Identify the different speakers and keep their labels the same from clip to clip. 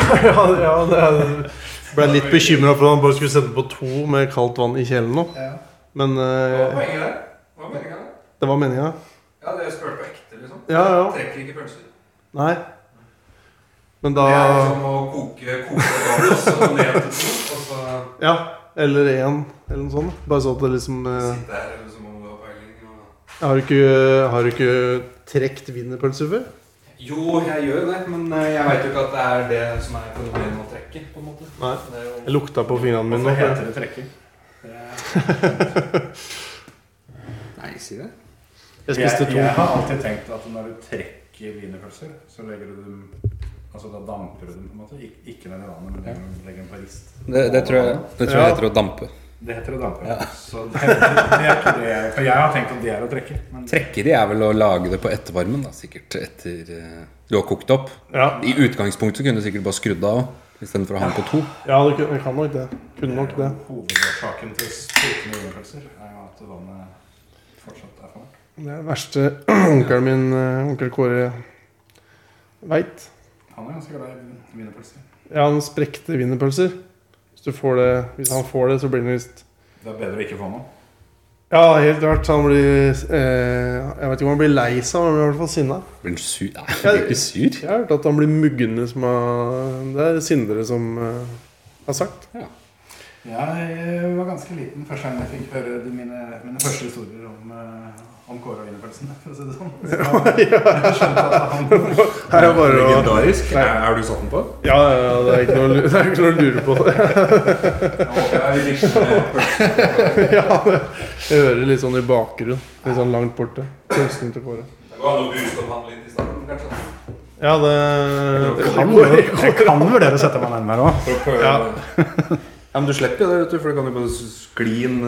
Speaker 1: ja, ja, det er- ble litt bekymra for at han bare skulle sette på to med kaldt vann i kjelen nå.
Speaker 2: Ja.
Speaker 1: Men
Speaker 3: Hva var
Speaker 1: eh,
Speaker 3: poenget der? Hva var meningen der?
Speaker 1: det var meninga.
Speaker 3: Ja, det spurte på ekte, liksom.
Speaker 1: Ja, ja.
Speaker 3: Trekker ikke pølser.
Speaker 1: Nei. Men
Speaker 3: Det er
Speaker 1: da
Speaker 3: liksom å koke koke vann, og så ned til to, og så
Speaker 1: Ja. Eller én, eller noe sånt. Bare så at det liksom eh,
Speaker 3: sitte her liksom om du har peiling. og-
Speaker 1: Har du ikke, har du ikke trekt wienerpølser før?
Speaker 3: Jo, jeg gjør jo det, men eh, jeg veit jo ikke at det er det som er fenomenet å trekke. på en måte.
Speaker 1: Nei.
Speaker 3: Det er jo...
Speaker 1: Jeg lukta på fingrene mine nå.
Speaker 2: Hvorfor
Speaker 1: for jeg-
Speaker 2: heter det trekker? Det er-
Speaker 3: Nei, si det.
Speaker 1: Jeg spiste
Speaker 2: jeg, jeg
Speaker 1: to.
Speaker 2: har alltid tenkt at når du trekker wienerpølser, så legger du dem Altså da damper du dem på en måte. Ik ikke ned i vannet, men du legger dem på rist.
Speaker 4: Det, det tror jeg, det tror jeg
Speaker 1: Ja.
Speaker 4: heter å dampe.
Speaker 2: Det heter å dampe. Så det, det er ikke det jeg For jeg har tenkt at det er å trekke. Men
Speaker 4: Trekker i er vel å lage det på ettervarmen, da, sikkert etter eh, du har kokt opp.
Speaker 1: Ja.
Speaker 4: I utgangspunktet kunne du sikkert bare skrudd av også, istedenfor å ha den på to.
Speaker 1: Ja, du kan, kan nok det. Kunne nok det.
Speaker 2: hovedårsaken til sprutende wienerpølser er jo at vannet fortsatt er for varmt.
Speaker 1: Det er det verste onkelen min, eh, onkel Kåre, veit.
Speaker 2: Han er ganske glad i wienerpølser.
Speaker 1: Ja, han sprekte wienerpølser. Hvis, du får det, hvis han får det, så blir han visst
Speaker 2: Det er bedre å ikke få noe.
Speaker 1: Ja, helt klart. Han blir eh, Jeg vet ikke om han blir lei seg, men han blir i hvert fall sinna.
Speaker 4: Blir den sur? Nei, den blir ikke sur.
Speaker 1: Jeg har hørt at han blir muggende som har Det er Sindre som eh, har sagt.
Speaker 2: Jeg var ganske liten første gang jeg fikk høre de mine, mine første historier om, eh, om Kåre og wienerpølsene, for å si det sånn. Så jeg skjønte at han
Speaker 1: Her er bare å
Speaker 5: Legendarisk. Er, er du satt den på?
Speaker 1: Ja, ja, ja, det er ikke noe, lu- det er ikke noe å lure på. det. Ja, det- jeg hører litt sånn i bakgrunnen. Litt sånn langt borte. Hilsen til Kåre. Ja, det
Speaker 2: Jeg kan vurdere å sette meg nærmere òg.
Speaker 1: Ja.
Speaker 5: Ja, men du slipper jo det, vet du, for du kan jo bare skli den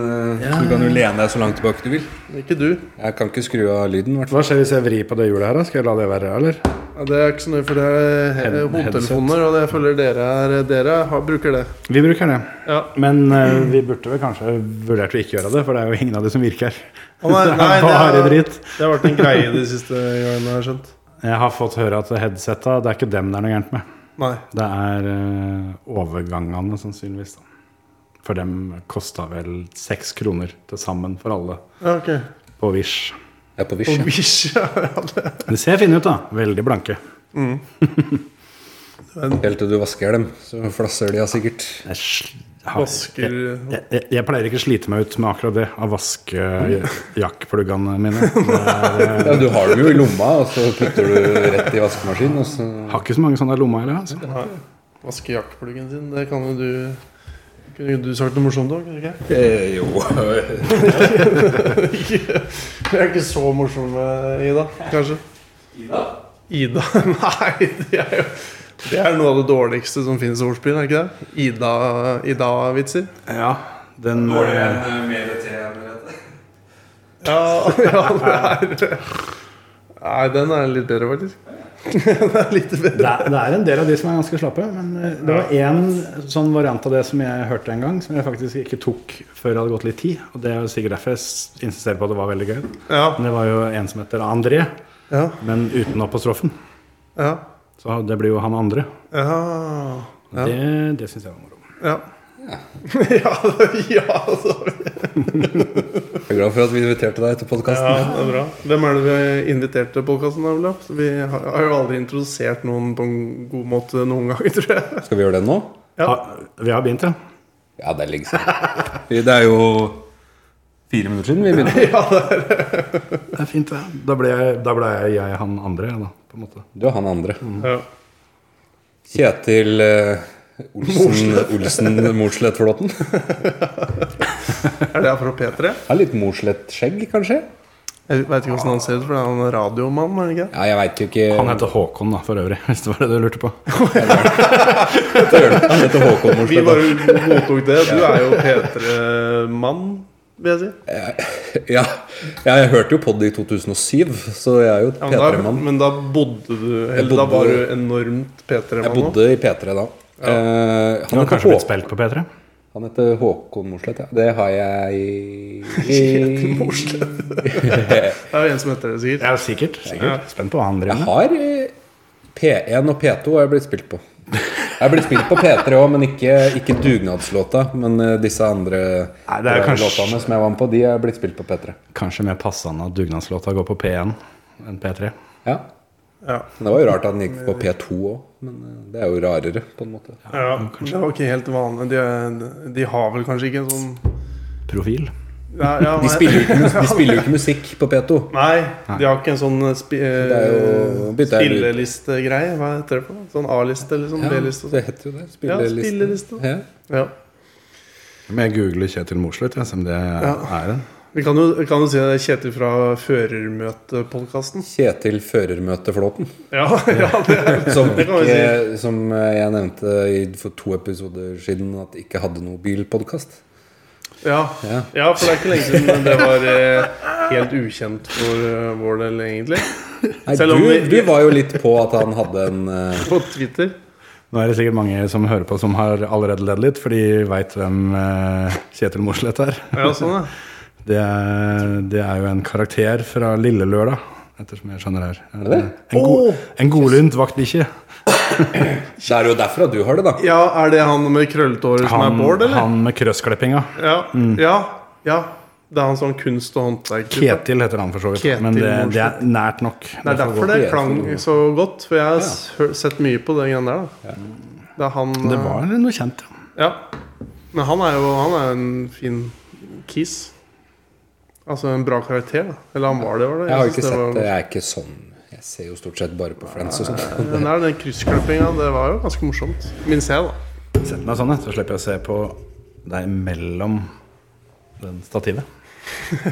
Speaker 5: eh,
Speaker 4: Du kan jo lene deg så langt tilbake du vil.
Speaker 1: Ikke du.
Speaker 4: Jeg kan ikke skru av lyden, i hvert fall.
Speaker 6: Hva skjer hvis jeg vrir på det hjulet her? da? Skal jeg la det være, eller?
Speaker 1: Ja, det er ikke så nøye, for det er
Speaker 6: Head-
Speaker 1: hodetelefoner, og jeg føler dere, er, dere har, bruker det.
Speaker 6: Vi bruker det.
Speaker 1: Ja.
Speaker 6: Men eh, vi burde vel kanskje vurdert å ikke gjøre det, for det er jo ingen av de som virker.
Speaker 1: Å, nei,
Speaker 6: det
Speaker 1: nei,
Speaker 6: er
Speaker 1: det er-
Speaker 6: bare dritt.
Speaker 1: Det har vært en greie de siste årene, har jeg skjønt.
Speaker 6: Jeg har fått høre at headsetta, det er ikke dem det er noe gærent med.
Speaker 1: Nei.
Speaker 6: Det er eh, overgangene, sannsynligvis. da. For dem kosta vel seks kroner til sammen for alle
Speaker 1: Ja, ok.
Speaker 6: på Wish.
Speaker 4: Jeg er på Wish.
Speaker 1: Og
Speaker 4: ja.
Speaker 1: Wish, ja.
Speaker 6: De ser fine ut, da. Veldig blanke.
Speaker 4: Helt til du vasker dem, så flasser de ja sikkert.
Speaker 6: Jeg, sl- har,
Speaker 1: Vasker
Speaker 6: jeg, jeg, jeg pleier ikke å slite meg ut med akkurat det, av vaskejakkpluggene mine. Det er, eh,
Speaker 4: Ja, du har dem jo i lomma, og så putter du rett i vaskemaskinen, og så
Speaker 6: har ikke så mange sånne i lomma heller. Altså.
Speaker 1: Vasker jakkpluggen sin, det kan jo du Kunne du sagt noe morsomt òg? Ikke?
Speaker 4: eh, Jo.
Speaker 1: Jeg er ikke så morsom, eh, Ida. Kanskje. Ida? Nei, det er jo Det er noe av det dårligste som finnes i ordspill, er det ikke det? Ida- Ida-vitser.
Speaker 6: Ja, den
Speaker 3: Dårligere enn eh, mer te enn rette.
Speaker 1: Ja, ja det er Nei, den er litt bedre, faktisk. den er litt bedre.
Speaker 6: det, er, det er en del av de som er ganske slappe, men eh, det var én sånn variant av det som jeg hørte en gang, som jeg faktisk ikke tok før det hadde gått litt tid. Og det er jo sikkert derfor jeg s- insisterer på at det var veldig gøy.
Speaker 1: Ja.
Speaker 6: Men det var jo en som heter André,
Speaker 1: Ja.
Speaker 6: men uten apostrofen.
Speaker 1: Ja.
Speaker 6: Så det blir jo han andre.
Speaker 1: Ja. Ja.
Speaker 6: Det, det syns jeg var moro.
Speaker 1: Ja. Ja, ja så.
Speaker 4: Jeg er glad for at vi inviterte deg til
Speaker 1: ja,
Speaker 4: podkasten.
Speaker 1: det er bra. Hvem er det vi har invitert til podkasten? Vi har har jo aldri introdusert noen på en god måte noen gang, tror jeg.
Speaker 4: Skal vi gjøre det nå?
Speaker 1: Ja.
Speaker 6: Ha, vi har begynt, ja.
Speaker 4: Ja, det er lenge siden. Det er jo fire minutter siden vi begynte.
Speaker 6: Det er fint, det. Da ble jeg, da ble jeg, jeg han andre, jeg, da. På en måte.
Speaker 4: Du er han andre.
Speaker 1: Ja.
Speaker 4: Kjetil eh, Olsen, Olsen Morslettflåten.
Speaker 1: Er det fra P3?
Speaker 4: Har litt Morslettskjegg, kanskje?
Speaker 1: Jeg vet ikke hvordan han ser ut, for det er han en radiomann, er det ikke?
Speaker 4: Ja, jeg veit jo ikke.
Speaker 6: Han heter Håkon, da, for øvrig, hvis det var det du lurte på.
Speaker 4: heter, han heter Håkon
Speaker 1: Vi
Speaker 4: Morsletten.
Speaker 1: bare godtok det. Du er jo P3-mann, vil jeg si.
Speaker 4: Ja, ja, jeg hørte jo på det i 2007, så jeg er jo
Speaker 1: Ja, men, da,
Speaker 4: P3-mann.
Speaker 1: men da bodde du Eller da
Speaker 4: bodde-
Speaker 1: var du enormt
Speaker 4: Jeg
Speaker 1: P3-mann òg?
Speaker 4: bodde i P3 da.
Speaker 6: Du
Speaker 4: Eh,
Speaker 6: har
Speaker 4: han, heter
Speaker 6: kanskje blitt
Speaker 4: Hå
Speaker 6: spilt på P3?
Speaker 4: han heter Håkon Mosleth, ja. Det har jeg i
Speaker 1: Kjetil Det er jo en som heter det, sikkert.
Speaker 6: Ja, sikkert. sikkert. Spent på hva han driver
Speaker 4: Jeg
Speaker 6: med.
Speaker 4: har eh, P1 og P2 har jeg blitt spilt på. Det blir spilt på P3 òg, men ikke, ikke dugnadslåta. Men eh, disse andre
Speaker 6: Nei, det er
Speaker 4: eh,
Speaker 6: kanskje-
Speaker 4: låtene som jeg var med på, de er blitt spilt på P3.
Speaker 6: Kanskje mer passende at dugnadslåta går på P1 enn P3.
Speaker 4: Ja.
Speaker 1: Ja.
Speaker 4: Men det var jo rart at den gikk på P2 òg. Men eh, det er jo rarere, på en måte.
Speaker 1: Ja, det var ikke helt vanlig. De, de har vel kanskje ikke en sånn
Speaker 6: Profil.
Speaker 1: ja, ja,
Speaker 4: De
Speaker 1: nei.
Speaker 4: spiller jo ikke, mus- de spiller jo ikke musikk på P2.
Speaker 1: Nei, de har ikke en sånn spi,
Speaker 4: Det er jo- bytter jeg ut.
Speaker 1: spillelistegreie. Hva heter det? på? Sånn A-liste eller sånn
Speaker 4: Ja,
Speaker 1: B-liste? og sånn.
Speaker 4: det heter jo det. Spilleliste.
Speaker 1: spilleliste.
Speaker 4: Ja.
Speaker 1: Ja.
Speaker 6: Men jeg googler Kjetil Mossleth, jeg, som det
Speaker 1: Ja.
Speaker 6: er en.
Speaker 1: Vi kan jo, kan jo si det er Kjetil fra Førermøtepodkasten.
Speaker 4: Kjetil Førermøteflåten.
Speaker 1: Ja, ja, det er
Speaker 4: Som,
Speaker 1: Det kan vi
Speaker 4: ikke, eh, som jeg nevnte i, for to episoder siden, at ikke hadde noe bilpodkast.
Speaker 1: Ja.
Speaker 4: Ja.
Speaker 1: ja, for det er ikke lenge siden det var eh, helt ukjent for eh, vår del, egentlig.
Speaker 4: Nei,
Speaker 1: Selv om
Speaker 4: du,
Speaker 1: vi-
Speaker 4: du var jo litt på at han hadde en eh,
Speaker 1: På Twitter.
Speaker 6: Nå er det sikkert mange som hører på, som har allerede ledd litt, for de veit hvem eh, Kjetil Mossleth er.
Speaker 1: Ja, sånn, ja.
Speaker 6: Det er, det er jo en karakter fra Lille Lørdag, ettersom jeg skjønner her. En, go en godlynt vaktbikkje.
Speaker 4: Det er jo derfra du har det, da.
Speaker 1: ja, er det han med krøllete hår som er
Speaker 6: Han,
Speaker 1: Bård, eller?
Speaker 6: han med krøssklippinga.
Speaker 1: Ja, ja, ja. Det er han sånn kunst- og håndverk
Speaker 6: Ketil heter han for så vidt,
Speaker 1: Ketil
Speaker 6: men det, det er
Speaker 1: Mossleth.
Speaker 6: nært nok.
Speaker 1: Det er derfor det klang så godt, for jeg har s- hør- sett mye på det greiene der. Da. Det er han
Speaker 6: Det
Speaker 1: eh,
Speaker 6: var noe kjent, ja.
Speaker 1: Ja. Men han er jo han er jo en fin kis. Altså en bra karakter, da. Eller han var det, var det.
Speaker 4: Jeg har jo
Speaker 1: synes
Speaker 4: ikke sett
Speaker 1: var-
Speaker 4: det. Jeg er ikke sånn. Jeg ser jo stort sett bare på Friends og sånn. sånt.
Speaker 1: Den der, den kryssklippinga, det var jo ganske morsomt. Minnes jeg, da.
Speaker 6: Sett meg sånn, jeg, så slipper jeg å se på deg mellom den stativet.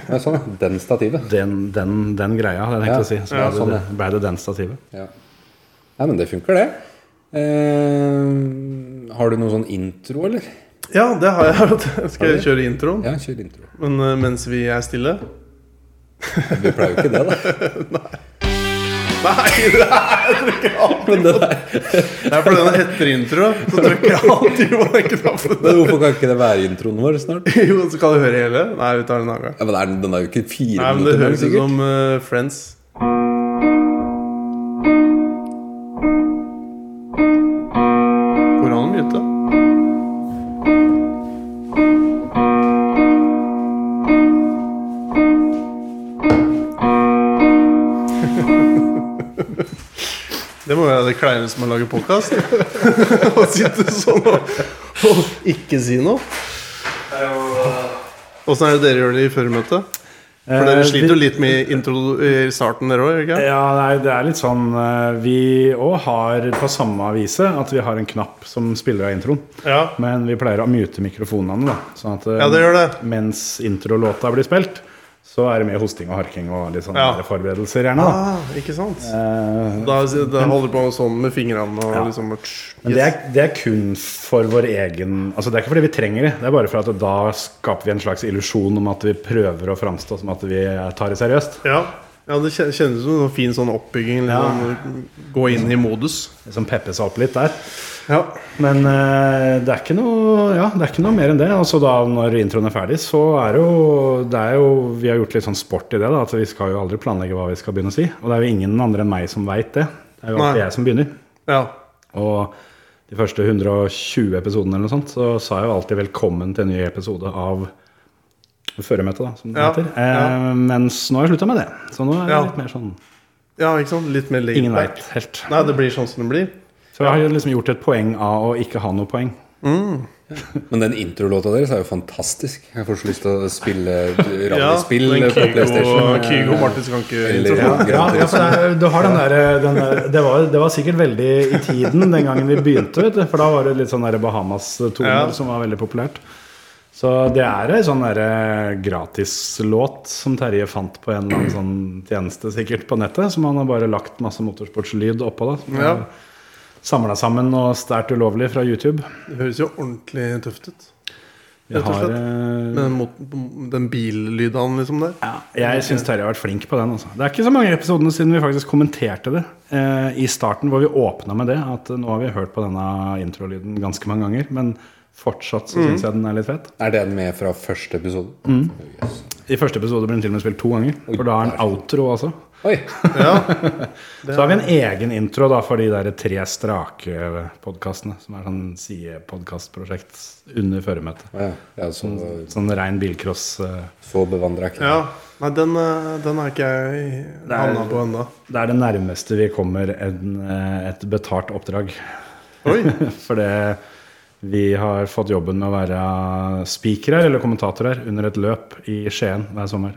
Speaker 4: Ja, sånn, ja. Den stativet.
Speaker 6: Den, den, den greia, hadde jeg tenkt
Speaker 4: Ja,
Speaker 6: å si. Så
Speaker 1: ja,
Speaker 6: ble, det, ble det den stativet.
Speaker 4: Ja. Nei, men det funker, det. Eh, har du noen sånn intro, eller?
Speaker 1: Ja, det har jeg. vet du. Skal jeg kjøre introen?
Speaker 4: Ja, kjør intro.
Speaker 1: Men eh, mens vi er stille
Speaker 4: Vi pleier jo ikke det, da.
Speaker 1: Nei, det er
Speaker 4: Men, det der,
Speaker 1: det er fordi den heter intro. Så trykker jeg alltid på den knappen.
Speaker 4: men hvorfor kan ikke det være introen vår snart?
Speaker 1: Jo, så kan du høre hele. Nei, vi tar den en annen gang.
Speaker 4: Ja, men er den, den er jo ikke fire
Speaker 1: Nei, men det
Speaker 4: minutter lang,
Speaker 1: høres ut
Speaker 4: sikkert.
Speaker 1: som eh, Friends. Går det an å mute? Det må være det kleineste med å lage podkast. Å sitte sånn og, og ikke si noe. Åssen er det dere gjør det i førermøtet? For dere sliter jo litt med intro i starten, dere òg? ikke?
Speaker 6: Eh, Ja, nei, det er litt sånn eh, Vi òg har på samme avise at vi har en knapp som spiller av introen.
Speaker 1: Ja.
Speaker 6: Men vi pleier å mute mikrofonene, da. Sånn at eh,
Speaker 1: ja, det gjør det.
Speaker 6: mens introlåta blir spilt, så er det mye hosting og harking og litt sånn
Speaker 1: Ja.
Speaker 6: andre forberedelser, gjerne. da
Speaker 1: Ah, ikke sant?
Speaker 6: Eh,
Speaker 1: Da, da holder du på sånn med fingrene og liksom
Speaker 6: Men det er, det er kun for vår egen Altså Det er ikke fordi vi trenger det. Det er bare for at da skaper vi en slags illusjon om at vi prøver å framstå som at vi tar det seriøst.
Speaker 1: ja. ja, det kjen- kjennes som en fin sånn oppbygging. Liksom. Gå inn i modus.
Speaker 6: Liksom peppe seg opp litt der.
Speaker 1: Ja.
Speaker 6: Men eh, det, er ikke noe, ja, det er ikke noe mer enn det. Og så da når introen er ferdig, så er det jo, det er jo Vi har gjort litt sånn sport i det. da At Vi skal jo aldri planlegge hva vi skal begynne å si. Og det er jo ingen andre enn meg som veit det. Det er jo alltid
Speaker 1: Nei.
Speaker 6: jeg som begynner.
Speaker 1: ja.
Speaker 6: Og de første 120 episodene eller noe sånt, så sa jeg jo alltid velkommen til en ny episode av Føremøtet, da, som det
Speaker 1: Ja,
Speaker 6: heter. Eh,
Speaker 1: ja.
Speaker 6: mens nå har jeg slutta med det. Så nå er det
Speaker 1: Ja.
Speaker 6: litt mer sånn
Speaker 1: ja, ikke sant? Litt mer laid
Speaker 6: Ingen
Speaker 1: back.
Speaker 6: veit helt.
Speaker 1: Nei, det blir sånn som det blir.
Speaker 6: Så jeg har jo liksom gjort et poeng av å ikke ha noe poeng.
Speaker 4: Men den introlåta deres er jo fantastisk. Jeg får så lyst til å spille radiospill
Speaker 1: den
Speaker 4: på
Speaker 1: Kygo,
Speaker 4: PlayStation.
Speaker 1: Kygo Martin skal ikke
Speaker 4: Eller-
Speaker 1: intro.
Speaker 4: Ja, ja,
Speaker 1: altså,
Speaker 4: ja, for
Speaker 6: det, var, sikkert veldig i tiden den gangen vi begynte, For da var det litt sånn Bahamas-toner
Speaker 1: Ja.
Speaker 6: som var veldig populært. Så det er ei sånn derre gratislåt som Terje fant på en eller annen sånn tjeneste sikkert på nettet. Som han har bare lagt masse motorsportslyd oppå. da Som
Speaker 1: Ja.
Speaker 6: er Samla sammen og stært ulovlig fra YouTube.
Speaker 1: Det høres jo ordentlig tøft ut.
Speaker 6: Vi
Speaker 1: Rett og
Speaker 6: har,
Speaker 1: slett.
Speaker 6: eh,
Speaker 1: Med den, mot- den billyden liksom der.
Speaker 6: ja, jeg syns Terje har vært flink på den. Altså. Det er ikke så mange episodene siden vi faktisk kommenterte det eh, i starten, hvor vi åpna med det. At eh, nå har vi hørt på denne introlyden ganske mange ganger, men fortsatt så syns jeg den er litt fett.
Speaker 4: Er den med fra første episode? Yes.
Speaker 6: I første episode ble den til og med spilt to ganger. For da er den outro også.
Speaker 4: Oi!
Speaker 1: Ja.
Speaker 6: Så har vi en egen intro da for de der tre strake podkastene. Som er sånn sidepodkastprosjekt under føremøtet.
Speaker 4: Ja, ja, så,
Speaker 6: Sånn rein bilcross. eh.
Speaker 4: så bevandra er ikke
Speaker 1: ja. Nei, den, eh, den er ikke jeg
Speaker 6: er-
Speaker 1: havna på ennå.
Speaker 6: Det er det nærmeste vi kommer en, eh, et betalt oppdrag.
Speaker 1: Oi!
Speaker 6: For det vi har fått jobben med å være spikere eller kommentatorer under et løp i Skien hver sommer.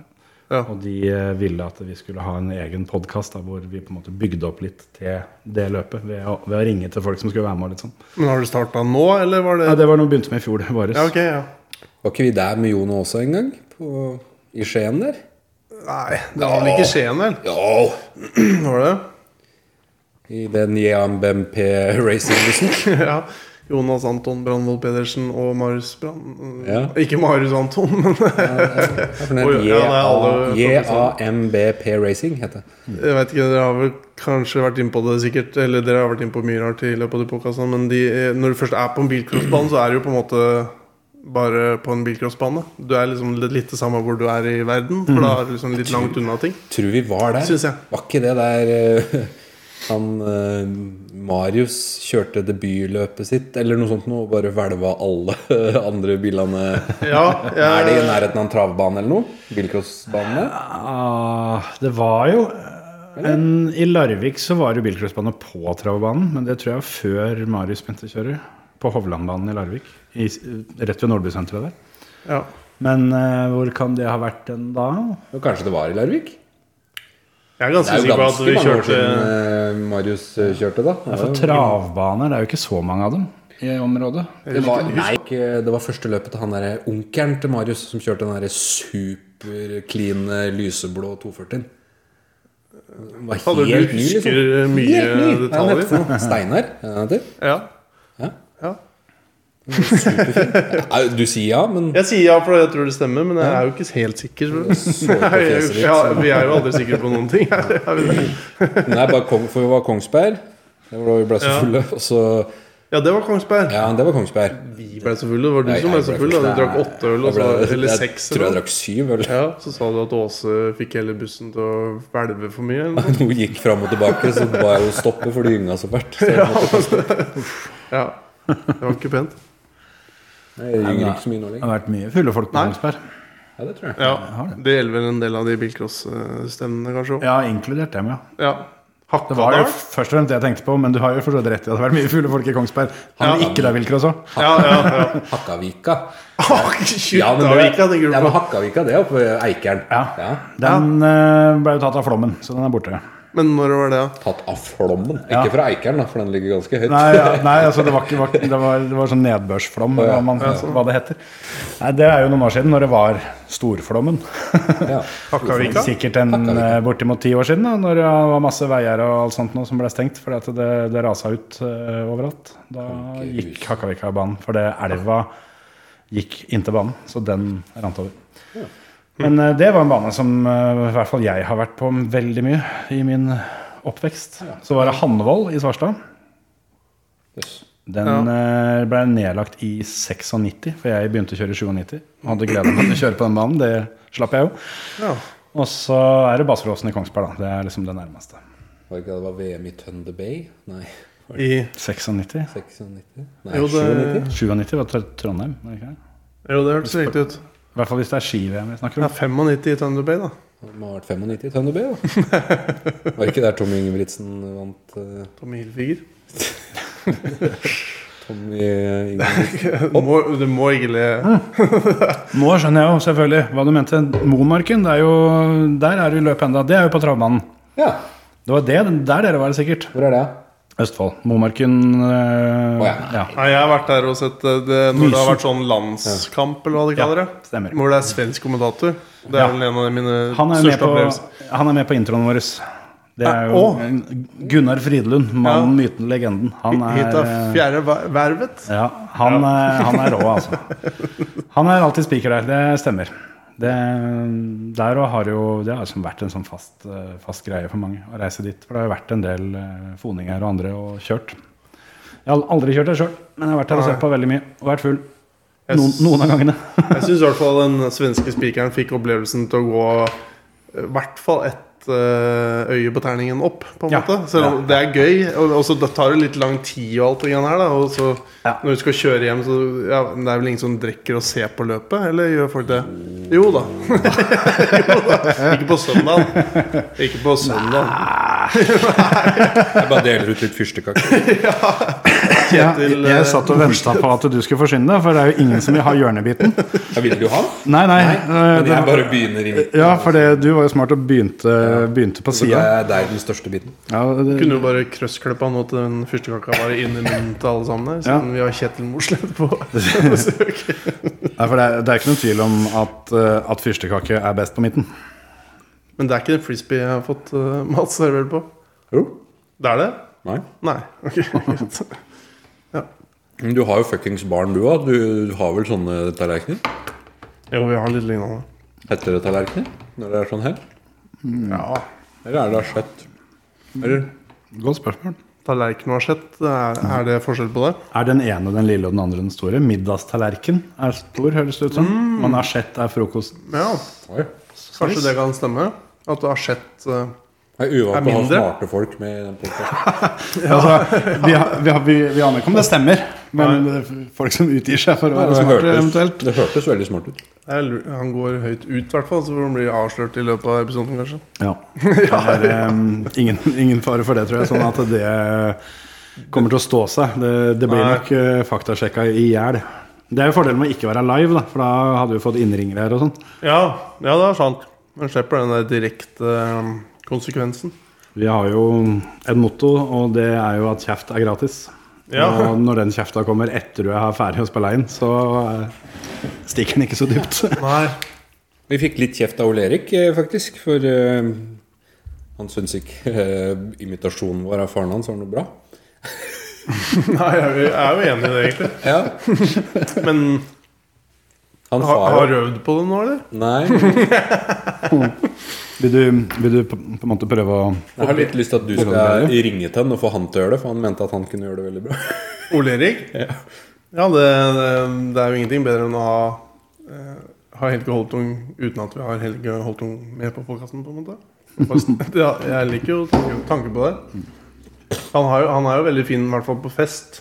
Speaker 1: Ja.
Speaker 6: Og de eh, ville at vi skulle ha en egen podkast hvor vi på en måte bygde opp litt til det løpet. Ved å, ved å ringe til folk som skulle være med. og litt sånn.
Speaker 1: Men har du starta nå, eller var det
Speaker 6: Ja, det var noe vi begynte med i fjor våres.
Speaker 1: Ja, ok, ja.
Speaker 4: Var ikke vi der med Jon også en gang? På, I Skien der?
Speaker 1: Nei, det var vel ikke Skien, vel?
Speaker 4: Ja!
Speaker 1: Var det?
Speaker 4: I den JMBMP racing-bussen.
Speaker 1: ja. Jonas Anton Brandvold Pedersen og Marius Brand...
Speaker 4: Ja.
Speaker 1: Ikke Marius Anton, men Oi, ja, det er alle-
Speaker 4: JAMBP racing heter det.
Speaker 1: jeg vet ikke, dere har vel kanskje vært inne på det sikkert, eller dere har vært inne på mye rart i løpet av de podkastene, men de, eh, når du først er på en bilcrossbane, så er det jo på en måte bare på en bilcrossbane. Du er liksom litt, litt det samme hvor du er i verden, for da er du liksom litt langt unna ting.
Speaker 4: Tror vi var der.
Speaker 1: Synes jeg.
Speaker 4: Var ikke det der eh, han eh, Marius kjørte debutløpet sitt eller noe sånt noe, og bare hvelva alle andre bilene?
Speaker 1: Ja,
Speaker 4: Er det i
Speaker 1: jeg,
Speaker 4: nærheten av en travbane eller noe? Bilcrossbane?
Speaker 6: Ah, det var jo en, I Larvik så var det bilcrossbane på travbanen, men det tror jeg var før Marius begynte å kjøre. På Hovlandbanen i Larvik, i, s- rett ved Nordbysenteret der.
Speaker 1: ja.
Speaker 6: Men eh, hvor kan det ha vært den da?
Speaker 4: Jo, Kanskje det var i Larvik?
Speaker 1: jeg er
Speaker 4: Det er
Speaker 1: ganske
Speaker 4: jo
Speaker 1: sikker på at
Speaker 4: ganske
Speaker 1: vi
Speaker 4: mange år
Speaker 1: kjørte
Speaker 4: siden eh, Marius eh, kjørte, da.
Speaker 6: Ja, for travbaner, det er jo ikke så mange av dem i området.
Speaker 4: Det var, nei, ikke- det var første løpet til han der eh, onkelen til Marius som kjørte den der superclean eh, lyseblå 240-en. Den var
Speaker 1: Fader, du
Speaker 4: helt ny, liksom.
Speaker 1: husker mye
Speaker 4: Helt ny. Hva er den
Speaker 1: detaljer.
Speaker 4: heter for noe? Steinar? er den heter?
Speaker 1: Ja.
Speaker 4: Ja.
Speaker 1: ja.
Speaker 4: Nei, Du sier ja, men
Speaker 1: Jeg sier ja, for jeg tror det stemmer, men jeg er jo ikke helt sikker.
Speaker 4: så på
Speaker 1: Nei, jeg,
Speaker 4: fjeset ditt,
Speaker 1: ja,
Speaker 4: så-
Speaker 1: vi er jo aldri sikre på noen ting. Er vi det?
Speaker 4: den er bare Kong, for vi var Kongsberg. Det var da vi ble så
Speaker 1: Ja.
Speaker 4: fulle. Og så,
Speaker 1: Ja, det var Kongsberg.
Speaker 4: ja, det var Kongsberg.
Speaker 1: Vi ble så fulle. Det var du
Speaker 4: Nei,
Speaker 1: som
Speaker 4: jeg
Speaker 1: ble så full. da. Du drakk åtte øl, og
Speaker 4: Jeg
Speaker 1: så,
Speaker 4: ble-
Speaker 1: eller seks.
Speaker 4: Jeg tror jeg
Speaker 1: Eller. noe.
Speaker 4: drakk syv øl.
Speaker 1: Ja, så sa du at Åse fikk hele bussen til å hvelve for mye. Eller? noe.
Speaker 4: Hun gikk fram og tilbake, så ba jeg henne stoppe, for de ynga så fælt. Så jeg måtte-
Speaker 1: Ja, Det var ikke pent.
Speaker 4: Nei, Jeg gynger ikke så mye nå
Speaker 6: Det
Speaker 4: lenger.
Speaker 6: har vært mye fulle folk på
Speaker 1: Nei.
Speaker 6: Kongsberg.
Speaker 4: Ja, det tror jeg.
Speaker 1: Ja, Det gjelder vel en del av de bilcross-stemmene, kanskje òg.
Speaker 6: Ja, inkludert dem, ja.
Speaker 1: Ja.
Speaker 6: Det var jo
Speaker 1: Hakkadal?
Speaker 6: først og fremst det jeg tenkte på, men du har jo forstått rett i at det har vært mye fulle folk i Kongsberg. Han
Speaker 1: Ja.
Speaker 6: ikke der bilcross òg.
Speaker 1: Ja, ja, ja.
Speaker 4: Hakkavika. Ja, men det,
Speaker 1: Kjuttavika, tenker
Speaker 4: ja,
Speaker 1: du på.
Speaker 4: men Hakkavika, det er oppe ved Eikeren.
Speaker 6: Ja.
Speaker 4: Ja.
Speaker 6: Den eh, ble jo tatt av flommen, så den er borte.
Speaker 1: Men når var det, da?
Speaker 4: Tatt av flommen.
Speaker 6: Ja.
Speaker 4: Ikke fra Eikeren, da, for den ligger ganske høyt.
Speaker 6: Nei, ja, nei altså det var ikke var, det, var, det var sånn nedbørsflom, eller hva, man, hva det heter. Nei, Det er jo noen år siden, når det var storflommen.
Speaker 4: Ja.
Speaker 1: Hakkavika?
Speaker 6: Sikkert en eh, bortimot ti år siden, da, når det var masse veier og alt sånt noe som ble stengt fordi at det, det rasa ut eh, overalt. Da
Speaker 4: Folkehus.
Speaker 6: gikk Hakkavikabanen, for det elva gikk inntil banen, så den rant over. Men eh, det var en bane som eh, i hvert fall jeg har vært på veldig mye i min oppvekst. Så var det Hanvold i Svarstad.
Speaker 4: Yes.
Speaker 6: Den eh, ble nedlagt i 96, for jeg begynte å kjøre i 97. Og hadde gleda meg til å kjøre på den banen. Det slapp jeg jo.
Speaker 1: Ja.
Speaker 6: Og så er det Baseråsen i Kongsberg, da. Det er liksom det nærmeste.
Speaker 4: Var det ikke det det var VM i Thunder Bay? Nei,
Speaker 1: I
Speaker 6: 96?
Speaker 4: 96? Nei,
Speaker 1: Jo, det-
Speaker 4: 97?
Speaker 6: 97 var Tr- Trondheim? var det ikke det?
Speaker 1: Jo, det hørtes riktig ut.
Speaker 6: I hvert fall hvis det er ski-VM vi snakker
Speaker 1: Det
Speaker 6: om.
Speaker 1: er 95 i Thunder Bay, da.
Speaker 4: Det må ha vært 95 i Thunder Bay, da. Var det ikke der Tommy Ingebrigtsen vant eh,
Speaker 1: Tommy Hilfiger.
Speaker 4: Tommy Ingebrigtsen?
Speaker 1: Du må, du må ikke le.
Speaker 6: Nå skjønner jeg jo selvfølgelig hva du mente. Momarken, det er jo, der er det jo løp enda. Det er jo på travbanen.
Speaker 4: Ja,
Speaker 6: Det var det, der dere var det sikkert.
Speaker 4: hvor er det?
Speaker 6: Østfold. Momarken eh,
Speaker 4: Å, ja.
Speaker 6: ja.
Speaker 1: Nei, jeg har vært der og sett eh, det, når det har vært sånn landskamp, eller hva de kaller det.
Speaker 6: stemmer.
Speaker 1: Hvor det er svensk kommentator. Det
Speaker 6: Ja.
Speaker 1: er vel en av mine
Speaker 6: Han er, jo med
Speaker 1: største
Speaker 6: på,
Speaker 1: opplevelser.
Speaker 6: han er med på introen vår. Det er jo
Speaker 1: Å.
Speaker 6: Gunnar Fridlund,
Speaker 1: Ja.
Speaker 6: mannen, myten, legenden. Han
Speaker 1: Hit
Speaker 6: er, eh,
Speaker 1: av fjerde ver- vervet.
Speaker 6: ja, han, er, han er rå, altså. Han er alltid spiker der, det stemmer. Det, der og har jo, det har liksom vært en sånn fast, eh, fast greie for mange å reise dit. For det har jo vært en del eh, foninger og andre og kjørt. Jeg har aldri kjørt det sjøl, men jeg har vært der og sett på veldig mye. Og vært full.
Speaker 1: Jeg
Speaker 6: Noen,
Speaker 1: s-
Speaker 6: noen av gangene.
Speaker 1: Jeg syns i hvert fall den svenske spikeren fikk opplevelsen til å gå eh, i hvert fall ett eh, øyet på terningen opp, på en
Speaker 6: Ja.
Speaker 1: måte. Selv om det er gøy, og, og så da tar det litt lang tid og alt det greiene her, da. Og så
Speaker 6: Ja.
Speaker 1: når du skal kjøre hjem, så ja, men Det er vel ingen som drikker og ser på løpet, eller gjør folk det? Jo da. jo da. Ikke på søndag. Ikke på søndag.
Speaker 4: Jeg bare deler ut litt fyrstikker.
Speaker 6: Ja,
Speaker 1: til, eh,
Speaker 6: jeg satt og venta på at du skulle forsyne deg, for det er jo ingen som vil ha hjørnebiten.
Speaker 4: Jeg vil jo ha,
Speaker 6: Nei, nei. eh,
Speaker 4: men
Speaker 6: det,
Speaker 4: jeg bare begynner i midten.
Speaker 6: ja, for det, du var jo smart og begynte, begynte på
Speaker 4: Så tar
Speaker 6: sida.
Speaker 4: jeg deg den største biten.
Speaker 6: Ja, det-
Speaker 1: Kunne jo bare krøsskleppa nå til den fyrstekaka var inn i munnen til alle sammen der. Siden vi har Kjetil Mossleth på besøk.
Speaker 6: nei, for det, er- det er ikke noen tvil om at, eh, at fyrstekake er best på midten.
Speaker 1: Men det er ikke en frisbee jeg har fått uh, mat servert på.
Speaker 4: Jo.
Speaker 1: Det er det?
Speaker 4: Nei.
Speaker 1: Nei. Ok, greit.
Speaker 4: Men du har jo fuckings barn, du òg. Du har vel sånne tallerkener?
Speaker 1: Jo, vi har litt lignende.
Speaker 4: Heter det tallerkener når det er sånn her?
Speaker 1: Ja.
Speaker 4: Eller er det skjøtt? Eller
Speaker 6: Godt spørsmål.
Speaker 1: Tallerken og asjett, er, er det forskjell på det?
Speaker 6: Er den ene den lille og den andre den store? Middagstallerken er stor, høres det ut som. Men asjett er frokost.
Speaker 1: Ja,
Speaker 4: Oi.
Speaker 1: kanskje det kan stemme? At asjett uh,
Speaker 4: Jeg er
Speaker 1: Er
Speaker 4: uvant med å ha
Speaker 1: mindre?
Speaker 4: smarte folk med i den podcasten.
Speaker 6: Altså, vi, har- vi, har- vi, vi aner ikke om det stemmer, men det er folk som utgir seg for å være
Speaker 4: Det
Speaker 6: smarte,
Speaker 4: hørtes,
Speaker 6: eventuelt.
Speaker 4: det hørtes veldig smart ut.
Speaker 1: jeg lurer- Han går høyt ut, i hvert fall. Så får han bli avslørt i løpet av episoden, kanskje.
Speaker 6: Ja. Det er em, ingen, ingen fare for det, tror jeg. Sånn at det kommer til å stå seg. Det, det blir
Speaker 1: Nei.
Speaker 6: nok eh, faktasjekka i hjel. Det er jo fordelen med å ikke være live, da, for da hadde vi fått innringere her og sånn.
Speaker 1: Ja, ja det er sant. Man slipper den der direkte um, konsekvensen.
Speaker 6: Vi har jo et motto, og det er jo at kjeft er gratis.
Speaker 1: Ja.
Speaker 6: Og når den kjefta kommer etter du er ferdig å spille inn, så eh, stikker den ikke så dypt.
Speaker 1: Nei.
Speaker 4: Vi fikk litt kjeft av Ole Erik, eh, faktisk. For eh, han syns ikke eh, imitasjonen vår av faren hans var noe bra.
Speaker 1: Nei, jeg er jo- jeg er jo enig i det, egentlig.
Speaker 4: Ja.
Speaker 1: Men
Speaker 4: Han
Speaker 1: har,
Speaker 4: far
Speaker 1: har du øvd på det nå, eller?
Speaker 4: Nei.
Speaker 6: Vil du, vil du på, på en måte prøve å
Speaker 4: Jeg har litt lyst til at du skal ringe til han og få han til å gjøre det, for han mente at han kunne gjøre det veldig bra.
Speaker 1: Ole Erik? Ja, det, det, det er jo ingenting bedre enn å ha, eh, ha Helge Holtung uten at vi har Helge Holtung med på podkasten, på en måte. Bare- Ja, jeg liker jo tanken tanken på det. Han, har jo, han er jo veldig fin, i hvert fall på fest.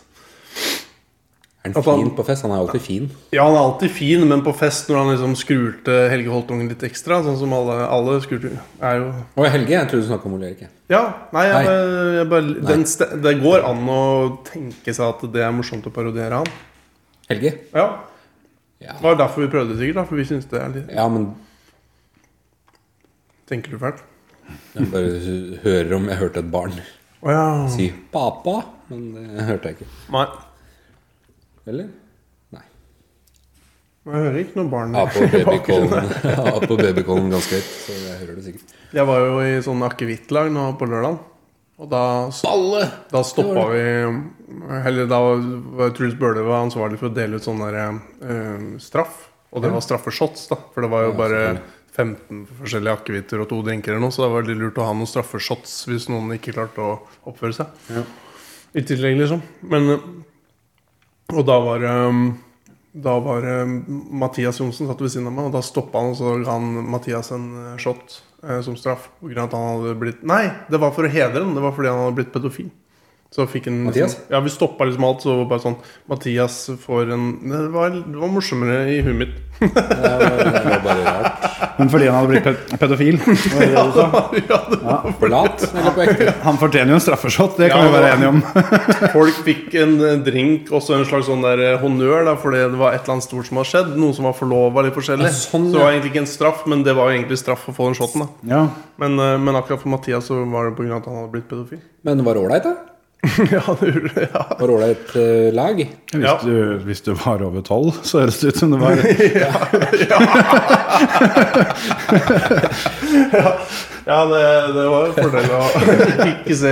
Speaker 4: Er
Speaker 1: At
Speaker 4: han
Speaker 1: han-
Speaker 4: fin på fest? Han er jo alltid fin.
Speaker 1: Ja, han er alltid fin, men på fest, når han liksom skrur til Helge Holtung litt ekstra, sånn som alle, alle skrur til, er jo
Speaker 4: Å, Helge, jeg trodde du snakket om Ole Erik. jeg.
Speaker 1: Ja, nei, jeg,
Speaker 4: Nei.
Speaker 1: bare- jeg bare den, ste- Det går an å tenke seg at det er morsomt å parodiere han.
Speaker 4: Helge?
Speaker 1: Ja.
Speaker 4: Ja.
Speaker 1: Det var derfor vi prøvde, sikkert. da For vi syns det er litt
Speaker 4: Ja, men
Speaker 1: Tenker du fælt?
Speaker 4: jeg bare hører om jeg hørte et barn
Speaker 1: Å ja.
Speaker 4: si 'pappa', men det hørte jeg ikke.
Speaker 1: Nei.
Speaker 4: Eller?
Speaker 1: Jeg hører ikke noe barn.
Speaker 4: Ja, på babycallen ja, på babycallen ganske høyt, så jeg hører det sikkert.
Speaker 1: Jeg var jo i sånn akevittlag nå på lørdag. Og da,
Speaker 4: Balle!
Speaker 1: da stoppa vi eh, Eller da var Truls Bøhler var ansvarlig for å dele ut sånn der eh, straff. Og det var straffeshots, da. For det var jo bare 15 forskjellige akevitter og to drinker eller noe, så det var veldig lurt å ha noen straffeshots hvis noen ikke klarte å oppføre seg. I tillegg, liksom. Men eh, Og da var eh, Da var eh, Mathias Johnsen satt ved siden av meg, og da stoppa han, og så ga han Mathias en eh, shot eh, som straff. På grunn av at han hadde blitt Nei, det var for å hedre ham. Det var fordi han hadde blitt pedofil. Så fikk han
Speaker 4: Mathias?
Speaker 1: Sånn, ja, vi stoppa liksom alt, så var det bare sånn Mathias får en Det var, det var morsommere i huet mitt.
Speaker 4: Det var, det var bare rart.
Speaker 6: Men fordi han hadde blitt pe- pedofil. var det det du sa?
Speaker 1: ja, det,
Speaker 4: På lat eller på ekte?
Speaker 6: Han fortjener jo en straffeshot, det kan
Speaker 1: Ja,
Speaker 6: vi
Speaker 1: det
Speaker 6: være
Speaker 1: var-
Speaker 6: enige om.
Speaker 1: Folk fikk en eh, drink og så en slags sånn der eh, honnør da, fordi det var et eller annet stort som hadde skjedd. Noen som var forlova, litt forskjellig.
Speaker 4: Ja, sånn,
Speaker 1: Så det var
Speaker 4: ja.
Speaker 1: egentlig ikke en straff, men det var jo egentlig straff for å få den shoten. da
Speaker 6: Ja.
Speaker 1: Men, eh, men akkurat for Mathias så var det pga. at han hadde blitt pedofil.
Speaker 4: Men det var ålreit, da?
Speaker 1: ja, det gjorde det, ja.
Speaker 4: Var ålreit eh, lag?
Speaker 6: Hvis,
Speaker 1: Ja.
Speaker 6: Du, hvis du var over tolv, så høres det ut som det var
Speaker 1: ja det, det var en fordel å ikke se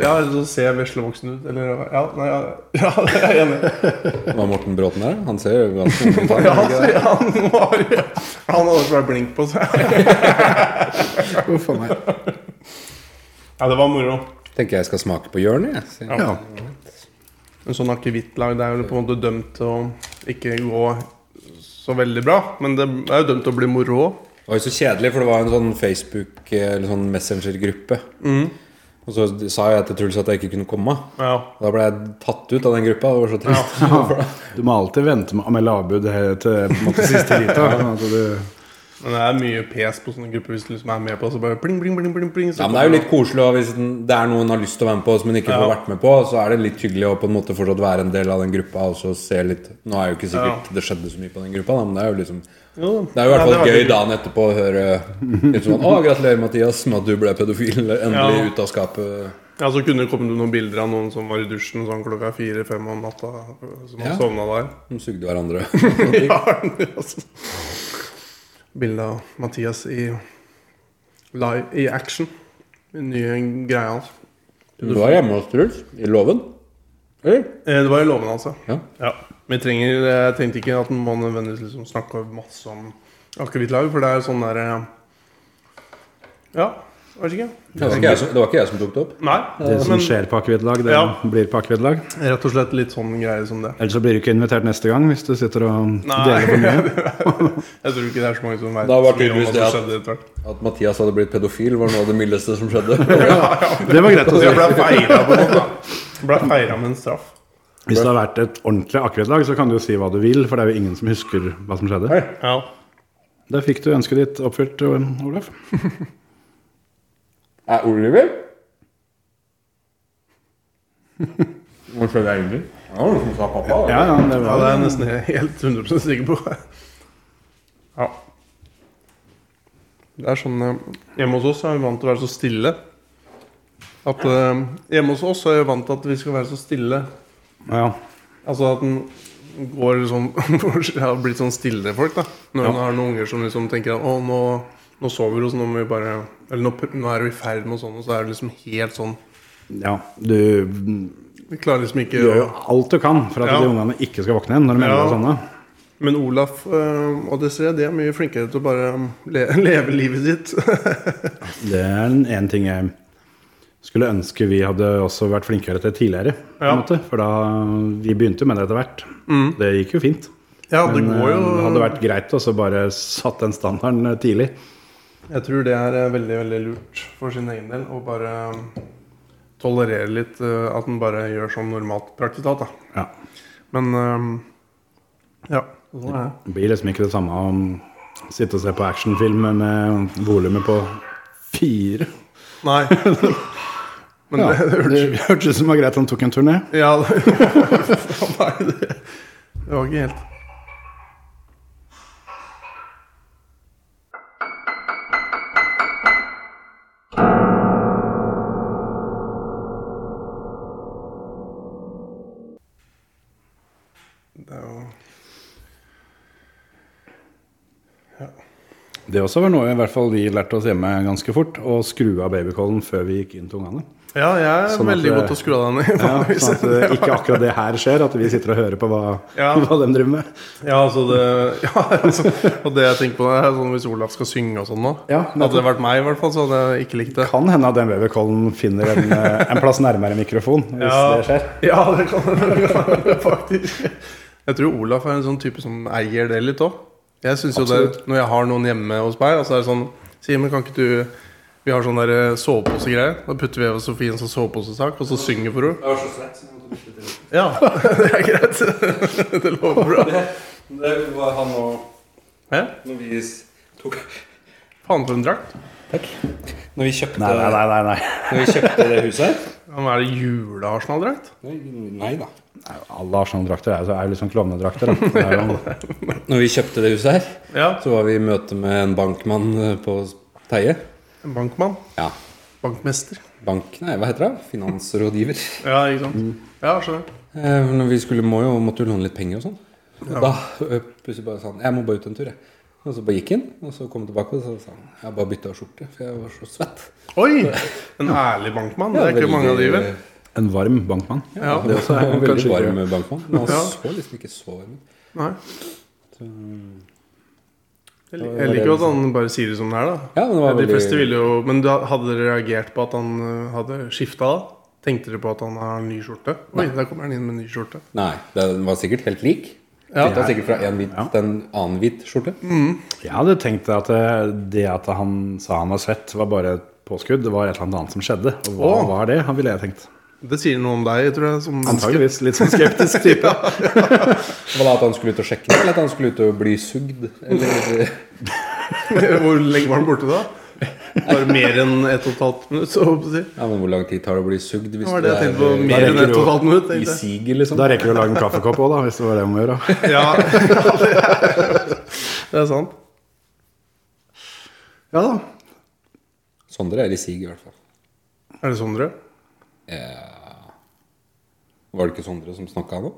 Speaker 1: Ja, så se veslevoksen ut, eller Ja, nei, ja, ja det er jeg enig i.
Speaker 4: Det var Morten Bråten der? Han ser jo ganske ung ut.
Speaker 1: Ja,
Speaker 4: han, ikke
Speaker 1: så
Speaker 4: det?
Speaker 1: han, var, han hadde svær blink på seg.
Speaker 6: Uff a meg.
Speaker 1: Ja, det var moro.
Speaker 4: Tenker jeg skal smake på hjørnet. jeg. Så-
Speaker 6: Ja.
Speaker 1: En sånn akevittlag det er jo på en måte dømt til å ikke gå så veldig bra. Men det er jo dømt til å bli moro òg.
Speaker 4: Det var jo så kjedelig, for det var en sånn Facebook- eller sånn Messenger-gruppe.
Speaker 1: Mm.
Speaker 4: Og så sa jeg til Truls at jeg ikke kunne komme.
Speaker 1: Ja.
Speaker 4: Da ble jeg tatt ut av den gruppa. Det var så trist.
Speaker 6: Du må alltid vente med å melde avbud helt til på en måte, siste lita. sånn at du-
Speaker 1: Men det er mye pes på sånne grupper hvis du liksom er med på det. Så bare pling, pling, pling, pling, pling så
Speaker 4: Ja, men Det er jo litt koselig og hvis den- det er noen har lyst til å være med på, som en ikke får
Speaker 1: Ja.
Speaker 4: vært med på. Så er det litt hyggelig å på en måte fortsatt være en del av den gruppa. Og så se litt Nå er jo ikke sikkert det skjedde så mye på den gruppa, da, men det er jo liksom
Speaker 1: Jo,
Speaker 4: Det er jo i hvert
Speaker 1: ja,
Speaker 4: fall
Speaker 1: det var
Speaker 4: gøy dagen etterpå å høre litt sånn Å, gratulerer, Mathias, med at du ble pedofil. Endelig
Speaker 1: Ja.
Speaker 4: ut av skapet.
Speaker 1: Ja, så kunne det kommet noen bilder av noen som var i dusjen sånn klokka fire-fem om natta. Som
Speaker 4: Ja.
Speaker 1: hadde sovna der.
Speaker 4: De sugde hverandre.
Speaker 1: Ja, altså. Bilde av Mathias i live i action. Den nye greia hans.
Speaker 4: Du var hjemme hos Truls? I låven? Eller?
Speaker 1: Eh, Det var i låven, altså.
Speaker 4: Ja.
Speaker 1: Men jeg, trenger, jeg tenkte ikke at man må nødvendigvis liksom snakke masse om akevittlaug, for det er jo sånn derre Ja, vet ikke.
Speaker 4: Det var, ikke jeg som, det var ikke jeg som tok det opp.
Speaker 1: Nei,
Speaker 6: Det som
Speaker 1: men
Speaker 6: skjer på akevittlag, det
Speaker 1: Ja.
Speaker 6: blir på akevittlag.
Speaker 1: rett og slett litt sånn greier som det.
Speaker 6: Ellers så blir du ikke invitert neste gang hvis du sitter og
Speaker 1: Nei,
Speaker 6: deler for mye.
Speaker 1: jeg tror ikke det er så mange som vet
Speaker 4: Da var
Speaker 1: så mye om
Speaker 4: tydeligvis
Speaker 1: hva
Speaker 4: det
Speaker 1: som
Speaker 4: at-
Speaker 1: skjedde etter hvert.
Speaker 4: At Mathias hadde blitt pedofil, var noe av det mildeste som skjedde.
Speaker 6: Det var greit å si.
Speaker 1: Jeg ble feira på noe, da. Ble feira med en straff.
Speaker 6: Hvis det har vært et ordentlig akevittlag, så kan du jo si hva du vil, for det er jo ingen som husker hva som skjedde.
Speaker 1: Ja.
Speaker 6: Der fikk du ønsket ditt oppfylt, Olaf.
Speaker 4: Er Oliver? Nå skjønner jeg egentlig. Ja, det var noen som sa pappa. da.
Speaker 6: Ja, ja, det
Speaker 1: ja,
Speaker 6: var
Speaker 1: det er jeg nesten helt 100 sikker på. Ja. Det er sånn eh, Hjemme hos oss er vi vant til å være så stille. At eh, Hjemme hos oss er vi vant til at vi skal være så stille.
Speaker 6: ja.
Speaker 1: Altså at den går liksom Det har blitt sånn stille folk, da. Når man har noen unger som liksom tenker at å, nå, nå sover vi, og så nå må vi bare Eller nå, pr- nå er vi i ferd med og sånn, og så er det liksom helt sånn
Speaker 6: ja. Du
Speaker 1: Vi klarer liksom ikke
Speaker 6: gjør jo
Speaker 1: å
Speaker 6: alt du kan for at
Speaker 1: Ja.
Speaker 6: de ungene ikke skal våkne igjen når de melder
Speaker 1: Ja.
Speaker 6: deg sånne.
Speaker 1: Men Olaf øh, og Desiree de er mye flinkere til å bare um, le leve livet sitt.
Speaker 6: Det er en- en ting jeg skulle ønske vi hadde også vært flinkere til tidligere. På en
Speaker 1: Ja. Mm.
Speaker 6: måte. For da vi begynte jo med det etter hvert. Det gikk jo fint.
Speaker 1: ja, det
Speaker 6: Men eh,
Speaker 1: går jo
Speaker 6: det hadde vært greit å så bare satt den standarden eh, tidlig.
Speaker 1: Jeg tror det er eh, veldig veldig lurt for sin egen del å bare eh, tolerere litt eh, at en bare gjør som normalt praktisk talt. da.
Speaker 6: Ja.
Speaker 1: Men eh, ja. Sånn er det.
Speaker 6: Det blir liksom ikke det samme om å sitte og se på actionfilm med volumet på fire.
Speaker 1: Nei. Men
Speaker 6: Ja,
Speaker 1: det, det hørtes
Speaker 6: det hørtes ut som det var greit han tok en turné.
Speaker 1: Ja, det Nei, det, det var ikke helt Det er jo
Speaker 6: Det også var noe i hvert fall vi lærte oss hjemme ganske fort. Å skru av babycallen før vi gikk inn til ungene.
Speaker 1: Ja, jeg er
Speaker 6: Sånn at
Speaker 1: veldig
Speaker 6: det-
Speaker 1: god til å skru av deg ned.
Speaker 6: Ja,
Speaker 1: vanligvis.
Speaker 6: sånn at eh, ikke akkurat det her skjer, at vi sitter og hører på hva,
Speaker 1: Ja.
Speaker 6: hva de driver med.
Speaker 1: Ja, altså det, ja, altså, og det jeg tenker på er sånn hvis Olaf skal synge og sånn nå.
Speaker 6: Ja,
Speaker 1: hadde det vært meg, i hvert fall, så hadde jeg ikke likt det.
Speaker 6: Kan hende at den babycallen finner en, eh, en plass nærmere mikrofon hvis
Speaker 1: Ja.
Speaker 6: det skjer.
Speaker 1: Ja, det kan det kan det faktisk. Jeg tror Olaf er en sånn type som eier det litt òg. Jeg synes jo det,
Speaker 6: Absolutt.
Speaker 1: Når jeg har noen hjemme hos meg, og så er det sånn Simen, kan ikke du Vi har sånn der soveposegreier. Da putter vi Eva Sofie i en sånn soveposesak, og så synger for henne.
Speaker 3: Jeg var så svett, så jeg måtte bytte til.
Speaker 1: Ja, det er greit. Det lover bra.
Speaker 3: Det var han og
Speaker 1: Hæ?
Speaker 3: Når vi s- tok
Speaker 1: Faen for en drakt.
Speaker 3: Når vi kjøpte,
Speaker 6: Nei, nei, nei. nei, nei.
Speaker 3: Når vi kjøpte det huset
Speaker 1: Ja, men Er det julearsenaldrakt?
Speaker 4: Nei da.
Speaker 6: Alle Arsenal-drakter er, jo- er jo liksom klovnedrakter. da. Det er jo-
Speaker 4: Når vi kjøpte det huset her,
Speaker 1: Ja.
Speaker 4: så var vi i møte med en bankmann eh, på Teie.
Speaker 1: En bankmann.
Speaker 4: Ja.
Speaker 1: Bankmester.
Speaker 4: Bank... Nei, hva heter det? Finansrådgiver.
Speaker 1: Ja, ikke sant.
Speaker 4: Mm.
Speaker 1: Ja, skjønner.
Speaker 4: Eh, Når vi skulle, må jo, måtte jo låne litt penger og sånn. Og Da ø, plutselig bare sa han 'Jeg må bare ut en tur', jeg. Og så bare gikk han, og så kom han tilbake og så sa han 'Jeg har bare bytta skjorte, for jeg var så svett'.
Speaker 1: Oi! En ærlig bankmann. Det er ikke mange av de,
Speaker 4: eh,
Speaker 1: vel?
Speaker 6: En varm bankmann.
Speaker 1: Ja.
Speaker 4: Det også er en veldig
Speaker 6: kanskje
Speaker 4: varm bankmann. Men han
Speaker 1: Ja.
Speaker 4: så liksom ikke så varm ut.
Speaker 1: Nei. Jeg lik- jeg liker jo at han bare sier det som det er, da.
Speaker 4: Ja, men det var
Speaker 1: De
Speaker 4: veldig-
Speaker 1: fleste ville jo Men da hadde dere reagert på at han øh, hadde skifta da? Tenkte dere på at han har en ny skjorte? Oi, der kommer han inn med en ny skjorte.
Speaker 4: Nei, den var sikkert helt lik.
Speaker 1: Ja.
Speaker 4: Fikk deg sikkert fra en hvit
Speaker 6: Ja.
Speaker 4: til en annen hvit skjorte.
Speaker 6: Jeg hadde tenkt at eh, det at han sa han var svett, var bare et påskudd. Det var et eller annet annet som skjedde. Og hva
Speaker 1: Åh.
Speaker 6: var det, Han ville jeg tenkt.
Speaker 1: Det sier noe om deg, tror jeg. Som
Speaker 6: Antageligvis litt sånn skeptisk type.
Speaker 4: Det var da at han skulle ut og sjekke, eller at han skulle ut og bli sugd? Eller
Speaker 1: Hvor lenge var han borte da? Bare mer enn ett og et halvt minutt? Så håper jeg. å si.
Speaker 4: Ja, men hvor lang tid tar det å bli sugd hvis
Speaker 1: Det var det jeg
Speaker 4: du
Speaker 1: tenkte på.
Speaker 4: er
Speaker 1: Mer
Speaker 6: rekker
Speaker 1: enn ett og
Speaker 6: du
Speaker 1: et halvt minutt.
Speaker 4: eh, i
Speaker 1: tenkte jeg.
Speaker 4: siget, liksom?
Speaker 6: Da rekker du å lage en kaffekopp òg, da, hvis det var det du må gjøre.
Speaker 1: Ja, ja det, er, det er sant.
Speaker 6: Ja da.
Speaker 4: Sondre er i siget, i hvert fall. Eh,
Speaker 1: Er det Sondre?
Speaker 4: Var det ikke Sondre som snakka nå?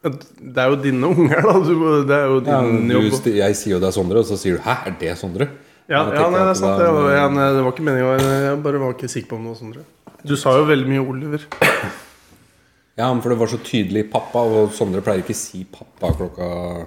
Speaker 4: eller?
Speaker 1: Det er jo dine unger, da. Du, må- det er jo din
Speaker 4: Du,
Speaker 1: jobb.
Speaker 4: sti- jeg sier jo det er Sondre, og så sier du 'hæ, er det Sondre'?
Speaker 1: Ja, ja
Speaker 4: Da tenker
Speaker 1: nei,
Speaker 4: jeg
Speaker 1: det
Speaker 4: at
Speaker 1: er sant.
Speaker 4: da-
Speaker 1: Det var, jeg, nei, det var ikke meningen. Jeg jeg bare var ikke sikker på om det var Sondre. Du sa jo veldig mye Oliver.
Speaker 4: Ja, men for det var så tydelig pappa, og Sondre pleier ikke si pappa klokka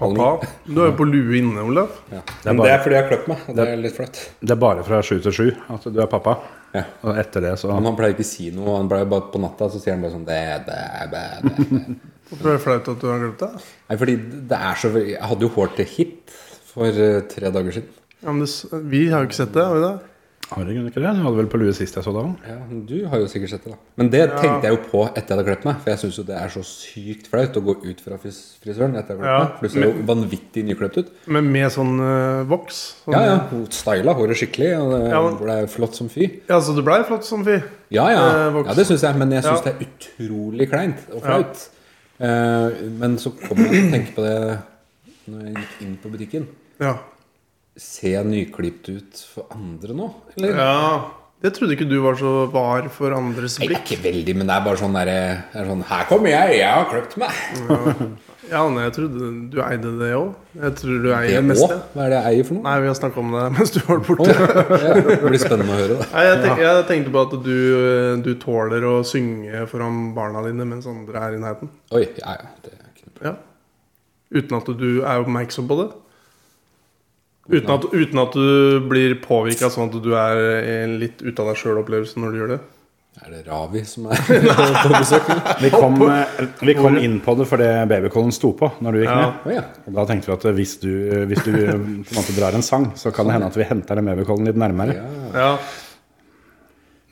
Speaker 4: halv
Speaker 1: Pa.
Speaker 4: ni.
Speaker 1: Du er jo på lue inne, Olav.
Speaker 4: Ja.
Speaker 6: er
Speaker 4: Men
Speaker 6: bare-
Speaker 4: det er fordi jeg har kløpt meg, og det er litt flaut.
Speaker 6: Det er bare fra sju til sju at du er pappa.
Speaker 4: Ja.
Speaker 6: Og etter det så
Speaker 4: Men han pleier ikke å si noe, han pleier bare på natta så sier han bare sånn det, det, det, det, det.
Speaker 1: Hvorfor er det flaut at du har glemt det?
Speaker 4: Nei, fordi det er så Jeg hadde jo hår til hit for eh, tre dager siden.
Speaker 1: Ja, men det, s- vi har jo ikke sett det. Har vi det?
Speaker 6: har du i grunnen ikke det. Du hadde vel på lue sist jeg så deg òg.
Speaker 4: Ja, men Du har jo sikkert sett det, da. Men det tenkte jeg jo på etter jeg hadde klippet meg. For jeg syns jo det er så sykt flaut å gå ut fra fris frisøren etter jeg har
Speaker 1: Ja,
Speaker 4: klippet meg. For du ser jo vanvittig nyklipt ut.
Speaker 1: Men med sånn eh, voks? Sånn.
Speaker 4: Ja, ja. hun Styla håret skikkelig. Og det
Speaker 1: Ja, men-
Speaker 4: ble flott som fy.
Speaker 1: Ja, så du blei flott som fyr?
Speaker 4: Ja, ja.
Speaker 1: Eh, voksen.
Speaker 4: ja det syns jeg. Men jeg
Speaker 1: Ja.
Speaker 4: syns det er utrolig kleint og flaut. Eh, men så kom jeg til å tenke på det når jeg gikk inn på butikken.
Speaker 1: Ja.
Speaker 4: Ser jeg nyklipt ut for andre nå, eller?
Speaker 1: ja. Jeg trodde ikke du var så var for andres
Speaker 4: Nei, det er
Speaker 1: blikk.
Speaker 4: ikke veldig, men det er bare sånn derre det er sånn, Her kommer jeg, jeg har kløpt meg.
Speaker 1: Ja, men jeg trodde du eide det òg. Jeg tror du eier
Speaker 4: Det
Speaker 1: det meste.
Speaker 4: også. Hva er det jeg eier for noe?
Speaker 1: Nei, vi har snakka om det mens du var borte.
Speaker 4: Ja, det blir spennende å høre.
Speaker 1: Nei, jeg, tenk, jeg tenkte på at du, eh, du tåler å synge foran barna dine mens andre er i nærheten.
Speaker 4: da Oi, ja, ja, det er ikke noe problem.
Speaker 1: Ja. Uten at du er oppmerksom på det. Uten at, uten at du blir påvirka sånn at du er en litt ute av deg sjøl-opplevelse når du gjør det.
Speaker 4: Er det Ravi som er på besøk? eller?
Speaker 6: Vi kom, eh, vi kom inn på det fordi babycallen sto på når du gikk
Speaker 1: Ja.
Speaker 6: ned.
Speaker 4: Å ja.
Speaker 6: Og da tenkte vi at eh, hvis du, hvis du eh, på en måte drar en sang, så kan det hende at vi henter den babycallen litt nærmere.
Speaker 4: ja,
Speaker 1: Ja,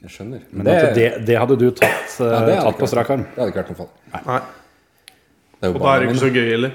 Speaker 4: jeg skjønner.
Speaker 6: Men det, det, det hadde du tatt, eh,
Speaker 4: Ja, det hadde
Speaker 6: tatt
Speaker 4: ikke
Speaker 6: på strak arm.
Speaker 4: vært- Det hadde ikke vært noe fall.
Speaker 1: nei.
Speaker 4: Det er jo
Speaker 1: Og da er
Speaker 4: barna
Speaker 1: det ikke
Speaker 4: mine.
Speaker 1: så gøy heller.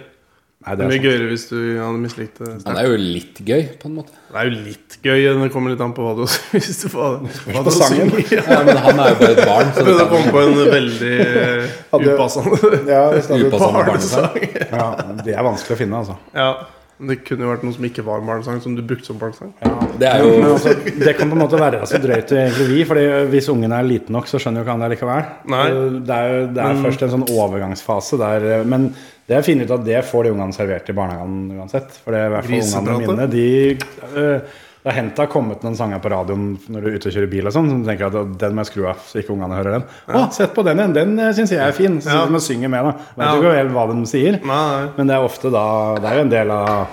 Speaker 6: Nei,
Speaker 1: Det
Speaker 6: det
Speaker 1: er
Speaker 6: er
Speaker 1: mye
Speaker 6: sant.
Speaker 1: gøyere hvis du hadde mislikt det.
Speaker 4: Men det er jo litt gøy, på en måte.
Speaker 1: Det er jo litt gøy, det kommer litt an på hva du hvis du får- hva du
Speaker 6: sangen.
Speaker 1: synger. Ja.
Speaker 4: Ja, men han er jo bare et barn, så det
Speaker 1: Prøvde å
Speaker 4: er
Speaker 1: komme på en veldig eh,
Speaker 6: Hadde-
Speaker 1: upassende
Speaker 6: Ja, hvis det hadde-
Speaker 4: upassende barnesang.
Speaker 1: barnesang.
Speaker 6: ja, det er vanskelig å finne, altså.
Speaker 1: Ja, men det kunne jo vært noe som ikke var en barnesang, som du brukte som barnesang.
Speaker 4: Det er
Speaker 6: Men
Speaker 4: jo
Speaker 6: altså, det kan på en måte være så drøyt egentlig vi, fordi hvis ungen er liten nok, så skjønner jo ikke han det likevel.
Speaker 1: Nei.
Speaker 6: Det er, jo- det er først en sånn overgangsfase der Men det jeg finner ut at det får de ungene servert i barnehagen uansett. For det er i hvert fall ungene
Speaker 1: Griseprater.
Speaker 6: mine, de øh, Det har hendt det har kommet noen sanger på radioen når du er ute og kjører bil og sånn, som du tenker at «Å, den må jeg skru av, så ikke ungene hører den. Å, sett på den igjen, den syns jeg er fin. Så
Speaker 1: Ja.
Speaker 6: sitter de og synger med, da. Vet
Speaker 1: Ja.
Speaker 6: jo ikke helt hva de sier.
Speaker 1: Nei, nei.
Speaker 6: Men det er ofte da Det er jo en del av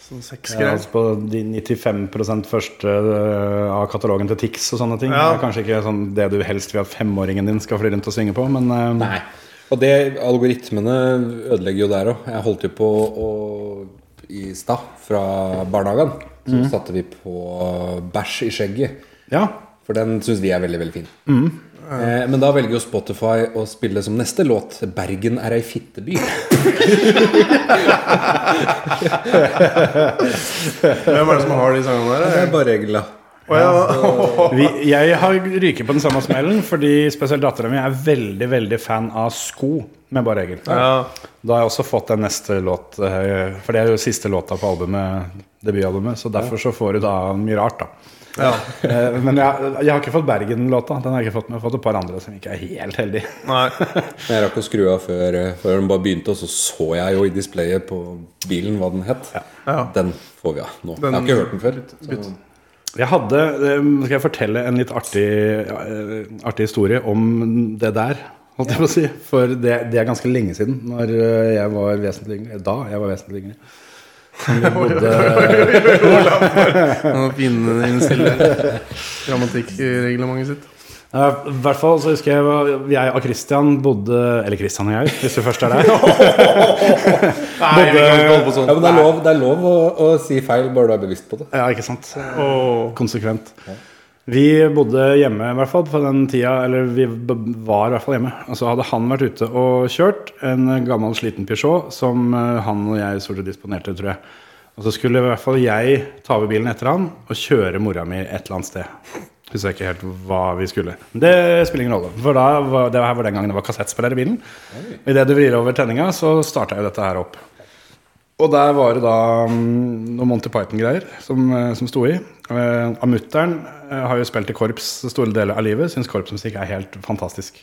Speaker 1: Sånn
Speaker 6: ja,
Speaker 1: sexgreier.
Speaker 6: altså på de 95 første øh, av katalogen til Tix og sånne ting.
Speaker 1: Ja.
Speaker 6: Det er kanskje ikke sånn det du helst vil at femåringen din skal fly rundt og synge på, men øh,
Speaker 4: Nei. Og det, algoritmene ødelegger jo der òg. Jeg holdt jo på å i stad, fra barnehagen, så
Speaker 6: Mm.
Speaker 4: satte vi på bæsj i skjegget.
Speaker 6: ja.
Speaker 4: For den syns vi er veldig veldig fin. Eh, men da velger jo Spotify å spille som neste låt 'Bergen er ei fitteby'.
Speaker 1: Hvem er det som har de sangene
Speaker 4: Det
Speaker 1: der?
Speaker 4: er bare reglene.
Speaker 1: Å ja.
Speaker 6: Vi, jeg har ryket på den samme smellen, fordi spesielt dattera mi er veldig veldig fan av sko med bare regel.
Speaker 1: ja.
Speaker 6: Da har jeg også fått den neste låt, øh, for det er jo siste låta på albumet, debutalbumet, så derfor så får du da mye rart, da.
Speaker 1: ja.
Speaker 6: Eh, Men jeg, jeg har ikke fått Bergen-låta. Den har jeg ikke fått, men jeg har fått et par andre som ikke er helt heldige.
Speaker 1: Nei.
Speaker 4: Men Jeg rakk å skru av før, eh, før den bare begynte, og så så jeg jo i displayet på bilen hva den het.
Speaker 1: Ja.
Speaker 4: Den får vi av nå.
Speaker 1: Den-
Speaker 4: Jeg har ikke hørt den før. Så.
Speaker 6: Jeg hadde eh, Skal jeg fortelle en litt artig, eh, artig historie om det der? Holdt jeg på å si. For det, det er ganske lenge siden. Når eh, jeg var vesentlig yngre. Da jeg var vesentlig yngre. Vi bodde,
Speaker 1: Han finner inn stille grammatikkreglementet sitt.
Speaker 6: Eh, I hvert fall så husker jeg hva- jeg og Christian bodde Eller Christian og jeg, hvis du først er der.
Speaker 1: Nei, vi kan ikke holde på sånn.
Speaker 4: Ja, men det er lov, det er lov å, å si feil, bare du er bevisst på det.
Speaker 6: Ja, ikke sant? Og konsekvent. Vi bodde hjemme i hvert fall på den tida, eller vi b- var i hvert fall hjemme. Og så hadde han vært ute og kjørt en gammel, sliten Peugeot som eh, han og jeg stort sett disponerte, tror jeg. Og så skulle i hvert fall jeg ta over bilen etter han og kjøre mora mi et eller annet sted. Husker jeg ikke helt hva vi skulle. Men Det spiller ingen rolle. For da var, det her var den gangen det var kassettspiller i bilen. Idet du vrir over tenninga, så starta jo dette her opp. Og der var det da mm, noen Monty Python-greier som, eh, som sto i. Eh, Ammutteren eh, har jo spilt i korps store deler av livet. Syns korpsmusikk er helt fantastisk.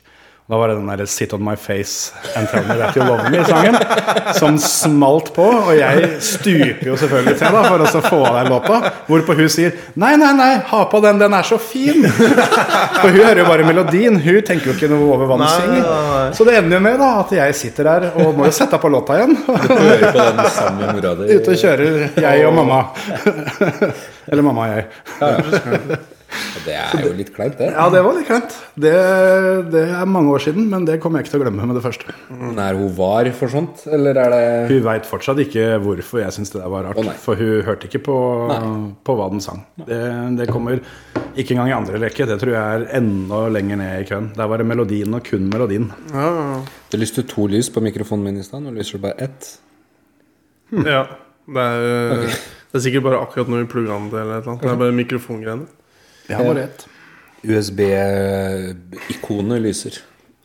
Speaker 6: Og Da var det den der 'Sit on my face and tell me that you love me'-sangen som smalt på. Og jeg stuper jo selvfølgelig til da for å så få av den låta. Hvorpå hun sier 'Nei, nei, nei, ha på den, den er så fin'. For hun hører jo bare melodien. Hun tenker jo ikke noe over hva hun
Speaker 1: Nei,
Speaker 6: synger.
Speaker 1: nei, nei.
Speaker 6: Så det ender jo med da at jeg sitter der og må jo sette på låta igjen.
Speaker 4: Hører på den samme mora di.
Speaker 6: Ute og kjører, jeg og mamma. Eller mamma og jeg.
Speaker 4: Det er jo litt kleint, det.
Speaker 6: Ja, det var litt kleint. Det, det er mange år siden, men det kommer jeg ikke til å glemme med det første.
Speaker 4: Men er hun var for sånt, eller er det
Speaker 6: Hun veit fortsatt ikke hvorfor jeg syns det der var rart.
Speaker 4: Å, nei.
Speaker 6: for hun hørte ikke på, på hva den sang. Det, det kommer ikke engang i andre leke. Det tror jeg er enda lenger ned i køen. Der var det melodien og kun melodien.
Speaker 4: Det lyste to lys på mikrofonen min i stad, nå lyser det bare ett.
Speaker 1: Ja. Det er, eh, det er sikkert bare akkurat når vi plugger den til eller et eller annet. Det er bare mikrofongreiene.
Speaker 6: Jeg har bare ett.
Speaker 4: USB-ikonet lyser.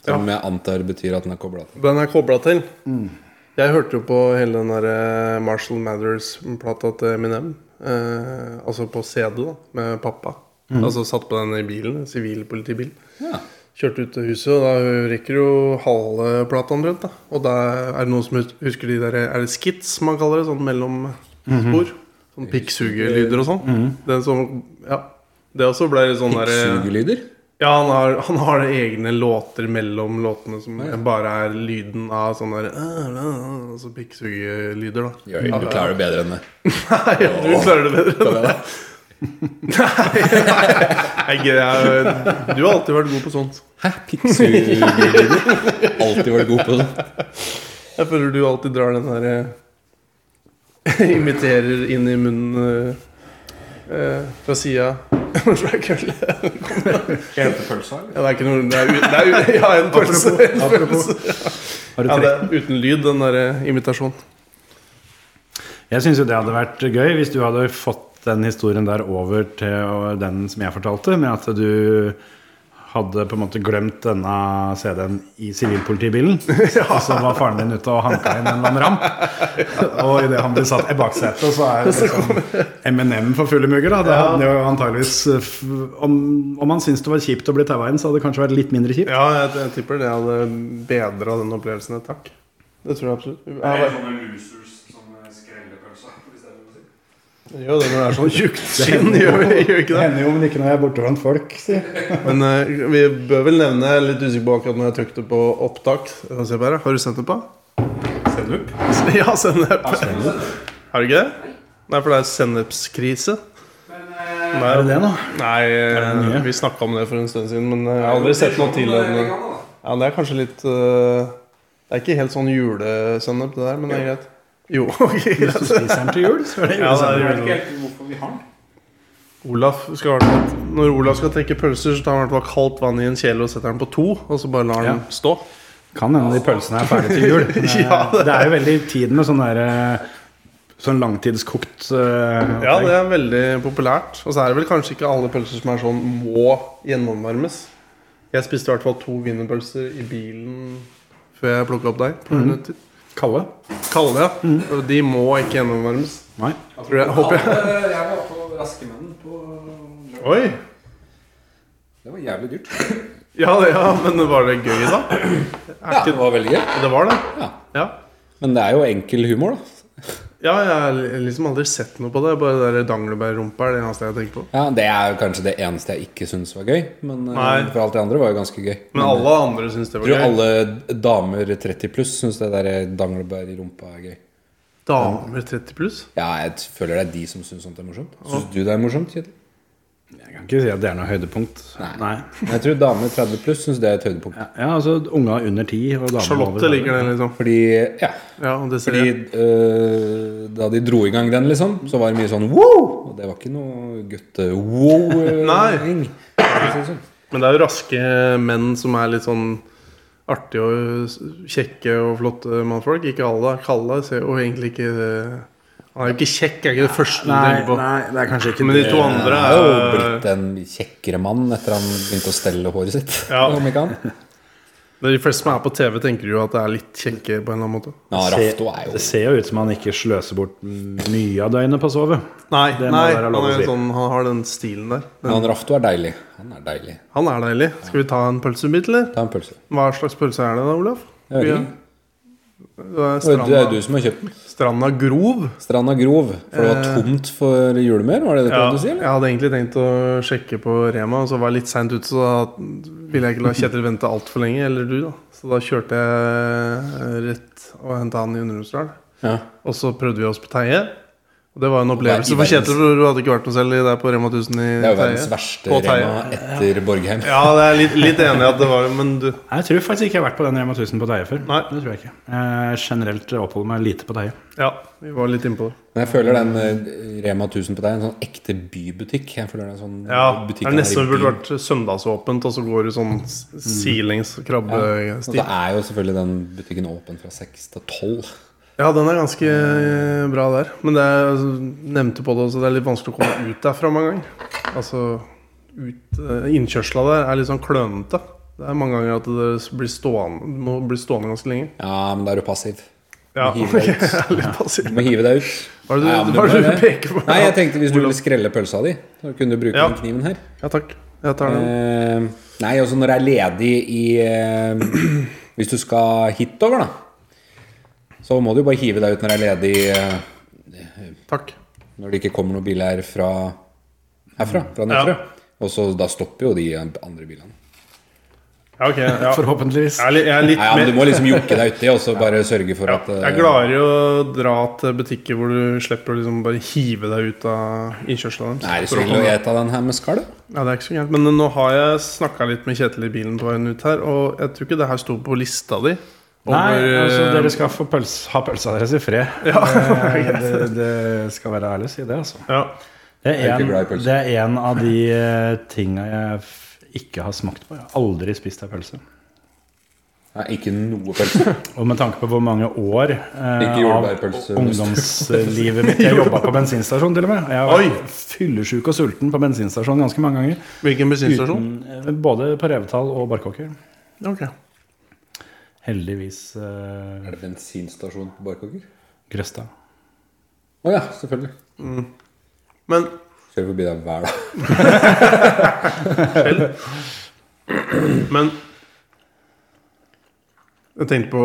Speaker 4: Som jeg antar betyr at den er kobla til.
Speaker 1: Den er kobla til. Jeg hørte jo på hele den der eh, Marshall Mathers-plata til Eminem. Eh, altså på CD, da, med pappa. Altså satt på den i bilen. Sivilpolitibil.
Speaker 4: Ja.
Speaker 1: Kjørte ut til huset, og da rekker jo halve plata omtrent. da. Og da er det noen som hus- husker de der Er det skits man kaller det? Sånn mellom spor? Sånn pikksugerlyder og sånn. Den som Ja. Det også ble litt sånn derre
Speaker 4: Sugelyder?
Speaker 1: ja, han har, han har egne låter mellom låtene som bare er lyden av sånne der, øh, øh, altså pikksugelyder, da.
Speaker 4: Ja, du klarer det bedre enn det.
Speaker 1: Nei, du klarer det bedre.
Speaker 4: Kom igjen, da.
Speaker 1: Nei, jeg, jeg, du har alltid vært god på sånt.
Speaker 4: Hæ? Pikksugelyder? Alltid vært god på det.
Speaker 1: Jeg føler du alltid drar den der eh, Imiterer inn i munnen eh, eh, fra sida. Fra kølle.
Speaker 2: Kjøpepølsa, eller?
Speaker 1: Ja, det er ikke noe det er, u- det er, u- Ja, en pølse. En pølse.
Speaker 6: Har du
Speaker 1: Ja,
Speaker 6: tre?
Speaker 1: det er uten lyd, den derre imitasjonen.
Speaker 6: Jeg syns jo det hadde vært gøy hvis du hadde fått den historien der over til den som jeg fortalte, med at du hadde på en måte glemt denne CD-en i sivilpolitibilen. Og så var faren din ute og hanka inn en eller annen ramp. Og idet han blir satt i baksetet, så er det liksom M&M for fulle mugger. Da. Det hadde jo antageligvis f- Om, om han syntes det var kjipt å bli taua inn, så hadde det kanskje vært litt mindre kjipt.
Speaker 1: Ja, jeg, jeg tipper det hadde bedra den opplevelsen et hakk. Det tror jeg absolutt. Jeg
Speaker 3: Det er
Speaker 1: bare,
Speaker 3: sånn sånne losers som skrellepølsa. Hvis det er lov å si.
Speaker 1: det gjør det når det er sånn tjukt skinn, gjør vi gjør vi ikke
Speaker 6: Det
Speaker 1: det?
Speaker 6: hender jo, men ikke når jeg er borte blant folk, sier
Speaker 1: Men eh, vi bør vel nevne, jeg er litt usikker på akkurat når jeg trykte på opptak Jeg kan se på her, Har du sendt det på?
Speaker 2: Sennep?
Speaker 1: Ja, sennep. Har du ikke det? Nei, for det er sennepskrise. Nei,
Speaker 3: eh,
Speaker 6: Er det det nå?
Speaker 1: nei eh,
Speaker 6: det nye?
Speaker 1: vi snakka om det for en stund siden, men eh, jeg har aldri sett noe til
Speaker 3: Men, eh,
Speaker 1: den.
Speaker 3: det kan man, da.
Speaker 1: Ja, det er kanskje litt eh, Det er ikke helt sånn julesennep, det der, men det er greit. Jo, ok,
Speaker 6: Hvis du
Speaker 1: greit.
Speaker 6: spiser den til jul, så er det
Speaker 1: Ja, det er jul.
Speaker 6: julestemning.
Speaker 2: Jeg vet ikke helt hvorfor vi har den.
Speaker 1: Olaf skal i hvert fall Når Olaf skal trekke pølser, så tar han i hvert fall kaldt vann i en kjele og setter den på to, og så bare lar den stå.
Speaker 6: Kan hende de pølsene er ferdige til jul. Men, eh,
Speaker 1: Ja, det-
Speaker 6: det er jo veldig i tiden med sånn der eh, Sånn langtidskokt eh,
Speaker 1: Ja, det
Speaker 6: opplegg.
Speaker 1: er veldig populært. Og så er det vel kanskje ikke alle pølser som er sånn må gjennomvarmes. Jeg spiste i hvert fall to wienerpølser i bilen før jeg plukka opp deg. på minutter.
Speaker 6: Kalle?
Speaker 1: Kalde, ja. Og de må ikke gjennomvarmes.
Speaker 6: Nei.
Speaker 1: Tror jeg, håper jeg.
Speaker 3: Eh, Jeg var på Raskemunnen på lørdag.
Speaker 1: Oi!
Speaker 4: Det var jævlig dyrt.
Speaker 1: Ja, det- ja, men var det gøy, da? Er
Speaker 4: Ja, det
Speaker 1: ikke,
Speaker 4: var veldig gøy.
Speaker 1: det var det?
Speaker 4: Ja.
Speaker 1: Ja.
Speaker 4: Men det er jo enkel humor, da.
Speaker 1: ja, jeg har liksom aldri sett noe på det. Bare det der danglebærrumpa er det eneste jeg tenker på.
Speaker 4: Ja, Det er jo kanskje det eneste jeg ikke syns var gøy. Men eh,
Speaker 1: Nei.
Speaker 4: for alt det andre var jo ganske gøy.
Speaker 1: Men alle andre syns det
Speaker 4: Mm. Jeg
Speaker 1: var
Speaker 4: tror
Speaker 1: gøy.
Speaker 4: alle damer 30 pluss syns det der danglebær i rumpa er gøy.
Speaker 1: Damer 30 pluss?
Speaker 4: Ja, jeg føler det er de som syns sånt er morsomt. Syns du det er morsomt, Kjetil?
Speaker 6: Jeg kan ikke si at det er noe høydepunkt.
Speaker 4: Nei.
Speaker 6: Nei.
Speaker 4: Men Jeg tror damer 30 pluss syns det er et høydepunkt.
Speaker 6: Ja, Ja, altså unga under ti og damer
Speaker 1: Charlotte
Speaker 6: over-
Speaker 1: liker det, liksom.
Speaker 4: Fordi ja,
Speaker 1: Ja, det ser
Speaker 4: fordi
Speaker 1: jeg.
Speaker 4: eh, da de dro i gang den, liksom, så var det mye sånn wow! Og det var ikke noe
Speaker 1: Nei.
Speaker 4: gutte-wow-ing. sånn.
Speaker 1: Men det er jo raske menn som er litt sånn artige og kjekke og flotte mannfolk. Ikke alle. Kalle ser jo egentlig ikke Han er jo ikke kjekk, er ikke det første du
Speaker 6: Nei,
Speaker 1: tenker på.
Speaker 6: nei, det er kanskje ikke
Speaker 1: Men de
Speaker 6: det.
Speaker 1: to andre
Speaker 4: Han er jo
Speaker 1: er
Speaker 4: blitt en kjekkere mann etter han begynte å stelle håret sitt.
Speaker 1: Ja.
Speaker 4: Om ikke han.
Speaker 1: De fleste som er på TV, tenker jo at det er litt kjekke på en eller annen måte.
Speaker 4: Ja, Rafto er jo
Speaker 6: Det ser jo ut som han ikke sløser bort mye av døgnet på å sove.
Speaker 1: Nei,
Speaker 6: Det må
Speaker 1: nei
Speaker 6: være
Speaker 1: han,
Speaker 6: lov å
Speaker 1: er jo
Speaker 6: si.
Speaker 1: sånn, han har den stilen der.
Speaker 4: Men han Rafto er deilig. Han er deilig.
Speaker 1: Han er deilig. Skal vi ta en pølsebit, eller?
Speaker 4: Ta en pølse.
Speaker 1: Hva slags pølse er det da, Olaf?
Speaker 4: Jeg vet ikke.
Speaker 1: Det er
Speaker 4: Det er jo
Speaker 1: stranda,
Speaker 4: du som har kjøpt den.
Speaker 1: stranda Grov.
Speaker 4: Stranda Grov. For det var
Speaker 1: Eh.
Speaker 4: tomt for julemør, var det det du prøvde å si?
Speaker 1: jeg
Speaker 4: eller?
Speaker 1: hadde egentlig tenkt å sjekke på Rema, og så var jeg litt seint ute. Så da ville jeg ikke la Kjetil vente altfor lenge, eller du, da. Så da kjørte jeg rett og henta han i Underhusdal.
Speaker 4: Ja.
Speaker 1: Og så prøvde vi oss på Teie. Og det var en opplevelse
Speaker 4: i
Speaker 1: for
Speaker 4: verdens-
Speaker 1: Kjetil, for du hadde ikke vært noe selv i- der på Rema 1000 i
Speaker 4: Det er jo verdens
Speaker 1: Teie.
Speaker 4: verste
Speaker 1: På Teie.
Speaker 4: Rema etter Borgheim.
Speaker 1: Ja, det er litt, litt enig i at det var det, men du
Speaker 6: Nei, Jeg tror faktisk ikke jeg har vært på den Rema 1000 på Deie før.
Speaker 1: Nei.
Speaker 6: Det tror jeg ikke. Jeg generelt oppholder meg lite på Deie.
Speaker 1: Ja, vi var litt innpå det.
Speaker 4: Men jeg føler den eh, Rema 1000 på deg er en sånn ekte bybutikk. Jeg føler det er en sånn
Speaker 1: Ja, det
Speaker 4: butikk
Speaker 1: er
Speaker 4: her i
Speaker 1: nesten burde
Speaker 4: byen.
Speaker 1: vært søndagsåpent, og så går du sånn s-
Speaker 4: Mm.
Speaker 1: sidelengs
Speaker 4: Og så
Speaker 1: krabbestil.
Speaker 4: Sånn er jo selvfølgelig den butikken åpen fra seks til tolv.
Speaker 1: Ja, den er ganske eh, bra der. Men det er, altså, nevnte på det også, det er litt vanskelig å komme ut derfra mange ganger. Altså, ut, eh, Innkjørsla der er litt sånn klønete. Det er mange ganger at det blir stående, du må bli stående ganske lenge.
Speaker 4: Ja, men da er du passiv.
Speaker 1: Ja,
Speaker 4: hiver deg
Speaker 1: jeg
Speaker 4: ut.
Speaker 1: er litt passiv.
Speaker 4: Du må hive deg ut.
Speaker 1: Hva er det du,
Speaker 4: Ja, men
Speaker 1: hva er det
Speaker 4: må
Speaker 1: du
Speaker 4: det.
Speaker 1: peker på?
Speaker 4: Nei, jeg tenkte hvis du ville skrelle pølsa di, så kunne du bruke
Speaker 1: Ja.
Speaker 4: den kniven her.
Speaker 1: Ja, takk. Jeg tar den.
Speaker 4: Eh, nei, også når det er ledig i eh, Hvis du skal hitover, da, så må du jo bare hive deg ut når det er ledig eh,
Speaker 1: Takk.
Speaker 4: Når det ikke kommer noen biler her fra herfra. Fra Nøtterøy. Og så da stopper jo de andre bilene.
Speaker 1: Ja, ok. Ja.
Speaker 6: Forhåpentligvis.
Speaker 1: Jeg er litt, jeg er litt
Speaker 4: Nei, ja,
Speaker 1: mer
Speaker 4: men Du må liksom jokke deg uti og så bare sørge for
Speaker 1: ja,
Speaker 4: at eh,
Speaker 1: Jeg klarer jo å dra til butikker hvor du slipper å liksom bare hive deg ut av innkjørsla deres.
Speaker 4: Nei, så
Speaker 1: For å
Speaker 4: vil
Speaker 1: komme-
Speaker 4: du ete den her med skall?
Speaker 1: Ja, det er ikke så gærent. Men nå har jeg snakka litt med Kjetil i bilen på veien ut her, og jeg tror ikke det her sto på lista di. Over,
Speaker 6: Nei, altså
Speaker 1: eh,
Speaker 6: dere skal få pøls- ha pølsa deres i fred. det, det, det skal være ærlig å si det, altså.
Speaker 1: ja.
Speaker 6: Det
Speaker 4: Jeg er
Speaker 6: er,
Speaker 4: ikke
Speaker 6: en,
Speaker 4: glad i pølse.
Speaker 6: det er en av de eh, tinga jeg f- ikke har smakt på. Jeg har aldri spist ei pølse.
Speaker 4: Nei, ikke noe pølse.
Speaker 6: Og med tanke på hvor mange år eh,
Speaker 4: Ikke jordbærpølse,
Speaker 6: av ungdomslivet mitt Jeg jobba på bensinstasjon, til og med. Jeg var
Speaker 1: Oi!
Speaker 6: fyllesyk og sulten på bensinstasjon ganske mange ganger.
Speaker 1: Hvilken bensinstasjon?
Speaker 6: Uten, eh, både på Revetal og Barkåker.
Speaker 1: Ok.
Speaker 6: Heldigvis eh,
Speaker 4: Er det bensinstasjon på Barkåker?
Speaker 6: Grøstad.
Speaker 4: Å ja, selvfølgelig.
Speaker 1: Men
Speaker 4: Kjører forbi der hver dag.
Speaker 1: Men Jeg tenkte på,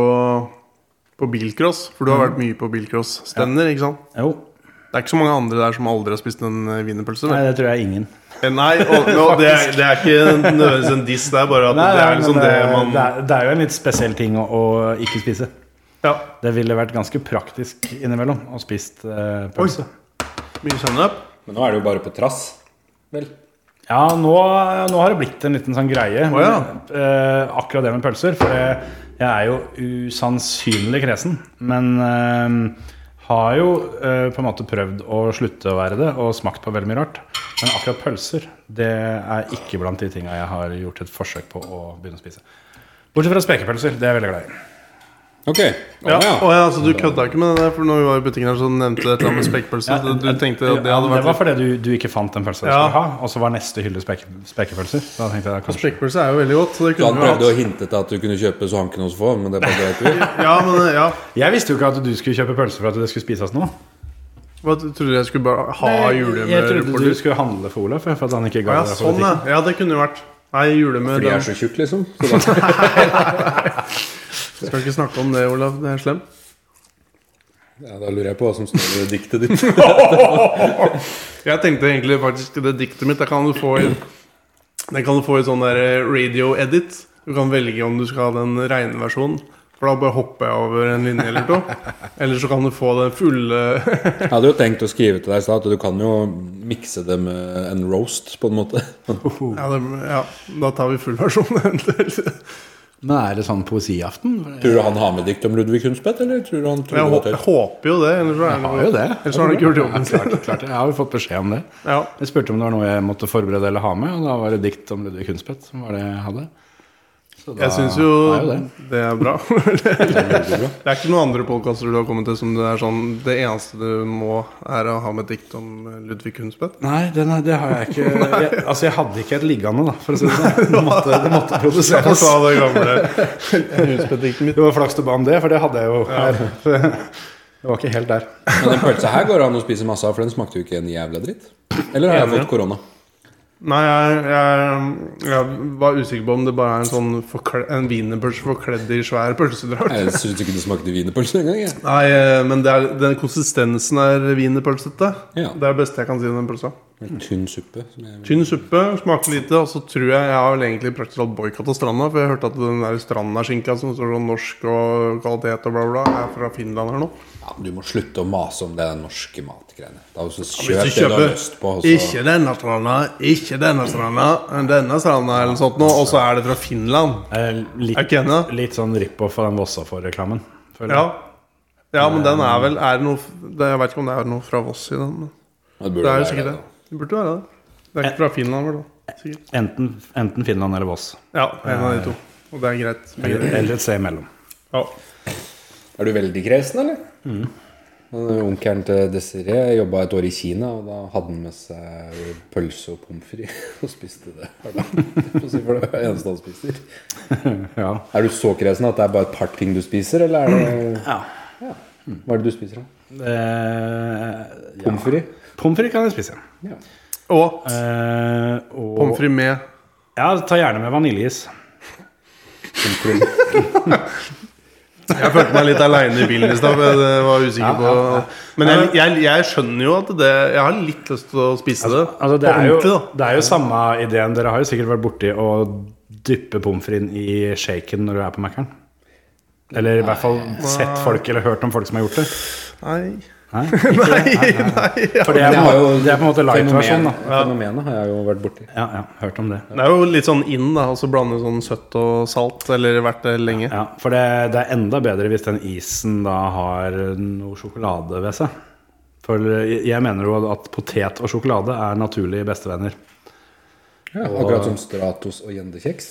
Speaker 1: på bilcross, for du har vært mye på bilcross. Stender, ikke sant?
Speaker 6: Jo.
Speaker 1: Det er ikke så mange andre der som aldri har spist en eh, wienerpølse.
Speaker 6: Nei,
Speaker 1: vel?
Speaker 6: det tror jeg ingen.
Speaker 1: Eh, Nei, og, og det, er, det er ikke nødvendigvis en diss, det er bare at det er
Speaker 6: men
Speaker 1: liksom det, man
Speaker 6: det, er, det er jo en litt spesiell ting å, å ikke spise.
Speaker 1: Ja.
Speaker 6: Det ville vært ganske praktisk innimellom å spist eh, pølse.
Speaker 1: Mye sennep.
Speaker 4: Men nå er det jo bare på trass. Vel.
Speaker 6: Ja, nå, nå har det blitt en liten sånn greie.
Speaker 1: Å, ja.
Speaker 6: eh, akkurat det med pølser. For jeg, jeg er jo usannsynlig kresen. Men eh, har jo eh, på en måte prøvd å slutte å være det, og smakt på veldig mye rart. Men akkurat pølser det er ikke blant de tinga jeg har gjort et forsøk på å begynne å spise. Bortsett fra spekepølser. Det er jeg veldig glad i.
Speaker 4: Ok. Å
Speaker 1: Ja.
Speaker 4: ja.
Speaker 1: Å ja, så du kødda ikke med det der? For når vi var i butikken her, så nevnte du et eller annet med spekepølse. så du tenkte at det hadde
Speaker 6: det var
Speaker 1: vært
Speaker 6: fordi du, du ikke fant den pølsa du
Speaker 1: Ja.
Speaker 6: skulle ha, og så var neste hylle speke, spekepølser. Da tenkte jeg kanskje
Speaker 1: Spekepølse er jo veldig godt. Så det
Speaker 4: Så han
Speaker 1: kunne vi
Speaker 4: prøvde å
Speaker 1: hatt.
Speaker 4: hinte til at du kunne kjøpe så han kunne også få, men det bare dreit du i.
Speaker 1: Ja, men eh, ja.
Speaker 6: Jeg visste jo ikke at du skulle kjøpe pølser for at det skulle spises nå.
Speaker 1: Hva, trodde du jeg skulle bare ha
Speaker 6: Nei, Jeg
Speaker 1: julemør
Speaker 6: trodde
Speaker 1: for
Speaker 6: du
Speaker 1: lus?
Speaker 6: skulle handle for Olaf. jeg, For at han ikke
Speaker 1: Ja,
Speaker 6: ga deg
Speaker 1: sånn, ja.
Speaker 6: politikken.
Speaker 1: ja. Det kunne jo vært. Nei, julemør
Speaker 4: Fordi jeg er
Speaker 1: den-
Speaker 4: så tjukk, liksom. Så da
Speaker 1: Skal ikke snakke om det, Olav. Det er slemt.
Speaker 4: Ja, da lurer jeg på hva som står i diktet ditt.
Speaker 1: Jeg tenkte egentlig faktisk det diktet mitt Det kan du få i Det kan du få i sånn der eh, radio edit. Du kan velge om du skal ha den reine versjonen For da bare hopper jeg over en linje eller to. Eller så kan du få den fulle
Speaker 4: Jeg hadde jo tenkt å skrive til deg i stad at du kan jo mikse det med en roast, på en måte.
Speaker 1: ja, det, ja, da tar vi full versjon eventuelt.
Speaker 6: Men er det sånn poesiaften?
Speaker 4: Tror du han har med dikt om Ludvig Kunstvedt, eller tror du han
Speaker 1: Men jeg,
Speaker 4: tror det var
Speaker 1: hå- jeg
Speaker 4: tøft?
Speaker 1: håper jo det. Ellers så er det
Speaker 6: Har jo det.
Speaker 1: Ellers har han ikke gjort jobben sin.
Speaker 6: Klart, klart, det. jeg har jo fått beskjed om det.
Speaker 1: Ja.
Speaker 6: Jeg spurte om det var noe jeg måtte forberede eller ha med, og da var det dikt om Ludvig Kunstvedt som var det jeg hadde. Så da
Speaker 1: Jeg syns jo
Speaker 6: er jo det.
Speaker 1: det er bra. Det er ikke noen andre podkaster du har kommet til som det er sånn Det eneste du må, er å ha med et dikt om eh, Ludvig Kunstvedt.
Speaker 6: Nei, den er, det har jeg ikke jeg, Altså, jeg hadde ikke et liggende, da, for å si det sånn. Det måtte, det måtte
Speaker 1: Jeg får
Speaker 6: produseres.
Speaker 1: ta det gamle Kunstvedt-diktet mitt.
Speaker 6: Det var flaks du ba om det, for det hadde jeg jo her. Det var ikke helt der.
Speaker 4: Men den pølsa her går det an å spise masse av, for den smakte jo ikke en jævla dritt. Eller har jeg
Speaker 1: Enig.
Speaker 4: fått korona?
Speaker 1: Nei, jeg, jeg, jeg var usikker på om det bare er en sånn forkle- En wienerpølse forkledd i svær pølsedrakt.
Speaker 4: Jeg syns ikke det smakte wienerpølse engang. jeg.
Speaker 1: Nei, eh, men det er, den konsistensen er wienerpølsete.
Speaker 4: Ja.
Speaker 1: Det er det beste jeg kan si om den pølsa.
Speaker 4: En Tynn suppe. Som jeg...
Speaker 1: Tynn suppe, smaker lite, og så tror jeg jeg har vel egentlig praktisk talt boikotta stranda. For jeg hørte at den der stranda-skinka som står sånn norsk og kvalitet og bla, bla, er fra Finland eller noe.
Speaker 4: Ja, men du må slutte å mase om det der norske matgreiene. Da så
Speaker 1: Hvis du
Speaker 4: Kjøp det du har
Speaker 1: kjøper
Speaker 4: lyst på. altså. og så-
Speaker 1: Ikke denne stranda, ikke denne stranda, men denne stranda eller noe sånt nå, og så er det fra Finland.
Speaker 6: Eh,
Speaker 1: Er
Speaker 6: Litt,
Speaker 1: ikke enig? da?
Speaker 6: litt sånn rip-off av den Vossafor-reklamen. føler jeg.
Speaker 1: Ja. ja, Eh. men den er vel er det noe, det, Jeg vet ikke om det er noe fra Voss i den. Men
Speaker 4: Ja, burde
Speaker 1: det er jo
Speaker 4: være
Speaker 1: sikkert det.
Speaker 4: da.
Speaker 1: Det burde være det. Det er ikke fra Finland, vel? da, Sikkert.
Speaker 6: Enten, enten Finland eller Voss.
Speaker 1: Ja, en av de to. Og det er greit.
Speaker 6: Eller eller et sted imellom.
Speaker 1: Ja.
Speaker 4: Er du veldig kresen, eller? Mm. Onkelen til Desiree jobba et år i Kina, og da hadde han med seg pølse og pommes frites og spiste det. hver dag. For å si for det var det eneste han spiser.
Speaker 6: Ja.
Speaker 4: Er du så kresen at det er bare et par ting du spiser, eller er det
Speaker 6: ja.
Speaker 4: Hva er det du spiser, da?
Speaker 6: Eh, ja.
Speaker 4: Pommes frites?
Speaker 6: Pommes frites kan jeg spise.
Speaker 1: Og
Speaker 6: Eh, og
Speaker 1: pommes frites med
Speaker 6: Ja, ta gjerne med vaniljeis.
Speaker 4: Pommes frites.
Speaker 1: Jeg følte meg litt aleine i bilen i stad. for Jeg var usikker på Men jeg, jeg, jeg skjønner jo at det Jeg har litt lyst til å spise det.
Speaker 6: Altså, det,
Speaker 1: På
Speaker 6: er jo,
Speaker 1: ordentlig, da.
Speaker 6: det er jo samme ideen. Dere har jo sikkert vært borti å dyppe pommes frites i shaken når du er på Mækkern. Eller i hvert fall sett folk eller hørt om folk som har gjort det.
Speaker 1: Nei.
Speaker 6: Nei?
Speaker 1: Nei, nei. ja.
Speaker 6: For det er, på en måte- det er på en måte light-versjon, da.
Speaker 4: Fenomenet- Fenomenet har jeg jo vært borti.
Speaker 6: Ja, ja, hørt om det.
Speaker 1: Det er jo litt sånn inn, da. Og så blande sånn søtt og salt. Eller vært det lenge.
Speaker 6: Ja, For det, det er enda bedre hvis den isen da har noe sjokolade ved seg. For jeg jeg mener jo at potet og sjokolade er naturlige bestevenner.
Speaker 4: Ja, akkurat som Stratos og gjendekjeks.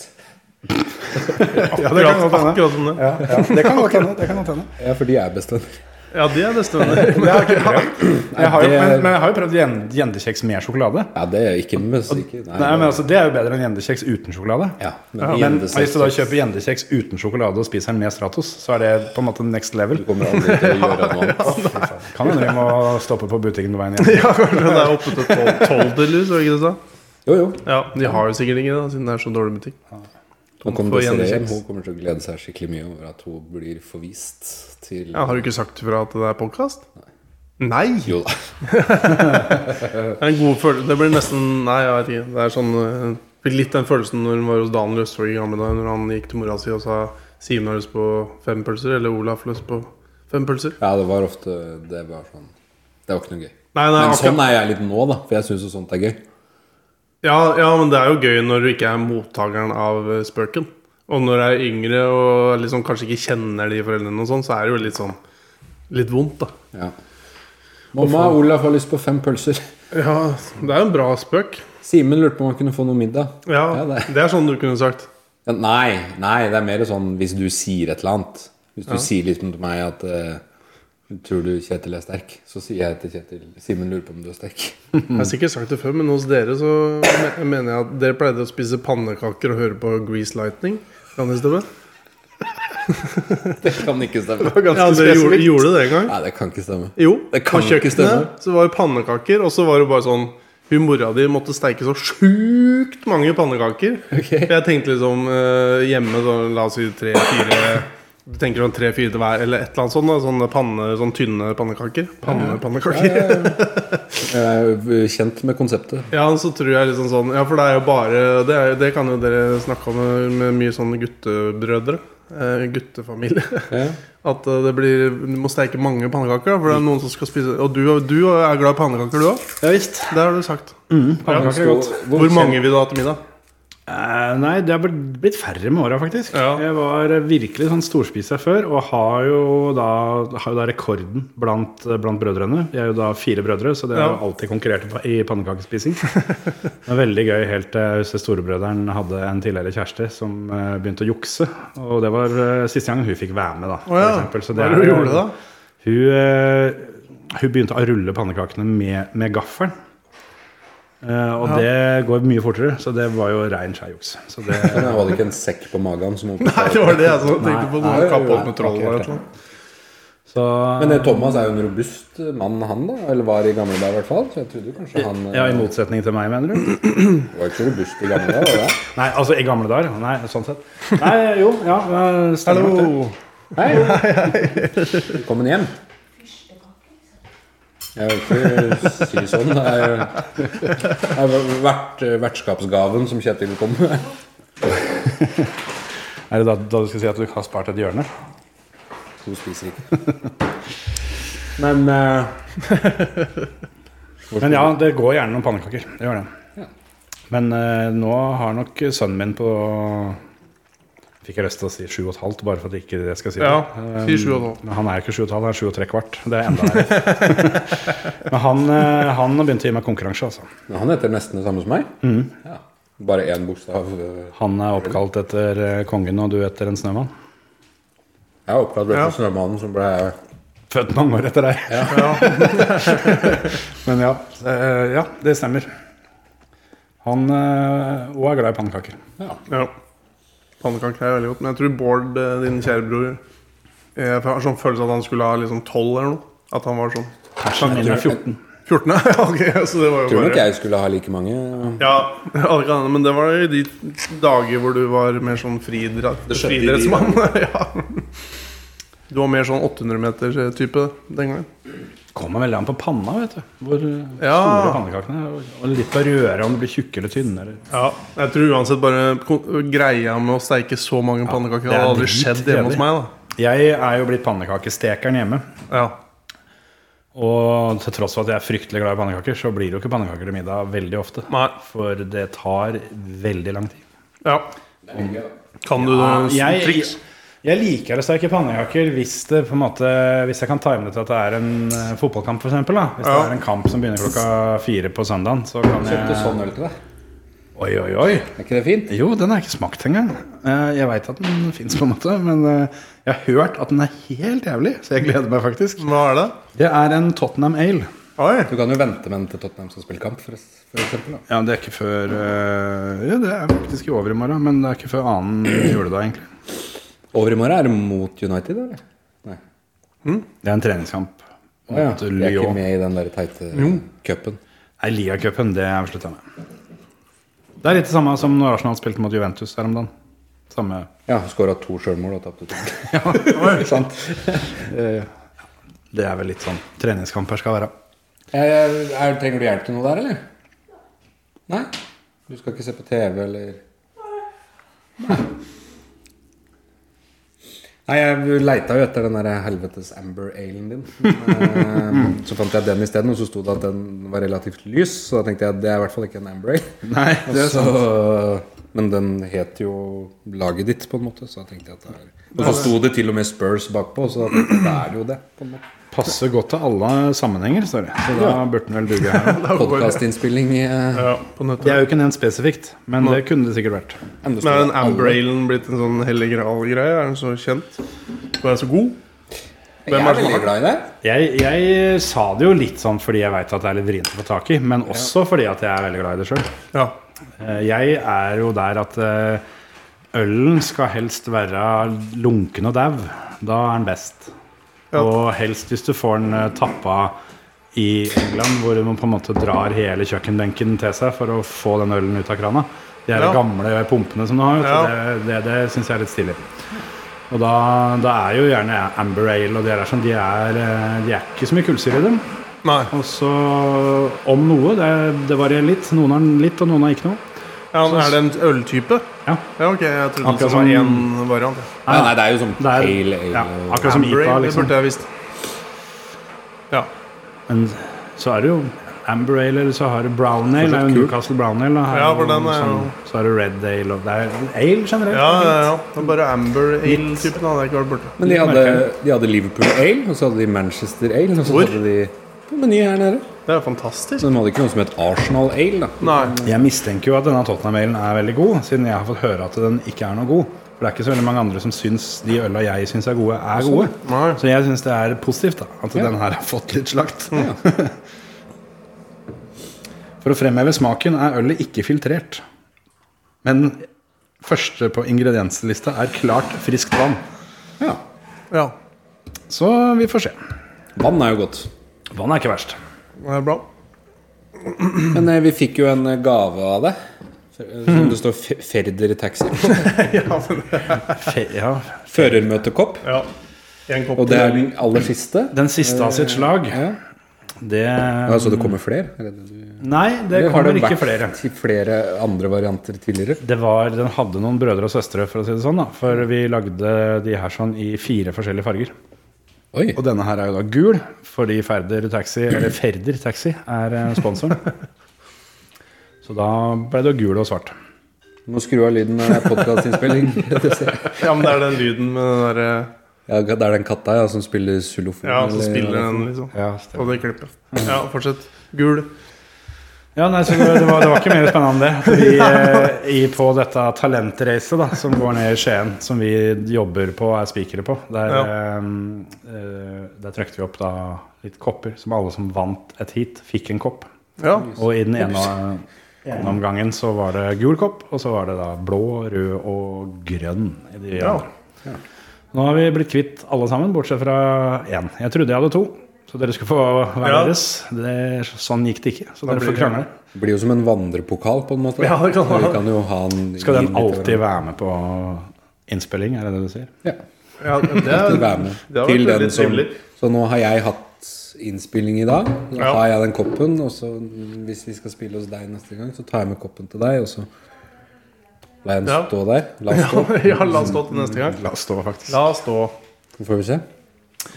Speaker 1: Akkurat, akkurat som det.
Speaker 6: Det kan godt hende. Det kan godt hende.
Speaker 4: Ja, for de er bestevenner.
Speaker 1: Ja, de er bestevenner.
Speaker 6: Det har jeg ikke prøvd. Jeg har jo,
Speaker 4: det-
Speaker 6: men, men jeg har jo prøvd gjen- gjendekjeks med sjokolade.
Speaker 4: Ja, det er ikke med ikke,
Speaker 6: Nei, men altså, Det er jo bedre enn gjendekjeks uten sjokolade.
Speaker 4: ja,
Speaker 6: Men
Speaker 4: gjendekjeks-
Speaker 6: hvis du da kjøper gjendekjeks uten sjokolade og spiser den med Stratos, så er det på en måte next level.
Speaker 4: Du kommer aldri til å gjøre noe annet.
Speaker 6: Kan hende vi må stoppe på butikken på veien hjem.
Speaker 1: Ja, kanskje det er oppe til tolv- tolv til lus, var det ikke det du sa?
Speaker 4: Jo, jo.
Speaker 1: Ja, de har jo sikkert ikke det, da, siden det er så dårlig butikk.
Speaker 4: Nå
Speaker 1: Tom
Speaker 4: kommer
Speaker 1: får
Speaker 4: Desiree hjem.
Speaker 1: gjendekjeks.
Speaker 4: Hun kommer til å glede seg skikkelig mye over at hun blir forvist til
Speaker 1: Ja, Har du ikke sagt ifra at det er podkast? Nei!
Speaker 4: Jo da.
Speaker 1: Det er en god følelse. Det blir nesten Nei, jeg vet ikke. Det er sånn eh, Fikk litt den følelsen når hun var hos Daniel Østfold i gamle dager, når han gikk til mora si og sa Simen har lyst på fem pølser, eller Olaf har lyst på fem pølser.
Speaker 4: Ja, det var ofte Det var sånn Det var ikke noe gøy.
Speaker 1: Nei, nei,
Speaker 4: Men
Speaker 1: akkurat
Speaker 4: sånn er jeg litt nå, da. For jeg syns jo sånt er gøy.
Speaker 1: ja, ja, men det er jo gøy når du ikke er mottakeren av eh, spøken. Og når jeg er yngre og liksom kanskje ikke kjenner de foreldrene, og sånn, så er det jo litt sånn Litt vondt, da.
Speaker 4: Ja. Mamma, Olaf har lyst på fem pølser.
Speaker 1: Ja, det er jo en bra spøk.
Speaker 4: Simen lurte på om han kunne få noe middag.
Speaker 1: Ja,
Speaker 4: Ja, det-
Speaker 1: Det er sånn du kunne sagt.
Speaker 4: Ja, Nei, nei, det er mer sånn hvis du sier et eller annet. Hvis du sier liksom til meg at eh, Tror du Kjetil er sterk? Så sier jeg til Kjetil Simen lurer på om du er sterk.
Speaker 1: Jeg
Speaker 4: Mm.
Speaker 1: har sikkert sagt det før, men hos dere så me- mener jeg at dere pleide å spise pannekaker og høre på Grease Lightning. Kan det stemme?
Speaker 4: Det kan ikke stemme.
Speaker 1: Ja, dere gjorde, gjorde det en gang.
Speaker 4: Nei, det kan ikke stemme.
Speaker 1: Jo,
Speaker 4: Det
Speaker 1: på
Speaker 4: kan ikke stemme.
Speaker 1: kjøkkenet så var det pannekaker, og så var det bare sånn Hun mora di måtte steike så sjukt mange pannekaker.
Speaker 4: Ok.
Speaker 1: Jeg tenkte liksom eh, hjemme, så, la oss si tre-fire Du tenker sånn tre-fire til hver, eller et eller annet sånt. da, Sånne, panne, sånn tynne pannekaker. Pannepannekaker.
Speaker 4: Jeg er kjent med konseptet.
Speaker 1: Ja, og så tror jeg liksom eh, sånn Ja, for det er jo bare Det, er, det kan jo dere snakke om med mye sånne sånn guttebrødre. eh, guttefamilie.
Speaker 4: Ja.
Speaker 1: At eh, det blir, du må steike mange pannekaker. da, For det er noen som skal spise Og du, du er glad i pannekaker, du òg?
Speaker 6: Ja visst.
Speaker 1: Det har du sagt.
Speaker 6: Pannekaker er godt.
Speaker 4: Hvor
Speaker 1: Hvor mange vil du ha til middag?
Speaker 6: Eh, nei, det er blitt blitt færre med åra, faktisk.
Speaker 1: Ja.
Speaker 6: Jeg var eh, virkelig sånn storspiser før, og har jo da, har jo da rekorden blant, eh, blant brødrene. Vi er jo da fire brødre, så det har
Speaker 1: Ja.
Speaker 6: jo alltid konkurrert i pa- i pannekakespising. det var veldig gøy helt til eh, storebrøderen hadde en tidligere kjæreste som eh, begynte å jukse. Og det var eh, siste gang hun fikk være med, da.
Speaker 1: Å ja.
Speaker 6: for eksempel. Så
Speaker 1: Hva
Speaker 6: det
Speaker 1: er det du
Speaker 6: er jo-
Speaker 1: gjorde da?
Speaker 6: hun, eh, hun begynte å rulle pannekakene med, med gaffelen. Eh, og
Speaker 1: Ja.
Speaker 6: det går mye fortere, så det var jo rein skeijuks. Så det
Speaker 4: Men jeg hadde ikke en sekk på magen. Som holdt på å
Speaker 1: Nei,
Speaker 4: ta-
Speaker 1: det var det jeg så tenkte
Speaker 6: Nei,
Speaker 1: på.
Speaker 4: nei,
Speaker 1: Noen kapphold
Speaker 4: nei,
Speaker 1: med troll sånn.
Speaker 6: ok,
Speaker 1: eller
Speaker 6: ok.
Speaker 1: noe.
Speaker 6: så,
Speaker 4: Men eh, Thomas er jo en robust mann, han da? Eller var i gamle dager, i hvert fall. Så jeg trodde kanskje han eh,
Speaker 6: Ja, I motsetning til meg, mener du?
Speaker 4: var ikke så robust i gamle dager. var det?
Speaker 6: Nei, altså i gamle dager. Nei, sånn sett. Nei, jo, ja. eh, stemmer nok det.
Speaker 1: Hallo!
Speaker 4: Velkommen hjem. Jeg vil ikke si sånn. Det er, det er vert, vertskapsgaven som Kjetil kom med.
Speaker 6: Er det da, da du skal si at du har spart et hjørne?
Speaker 4: Hun spiser ikke. Men eh, hvor
Speaker 6: Men ja, det går gjerne noen pannekaker. Det gjør det. Men eh, nå har nok sønnen min på Fikk jeg lyst til å si sju og et halvt, bare for at jeg ikke jeg skal si det.
Speaker 1: Ja,
Speaker 6: Eh,
Speaker 1: si sju og et halvt.
Speaker 6: Men han er jo ikke sju og et halvt, han er sju og tre kvart. Det er enda verre. Men han, eh, han har begynt å gi meg konkurranse, altså.
Speaker 4: Men Han heter nesten det samme som meg. Ja. Bare én bokstav. eh,
Speaker 6: Han er oppkalt etter eh, kongen, og du etter en snømann.
Speaker 4: Jeg er oppkalt
Speaker 1: Ja.
Speaker 4: etter snømannen som ble
Speaker 6: Født mange år etter deg. Men ja, eh, ja, det stemmer. Han òg er glad i pannekaker.
Speaker 1: Ja. Pannekaker er veldig godt. Men jeg tror Bård, eh, din kjære bror Jeg har sånn følelse at han skulle ha liksom 12 eller noe. At han var sånn
Speaker 6: Kanskje han er 14.
Speaker 1: 14, ja. ok, så det var jo
Speaker 4: Tror nok
Speaker 1: bare
Speaker 4: jeg skulle ha like mange.
Speaker 1: ja, ja, det kan hende, Men det var jo i de dager hvor du var mer sånn fridra-
Speaker 5: skjedde i de
Speaker 1: friidrettsmann. ja. Du var mer sånn 800-meter-type den gangen.
Speaker 6: Kommer veldig an på panna, vet du. Hvor eh,
Speaker 1: Ja.
Speaker 6: store pannekakene er. og- Og litt av røret, om det blir tjukke eller tynne. Eller.
Speaker 1: Ja, jeg tror uansett bare kon- greia med å steike så mange pannekaker
Speaker 6: det er
Speaker 1: hadde aldri
Speaker 6: drit
Speaker 1: skjedd hjemme hos
Speaker 6: kjedelig.
Speaker 1: meg.
Speaker 6: Jeg er jo blitt pannekakestekeren hjemme.
Speaker 1: da Ja,
Speaker 6: Og til tross for at jeg er fryktelig glad i pannekaker, så blir det jo ikke pannekaker til middag veldig ofte.
Speaker 1: Nei.
Speaker 6: For det tar veldig lang tid.
Speaker 1: ja. Kan du eh, noen
Speaker 6: jeg,
Speaker 1: triks?
Speaker 6: jeg liker å steke pannekaker hvis, det på en måte, hvis jeg kan time det til at det er en eh, fotballkamp, for eksempel, da Hvis
Speaker 1: Ja.
Speaker 6: det er en kamp som begynner klokka fire på søndagen, så kan
Speaker 4: Kjøpte
Speaker 6: jeg
Speaker 4: sånn øl til deg.
Speaker 6: Oi, oi, oi.
Speaker 4: Er ikke det fint?
Speaker 6: Jo, den har jeg ikke smakt engang. Eh, Jeg veit at den fins, på en måte, men eh, jeg har hørt at den er helt jævlig, så jeg gleder meg faktisk.
Speaker 1: Hva er det?
Speaker 6: Det er en Tottenham Ale.
Speaker 1: Oi!
Speaker 4: Du kan jo vente med den til Tottenham skal spille kamp, for, for eksempel. Da.
Speaker 6: Ja, det er ikke før eh, Ja, det er faktisk i overmorgen, men det er ikke før annen juledag, egentlig.
Speaker 4: Over i morgen er det mot United, eller? Nei.
Speaker 6: Det er en treningskamp
Speaker 4: Å ja.
Speaker 6: mot
Speaker 4: Vi er ikke
Speaker 6: Lyon.
Speaker 4: med i den der teite cupen.
Speaker 6: Nei, Liacupen, det har jeg slutta med. Det er litt det samme som når Arsenal spilte mot Juventus her om dagen. Samme
Speaker 4: Ja, skåra to sjølmål og tapte to.
Speaker 6: Sant. Eh, Det er vel litt sånn treningskamper skal være.
Speaker 4: Eh, er, trenger du hjelp til noe der, eller? Nei? Du skal ikke se på TV, eller Nei. Nei, jeg leita jo etter den der helvetes Amber Alen din. Eh, Så fant jeg den isteden, og så sto det at den var relativt lys. Så da tenkte jeg at det er i hvert fall ikke en Amber Ale.
Speaker 6: Nei,
Speaker 4: Og så, men den het jo laget ditt, på en måte. Så da tenkte jeg at det er Og så sto det til og med Spurs bakpå, så da tenkte jeg, det er jo det. på en måte
Speaker 6: Passer godt til alle sammenhenger, står det. Så da burde den vel duge her òg.
Speaker 4: Podkastinnspilling eh,
Speaker 1: Ja, på
Speaker 6: Det
Speaker 1: nettet.
Speaker 6: er jo ikke nevnt spesifikt, men det kunne det sikkert vært.
Speaker 4: men
Speaker 1: Men
Speaker 4: det står
Speaker 1: er den
Speaker 4: alle-
Speaker 1: Amber Alen blitt en sånn hellig gral-greie? Er den så kjent? Og er den så god?
Speaker 4: Jeg
Speaker 1: Hvem er det
Speaker 4: er
Speaker 1: som
Speaker 4: veldig
Speaker 1: har-
Speaker 4: glad i det.
Speaker 6: Jeg, jeg sa det jo litt sånn fordi jeg veit at det er litt vrient å få tak i, men også fordi at jeg er veldig glad i det sjøl.
Speaker 1: Ja.
Speaker 6: Eh, Jeg er jo der at eh, ølen skal helst være lunken og dau. Da er den best.
Speaker 1: Ja.
Speaker 6: Og helst hvis du får den eh, tappa i England, hvor man på en måte drar hele kjøkkenbenken til seg for å få den ølen ut av krana. De her
Speaker 1: Ja.
Speaker 6: gamle pumpene som du har, vet du, det, det, det syns jeg er litt stilig. Og da, da er jo gjerne Amber Ale og de der sånn, de er, eh, de er ikke så mye kullsyre i dem.
Speaker 1: Nei.
Speaker 6: Og så om noe. Det, det varierer litt. Noen har den litt, og noen har ikke noe.
Speaker 1: Ja, men Er det en øltype?
Speaker 6: Ja.
Speaker 1: ja ok, jeg trodde
Speaker 6: Akkurat
Speaker 1: det var
Speaker 6: som-
Speaker 1: én variant. ja.
Speaker 4: Nei, nei, det er jo sånn
Speaker 6: Det er-
Speaker 4: pale ale.
Speaker 6: Ja,
Speaker 4: og-
Speaker 6: akkurat som
Speaker 1: Amber
Speaker 6: IPA,
Speaker 1: Ale, det
Speaker 6: liksom.
Speaker 1: burde jeg visst. Ja.
Speaker 6: Men så er det jo Amber Ale, eller så har du Brown Ale. Det er jo
Speaker 4: Fortsatt kult.
Speaker 6: Newcastle Brown Ale. da. Her
Speaker 1: Ja,
Speaker 6: er
Speaker 1: for
Speaker 6: jo
Speaker 1: den er jo-
Speaker 6: sånn- Så har du Red Ale og Det er ale generelt.
Speaker 1: Ja, ja, ja. Det er bare Amber Ale-typen hadde jeg ikke vært borte.
Speaker 4: Men de hadde, de hadde Liverpool Ale, og så hadde de Manchester Ale. Og så
Speaker 1: Hvor?
Speaker 4: hadde de på Meny her nede.
Speaker 1: Det er fantastisk.
Speaker 4: Så de hadde ikke noe som het Arsenal Ale, da.
Speaker 1: Nei.
Speaker 6: Jeg mistenker jo at denne Tottenham-mailen er veldig god, siden jeg har fått høre at den ikke er noe god. For det er ikke så veldig mange andre som syns de øla jeg syns er gode, er gode.
Speaker 1: Nei.
Speaker 6: Så jeg syns det er positivt da, at den her har fått litt slakt. For å fremheve smaken er ølet ikke filtrert. Men første på ingredienslista er klart friskt vann.
Speaker 4: Ja.
Speaker 1: Ja,
Speaker 6: Så vi får se.
Speaker 4: Vann er jo godt.
Speaker 6: Vann er ikke verst.
Speaker 1: det er bra.
Speaker 4: Men eh, vi fikk jo en eh, gave av det. eh, Som det står Fe- Ferder Taxi på.
Speaker 6: Fe ja.
Speaker 4: Førermøtekopp.
Speaker 1: Ja. En kopp
Speaker 4: Og det er den aller siste.
Speaker 6: Den siste av sitt slag,
Speaker 4: Ja.
Speaker 6: det
Speaker 4: Ja, så det kommer flere? Er det det du-
Speaker 6: Nei, det
Speaker 4: Eller har
Speaker 6: kommer ikke
Speaker 4: vært
Speaker 6: flere.
Speaker 4: til flere andre varianter tidligere?
Speaker 6: Det var, den hadde noen brødre og søstre, for å si det sånn. da For vi lagde de her sånn i fire forskjellige farger.
Speaker 4: Oi.
Speaker 6: Og denne her er jo da gul, fordi Ferder Taxi, eller Ferder Taxi er eh, sponsoren. Så da ble det gul og svart.
Speaker 4: Må skru av lyden når det er podkastinnspilling.
Speaker 1: Ja, men det er den lyden med den derre
Speaker 4: ja, det er den katta ja, som spiller xylofon.
Speaker 1: Ja, som
Speaker 4: eller-
Speaker 1: spiller den, liksom.
Speaker 6: Ja,
Speaker 1: Og det klippet. Ja, fortsett. Gul.
Speaker 6: nei, så det, det, var, det var ikke mer spennende enn det. At Vi, eh, i, på dette talentreiset da, som går ned i Skien, som vi jobber på og er spikere på, der, eh, eh, der trykte vi opp da litt kopper. Som alle som vant et heat, fikk en kopp.
Speaker 1: Ja.
Speaker 6: Og i den ene, ene omgangen så var det gul kopp, og så var det da blå, rød og grønn. I de
Speaker 1: Ja.
Speaker 6: andre. Nå har vi blitt kvitt alle sammen, bortsett fra én. Jeg trodde jeg hadde to. Så dere skulle få hver
Speaker 1: Ja.
Speaker 6: deres. Det, sånn gikk det ikke. Så
Speaker 1: Da
Speaker 6: dere
Speaker 1: blir
Speaker 6: får
Speaker 1: det-
Speaker 6: krangle.
Speaker 4: Det blir jo som en vandrepokal, på en måte.
Speaker 1: Ja, det kan
Speaker 4: Og vi
Speaker 1: være.
Speaker 4: kan jo ha en
Speaker 6: Skal
Speaker 4: litt
Speaker 6: den alltid
Speaker 4: over-
Speaker 6: være med på innspilling, er det det du sier?
Speaker 4: Ja,
Speaker 1: ja det
Speaker 4: alltid
Speaker 1: er,
Speaker 4: være med.
Speaker 1: det har vært
Speaker 4: Til den
Speaker 1: veldig
Speaker 4: som
Speaker 1: trivelig.
Speaker 4: Så nå har jeg hatt innspilling i dag. Så
Speaker 1: Ja.
Speaker 4: har jeg den koppen, og så mm, hvis vi skal spille hos deg neste gang, så tar jeg med koppen til deg, og så lar jeg den
Speaker 1: Ja.
Speaker 4: stå der. La den stå.
Speaker 1: ja, la oss stå til neste gang.
Speaker 6: La oss stå, faktisk.
Speaker 1: La oss stå.
Speaker 4: Så får vi se.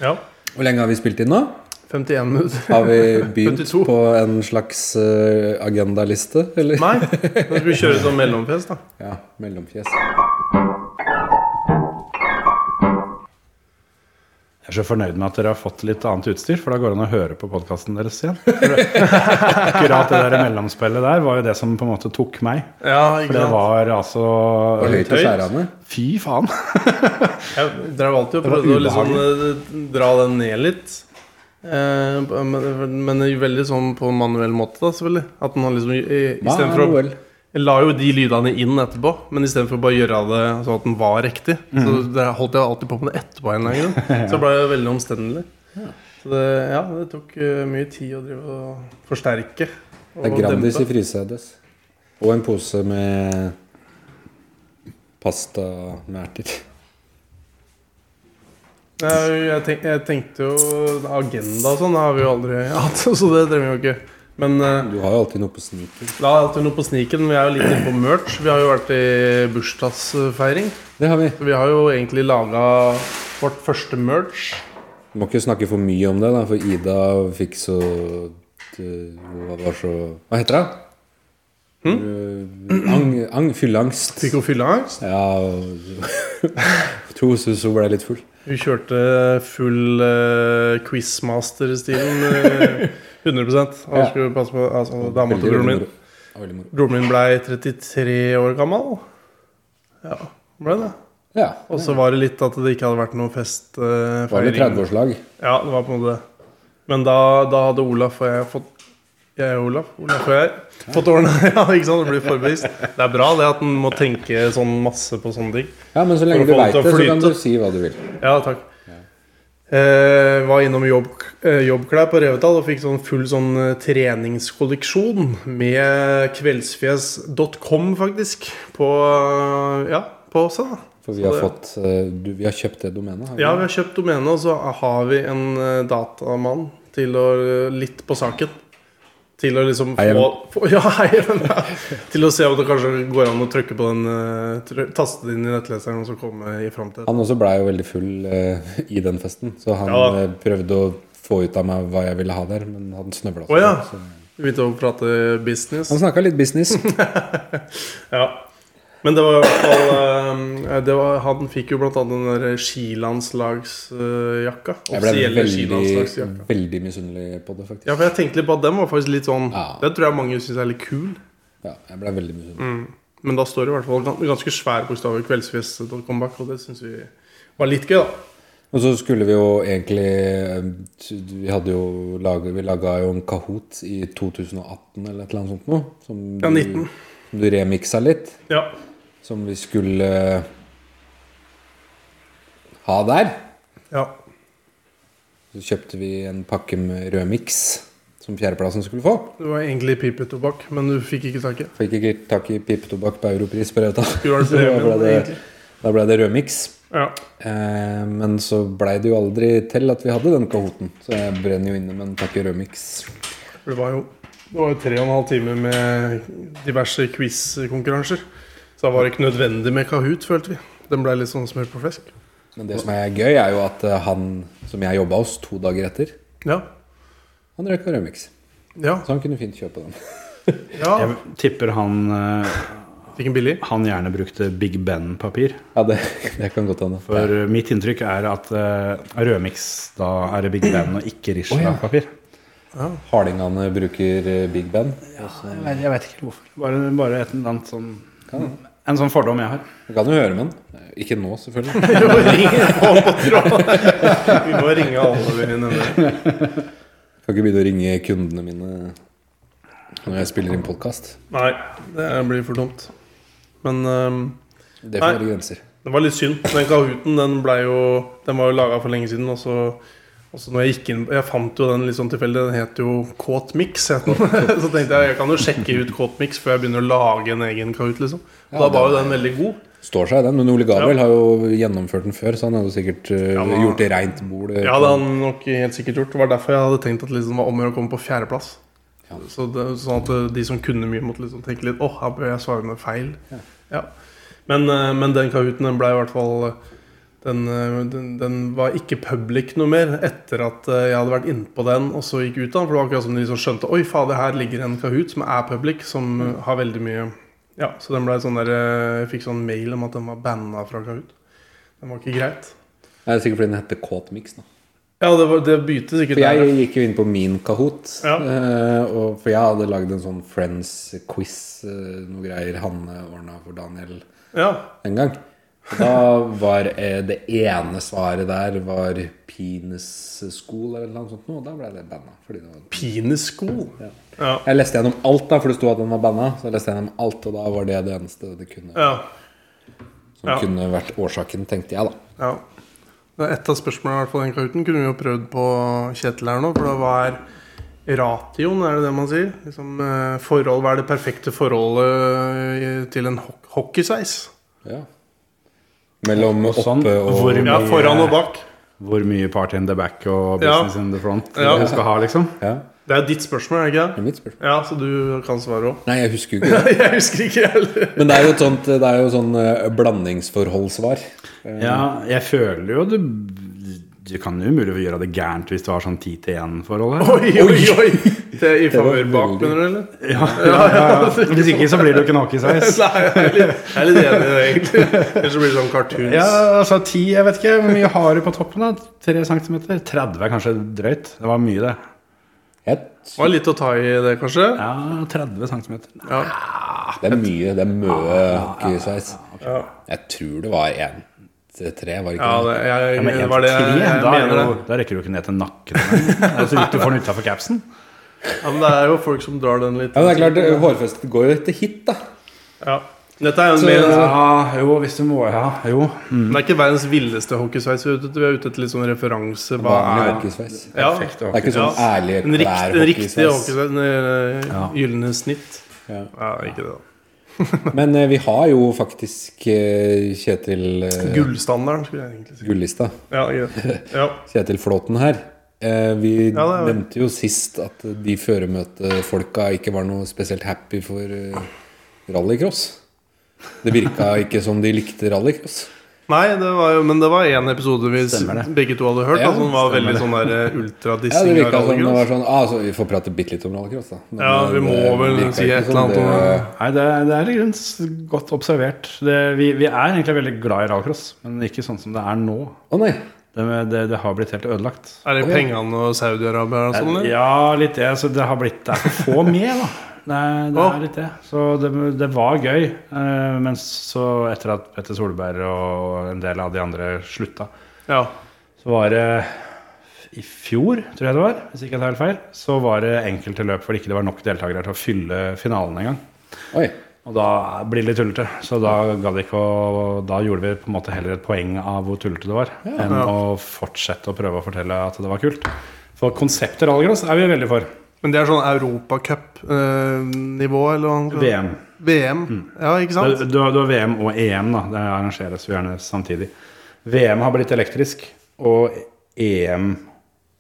Speaker 1: Ja.
Speaker 4: Hvor lenge har vi spilt inn nå?
Speaker 1: 51 minutter.
Speaker 4: Har vi begynt
Speaker 1: 52.
Speaker 4: på en slags eh, agendaliste, eller?
Speaker 1: Nei, nå skal vi kjøre sånn mellomfest, da.
Speaker 4: Ja, mellomfjes.
Speaker 6: Jeg er så fornøyd med at dere har fått litt annet utstyr, for da går det an å høre på podkasten deres igjen. Akkurat det der mellomspillet der var jo det som på en måte tok meg.
Speaker 1: Ja,
Speaker 6: For
Speaker 1: ikke
Speaker 6: det
Speaker 1: sant.
Speaker 6: var altså
Speaker 4: Og høyt i skjærene.
Speaker 6: Fy faen!
Speaker 1: Jeg drev alltid og
Speaker 6: Det var
Speaker 1: prøvde å liksom eh, dra den ned litt. Eh, men, men veldig sånn på manuell måte, da, selvfølgelig. At den har liksom i- Istedenfor å
Speaker 4: Manuel.
Speaker 1: Jeg la jo de lydene inn etterpå, men istedenfor bare å gjøre det sånn at den var riktig, så der holdt jeg alltid på med det etterpå en eller annen grunn. Så det ble jo veldig omstendelig. Så det, ja, det tok eh, mye tid å drive og forsterke. Og
Speaker 4: Det er Grandis i
Speaker 1: dempe.
Speaker 4: Frisedes. Og en pose med pastamerter.
Speaker 1: Ja, jeg, tenk, jeg tenkte jo Agenda og sånn det har vi jo aldri hatt, så det trenger vi jo ikke. Men eh,
Speaker 4: Du har jo alltid noe på sniken.
Speaker 1: da har jeg alltid noe på sniken. Vi er jo litt inne på merch. Vi har jo vært i bursdagsfeiring.
Speaker 4: Det har vi.
Speaker 1: Vi har jo egentlig laga vårt første merch.
Speaker 4: Du må ikke snakke for mye om det, da, for Ida fikk så Hun var så Hva heter det?
Speaker 1: Hm?
Speaker 4: Eh, Ang, ang, fylleangst.
Speaker 1: Fikk jo fylleangst.
Speaker 4: Ja, og Tro synes hun ble litt full.
Speaker 1: Vi kjørte full eh, quizmaster-stilen. eh, 100 Og
Speaker 4: Ja.
Speaker 1: skulle passe på altså, Dama til
Speaker 4: Veldig,
Speaker 1: broren
Speaker 4: veldig
Speaker 1: min.
Speaker 4: moro. Ja, veldig moro.
Speaker 1: Broren min blei 33 år gammel. Ja, ble det.
Speaker 4: Ja.
Speaker 1: Og så var det litt at det ikke hadde vært eh, noen festfeiring.
Speaker 4: Det var vel 30-årslag.
Speaker 1: Ja, det var på en måte det. Men da, da hadde Olaf og jeg fått Jeg og Olaf, Olaf og jeg fått ordna Ja, ikke sant? Det blir forbevist. Det er bra det at en må tenke sånn masse på sånne ting.
Speaker 4: Ja, men så
Speaker 1: For å
Speaker 4: lenge du
Speaker 1: få det
Speaker 4: veit
Speaker 1: til å
Speaker 4: det, så kan
Speaker 1: flyte.
Speaker 4: du si hva du vil.
Speaker 1: Ja, takk. Eh, var innom jobb, eh, jobbklær på Revetal og fikk sånn full sånn eh, treningskolleksjon med kveldsfjes.com, faktisk, på, eh, ja, på oss. da.
Speaker 4: For vi
Speaker 1: Så
Speaker 4: har,
Speaker 1: det-
Speaker 4: fått, eh, du, vi har kjøpt det domenet. har vi?
Speaker 1: Ja, vi har kjøpt domenet, og så har vi en eh, datamann til å eh, litt på saken. Til å liksom
Speaker 4: Hei,
Speaker 1: få, få Ja, hei, men, Til å se om det kanskje går an å trykke på den eh, tr- Taste det inn i nettleseren, og så komme i framtiden.
Speaker 4: Han også blei jo veldig full eh, i den festen, så han
Speaker 1: Ja.
Speaker 4: eh, prøvde å få ut av meg hva jeg ville ha der, men han snøvla.
Speaker 1: Å, ja. Begynte å prate business.
Speaker 4: Han snakka litt business.
Speaker 1: Ja. Men det var i hvert fall eh, det var, Han fikk jo blant annet den der skilandslagsjakka.
Speaker 4: Jeg ble
Speaker 1: Offisielle
Speaker 4: veldig,
Speaker 1: skilandslagsjakka.
Speaker 4: veldig misunnelig på det, faktisk.
Speaker 1: Ja, for jeg tenkte litt på at den var faktisk litt sånn
Speaker 4: Ja.
Speaker 1: Den tror jeg mange syns er litt kul.
Speaker 4: Ja, jeg ble veldig misunnelig.
Speaker 1: Men da står det i hvert fall gans- ganske svære bokstaver 'Kveldsfest.com back', og det syns vi var litt gøy, da.
Speaker 4: Og så skulle vi jo egentlig eh, t- Vi hadde jo laget, Vi laga jo en Kahoot i 2018 eller et eller annet sånt noe. Som
Speaker 1: Ja, 19.
Speaker 4: Du, som du remiksa litt.
Speaker 1: Mm. Ja.
Speaker 4: Som vi skulle eh, ha der.
Speaker 1: ja.
Speaker 4: Så kjøpte vi en pakke med rød miks som fjerdeplassen skulle få.
Speaker 1: Det var egentlig pipetobakk, men du fikk ikke tak i.
Speaker 4: Fikk ikke tak i pipetobakk på europris på Rauta.
Speaker 1: Skulle vært
Speaker 4: Så da ble
Speaker 1: premien,
Speaker 4: det,
Speaker 1: egentlig.
Speaker 4: da ble det rød miks.
Speaker 1: Ja.
Speaker 4: Eh, men så blei det jo aldri til at vi hadde den kahooten. Så jeg brenner jo inne med en pakke rød miks.
Speaker 1: For det var jo det var jo tre og en halv time med diverse quiz-konkurranser. Så da var det ikke nødvendig med Kahoot, følte vi. Den ble litt sånn smør på flesk.
Speaker 4: Men det som er gøy, er jo at eh, han som jeg jobba hos to dager etter,
Speaker 1: Ja.
Speaker 4: han røyka rødmiks.
Speaker 1: Ja.
Speaker 4: Så han kunne fint kjøpe den.
Speaker 1: ja.
Speaker 6: Jeg tipper han, eh,
Speaker 1: Fikk en billig.
Speaker 6: han gjerne brukte Big Ben-papir.
Speaker 4: Ja, det, det kan godt hende.
Speaker 6: For eh, mitt inntrykk er at eh, rødmiks, da er det Big Ben og ikke Rishla-papir.
Speaker 4: Hardingene bruker eh, Big Ben.
Speaker 6: Altså, Jeg vet- jeg vet ikke hvorfor. Bare, bare et eller annet sånn En sånn fordom jeg har.
Speaker 4: Du kan jo høre med den. Eh, Ikke nå, selvfølgelig.
Speaker 1: Vi må ringe alle på tråden. Vi må ringe alle vi nevner.
Speaker 4: Kan ikke begynne å ringe kundene mine når jeg spiller inn podkast.
Speaker 1: Nei, det blir for dumt. Men ehm,
Speaker 4: Det
Speaker 1: Nei.
Speaker 4: får være grenser.
Speaker 1: Det var litt synd. Den Kahooten den ble jo, den var jo laga for lenge siden. Og så, og så når jeg gikk inn Jeg fant jo den litt sånn tilfeldig. Den het jo Kåt Mix. Het den. så tenkte jeg jeg kan jo sjekke ut Kåt Mix før jeg begynner å lage en egen Kahoot. liksom Og Da var jo den veldig god.
Speaker 4: Står seg den, men Ole Gabriel har jo gjennomført den før, så han hadde sikkert eh,
Speaker 1: men-
Speaker 4: gjort det reint bord. eh,
Speaker 1: Ja, det hadde han nok helt sikkert gjort. Det var derfor jeg hadde tenkt at liksom, det var om å gjøre å komme på fjerdeplass. Så det, sånn at eh, de som kunne mye, måtte liksom tenke litt Åh, her bør jeg svare med feil. Ja. Men, eh, men den kahooten den ble i hvert fall eh, den, eh, den, den var ikke public noe mer etter at eh, jeg hadde vært innpå den og så gikk ut av den. For det var akkurat som de liksom skjønte Oi, fader, her ligger en kahoot som er public, som eh, har veldig mye Ja, så den ble sånn der eh, Jeg fikk sånn mail om at den var banna fra kahoot. Den var ikke greit.
Speaker 4: Det er sikkert fordi den heter Kåt Mix nå.
Speaker 1: Ja, det, var, det begynte sikkert
Speaker 4: For
Speaker 1: der, ja.
Speaker 4: jeg gikk jo inn på min Kahoot.
Speaker 1: Ja.
Speaker 4: eh, og for jeg hadde lagd en sånn Friends-quiz, eh, noe greier Hanne ordna for Daniel
Speaker 1: Ja,
Speaker 4: en gang. Og Da var eh, det ene svaret der var penis school eller noe sånt. noe, Og da ble det banna. Fordi det var...
Speaker 1: Pinesko? Ja. ja.
Speaker 4: Jeg leste gjennom alt, da, for det sto at den var banna. Så jeg leste gjennom alt, og da var det det eneste det kunne, som
Speaker 1: ja.
Speaker 4: kunne vært årsaken, tenkte jeg, da.
Speaker 1: ja. Det er ett av spørsmålene i hvert fall den kauten kunne vi jo prøvd på Kjetil her nå. For det var ratioen, er det det man sier? Liksom, eh, forhold, Hva er det perfekte forholdet i- til en ho hockeysveis?
Speaker 4: Ja. Mellom
Speaker 6: Og sånn,
Speaker 4: oppe og
Speaker 6: hvor-
Speaker 1: Ja, foran og bak.
Speaker 6: Hvor mye party in the back og
Speaker 1: Ja.
Speaker 6: business in the front
Speaker 1: Ja.
Speaker 6: du skal ha, liksom.
Speaker 4: Ja,
Speaker 1: Det er jo ditt spørsmål, er det ikke
Speaker 4: det
Speaker 1: det?
Speaker 4: er mitt spørsmål.
Speaker 1: Ja, så du kan svare òg.
Speaker 4: Nei, jeg husker jo ikke.
Speaker 1: Jeg husker ikke, jeg heller.
Speaker 4: Men det er jo et sånt Det er jo sånn eh, blandingsforholdssvar.
Speaker 6: Ja, jeg føler jo du Du kan jo umulig gjøre det gærent hvis du har sånn 10 til 1-forhold her.
Speaker 1: Oi, oi, oi! Det er I
Speaker 4: var
Speaker 1: favør bak,
Speaker 4: veldig-
Speaker 1: mener du, eller?
Speaker 6: Ja, ja, ja. Hvis ikke så blir det jo ikke en hockeysveis.
Speaker 1: Nei, jeg er litt, jeg er litt enig i det, egentlig. Ellers så blir det sånn cartoons.
Speaker 6: Ja, altså 10, jeg vet ikke. Hvor mye har du på toppen? da? 3 cm? 30 er kanskje drøyt. Det var mye, det.
Speaker 4: Het.
Speaker 1: Det var litt å ta i det, kanskje?
Speaker 6: Ja, 30 cm.
Speaker 1: Ja.
Speaker 4: Det er mye. Det er
Speaker 6: Ah,
Speaker 4: mye hockeysveis. Jeg tror det var én til tre, var det
Speaker 1: Ja,
Speaker 4: ikke det?
Speaker 1: det, jeg,
Speaker 6: Ja, men
Speaker 1: det
Speaker 6: 1
Speaker 1: var
Speaker 6: til
Speaker 1: det jeg,
Speaker 6: 3,
Speaker 1: jeg
Speaker 6: da, er
Speaker 1: mener.
Speaker 6: jo,
Speaker 1: Det.
Speaker 6: da rekker du ikke ned til nakken. Det er Så vidt du får den utafor capsen.
Speaker 1: Ja, men det er jo folk som drar den litt.
Speaker 4: Ja, men det er klart, eh, Hårfestet går jo etter hit, da.
Speaker 1: Ja. Dette er jo en mer en sånn-
Speaker 6: Ja, jo, hvis du må Ja, jo.
Speaker 1: Det er ikke verdens villeste hockeysveis vi er ute etter. Vi er ute etter litt sånn referanse. Hva
Speaker 4: Vanlig
Speaker 1: er
Speaker 4: hockeysveis.
Speaker 1: ja.
Speaker 6: Perfekt,
Speaker 4: Det er ikke sånn
Speaker 1: Ja.
Speaker 4: ærlig
Speaker 1: Den, rikt, den riktige
Speaker 4: klær-hockeysveis.
Speaker 1: hockeysveisen. den,
Speaker 6: Ja.
Speaker 1: eh, Gylne snitt.
Speaker 4: Ja.
Speaker 1: Ja, ikke det, da.
Speaker 4: Men eh, vi har jo faktisk eh, Kjetil eh,
Speaker 1: Gullstandarden, skulle jeg egentlig si.
Speaker 4: Gullista.
Speaker 1: Ja, greit. Ja.
Speaker 4: Kjetil Flåten her. Eh, vi
Speaker 1: Ja, det er-
Speaker 4: nevnte jo sist at de føremøtefolka ikke var noe spesielt happy for eh, rallycross. Det virka ikke som de likte rallycross.
Speaker 1: Nei, det var jo, men det var én episode vi s-
Speaker 6: Stemmer det.
Speaker 1: begge to hadde hørt.
Speaker 4: Ja,
Speaker 1: da, som var
Speaker 6: stemmer
Speaker 1: veldig
Speaker 6: det.
Speaker 1: sånn der eh,
Speaker 4: Ja,
Speaker 1: ultradissing. av
Speaker 4: det virka som det
Speaker 1: rallycross.
Speaker 4: var sånn ah, så Vi får prate bitte litt om rallycross, da. Men,
Speaker 1: Ja, vi
Speaker 4: eh,
Speaker 1: må
Speaker 4: det
Speaker 1: vel
Speaker 4: virka
Speaker 1: si
Speaker 4: ikke
Speaker 1: et
Speaker 4: som
Speaker 1: eller annet om-
Speaker 4: det-
Speaker 6: Nei, det, det er i grunnen s- godt observert. Det, vi, vi er egentlig veldig glad i rallcross, men ikke sånn som det er nå.
Speaker 4: Å nei.
Speaker 6: Det, det, det har blitt helt ødelagt.
Speaker 1: Er det pengene og Saudi-Arabia og sånn? eller?
Speaker 6: Eh, Ja, litt det. Altså, det har blitt det er for få med, da. Det, er- det
Speaker 1: Å.
Speaker 6: er litt det. Så det, det var gøy. eh, Men så etter at Petter Solberg og en del av de andre slutta,
Speaker 1: Ja.
Speaker 6: så var det i fjor, tror jeg det var, hvis ikke jeg tar helt feil, så var det enkelte løp hvor det ikke var nok deltakere til å fylle finalen engang.
Speaker 4: Oi.
Speaker 6: Og da blir det litt tullete. Så da ga det ikke å Da gjorde vi på en måte heller et poeng av hvor tullete det var, enn å fortsette å prøve å fortelle at det var kult. For konseptet rallycross er vi veldig for.
Speaker 1: Men det er sånn europacup-nivå, eller hva? han kaller det?
Speaker 6: VM. Mm.
Speaker 1: VM. Ja, ikke sant?
Speaker 6: Du, du, har, du har VM og EM, da. Det arrangeres jo gjerne samtidig. VM har blitt elektrisk, og EM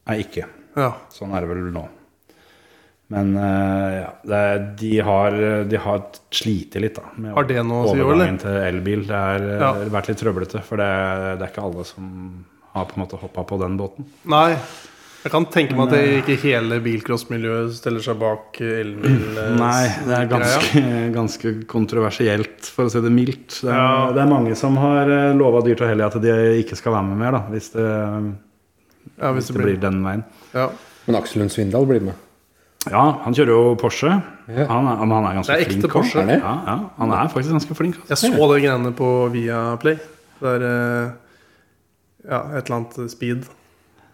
Speaker 6: er ikke.
Speaker 1: Ja.
Speaker 6: Sånn er det vel nå. Men eh, ja, det, er- de har, de har slitt litt, da. Med
Speaker 1: Har det noe å si,
Speaker 6: overgangen til elbil. Det har
Speaker 1: Ja.
Speaker 6: vært litt trøblete, for det, det er ikke alle som har på en måte hoppa på den båten.
Speaker 1: Nei. Jeg kan tenke meg at
Speaker 6: eh,
Speaker 1: det ikke hele bilcrossmiljøet stiller seg bak elbil. eh,
Speaker 6: Mm. Nei, det er
Speaker 1: greia.
Speaker 6: ganske, ganske kontroversielt, for å si det mildt. Det er,
Speaker 1: Ja.
Speaker 6: det er mange som har lova dyrt og hellig at de ikke skal være med mer, da, hvis det,
Speaker 1: Ja, hvis
Speaker 6: hvis
Speaker 1: det
Speaker 6: det
Speaker 1: blir.
Speaker 6: blir den veien.
Speaker 1: Ja.
Speaker 4: Men Aksel Lund Svindal blir med.
Speaker 6: Ja, han kjører jo Porsche.
Speaker 4: Ja.
Speaker 6: Han, er, men han er ganske
Speaker 1: Det er ekte
Speaker 6: flink. også.
Speaker 1: Porsche.
Speaker 4: Er det?
Speaker 6: Ja, ja, han er faktisk ganske flink. altså.
Speaker 1: Jeg så de greiene på Viaplay. Der eh, Ja, et eller annet speed.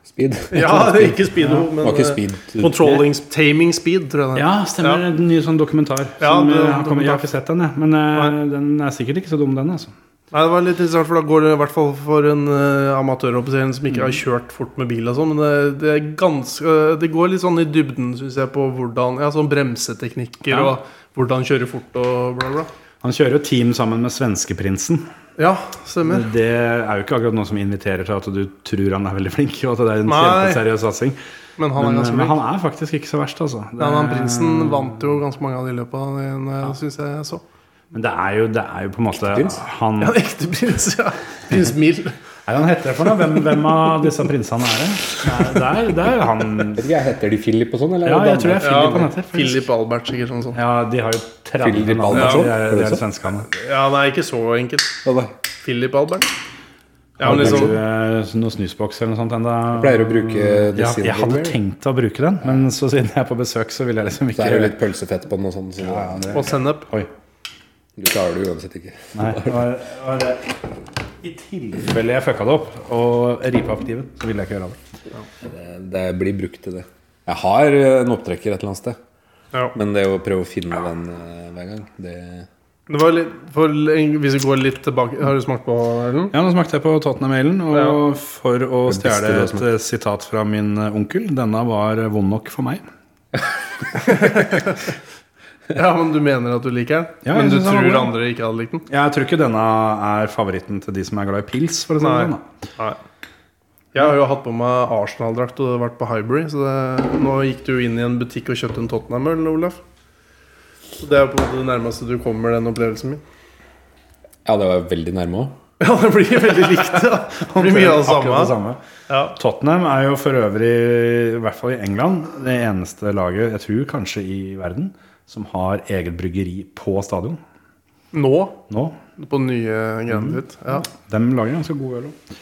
Speaker 4: Speed.
Speaker 1: Ja, ikke speedo, men
Speaker 4: Det var ikke
Speaker 1: eh,
Speaker 4: speed.
Speaker 1: Controlling Taming Speed, tror jeg det er.
Speaker 6: Ja, stemmer.
Speaker 1: Ja.
Speaker 6: En ny sånn dokumentar.
Speaker 1: Ja,
Speaker 6: som,
Speaker 1: det-
Speaker 6: eh, har kommet, jeg har ikke sett den, jeg. Men eh,
Speaker 1: Nei.
Speaker 6: den er sikkert ikke så dum, den. altså.
Speaker 1: Nei, det var litt interessant, for da går det i hvert fall for en uh, amatøroffiser som ikke
Speaker 6: Mm.
Speaker 1: har kjørt fort med bil og sånn, men det, det er ganske eh, Det går litt sånn i dybden, syns jeg, på hvordan Ja, sånn bremseteknikker
Speaker 6: Ja.
Speaker 1: og hvordan kjøre fort og bla, bla.
Speaker 6: Han kjører jo team sammen med svenskeprinsen.
Speaker 1: Ja, stemmer.
Speaker 6: Det er jo ikke akkurat noe som inviterer til at du tror han er veldig flink, og at det er en
Speaker 1: Nei.
Speaker 6: kjempeseriøs satsing.
Speaker 1: Men han er
Speaker 6: Men, eh,
Speaker 1: ganske
Speaker 6: men
Speaker 1: flink.
Speaker 6: han er faktisk ikke så verst, altså. Det
Speaker 1: Ja, men han prinsen
Speaker 6: er-
Speaker 1: vant jo ganske mange av de løpa, ja. syns eh, jeg jeg så.
Speaker 6: Men det er jo, det er jo på en måte
Speaker 4: prins?
Speaker 6: han
Speaker 1: Ja, ekte prins, ja. Prins Mild.
Speaker 6: Er han heter det for noe? Hvem, hvem av disse prinsene er det? Nei, det er, det er jo han
Speaker 4: Vet ikke, Heter de Philip og sånn, eller?
Speaker 6: Ja,
Speaker 4: er det
Speaker 6: jeg tror det er
Speaker 1: Ja,
Speaker 6: Philip han heter. faktisk.
Speaker 1: Philip Albert, sikkert. Sånn, sånn.
Speaker 6: Ja, de har jo 30
Speaker 4: Philip
Speaker 6: navn.
Speaker 4: Albertsson,
Speaker 6: De er,
Speaker 4: er
Speaker 6: de
Speaker 4: det
Speaker 6: er
Speaker 4: så?
Speaker 6: svenskene.
Speaker 1: Ja, nei, ikke så enkelt.
Speaker 4: Hva da?
Speaker 1: Philip Albert. Ja,
Speaker 6: Har
Speaker 1: men
Speaker 6: du
Speaker 1: liksom
Speaker 6: eh, noe snusboks eller noe sånt enda?
Speaker 4: Pleier å bruke
Speaker 6: ja, Jeg hadde
Speaker 4: Silverware.
Speaker 6: tenkt å bruke den, men så siden jeg er på besøk, så vil jeg liksom
Speaker 4: Så
Speaker 6: ikke
Speaker 4: er det litt pølsefett på den og sånn. Så
Speaker 1: Og sennep.
Speaker 6: Oi.
Speaker 4: Du klarer det uansett ikke.
Speaker 6: Nei, det var, var det. I tilfelle jeg fucka det opp og ripa opp kniven, så ville jeg ikke gjøre det.
Speaker 4: Det, det blir brukt til det. Jeg har eh, en opptrekker et eller annet sted.
Speaker 1: Ja.
Speaker 4: Men det å prøve å finne den eh, hver gang, det
Speaker 1: Det var litt, for, hvis vi går litt tilbake Har du smakt på den?
Speaker 6: Ja, Nå smakte jeg på Tottenham-mailen, og for å
Speaker 4: Det beste
Speaker 6: stjele
Speaker 4: du har
Speaker 6: et eh, sitat fra min eh, onkel Denne var eh, vond nok for meg.
Speaker 1: Ja, men du mener at du liker den?
Speaker 6: Ja, jeg
Speaker 1: men du
Speaker 6: synes den var
Speaker 1: tror
Speaker 6: god.
Speaker 1: andre ikke hadde likt den?
Speaker 6: Jeg tror ikke denne er favoritten til de som er glad i pils. for å si det
Speaker 1: Nei.
Speaker 6: sånn. da.
Speaker 1: Nei. Jeg har jo hatt på meg Arsenal-drakt og vært på Hybrid. Så det, nå gikk du jo inn i en butikk og kjøpte en Tottenham-øl, Olaf. Så det er jo på en måte det nærmeste du kommer den opplevelsen min.
Speaker 4: Ja, det var veldig nærme òg.
Speaker 1: Ja, det blir veldig likt. Ja. Det blir mye av det
Speaker 6: Akkurat
Speaker 1: samme. Ja.
Speaker 6: Tottenham er jo for øvrig, i hvert fall i England, det eneste laget, jeg tror kanskje i verden, som har eget bryggeri på stadion
Speaker 1: Nå,
Speaker 6: nå.
Speaker 1: på nye
Speaker 6: Mm.
Speaker 1: greiene ditt. Ja.
Speaker 6: De lager ganske god øl òg.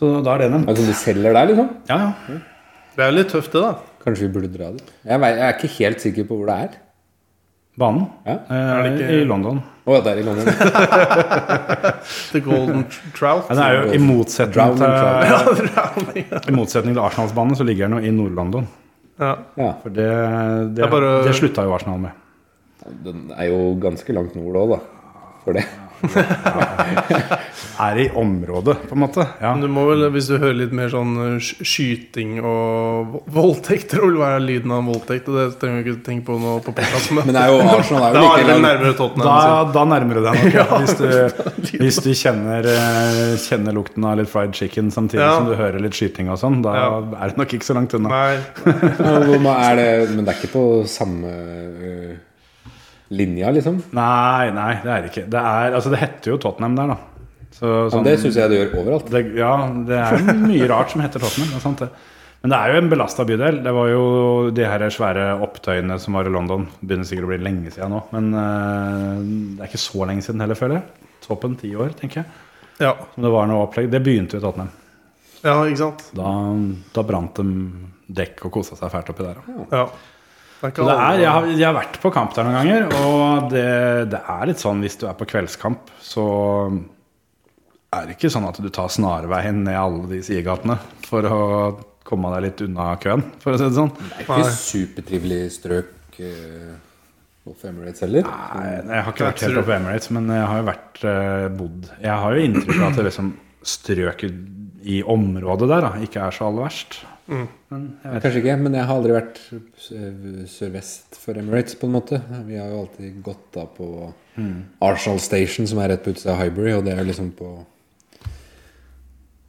Speaker 6: Så da er det nevnt.
Speaker 4: Altså, de selger der, liksom?
Speaker 6: Ja, ja.
Speaker 1: Det er jo litt tøft, det, da.
Speaker 4: Kanskje vi burde dra dit? Jeg, vei- jeg er ikke helt sikker på hvor det er.
Speaker 6: Banen.
Speaker 4: Ja.
Speaker 6: Eh,
Speaker 1: det ikke-
Speaker 6: I London.
Speaker 4: Å, ja, det er i London.
Speaker 1: The Golden Tr- Trout.
Speaker 6: Ja, det er jo I motsetning
Speaker 4: Drowning
Speaker 6: til,
Speaker 4: Club.
Speaker 6: i motsetning til Arsenalsbanen, så ligger den jo i Nord-London.
Speaker 1: Ja.
Speaker 4: Ja,
Speaker 6: For det, det,
Speaker 1: er bare-
Speaker 6: det slutta jo Arsenal med.
Speaker 4: den er jo ganske langt nord òg, da. For det.
Speaker 6: er i området, på en måte. Ja.
Speaker 1: Men Du må vel, hvis du hører litt mer sånn eh, sk- skyting og vo- voldtekt, det vil være lyden av en voldtekt. Og det trenger vi ikke tenke på nå på podcasten,
Speaker 4: Men det er jo Arsenal er
Speaker 1: Da er
Speaker 4: jo like
Speaker 1: det vel
Speaker 4: langt.
Speaker 1: nærmere Tottenham.
Speaker 6: Da, da nærmer du deg nok. Ja. Hvis, du, hvis du kjenner, eh, kjenner lukten av litt fried chicken samtidig
Speaker 1: Ja.
Speaker 6: som du hører litt skyting og sånn, da
Speaker 1: Ja.
Speaker 6: er det nok ikke så langt unna.
Speaker 1: Nei,
Speaker 4: Men hvor ma- er det, men det er ikke på samme øh, linja, liksom.
Speaker 6: Nei, nei, det er det ikke. Det, er, altså, det heter jo Tottenham der, da. Så,
Speaker 4: Men
Speaker 6: sånn-
Speaker 4: det syns jeg det gjør overalt.
Speaker 6: det, ja, det er jo mye rart som heter Tottenham. Det er sant, det. Men det er jo en belasta bydel. Det var jo de her svære opptøyene som var i London. Det begynner sikkert å bli lenge siden nå, men eh, det er ikke så lenge siden heller, føler jeg. Toppen ti år, tenker jeg.
Speaker 1: ja.
Speaker 6: Som det var noe opplegg. Det begynte jo i Tottenham.
Speaker 1: ja, ikke sant?
Speaker 6: Da, da brant de dekk og kosa seg fælt oppi der. da.
Speaker 1: Ja. Det er
Speaker 6: Så
Speaker 1: ikke
Speaker 6: det
Speaker 1: alle-
Speaker 6: er, jeg, har, jeg har vært på kamp der noen ganger, og det, det er litt sånn hvis du er på kveldskamp, så er det ikke sånn at du tar snarveien ned alle de sidegatene for å komme deg litt unna køen, for å si det sånn.
Speaker 4: Det er ikke supertrivelig strøk øh, off Emirates heller.
Speaker 6: Nei, jeg har ikke
Speaker 1: Jeg
Speaker 6: vært helt
Speaker 1: tror-
Speaker 6: oppe på Emirates, men jeg har jo vært eh, bodd Jeg har jo inntrykk av at det liksom strøket i området der da, ikke er så aller verst. Men jeg vet
Speaker 4: Kanskje ikke, men jeg har aldri vært sø- sørvest for Emirates, på en måte. Vi har jo alltid gått da på Arsenal Station, som er rett på utsida av Highbury, og det er jo liksom på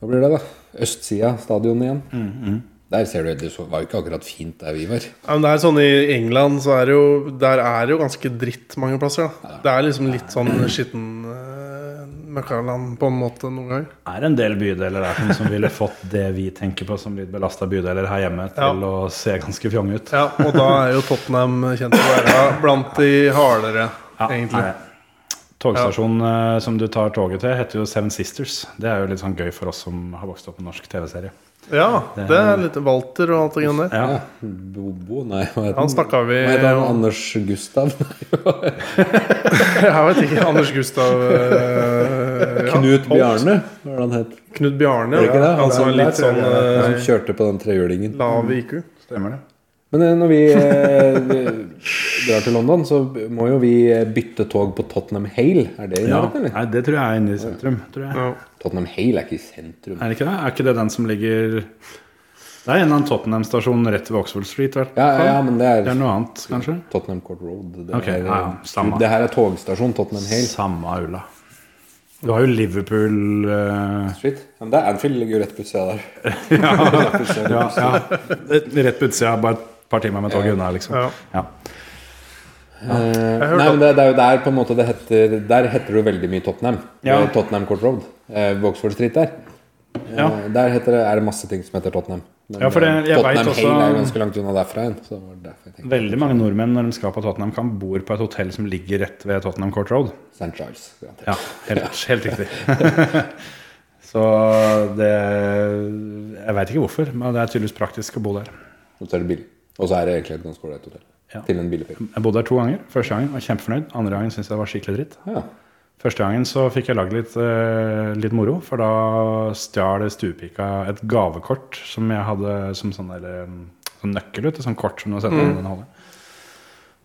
Speaker 4: Hva blir det, da? Østsida av stadionet igjen. Der ser du, det så- var jo ikke akkurat fint der vi var.
Speaker 1: Ja, men det er sånn I England så er det jo Der er det jo ganske dritt mange plasser. Da. Det er liksom litt sånn skitten uh, møkkaland på en måte noen ganger.
Speaker 6: er en del bydeler der som- som ville fått det vi tenker på som litt belasta bydeler her hjemme, til å se ganske fjong ut.
Speaker 1: Ja, Og da er jo Tottenham kjent for å være blant de hardere,
Speaker 6: Ja,
Speaker 1: egentlig.
Speaker 6: nei. Togstasjonen eh, som du tar toget til, heter jo Seven Sisters. Det er jo litt sånn gøy for oss som har vokst opp med norsk TV-serie.
Speaker 1: Ja, det er litt Walter og alt det greiene der.
Speaker 6: Ja.
Speaker 4: Ja. Bobo, nei, hva heter
Speaker 1: Han snakka vi
Speaker 4: Hva heter han? Anders Gustav?
Speaker 1: Jeg vet ikke. Anders Gustav eh, ja,
Speaker 4: Knut
Speaker 1: Holt.
Speaker 4: Bjarne, hva var det han het?
Speaker 1: Knut Bjarne.
Speaker 4: Var det ikke det?
Speaker 1: Ja, han som
Speaker 4: Han
Speaker 1: var litt sånn
Speaker 4: Han som
Speaker 1: eh,
Speaker 4: kjørte på den trehjulingen.
Speaker 1: lav IQ.
Speaker 6: Stemmer det?
Speaker 4: Men eh, når vi eh, drar til London, så må jo vi eh, bytte tog på Tottenham Hale. Er det i
Speaker 6: Ja.
Speaker 4: nærheten, eller?
Speaker 6: Nei, det tror jeg er inne i sentrum. Tror jeg.
Speaker 1: Ja.
Speaker 4: Tottenham Hale er ikke i sentrum.
Speaker 6: Er det ikke det? Er ikke det den som ligger Det er en eller annen Tottenham-stasjon rett ved Oxford Street, i hvert
Speaker 4: Ja, ja, ja,
Speaker 6: fall.
Speaker 4: men det
Speaker 6: Det er
Speaker 4: er
Speaker 6: noe annet, kanskje?
Speaker 4: Tottenham Court Road. Det,
Speaker 6: Ok,
Speaker 4: er,
Speaker 6: ja, ja, samme.
Speaker 4: det her er togstasjon Tottenham Hale.
Speaker 6: Samme ulla. Du har jo Liverpool eh,
Speaker 4: Street. Ja, men det er Anfield ligger jo rett på utsida der.
Speaker 6: ja, ja. Rett på utsida, bare et par timer med toget unna, liksom.
Speaker 1: Ja.
Speaker 6: Ja.
Speaker 4: Eh,
Speaker 1: hørte
Speaker 4: Nei, men det, det er jo der på en måte det heter Der heter det jo veldig mye Tottenham.
Speaker 6: Ja.
Speaker 4: Eh, Tottenham Court Road. Eh, Vauxhall Street der. Eh,
Speaker 6: Ja.
Speaker 4: Der heter det, er det masse ting som heter Tottenham. Men
Speaker 6: Ja, for det-
Speaker 4: eh,
Speaker 6: jeg vet
Speaker 4: Tottenham
Speaker 6: også-
Speaker 4: Hale er jo ganske langt unna derfra igjen. Så det var derfor jeg tenkte
Speaker 6: Veldig mange nordmenn når de skal på Tottenham Camp, bor på et hotell som ligger rett ved Tottenham Court Road.
Speaker 4: St. Charles. garantert.
Speaker 6: Ja, helt, helt riktig. Så det Jeg veit ikke hvorfor, men det er tydeligvis praktisk å bo der.
Speaker 4: Og så er det billig. Og så er det egentlig et ganske ålreit hotell.
Speaker 6: Ja.
Speaker 4: Til en billig penge.
Speaker 6: Jeg bodde der to ganger. Første gangen var jeg kjempefornøyd. Andre gangen syntes jeg det var skikkelig dritt.
Speaker 4: Ja.
Speaker 6: Første gangen så fikk jeg lagd litt, eh, litt moro, for da stjal stuepika et gavekort som jeg hadde som sånn, der, eh, sånn nøkkel, vet du, sånn kort som du setter mm. den holder.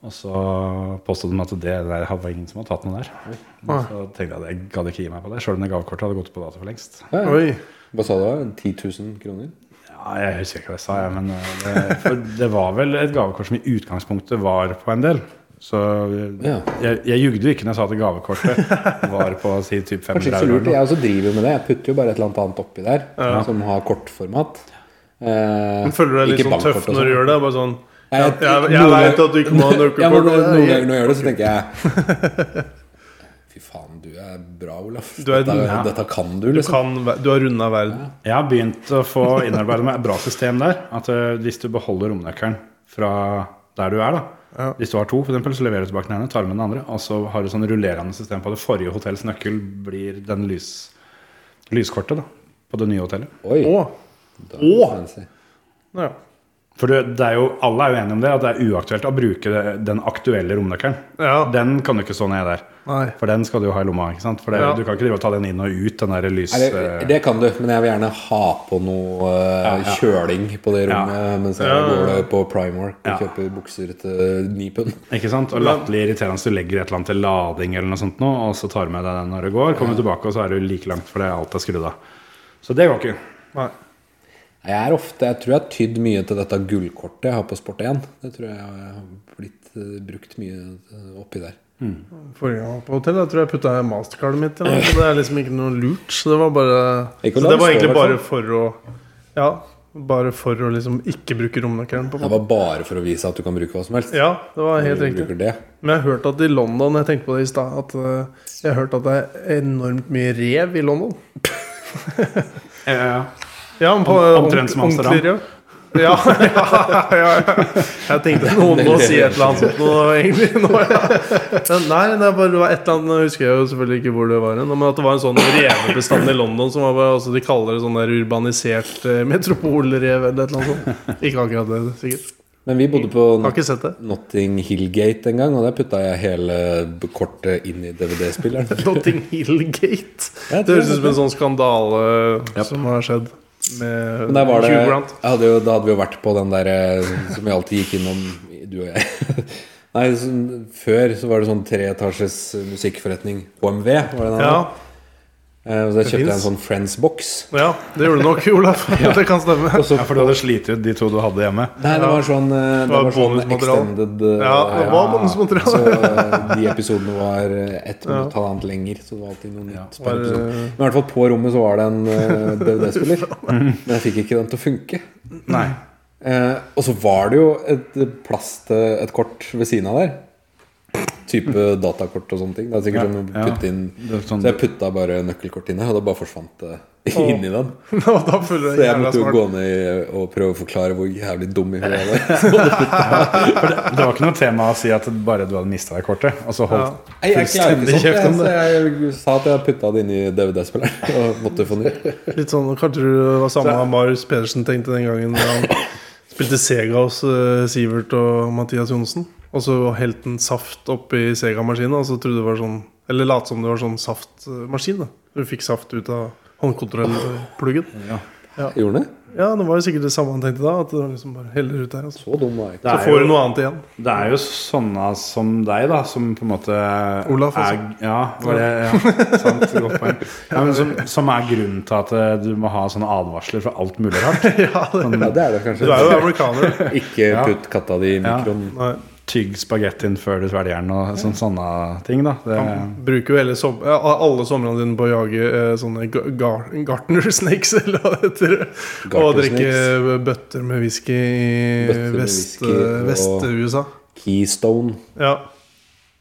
Speaker 6: Og så påstod de at det der var ingen som hadde tatt noe der. Og så tenkte jeg at jeg gadd ikke gi meg på det, sjøl om det gavekortet hadde gått på dato for lengst.
Speaker 4: Ja.
Speaker 1: Oi.
Speaker 4: Hva sa du? da? 10 000 kroner?
Speaker 6: Ja, jeg husker ikke hva jeg sa, jeg, men eh, det, for det var vel et gavekort som i utgangspunktet var på en del. Så eh,
Speaker 4: Ja.
Speaker 6: jeg, jeg jugde jo ikke når jeg sa at gavekortet var på si typ 500
Speaker 4: Kanskje ikke
Speaker 6: euro
Speaker 4: så
Speaker 6: eller
Speaker 4: lurt.
Speaker 6: noe.
Speaker 4: Jeg også driver jo med det. Jeg putter jo bare et eller annet annet oppi der som har kortformat. Eh,
Speaker 1: Men Føler du deg litt
Speaker 4: ikke
Speaker 1: sånn
Speaker 4: bankkort
Speaker 1: tøff
Speaker 4: og
Speaker 1: når
Speaker 4: sånn.
Speaker 1: du gjør det? Bare sånn
Speaker 4: Jeg-
Speaker 1: Jeg, jeg, jeg
Speaker 4: noen
Speaker 1: veit
Speaker 4: ganger-
Speaker 1: at du ikke må ha
Speaker 4: Ja, men noen, noen ganger
Speaker 1: nøkkelkort.
Speaker 4: når jeg gjør det, så tenker jeg Fy faen, du er bra, Olaf.
Speaker 1: Du er-
Speaker 4: dette,
Speaker 6: ja.
Speaker 4: dette kan du,
Speaker 1: Du,
Speaker 4: liksom.
Speaker 1: kan, ver- du har runda verden.
Speaker 6: Jeg har begynt å få innarbeidet meg et bra system der. At eh, hvis du beholder romnøkkelen fra der du er, da.
Speaker 1: Ja.
Speaker 6: Hvis du har to, for eksempel, så leverer du tilbake den ene, tar med den andre. Og så har du sånn rullerende system på at det forrige hotells nøkkel blir den lys, lyskortet da, på det nye hotellet.
Speaker 4: Oi,
Speaker 1: Å!
Speaker 4: da er det
Speaker 1: Å!
Speaker 4: fancy.
Speaker 1: Ja.
Speaker 6: For det, det er jo, alle er jo enige om det, at det er uaktuelt å bruke det- den aktuelle romnøkkelen.
Speaker 1: Ja.
Speaker 6: Den kan du ikke stå ned der.
Speaker 1: Nei.
Speaker 6: For den skal du jo ha i lomma. ikke sant? For det,
Speaker 1: Ja.
Speaker 6: Du kan ikke drive og ta den inn og ut, den der lys... eh,
Speaker 4: Nei, det, det kan du, men jeg vil gjerne ha på noe eh,
Speaker 6: Ja, ja.
Speaker 4: kjøling på det
Speaker 6: Ja.
Speaker 4: rommet mens jeg
Speaker 1: Ja, ja,
Speaker 4: går
Speaker 1: ja.
Speaker 4: på Primark og
Speaker 6: Ja.
Speaker 4: kjøper bukser til ni pund.
Speaker 6: Ikke sant? Og latterlig irriterende hvis du legger et eller annet til lading eller noe sånt nå, og så tar du med deg den når du går. Kommer du tilbake, og så er du like langt fordi alt er skrudd av. Så det går ikke.
Speaker 1: Nei.
Speaker 4: Jeg er ofte, jeg tror jeg har tydd mye til dette gullkortet jeg har på Sport1. Det tror jeg har blitt eh, brukt mye eh, oppi der.
Speaker 1: Forrige gang jeg var på hotell, jeg tror jeg putta mastercardet mitt i noe, så Det er liksom ikke noe lurt. Så det var bare
Speaker 4: Ikke å
Speaker 1: så Det var
Speaker 4: la det stå,
Speaker 1: egentlig
Speaker 4: i
Speaker 1: bare
Speaker 4: hvert
Speaker 1: for å Ja, bare for å liksom ikke bruke romnøkkelen. på en
Speaker 4: Det
Speaker 1: måte.
Speaker 4: var bare for å vise at du kan bruke hva som helst.
Speaker 1: Ja, det var helt
Speaker 4: Du
Speaker 1: riktig.
Speaker 4: bruker det.
Speaker 1: Men jeg har hørt at i London Jeg tenkte på det i stad at eh, jeg har hørt at det er enormt mye rev i London. Ja, men på
Speaker 6: Om- omtrent som
Speaker 1: ordentlig- ordentlig
Speaker 6: Amsterdam.
Speaker 1: rev. Ja, ja, ja, ja. Jeg tenkte noen må si et eller annet sånt nå, egentlig. Nå, ja. Men Nei, det, er bare, det var et eller annet Nå husker jeg jo selvfølgelig ikke hvor det var hen, Men at det var en sånn revebestand i London som var bare, altså, De kaller det sånn der urbanisert eh, metropolrev eller et eller annet sånt. Ikke akkurat det, sikkert.
Speaker 4: Men vi bodde på
Speaker 1: Har ikke sett det.
Speaker 4: Notting Hill Gate en gang, og der putta jeg hele kortet inn i DVD-spilleren.
Speaker 1: Notting Hill Gate. Det høres ut som en sånn skandale som har skjedd med
Speaker 4: Men der var det,
Speaker 1: Hugh
Speaker 4: jeg
Speaker 1: Grant.
Speaker 4: hadde jo, da hadde vi jo vært på den der eh, som vi alltid gikk innom, du og jeg. Nei, sånn, før så var det sånn treetasjes musikkforretning. HMV var det den
Speaker 1: Ja,
Speaker 4: her. Eh, Og der
Speaker 1: Det
Speaker 4: kjøpte jeg en
Speaker 1: finnes.
Speaker 4: sånn Friends-boks.
Speaker 1: ja, det gjorde du nok, Olaf. Det kan stemme.
Speaker 4: Og så
Speaker 6: Ja, for du hadde slitt ut de to du hadde hjemme.
Speaker 4: Nei, det var sånn, eh, det
Speaker 1: var
Speaker 4: var sånn
Speaker 1: bonusmateriale.
Speaker 4: extended eh,
Speaker 1: Ja, det var bonusmateriale.
Speaker 4: Så eh, de episodene var eh, ett minutt halvannet lenger, så det var alltid noe nytt. per
Speaker 1: Var,
Speaker 4: episode.
Speaker 1: eh,
Speaker 4: Men i hvert fall på rommet så var det en eh, DVD-spiller. Men jeg fikk ikke den til å funke.
Speaker 6: Nei.
Speaker 4: Eh, og så var det jo et plass til et kort ved siden av der. Type datakort og sånne ting. Det er sikkert sånn å
Speaker 6: ja.
Speaker 4: putte inn
Speaker 6: Det er sånn-
Speaker 4: Så jeg putta bare nøkkelkort inn her, og da bare forsvant det inni den.
Speaker 1: Og da føler
Speaker 4: Så
Speaker 1: jeg
Speaker 4: jeg
Speaker 1: jævla
Speaker 4: måtte jo
Speaker 1: smart.
Speaker 4: gå ned eh, og prøve å forklare hvor jævlig dum i hodet jeg var.
Speaker 6: For det, det var ikke noe tema å si at bare du hadde mista deg kortet. Og så
Speaker 1: Ja.
Speaker 6: holdt
Speaker 4: Nei, Jeg klarer ikke
Speaker 6: Fullstendig
Speaker 4: sånt,
Speaker 6: kjeft
Speaker 4: jeg,
Speaker 6: om
Speaker 4: så jeg sa at jeg putta det inn i DVD-spilleren og måtte få ny.
Speaker 1: Litt sånn, Kanskje du var samme som Marius Pedersen tenkte den gangen da han spilte Sega hos eh, Sivert og Mathias Johnsen. Og så helte han saft oppi Sega-maskinen, og så trodde det var sånn Eller lot som det var sånn saftmaskin. da Du fikk saft ut av håndkontrollpluggen.
Speaker 4: Gjorde det?
Speaker 1: Ja, det var jo sikkert det samme han tenkte da. At det var liksom bare heller ut der. Altså.
Speaker 4: Så dum var jeg ikke.
Speaker 1: Så får du noe annet igjen.
Speaker 6: Det er jo sånne som deg, da, som på en måte
Speaker 1: Olaf også.
Speaker 6: er, Ja, var det altså. ja, sant? Godt poeng. Ja, men som, som er grunnen til at eh, du må ha sånne advarsler for alt mulig rart.
Speaker 4: Ja, det er det
Speaker 1: Du er
Speaker 4: kanskje.
Speaker 1: jo amerikaner. du.
Speaker 4: Ikke
Speaker 6: Ja.
Speaker 4: putt katta di i mikroen.
Speaker 1: Nei.
Speaker 6: Tygg spagettien før du svelger den, og sånne, sånne ting. da det,
Speaker 1: Bruker jo hele som, ja, alle somrene dine på å jage eh, sånne ga- gar, gartner snakes, eller hva det heter. Og
Speaker 4: Garter
Speaker 1: drikke
Speaker 4: snakes.
Speaker 1: eh, bøtter med whisky i
Speaker 4: Bøtter med
Speaker 1: vest-
Speaker 4: whisky
Speaker 1: eh,
Speaker 4: og-
Speaker 1: Vest-USA.
Speaker 4: Keystone.
Speaker 1: Ja.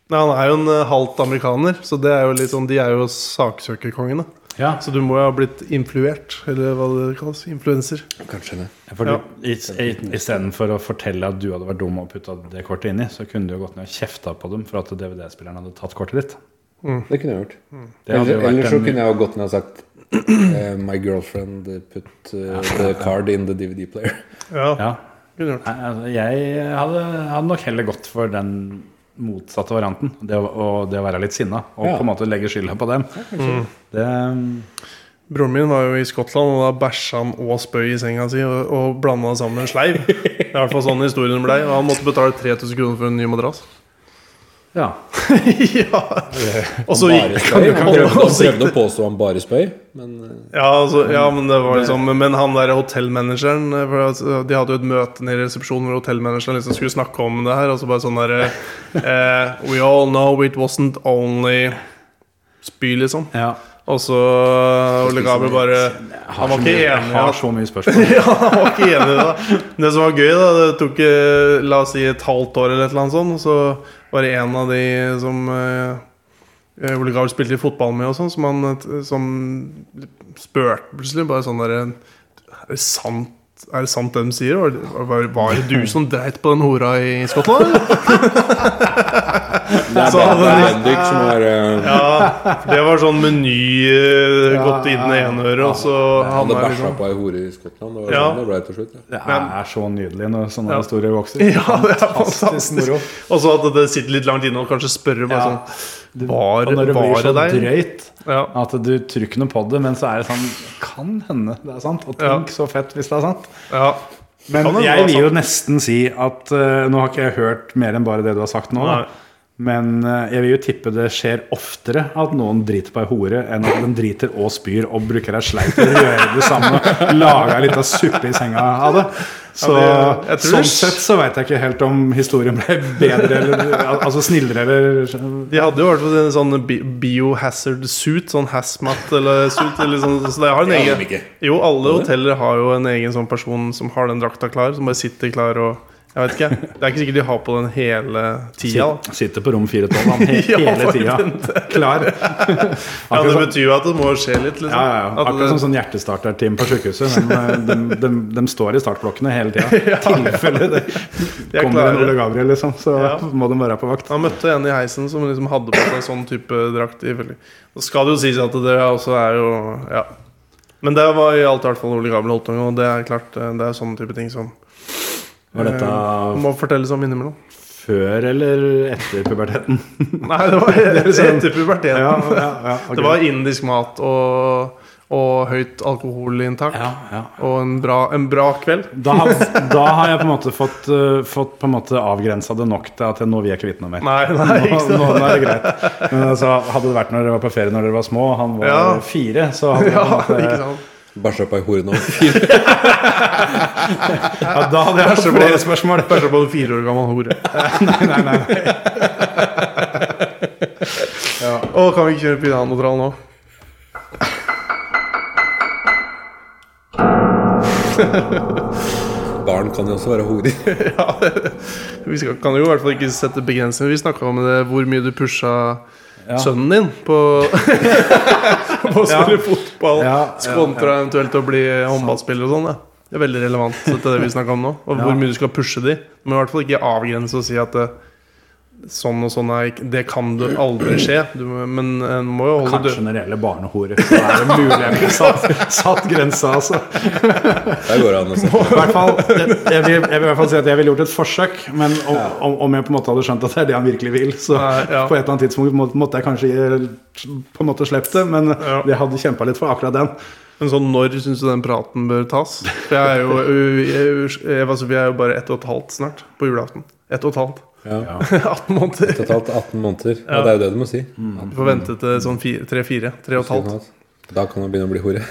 Speaker 1: Nei, han er jo en eh, halvt amerikaner, så det er jo litt sånn, de er jo saksøkerkongene.
Speaker 6: ja,
Speaker 1: Så du må jo ha blitt influert, eller hva det kalles. Influenser.
Speaker 4: Kanskje det.
Speaker 6: for du, i, i, Istedenfor å fortelle at du hadde vært dum og putta det kortet inni, så kunne du jo gått ned og kjefta på dem for at DVD-spilleren hadde tatt kortet ditt.
Speaker 4: Det kunne jeg gjort.
Speaker 6: Det hadde jo
Speaker 4: Eller, eller
Speaker 6: vært
Speaker 4: så
Speaker 6: en,
Speaker 4: kunne jeg jo gått ned og sagt eh, My girlfriend put eh, the card in the DVD player.
Speaker 1: Ja,
Speaker 6: ja,
Speaker 1: kunne gjort.
Speaker 6: Nei, altså, Jeg hadde, hadde nok heller gått for den motsatte varianten. Det å, og det å være litt sinna og
Speaker 4: Ja.
Speaker 6: på en måte legge skylda på dem. Det,
Speaker 1: Broren min var jo i Skottland, og da bæsja han og spøy i senga si og, og blanda sammen en sleiv. Det er i hvert fall sånn historien blei. Og han måtte betale 3000 kroner for en ny madrass.
Speaker 6: ja.
Speaker 1: ja. Og så
Speaker 4: Bare
Speaker 1: gikk
Speaker 4: spøy.
Speaker 1: han jo
Speaker 4: Han prøvde, han prøvde å påstå han bare spøy, men eh,
Speaker 1: ja, altså, ja, men det var liksom Men han der hotellmanageren eh, for at, eh, De hadde jo et møte nede i resepsjonen hvor hotellmanageren liksom skulle snakke om det her. Og så bare sånn der eh, We all know it wasn't only spy, liksom.
Speaker 6: ja.
Speaker 1: Og så Ole Gabriel bare Han var ikke
Speaker 6: Jeg
Speaker 1: enig i
Speaker 6: har
Speaker 1: at
Speaker 6: så mye spørsmål.
Speaker 1: ja, han var ikke enig i det. da. Det som var gøy, da, det tok eh, la oss si et halvt år, eller et eller annet sånt, og så var det en av de som eh, Ole Gahl spilte litt fotball med, og sånn, som, han, eh, som spurte plutselig bare sånn derre Er det sant? Er det sant det de sier? Var det, var, var det du som dreit på den hora i Skottland? eller?»
Speaker 4: Det er
Speaker 1: Så hadde
Speaker 4: Ben- det er
Speaker 1: den-
Speaker 4: Bendik som har eh,
Speaker 1: Ja, for det var sånn meny eh,
Speaker 6: Ja,
Speaker 1: gått inn i ene øret, og så
Speaker 4: Han hadde
Speaker 1: havna jeg
Speaker 4: bæsja
Speaker 1: liksom
Speaker 4: på ei hore i Skottland. Det var
Speaker 1: Ja.
Speaker 4: sånn det ble til slutt. Ja.
Speaker 6: Det er så nydelig når sånne
Speaker 1: Ja.
Speaker 6: historier vokser.
Speaker 1: Ja, det er
Speaker 6: Fantastisk
Speaker 1: fantastisk.
Speaker 6: moro.
Speaker 1: Og så at det sitter litt langt inne og kanskje spørre meg
Speaker 6: Ja.
Speaker 1: sånn Var,
Speaker 6: Og når det blir
Speaker 1: var
Speaker 6: så
Speaker 1: det deg?
Speaker 6: drøyt
Speaker 1: Ja.
Speaker 6: at du tror ikke noe på det, men så er det sånn Kan hende det er sant. Og
Speaker 1: Ja.
Speaker 6: tenk så fett hvis det er sant.
Speaker 1: ja.
Speaker 6: Men
Speaker 1: Kan hende
Speaker 6: jeg
Speaker 1: det er
Speaker 6: vil jo nesten si at eh, Nå har ikke jeg hørt mer enn bare det du har sagt nå. Da.
Speaker 1: Nei.
Speaker 6: Men eh, jeg vil jo tippe det skjer oftere at noen driter på ei hore, enn at den driter og spyr og bruker ei sleip til å gjøre det samme. Laga ei lita suppe i senga av det. Så
Speaker 1: Ja, det- jeg tror
Speaker 6: sånn
Speaker 1: det-
Speaker 6: sett så veit jeg ikke helt om historien ble bedre eller al- altså snillere eller
Speaker 1: De hadde jo i hvert fall en sånn bi- biohazard suit, sånn hazmat eller suit. Eller sånn, så det har en
Speaker 4: Det hadde de
Speaker 1: egen
Speaker 4: ikke.
Speaker 1: Jo, alle hoteller har jo en egen sånn person som har den drakta klar, som bare sitter klar og Jeg vet ikke. Det er ikke sikkert de har på den hele tida. da.
Speaker 6: Sitter- Sitter på rom 412 han, he
Speaker 1: Ja,
Speaker 6: hele
Speaker 1: for
Speaker 6: tida. Klar.
Speaker 1: Ja,
Speaker 6: Akkurat
Speaker 1: Det
Speaker 6: sånn-
Speaker 1: betyr jo at det må skje litt, liksom.
Speaker 6: ja, ja, ja.
Speaker 1: At
Speaker 6: Akkurat
Speaker 1: det-
Speaker 6: som sånn hjertestarterteam på sjukehuset. men, eh, De, de, de står i startblokkene hele tida. I tilfelle det
Speaker 1: De er
Speaker 6: kommer
Speaker 1: klare.
Speaker 6: en Ole Gabriel, liksom, så
Speaker 1: Ja.
Speaker 6: må de være på vakt.
Speaker 1: Han møtte en i heisen som liksom hadde på seg sånn type drakt. ifølge- Nå skal det jo sies at det også er jo Ja. Men det var i alt i hvert fall Ole Gabel holdt på med, og det er klart, eh, det er sånne type ting som
Speaker 6: Var dette
Speaker 1: eh, må fortelles om innimellom.
Speaker 6: før eller etter puberteten?
Speaker 1: Nei, det var
Speaker 6: sånn-
Speaker 1: etter puberteten.
Speaker 6: Ja, ja, ja, ok.
Speaker 1: Det var indisk mat og, og høyt alkoholinntak.
Speaker 6: ja, ja.
Speaker 1: Og en bra, en bra kveld.
Speaker 6: Da, har, da har jeg på en måte fått, eh, fått på en måte avgrensa det nok til at jeg- nå vil jeg ikke vite noe mer.
Speaker 1: Nei, nei,
Speaker 6: Nå,
Speaker 1: ikke sant?
Speaker 6: nå er det greit. Men altså, hadde det vært når dere var på ferie når dere var små, og han var
Speaker 1: Ja.
Speaker 6: fire, så hadde det
Speaker 1: Ja,
Speaker 6: på en måte-
Speaker 1: ikke sant?
Speaker 4: Bæsja på ei hore nå.
Speaker 6: ja, Da hadde jeg hatt flere spørsmål.
Speaker 1: Kanskje på en fire år gammel hore.
Speaker 6: Nei, nei, nei.
Speaker 1: Å, kan vi ikke kjøre Pinanotrall nå?
Speaker 4: Barn kan jo også være horer.
Speaker 1: Vi skal, kan jo i hvert fall ikke sette begrensninger. Vi snakka om det, hvor mye du pusha
Speaker 6: Ja.
Speaker 1: sønnen din på På å spille fotball,
Speaker 6: Ja, ja,
Speaker 1: kontra eventuelt å bli håndballspiller og sånn. Ja. Det er veldig relevant til det vi snakka om nå. Og
Speaker 6: Ja.
Speaker 1: hvor mye du skal pushe de. Du må i hvert fall ikke avgrense og si at det, sånn og sånn er ikke- Det kan du aldri skje. Du, må- men en må jo holde
Speaker 6: Kanskje
Speaker 1: dø-
Speaker 6: når det gjelder barnehorer, så er det mulig jeg ville satt, satt grensa, altså.
Speaker 4: Der går det an å se.
Speaker 6: I hvert fall, jeg, jeg, vil, jeg vil i hvert fall si at jeg ville gjort et forsøk, men om, om, om jeg på en måte hadde skjønt at det er det han virkelig vil, så
Speaker 1: Nei, ja.
Speaker 6: på et eller annet tidspunkt må, måtte jeg kanskje gi- på en måte slippe det, men
Speaker 1: Ja.
Speaker 6: jeg hadde kjempa litt for akkurat den.
Speaker 1: Men sånn, når syns du den praten bør tas? For jeg er jo, jeg, jeg, altså, vi er jo bare ett og et halvt snart på julaften. Ett og et halvt.
Speaker 4: Ja.
Speaker 1: 18 måneder.
Speaker 4: Totalt 18 måneder. Ja, det er jo det du må si.
Speaker 1: Du får vente til sånn fire- tre-fire. Tre og et halvt.
Speaker 4: Da kan man begynne å bli hore.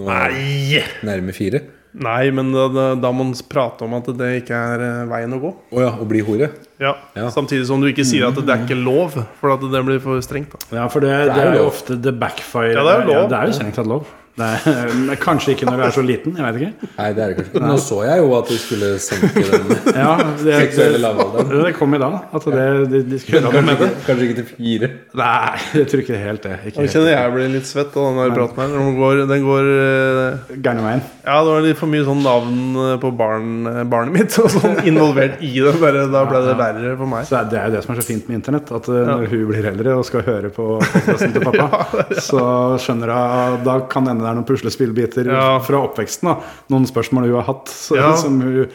Speaker 4: Nå er det
Speaker 1: Nei!
Speaker 4: nærme fire.
Speaker 1: Nei, men da, da, da må man prate om at det ikke er eh, veien å gå.
Speaker 4: Å ja, å bli hore.
Speaker 1: Ja.
Speaker 4: Ja.
Speaker 1: Samtidig som du ikke sier at det er ikke lov, for at det blir for strengt. da
Speaker 6: Ja, for det, det
Speaker 4: er
Speaker 6: er jo
Speaker 4: lov.
Speaker 6: ofte the backfire.
Speaker 1: Ja, det er jo lov.
Speaker 6: det er jo strengt tatt lov. Det er, men kanskje ikke når du er så liten, jeg veit ikke.
Speaker 4: Nei, det er det kanskje ikke. Nå så jeg jo at de skulle senke den
Speaker 6: Ja, det,
Speaker 4: seksuelle
Speaker 6: det,
Speaker 4: lavalderen.
Speaker 6: det kom i dag. At det, de, de skulle
Speaker 4: Kanskje ikke, kanskje ikke til fire.
Speaker 6: Nei, jeg tror ikke helt det.
Speaker 1: Jeg
Speaker 6: Ikke helt
Speaker 1: kjenner jeg blir litt svett av den der praten her. Den går, den går eh,
Speaker 6: gærne veien.
Speaker 1: Ja, det var litt for mye sånn navn eh, på barn, eh, barnet mitt og sånn involvert i det. Bare, da ble det verre for meg.
Speaker 6: Så Det er jo det som er så fint med internett. At eh, når hun blir eldre og skal høre på podcasten til pappa, så skjønner hun Da kan hende det er noen puslespillbiter
Speaker 1: Ja.
Speaker 6: fra oppveksten. da Noen spørsmål hun har hatt, så,
Speaker 1: Ja.
Speaker 6: som hun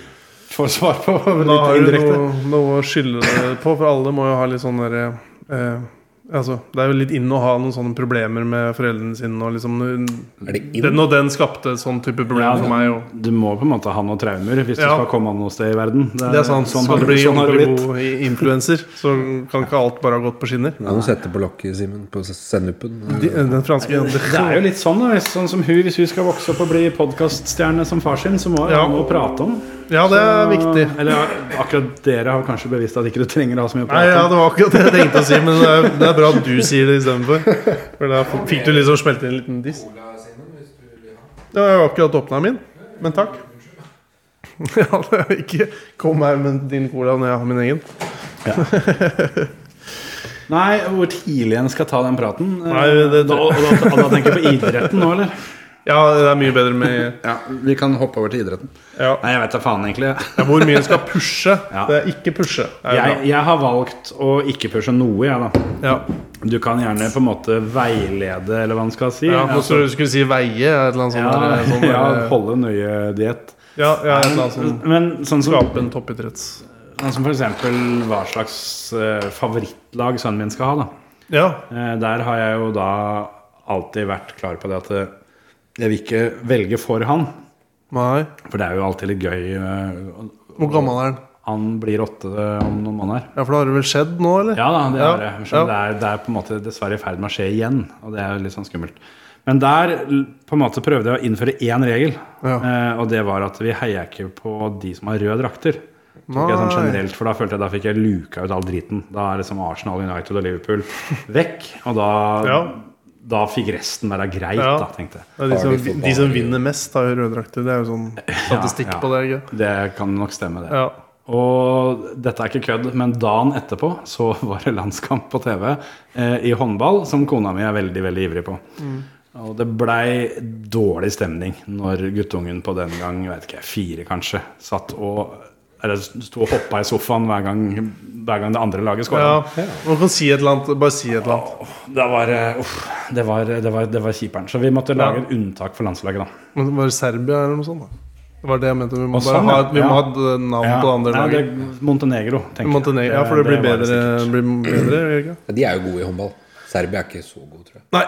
Speaker 6: får svar på.
Speaker 1: Da
Speaker 6: Litt
Speaker 1: har du
Speaker 6: indirekte.
Speaker 1: noe, noe å skylde det på, for alle må jo ha litt sånn derre eh, Altså, det er jo litt inn å ha noen sånne problemer med foreldrene sine og liksom
Speaker 4: Er det inn?
Speaker 1: Den og den skapte et sånn type problem
Speaker 6: Ja,
Speaker 1: for meg. Og
Speaker 6: Du må på en måte ha noen traumer hvis du
Speaker 1: Ja.
Speaker 6: skal komme noe sted i verden. Det
Speaker 1: det er sant.
Speaker 6: sånn
Speaker 1: Skal
Speaker 6: har
Speaker 1: du
Speaker 6: det-
Speaker 1: bli
Speaker 6: sånn har det
Speaker 1: ordentlig
Speaker 6: blitt.
Speaker 1: god i- influenser, så kan ikke alt bare ha gått på skinner.
Speaker 4: Ja, nå setter på lokket, Simen. På sennupen.
Speaker 1: De, den franske
Speaker 6: Det er jo litt sånn, da. Hvis, sånn som hun, hvis hun skal vokse opp og bli podkaststjerne som far sin, så må hun
Speaker 1: Ja.
Speaker 6: ha noe å prate om.
Speaker 1: Ja, det er viktig.
Speaker 6: Eller akkurat dere har kanskje bevist at ikke du trenger å ha så mye å
Speaker 1: Nei,
Speaker 6: prate
Speaker 1: ja,
Speaker 6: om.
Speaker 1: Det var akkurat det jeg tenkte å si, men det er, det er bra at du sier det istedenfor. For da fikk du liksom smelte inn en liten diss. Ja, jeg har akkurat åpna min, men takk. Ja, det er ikke Kom her med din cola når jeg har min egen.
Speaker 6: Nei, hvor tidlig en skal ta den praten? eh,
Speaker 1: Nei, det-
Speaker 6: da, og, da, og da tenker jeg på idretten nå, eller?
Speaker 1: Ja, det er mye bedre med
Speaker 6: Ja, Vi kan hoppe over til idretten.
Speaker 1: Ja.
Speaker 6: Nei, jeg vet da faen, egentlig.
Speaker 1: Ja, Hvor mye en skal pushe.
Speaker 6: Ja.
Speaker 1: Det er ikke pushe. Det er
Speaker 6: Jeg, jeg har valgt å ikke pushe noe, jeg, da.
Speaker 1: bra. ja.
Speaker 6: Du kan gjerne på en måte veilede, eller hva man skal si.
Speaker 1: Ja, nå
Speaker 6: Altså,
Speaker 1: skulle du skulle si veie et eller annet sånt.
Speaker 6: ja,
Speaker 1: eller sånn,
Speaker 6: ja,
Speaker 1: eller-
Speaker 6: holde nøye diett.
Speaker 1: ja, ja, et eller annet
Speaker 6: Men,
Speaker 1: sånt.
Speaker 6: men sånn som
Speaker 1: Skape en toppidretts...
Speaker 6: Sånn som for eksempel hva slags eh, favorittlag sønnen min skal ha. Da.
Speaker 1: Ja.
Speaker 6: Eh, der har jeg jo da alltid vært klar på det at eh, jeg vil ikke velge for han.
Speaker 1: Nei.
Speaker 6: For det er jo alltid litt gøy. eh,
Speaker 1: Hvor gammel er den?
Speaker 6: Han blir åtte eh, om noen måneder.
Speaker 1: Ja, For det har det vel skjedd nå, eller?
Speaker 6: Ja da, det
Speaker 1: Ja,
Speaker 6: er det. Men skjønner,
Speaker 1: ja.
Speaker 6: det, er, det er på en måte dessverre i ferd med å skje igjen. Og det er jo litt sånn skummelt. Men der l- på en måte prøvde jeg å innføre én regel.
Speaker 1: Ja.
Speaker 6: eh, Og det var at vi heier ikke på de som har røde drakter. Tok jeg sånn
Speaker 1: Nei.
Speaker 6: generelt, for Da følte jeg da fikk jeg luka ut all driten. Da er liksom Arsenal, United og Liverpool vekk. Og da,
Speaker 1: Ja.
Speaker 6: da fikk resten være greit,
Speaker 1: Ja.
Speaker 6: da, tenkte jeg.
Speaker 1: Det er de,
Speaker 4: Har de fått
Speaker 1: som, de
Speaker 4: bare-
Speaker 1: som vinner mest, har jo røddrakter. Det er jo sånn statistikk
Speaker 6: Ja, ja.
Speaker 1: på det. Ikke?
Speaker 6: Det kan nok stemme, det.
Speaker 1: Ja.
Speaker 6: Og dette er ikke kødd, men dagen etterpå så var det landskamp på TV eh, i håndball, som kona mi er veldig veldig ivrig på.
Speaker 1: Mm.
Speaker 6: Og det blei dårlig stemning når guttungen på den gang, jeg vet ikke, fire kanskje, satt og eller sto og hoppa i sofaen hver gang, hver gang det andre laget
Speaker 1: ja.
Speaker 6: skåra.
Speaker 1: Man kan si et eller annet. Bare si et eller annet.
Speaker 6: Det var, eh, uff, det var, det var, det var kjiperen. Så vi måtte
Speaker 1: Ja.
Speaker 6: lage et unntak for landslaget, da.
Speaker 1: Men det var Serbia eller noe sånt? da Det var det jeg mente. Vi må
Speaker 6: Og
Speaker 1: bare
Speaker 6: sånn,
Speaker 1: ha
Speaker 6: ja.
Speaker 1: et, vi må ha et eh, navn på det andre
Speaker 6: Nei,
Speaker 1: laget.
Speaker 6: det- Montenegro, tenker
Speaker 1: Montenegro. Ja, for det blir
Speaker 6: var
Speaker 1: bedre.
Speaker 6: sikkert.
Speaker 1: Blir bedre gjør det ikke?
Speaker 4: De er jo gode i håndball. Serbia er ikke så gode, tror jeg.
Speaker 1: Nei.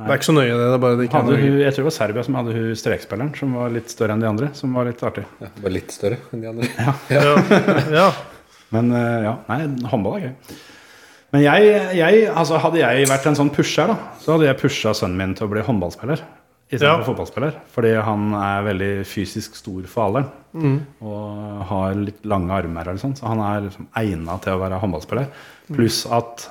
Speaker 1: Det er ikke så nøye, det. det er bare det ikke er
Speaker 6: Hadde
Speaker 1: Norge.
Speaker 6: hun, jeg tror det var Serbia som hadde hun strekspilleren, som var litt større enn de andre. Som var litt artig.
Speaker 4: Ja, bare litt større enn de andre.
Speaker 1: Ja.
Speaker 6: Men eh, ja, nei, håndball er gøy. Men jeg, jeg altså hadde jeg vært en sånn pusher, da, så hadde jeg pusha sønnen min til å bli håndballspiller. Istedenfor
Speaker 1: Ja.
Speaker 6: for fotballspiller. Fordi han er veldig fysisk stor for alderen.
Speaker 1: Mm.
Speaker 6: Og har litt lange armer, eller sånn, så han er liksom egna til å være håndballspiller. Pluss at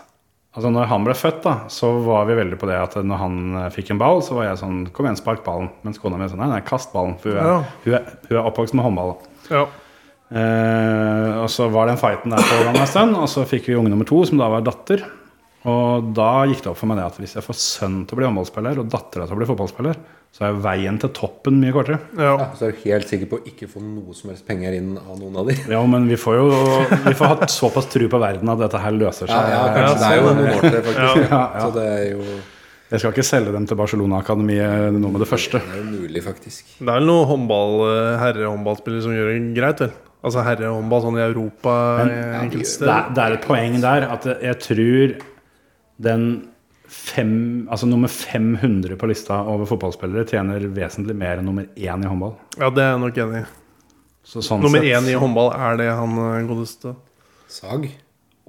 Speaker 6: altså når han ble født, da, så var vi veldig på det at når han eh, fikk en ball, så var jeg sånn Kom igjen, spark ballen. Mens kona mi er sånn Nei, nei, kast ballen. For hun er,
Speaker 1: Ja.
Speaker 6: hun er, hun er oppvokst med håndball. da.
Speaker 1: ja.
Speaker 6: Eh, og så var den fighten der på gang en stund, og så fikk vi unge nummer to, som da var datter. Og da gikk det opp for meg det at hvis jeg får sønnen til å bli håndballspiller og dattera til å bli fotballspiller, så er veien til toppen mye kortere.
Speaker 1: ja.
Speaker 4: Ja, så er du helt sikker på å ikke få noe som helst penger inn av noen av de.
Speaker 6: Ja, men vi får jo Vi får ha såpass tru på verden at dette her løser
Speaker 4: Ja,
Speaker 6: seg.
Speaker 4: ja, kanskje det er jo noen år til, faktisk.
Speaker 6: Ja, ja.
Speaker 4: Så det er jo,
Speaker 6: Jeg skal ikke selge dem til Barcelona-akademiet nå med det første.
Speaker 4: det er jo mulig, faktisk.
Speaker 1: Det er vel noen håndball, eh, herrehåndballspillere som gjør det greit, vel? Altså herrehåndball sånn i Europa eh, enkelte
Speaker 6: Det er,
Speaker 1: steder.
Speaker 6: det er et poeng der at jeg tror den fem, altså nummer 500 på lista over fotballspillere tjener vesentlig mer enn nummer én i håndball.
Speaker 1: Ja, det er jeg nok enig i.
Speaker 6: Så sånn
Speaker 1: Nummer
Speaker 6: sett-
Speaker 1: én i håndball, er det han eh, godeste?
Speaker 4: Sag.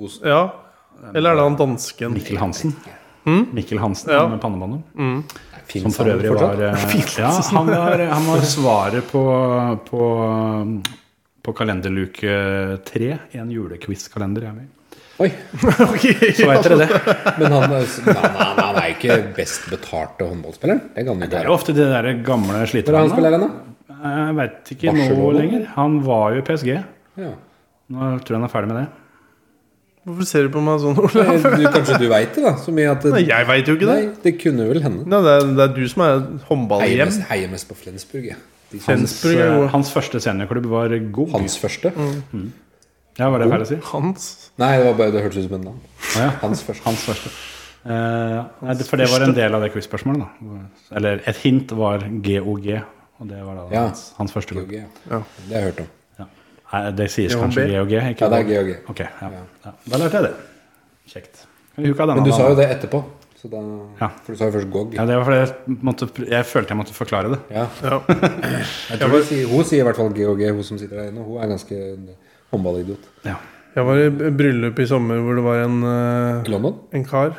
Speaker 4: Osen.
Speaker 1: Ja. Eller er det han dansken?
Speaker 6: Mikkel Hansen. Mikkel Hansen
Speaker 1: Hmm? Ja. Hmm.
Speaker 6: med pannebåndet.
Speaker 4: Fins
Speaker 6: Som for
Speaker 4: han
Speaker 6: øvrig
Speaker 4: fortsatt?
Speaker 6: var eh, ja, han, var, han var svaret på, på, um, på kalenderluke tre i en julequiz-kalender. jeg er med i.
Speaker 4: Oi,
Speaker 6: Så vet dere det.
Speaker 4: men han, er- nei, nei, nei, han er ikke best betalte håndballspilleren. Det kan han
Speaker 6: Det
Speaker 4: ikke
Speaker 6: er jo
Speaker 4: være.
Speaker 6: ofte de der gamle
Speaker 4: Hvor er han
Speaker 6: sliterne.
Speaker 4: spiller hen,
Speaker 6: Eh, Jeg veit ikke nå
Speaker 4: Barcelona?
Speaker 6: lenger. Han var jo i PSG.
Speaker 4: da? Ja.
Speaker 6: Nå tror jeg han er ferdig med det.
Speaker 1: Hvorfor ser du på meg sånn, Olav?
Speaker 4: Eh, Du, kanskje du veit det, da? Så mye at
Speaker 1: Nei, jeg veit jo ikke det.
Speaker 4: Nei, det kunne vel hende.
Speaker 1: Nei, det, er, det er du som er
Speaker 4: Heier
Speaker 1: håndballhjem.
Speaker 4: mest, heier mest på Flensburg, jeg. De som-
Speaker 6: Hans, eh,
Speaker 1: Flensburg er jo-
Speaker 6: hans første seniorklubb var GOG.
Speaker 4: eh, Hans første?
Speaker 6: Ja, var det feil å si?
Speaker 1: Hans.
Speaker 4: Nei, det var bare det hørtes ut som et navn.
Speaker 6: Å ja.
Speaker 4: Hans første.
Speaker 6: Hans første. Eh, nei, det- for det var en del av det quiz-spørsmålet. da. Eller et hint var GOG. Og det var da
Speaker 4: Ja.
Speaker 6: hans, hans første
Speaker 4: GOG.
Speaker 6: gang.
Speaker 4: Ja. Det har jeg hørt om.
Speaker 6: Ja. Nei, det sies
Speaker 1: GOG.
Speaker 6: kanskje GOG? Ikke
Speaker 4: Ja, det er GOG.
Speaker 6: Ok, ja. Ja. Da lærte jeg det. Kjekt. Kan vi huke av denne,
Speaker 4: Men du
Speaker 6: da?
Speaker 4: sa jo det etterpå. Så da,
Speaker 6: Ja.
Speaker 4: For du sa jo først GOG.
Speaker 6: Ja, det var fordi jeg, måtte, jeg følte jeg måtte forklare det.
Speaker 4: Ja.
Speaker 1: Ja.
Speaker 4: Jeg tror hun, sier, hun sier i hvert fall GOG, hun som sitter der inne. Hun er ganske en håndballidiot.
Speaker 6: Ja.
Speaker 1: Jeg var i b- bryllup i sommer hvor det var en, eh,
Speaker 4: I London?
Speaker 1: en kar.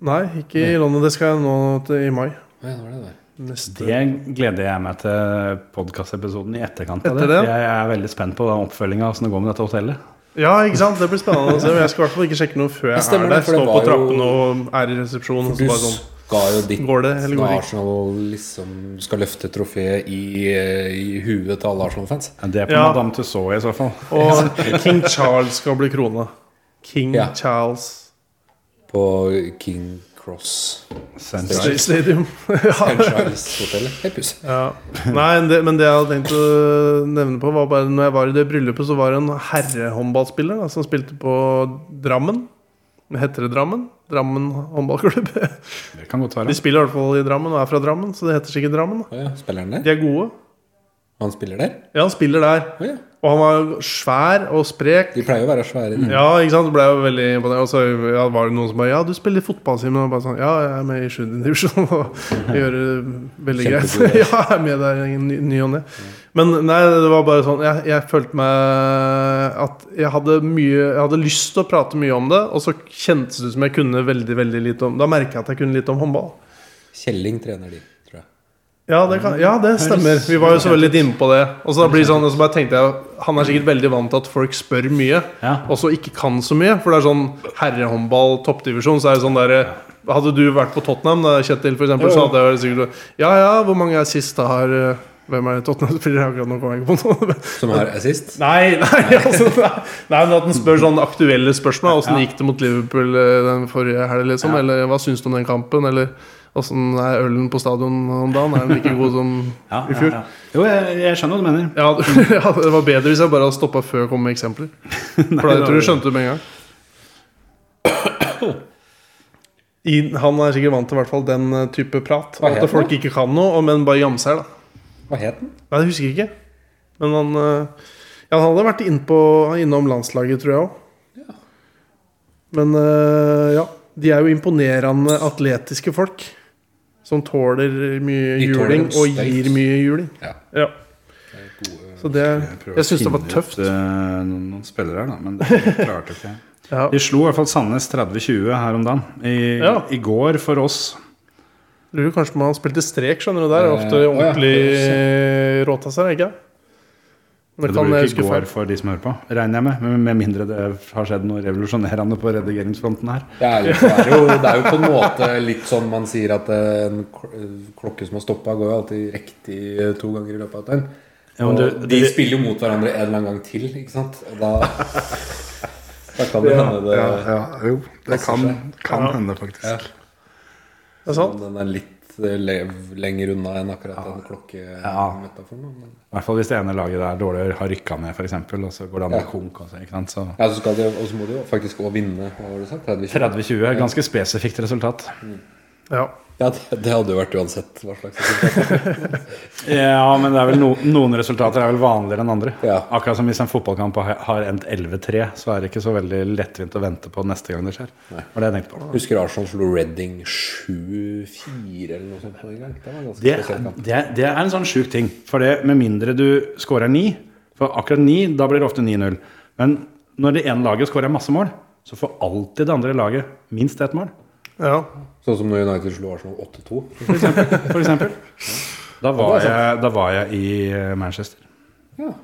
Speaker 1: Nei, ikke i London. Det skal jeg nå til, i mai.
Speaker 4: Ja, det var det der.
Speaker 1: Neste.
Speaker 6: Det gleder jeg meg til podkastepisoden i etterkant. av
Speaker 1: Etter
Speaker 6: det.
Speaker 1: det?
Speaker 6: Jeg er veldig spent på oppfølginga, åssen det går med dette hotellet.
Speaker 1: Ja, ikke sant? Det blir spennende å se. Men Jeg skal i hvert fall ikke sjekke noe før jeg
Speaker 4: stemmer
Speaker 1: er
Speaker 4: det,
Speaker 1: der.
Speaker 4: for det
Speaker 1: Stå på
Speaker 4: var jo-
Speaker 1: trappen og er i resepsjon. Og
Speaker 4: Du
Speaker 1: så bare sånn.
Speaker 4: skal jo dit
Speaker 1: Går det, eller går
Speaker 4: når
Speaker 1: det ikke?
Speaker 4: Arsenal og liksom skal løfte trofeet i, eh, i huet til alle Arsenal-fans.
Speaker 6: Ja, Det er på
Speaker 1: Ja.
Speaker 6: Madame Tussauds i så fall.
Speaker 1: Og King Charles skal bli krona. King
Speaker 4: Ja.
Speaker 1: Charles.
Speaker 4: På King Cross
Speaker 6: Central.
Speaker 1: Street Stadium. ja.
Speaker 4: Franchise-hotellet. Helt pussig.
Speaker 1: Ja. Nei, det, men det jeg hadde tenkt å nevne på, var bare når jeg var i det bryllupet, så var det en herrehåndballspiller da, som spilte på Drammen. Heter det Drammen? Drammen håndballklubb.
Speaker 6: Det kan godt
Speaker 1: De
Speaker 6: være.
Speaker 1: spiller i hvert fall i Drammen og er fra Drammen, så det heter sikkert Drammen. da.
Speaker 4: Å ja. Spiller han der?
Speaker 1: De er gode.
Speaker 4: Han spiller der?
Speaker 1: Ja, han spiller der.
Speaker 4: Å ja.
Speaker 1: Og han var svær og sprek.
Speaker 4: De pleier å være svære. de.
Speaker 1: Ja, ikke sant? Det ble jo veldig imponert. Og så ja, var det noen som bare Ja, du spiller fotballsimen. Og bare sånn Ja, jeg er med i 7. divisjon og gjør det veldig greit.
Speaker 4: Kjempegod
Speaker 1: ja, jeg er med der i ny, ny og ne. Men nei, det var bare sånn jeg, jeg følte meg at jeg hadde mye Jeg hadde lyst til å prate mye om det, og så kjentes det ut som jeg kunne veldig, veldig lite om Da merka jeg at jeg kunne litt om håndball.
Speaker 6: Mm.
Speaker 4: Kjelling trener de, tror jeg.
Speaker 1: Ja det, kan, ja, det stemmer. Vi var jo så veldig inne på det. Og så da blir det sånn, og så bare tenkte jeg Han er sikkert veldig vant til at folk spør mye,
Speaker 6: Ja.
Speaker 1: og så ikke kan så mye. For det er sånn herrehåndball, toppdivisjon, så er det sånn derre Hadde du vært på Tottenham, da, Kjetil, for eksempel, så hadde jeg vel sikkert Ja ja, hvor mange er sist da har eh, Hvem er Tottenham-spillere akkurat nå? Kommer jeg ikke på noe.
Speaker 4: Som har assist.
Speaker 1: Nei, nei, altså, nei, nei, men at den spør sånne aktuelle spørsmål. Åssen gikk det mot Liverpool eh, den forrige helg? Liksom, Eller hva syns du om den kampen? Eller åssen er ølen på stadion om dagen? Er den like god som
Speaker 6: Ja,
Speaker 1: i fjor?
Speaker 6: ja, ja. Jo, jeg, jeg skjønner hva du mener.
Speaker 1: Ja, ja, det var bedre hvis jeg bare hadde stoppa før jeg kom med eksempler. For da jeg tror du skjønte det med en gang. I, han er sikkert vant til i hvert fall den eh, type prat.
Speaker 4: Hva
Speaker 1: At
Speaker 4: het
Speaker 1: folk ikke kan noe, og- men bare jamser, da.
Speaker 4: Hva het den?
Speaker 1: Nei, jeg husker ikke. Men han eh, Ja, han hadde vært inn på, innom landslaget, tror jeg òg. Men eh, ja. De er jo imponerende atletiske folk. Som tåler mye
Speaker 4: De tåler
Speaker 1: juling,
Speaker 4: en
Speaker 1: og
Speaker 4: støyt.
Speaker 1: gir mye juling.
Speaker 4: Ja.
Speaker 1: Ja. Så det Jeg syns det var tøft.
Speaker 6: eh, noen, noen spillere her, da, men det klarte ikke jeg.
Speaker 1: Ja.
Speaker 6: De slo i hvert fall Sandnes 30-20 her om dagen. I,
Speaker 1: Ja.
Speaker 6: I går for oss.
Speaker 1: Lurer kanskje på om han spilte strek, skjønner du. Der er ofte
Speaker 4: Eh, å ja.
Speaker 1: ordentlig eh, råtasser, er det ikke?
Speaker 6: Det,
Speaker 1: Det
Speaker 6: blir
Speaker 1: kan jeg
Speaker 6: ikke
Speaker 1: huske
Speaker 6: i går
Speaker 1: feil.
Speaker 6: for de som hører på, regner jeg med. Men med mindre det har skjedd noe revolusjonerende på redigeringsfronten her.
Speaker 4: Det er, jo, det, er jo, det er jo på en måte litt sånn man sier at eh, en kl- eh, klokke som har stoppa, går jo alltid riktig eh, to ganger i løpet av et døgn.
Speaker 6: Ja, men
Speaker 4: Og
Speaker 6: du-
Speaker 4: de
Speaker 6: det-
Speaker 4: spiller jo mot hverandre en eller annen gang til, ikke sant? Og da, da kan det hende det
Speaker 6: jo, det
Speaker 4: kan-
Speaker 1: Ja.
Speaker 6: hende, faktisk.
Speaker 4: Ja.
Speaker 1: Det er sant.
Speaker 4: Den er litt eh, lev- lenger unna enn akkurat den
Speaker 6: Ja.
Speaker 4: klokkemetaforen. da, men-
Speaker 6: I hvert fall hvis det ene laget der dårlig har rykka ned, f.eks., og så går det andre
Speaker 4: Ja.
Speaker 6: konk. Også, ikke sant? Så
Speaker 4: Ja, så skal de, og så må de jo faktisk òg vinne. Hva var det du sa? 30-20?
Speaker 6: 30-20 er ganske spesifikt resultat.
Speaker 1: Ja.
Speaker 4: Ja, det, det hadde jo vært uansett hva slags resultat.
Speaker 6: Ja, men det er vel no, noen resultater er vel vanligere enn andre.
Speaker 4: Ja.
Speaker 6: Akkurat som hvis en fotballkamp har har endt 11-3, så er det ikke så veldig lettvint å vente på neste gang det skjer. Var det jeg tenkte på.
Speaker 4: Husker Arsenal slo Reading 7-4 eller noe sånt på en gang? Det var en ganske
Speaker 6: Det,
Speaker 4: spesiell kamp.
Speaker 6: det, det er en sånn sjuk ting. For det, med mindre du scorer 9 For akkurat 9, da blir det ofte 9-0. Men når det ene laget scorer masse mål, så får alltid det andre laget minst ett mål.
Speaker 1: ja.
Speaker 4: Sånn som når United slo Arsenal 8-2.
Speaker 6: For eksempel. For eksempel. Da, var jeg, da var jeg i eh, Manchester.
Speaker 4: Ja.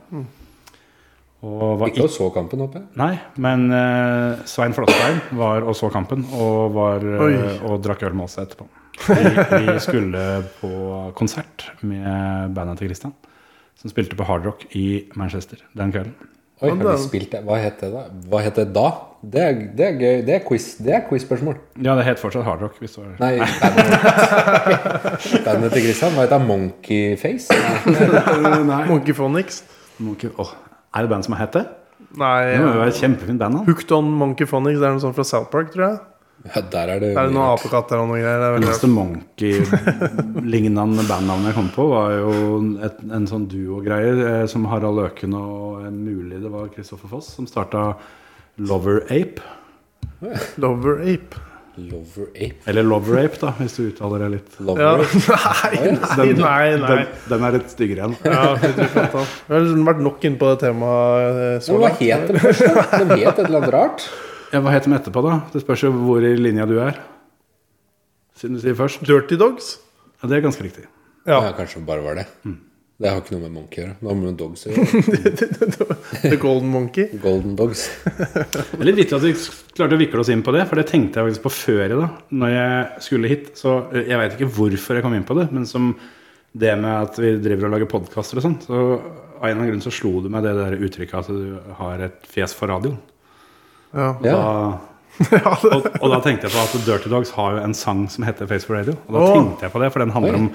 Speaker 6: Og var
Speaker 4: Ikke og så kampen, håper jeg.
Speaker 6: Nei, men eh, Svein Flåttein var og så kampen og, var, eh,
Speaker 1: Oi.
Speaker 6: og drakk øl med oss etterpå. Vi, vi skulle på konsert med bandet til Christian, som spilte på hardrock i Manchester den kvelden.
Speaker 4: Oi,
Speaker 1: Ja,
Speaker 4: har de
Speaker 1: det-
Speaker 4: spilt det? Hva het det da? Hva het det da? Det er, det er gøy. Det er quiz. Det er quiz-spørsmål.
Speaker 6: Ja, det het fortsatt hardrock. Hvis det var.
Speaker 4: Nei, bandet bandet til Christian. Hva heter det? Monkeyface? Nei.
Speaker 1: Monkeyphonics.
Speaker 6: Monkey- åh, er det band som har hett det?
Speaker 1: Nei, eh,
Speaker 6: Det må jo
Speaker 1: ja.
Speaker 6: være et kjempefint band. da.
Speaker 1: Hooked on Monkeyphonics. Det er noe sånt fra South Park, tror jeg.
Speaker 4: Ja, der er det,
Speaker 1: Det er noen apekatter og noe greier. Det er
Speaker 6: Det
Speaker 1: veldig
Speaker 6: eneste Monkey-lignende bandnavnet jeg kom på, var jo et, en sånn duo-greie eh, som Harald Løken og en mulig det var Kristoffer Foss, som starta Lover Ape.
Speaker 1: Lover Ape.
Speaker 4: Lover Ape.
Speaker 6: Eller Lover Ape, da, hvis du uttaler det litt.
Speaker 1: Ja.
Speaker 4: Lover Ape.
Speaker 1: Nei, nei, nei. nei.
Speaker 6: Den, den er litt styggere enn.
Speaker 1: Ja, jeg tror ikke at han- Vi har liksom vært nok inne på det temaet eh,
Speaker 4: Ja,
Speaker 1: så
Speaker 4: men Hva
Speaker 1: langt.
Speaker 4: het det først? da? De het et eller annet rart.
Speaker 6: Ja, hva heter de etterpå, da? Det spørs jo hvor i linja du er. Siden du sier først.
Speaker 1: Dirty Dogs?
Speaker 6: Ja, det er ganske riktig.
Speaker 1: Ja. Mm.
Speaker 4: Ja, kanskje det bare var det. Det har ikke noe med Monkey å gjøre. Det har med Dogs å gjøre.
Speaker 1: The Golden Monkey?
Speaker 4: Golden Dogs.
Speaker 6: Det er litt vittig at vi klarte å vikle oss inn på det, for det tenkte jeg faktisk på før i dag. Når jeg skulle hit. Så eh, jeg veit ikke hvorfor jeg kom inn på det, men som det med at vi driver og lager podkaster og sånn, så av en eller annen grunn så slo det meg det der uttrykket at du har et fjes for radioen.
Speaker 1: Ja.
Speaker 4: Ja.
Speaker 6: Da Og, og da tenkte jeg på at Dirty Dogs har jo en sang som heter Face for Radio. Og da
Speaker 1: Åh.
Speaker 6: tenkte jeg på det, for den handler om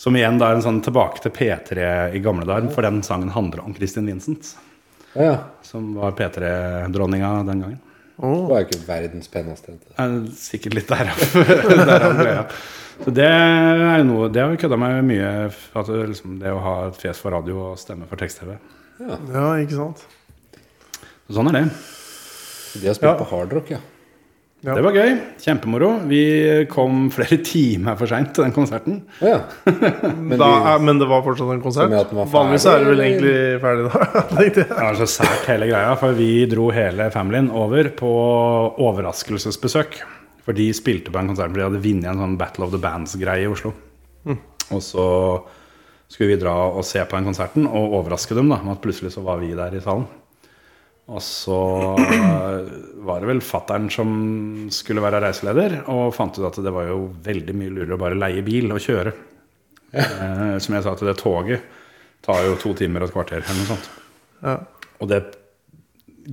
Speaker 6: Som igjen da er en sånn tilbake til P3 i gamle dager, for den sangen handler om Kristin Vincent.
Speaker 4: Ja, ja.
Speaker 6: Som var P3-dronninga den gangen.
Speaker 4: Det var jo ikke verdens peneste jente.
Speaker 6: Er sikkert litt derav. derav greia. Så det er jo noe Det har jo kødda meg mye. At det, liksom, det å ha et fjes for radio og stemme for tekst-TV.
Speaker 1: Ja, ikke sant?
Speaker 6: Så Sånn er det.
Speaker 4: De har spilt på hardrock, ja.
Speaker 1: Ja.
Speaker 6: Det var gøy. Kjempemoro. Vi kom flere timer for seint til den konserten.
Speaker 4: Å ja.
Speaker 1: Men, da, er, men det var fortsatt en konsert?
Speaker 4: Men at den var ferdig,
Speaker 1: Vanligvis er det vel
Speaker 4: eller?
Speaker 1: egentlig ferdig da. tenkte jeg.
Speaker 6: Det var så sært hele greia, for vi dro hele familien over på overraskelsesbesøk. For de spilte på en konsert hvor de hadde vunnet en sånn Battle of the Bands-greie i Oslo. Og så skulle vi dra og se på den konserten og overraske dem da, med at plutselig så var vi der i salen. Og så eh, var det vel fattern som skulle være reiseleder, og fant ut at det var jo veldig mye lurere å bare leie bil og kjøre. Eh, som jeg sa til det toget tar jo to timer og et kvarter eller noe sånt.
Speaker 1: Ja.
Speaker 6: Og det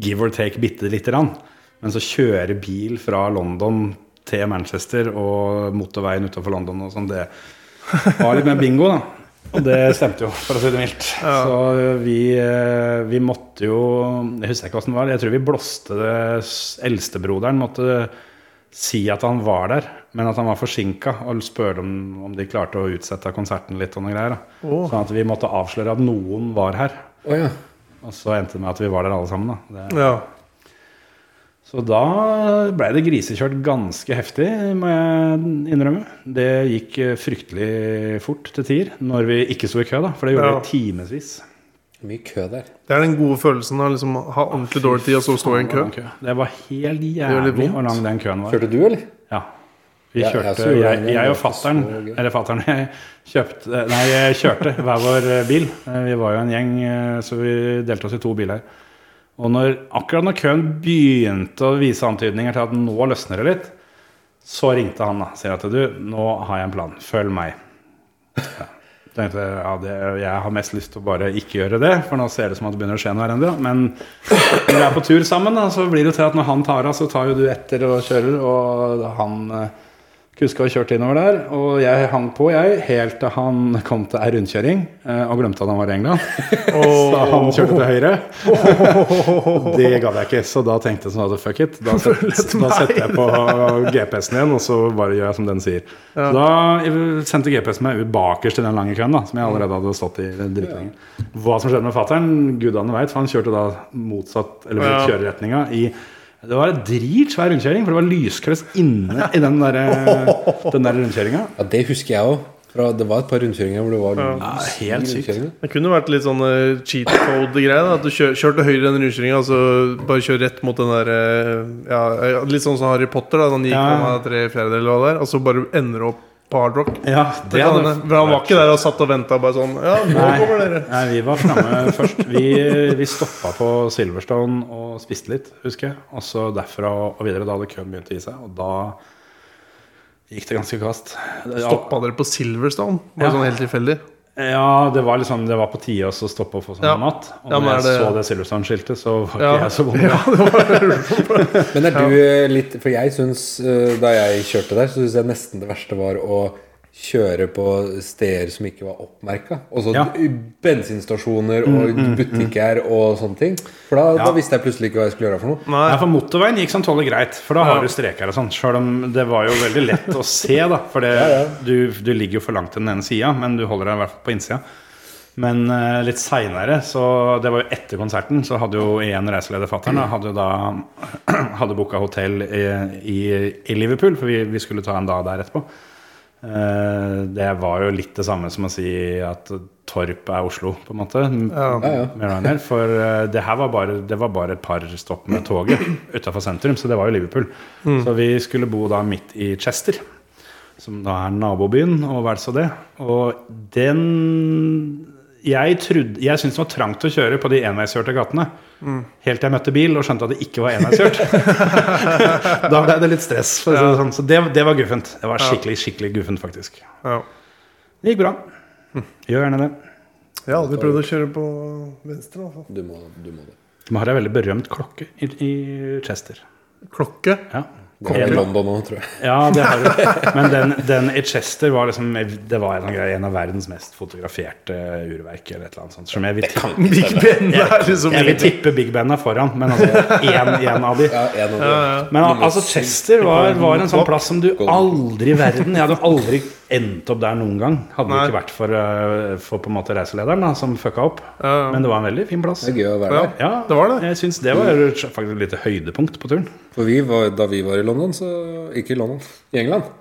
Speaker 6: give or take bitte lite grann. Men så kjøre bil fra London til Manchester og motorveien utenfor London og sånn, det var litt mer bingo, da. Og det stemte jo, for å si det mildt. Så vi, eh, vi måtte jo Jeg husker ikke hvordan det var. Jeg tror vi blåste det s- Eldstebroderen måtte si at han var der, men at han var forsinka, og spurte om, om de klarte å utsette konserten litt og noen greier. Da.
Speaker 1: Åh.
Speaker 6: Sånn at vi måtte avsløre at noen var her.
Speaker 4: Å ja.
Speaker 6: Og så endte det med at vi var der alle sammen. Da. Det,
Speaker 1: ja.
Speaker 6: så da ble det grisekjørt ganske heftig, må jeg innrømme. Det gikk eh, fryktelig fort til tider, når vi ikke sto i kø, da. For det gjorde
Speaker 1: Ja.
Speaker 6: vi timevis.
Speaker 4: Mye kø der.
Speaker 1: Det er den gode følelsen av liksom, å ha ordentlig dårlig tid og så stå i en kø.
Speaker 6: Det var helt
Speaker 1: gjør litt
Speaker 6: jævlig
Speaker 1: vondt.
Speaker 6: hvor lang den køen var.
Speaker 4: Kjørte du, eller?
Speaker 6: Ja. Vi
Speaker 4: Ja, jeg
Speaker 6: kjørte,
Speaker 4: så gjorde
Speaker 6: jeg,
Speaker 4: det, men
Speaker 6: jeg,
Speaker 4: det
Speaker 6: og
Speaker 4: var ikke
Speaker 6: fattern,
Speaker 4: så gøy.
Speaker 6: eller fattern, og jeg kjøpte, nei, jeg kjørte hver vår eh, bil. Eh, Vi var jo en gjeng, eh, så vi delte oss i to biler. Og når, akkurat når køen begynte å vise antydninger til at nå løsner det litt, så ringte han da, sier at du, nå har jeg en plan, følg meg. Ja. Tenkte, jeg, ja, det, jeg har mest lyst til å bare ikke gjøre det, for nå ser det som at det begynner å skje noe her ennå. Men når vi er på tur sammen, da, så blir det jo til at når han tar av, så tar jo du etter og kjører. Og han eh, kuska og kjørte innover der. Og jeg hang på, jeg, helt til han kom til ei rundkjøring eh, og glemte at han var i England. Så han kjørte til høyre. Det gadd jeg ikke, så da tenkte jeg sånn at fuck it. Da, set, da setter jeg på GPS-en igjen, og så bare gjør jeg som den sier. Så da sendte GPS-en meg ut bakerst i den lange køen, da, som jeg allerede hadde stått i dritlenge. Hva som skjedde med fattern, gudene veit, for han kjørte da motsatt, eller
Speaker 1: Ja.
Speaker 6: kjøreretninga i det var en dritsvær rundkjøring, for det var lyskryss inne i den der, den der rundkjøringa.
Speaker 4: Ja, Det husker jeg òg. Det var et par rundkjøringer hvor det var lys i
Speaker 6: helt sykt.
Speaker 4: rundkjøringene.
Speaker 1: Det kunne vært litt sånn eh, cheat code-greier. da, At du kjør, kjørte høyre i den rundkjøringa, og så bare kjør rett mot den der eh, ja, eh, Litt sånn som Harry Potter, da. Den gikk
Speaker 6: Ja.
Speaker 1: ja. tre fjerdedeler eller hva det er, og så bare ender du opp på hard rock.
Speaker 6: Ja,
Speaker 1: Det kan hende. For han var ikke der og satt og venta bare sånn Ja, nå
Speaker 6: Nei,
Speaker 1: kommer dere.
Speaker 6: nei, vi var framme først. Vi, vi stoppa på Silverstone og spiste litt, husker jeg. Og så derfra og videre. Da hadde køen begynt å gi seg, og da gikk det ganske kast.
Speaker 1: Stoppa dere på Silverstone? Bare
Speaker 6: Ja.
Speaker 1: sånn helt tilfeldig?
Speaker 6: Ja, det var liksom Det var på tide også å stoppe og få seg
Speaker 1: Ja.
Speaker 6: noe mat. Og
Speaker 1: Ja,
Speaker 6: når
Speaker 1: men er
Speaker 6: jeg
Speaker 1: det-
Speaker 6: så det Silverstone-skiltet, så var ikke
Speaker 1: Ja.
Speaker 6: jeg så vond. Ja.
Speaker 4: Men er du eh, litt For jeg syns, eh, da jeg kjørte der, så syns jeg nesten det verste var å kjøre på steder som ikke var oppmerka. Altså
Speaker 6: Ja.
Speaker 4: bensinstasjoner og butikker og sånne ting. For da,
Speaker 6: Ja.
Speaker 4: da visste jeg plutselig ikke hva jeg skulle gjøre for noe.
Speaker 1: Nei.
Speaker 6: Nei, for motorveien gikk som tåler greit, for da har du streker og sånn. Selv om det var jo veldig lett å se, da. For det, Du, du ligger jo for langt til den ene sida, men du holder deg i hvert fall på innsida. Men eh, litt seinere, så det var jo etter konserten, så hadde jo én reiseleder, fattern, da, hadde jo da hadde booka hotell i, i, i Liverpool, for vi, vi skulle ta en dag der etterpå. Eh, det var jo litt det samme som å si at Torp er Oslo, på en måte. Med Ryanair, for eh, det her var bare, det var bare et par stopp med toget utafor sentrum, så det var jo Liverpool. Så vi skulle bo da midt i Chester, som da er nabobyen, og vel så det. Og den Jeg, trodde- jeg syntes det var trangt å kjøre på de enveiskjørte gatene. Helt til jeg møtte bil og skjønte at det ikke var enveiskjørt. da ble det litt stress. For å si det sånn. Så det, det var guffent. Det var skikkelig, skikkelig guffent, faktisk.
Speaker 1: Ja.
Speaker 6: Det gikk bra. Gjør gjerne det.
Speaker 1: Jeg har aldri prøvd å kjøre på venstre. altså. i hvert fall.
Speaker 4: Du må, du må det.
Speaker 6: De har ei veldig berømt klokke i, i Chester.
Speaker 1: Klokke.
Speaker 6: Ja.
Speaker 4: Det er i London nå, tror jeg.
Speaker 6: Ja, det har du. Men den, den i Chester var liksom Det var en av, greiene- en av verdens mest fotograferte urverk. Eller et eller annet sånt, som jeg vil, tippe,
Speaker 1: Big Ben det er liksom
Speaker 6: jeg vil tippe Big Ben er foran, men altså én én av de.
Speaker 4: Ja, en av de.
Speaker 6: Men al- altså Chester var, var en sånn plass som du aldri i verden Jeg hadde aldri endt opp der noen gang. Hadde det
Speaker 1: Nei.
Speaker 6: ikke vært for, eh, for på en måte reiselederen da, som fucka opp.
Speaker 1: Ja.
Speaker 6: Men det var en veldig fin plass.
Speaker 4: Det er gøy å være
Speaker 1: Ja.
Speaker 4: der.
Speaker 6: Ja,
Speaker 1: Det var det.
Speaker 6: Jeg syns det var faktisk et lite høydepunkt på turen.
Speaker 4: For vi var, da vi var i London, så Ikke i London, i England.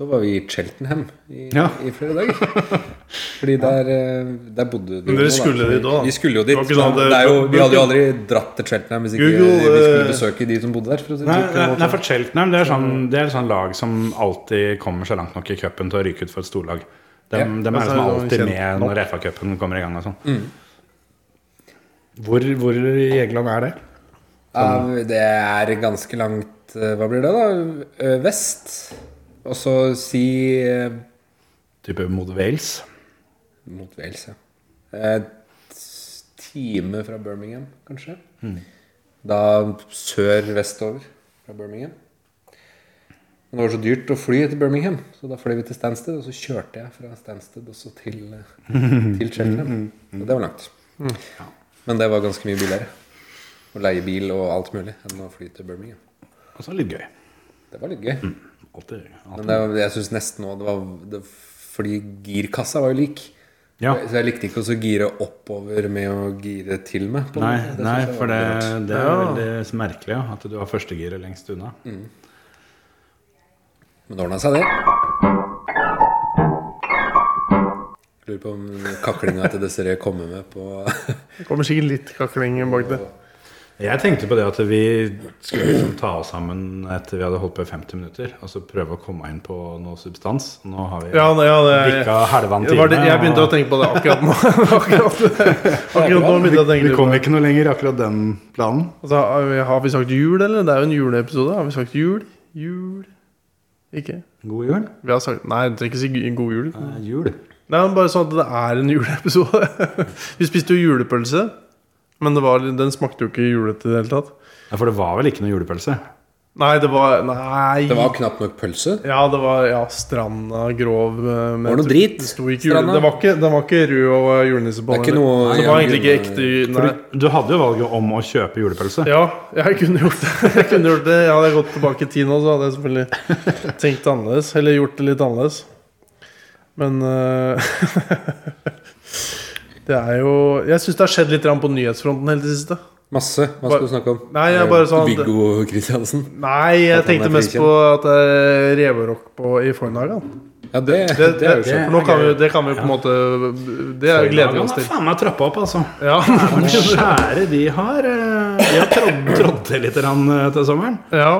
Speaker 4: Så var vi i Cheltenham i,
Speaker 6: Mm. Ja.
Speaker 4: i flere dager. Fordi der, eh, der bodde de
Speaker 1: Men dere
Speaker 4: jo, da.
Speaker 1: skulle dit også, da?
Speaker 4: Vi skulle jo dit.
Speaker 1: Det var ikke sånn at
Speaker 4: det
Speaker 1: det-
Speaker 4: er jo, vi hadde jo aldri dratt til Cheltenham hvis ikke
Speaker 1: Google,
Speaker 4: vi skulle
Speaker 1: eh,
Speaker 4: besøke de som bodde der. For å si det sånn.
Speaker 6: Nei,
Speaker 4: på en
Speaker 6: nei,
Speaker 4: måte.
Speaker 6: nei, for Cheltenham det er, sånn, det er sånn lag som alltid kommer så langt nok i cupen til å ryke ut for et storlag. De,
Speaker 4: Ja,
Speaker 6: er
Speaker 1: altså,
Speaker 6: liksom alltid
Speaker 1: kjent
Speaker 6: med når FA-cupen kommer i gang og sånn. Hvor, hvor i England er det?
Speaker 4: Ja, det er ganske langt eh, Hva blir det, da? Ø, Vest. Og så si eh,
Speaker 6: Type mot Wales?
Speaker 4: Mot Wales, ja. Et time fra Birmingham, kanskje. Da sør-vestover fra Birmingham. Men det var så dyrt å fly til Birmingham, så da fløy vi til Stansted. Og så kjørte jeg fra Stansted også til, eh, til Cheltenham. Og det var langt. Men det var ganske mye billigere. Å leie bil og alt mulig enn å fly til Birmingham.
Speaker 6: Og så Altså, litt gøy.
Speaker 4: Det var litt gøy.
Speaker 6: Alltid.
Speaker 4: Men det, var- jeg syns nesten òg det var det, Fordi girkassa var jo lik.
Speaker 6: Ja.
Speaker 4: Så jeg likte ikke å så gire oppover med å gire til med. på en
Speaker 6: Nei,
Speaker 4: måte. Det
Speaker 6: nei,
Speaker 4: synes jeg var
Speaker 6: for det,
Speaker 4: veldig rart.
Speaker 6: det er veldig merkelig ja, at du har førstegiret lengst unna.
Speaker 4: Men det ordna seg, det. Lurer på om kaklinga til Desiree kommer med på
Speaker 1: Det kommer sikkert litt kakling bak det.
Speaker 6: Jeg tenkte på det at vi skulle liksom ta oss sammen etter vi hadde holdt på i 50 minutter, og så prøve å komme inn på noe substans. Nå har vi
Speaker 1: Ja, nei, ja det,
Speaker 6: bikka halvannen
Speaker 1: det
Speaker 6: time.
Speaker 1: var det, jeg begynte
Speaker 6: og-
Speaker 1: å tenke på det akkurat nå. akkurat, akkurat nå begynte jeg å tenke
Speaker 6: Vi
Speaker 1: litt på
Speaker 6: kom
Speaker 1: det.
Speaker 6: ikke noe lenger akkurat den planen.
Speaker 1: Altså, har vi- har vi sagt jul, eller? Det er jo en juleepisode. Har vi sagt jul? Jul Ikke?
Speaker 6: God jul.
Speaker 1: Vi har sagt Nei, du trenger ikke si gu- god jul.
Speaker 6: Eh, jul.
Speaker 1: Nei, men Bare sånn at det er en juleepisode. vi spiste jo julepølse, men det var, den smakte jo ikke julete i det hele tatt.
Speaker 6: Ja, for det var vel ikke noe julepølse?
Speaker 1: Nei, det var Nei.
Speaker 4: Det var knapt nok pølse.
Speaker 1: Ja, det var ja, stranda grov eh, med
Speaker 4: Var det noe drit?
Speaker 1: Det sto ikke jule.
Speaker 4: Stranda?
Speaker 1: Det var ikke, den var ikke rød og eh, julenisse på
Speaker 4: Det er ikke
Speaker 1: heller.
Speaker 4: noe-
Speaker 1: Så det var
Speaker 4: jeg
Speaker 1: egentlig ikke
Speaker 4: kunne-
Speaker 1: ekte ju-
Speaker 6: For
Speaker 1: Nei.
Speaker 6: du, du hadde jo valget om å kjøpe julepølse.
Speaker 1: Ja, jeg kunne gjort det. Jeg kunne gjort det Jeg Hadde jeg gått tilbake i tid nå, så hadde jeg selvfølgelig tenkt annerledes. Eller gjort det litt annerledes. Men eh, Det er jo Jeg syns det har skjedd litt grann på nyhetsfronten helt i det siste.
Speaker 4: Masse. Hva skal du snakke om?
Speaker 1: Nei, jeg bare sa at-
Speaker 4: Viggo Kristiansen.
Speaker 1: Nei, jeg
Speaker 4: At han er
Speaker 1: tenkte mest
Speaker 4: frikjent.
Speaker 1: på at det er reverock på, i Fornhagen.
Speaker 4: Ja, det,
Speaker 1: Det,
Speaker 4: det er jo
Speaker 1: det,
Speaker 4: sånn.
Speaker 1: for nå kan vi, det kan vi på en måte Det er- gleder vi oss til.
Speaker 6: faen meg trappa opp, altså.
Speaker 1: Ja,
Speaker 6: Men Kjære, de har eh, De har trådd, trådd til litt grann, eh, til sommeren.
Speaker 1: ja.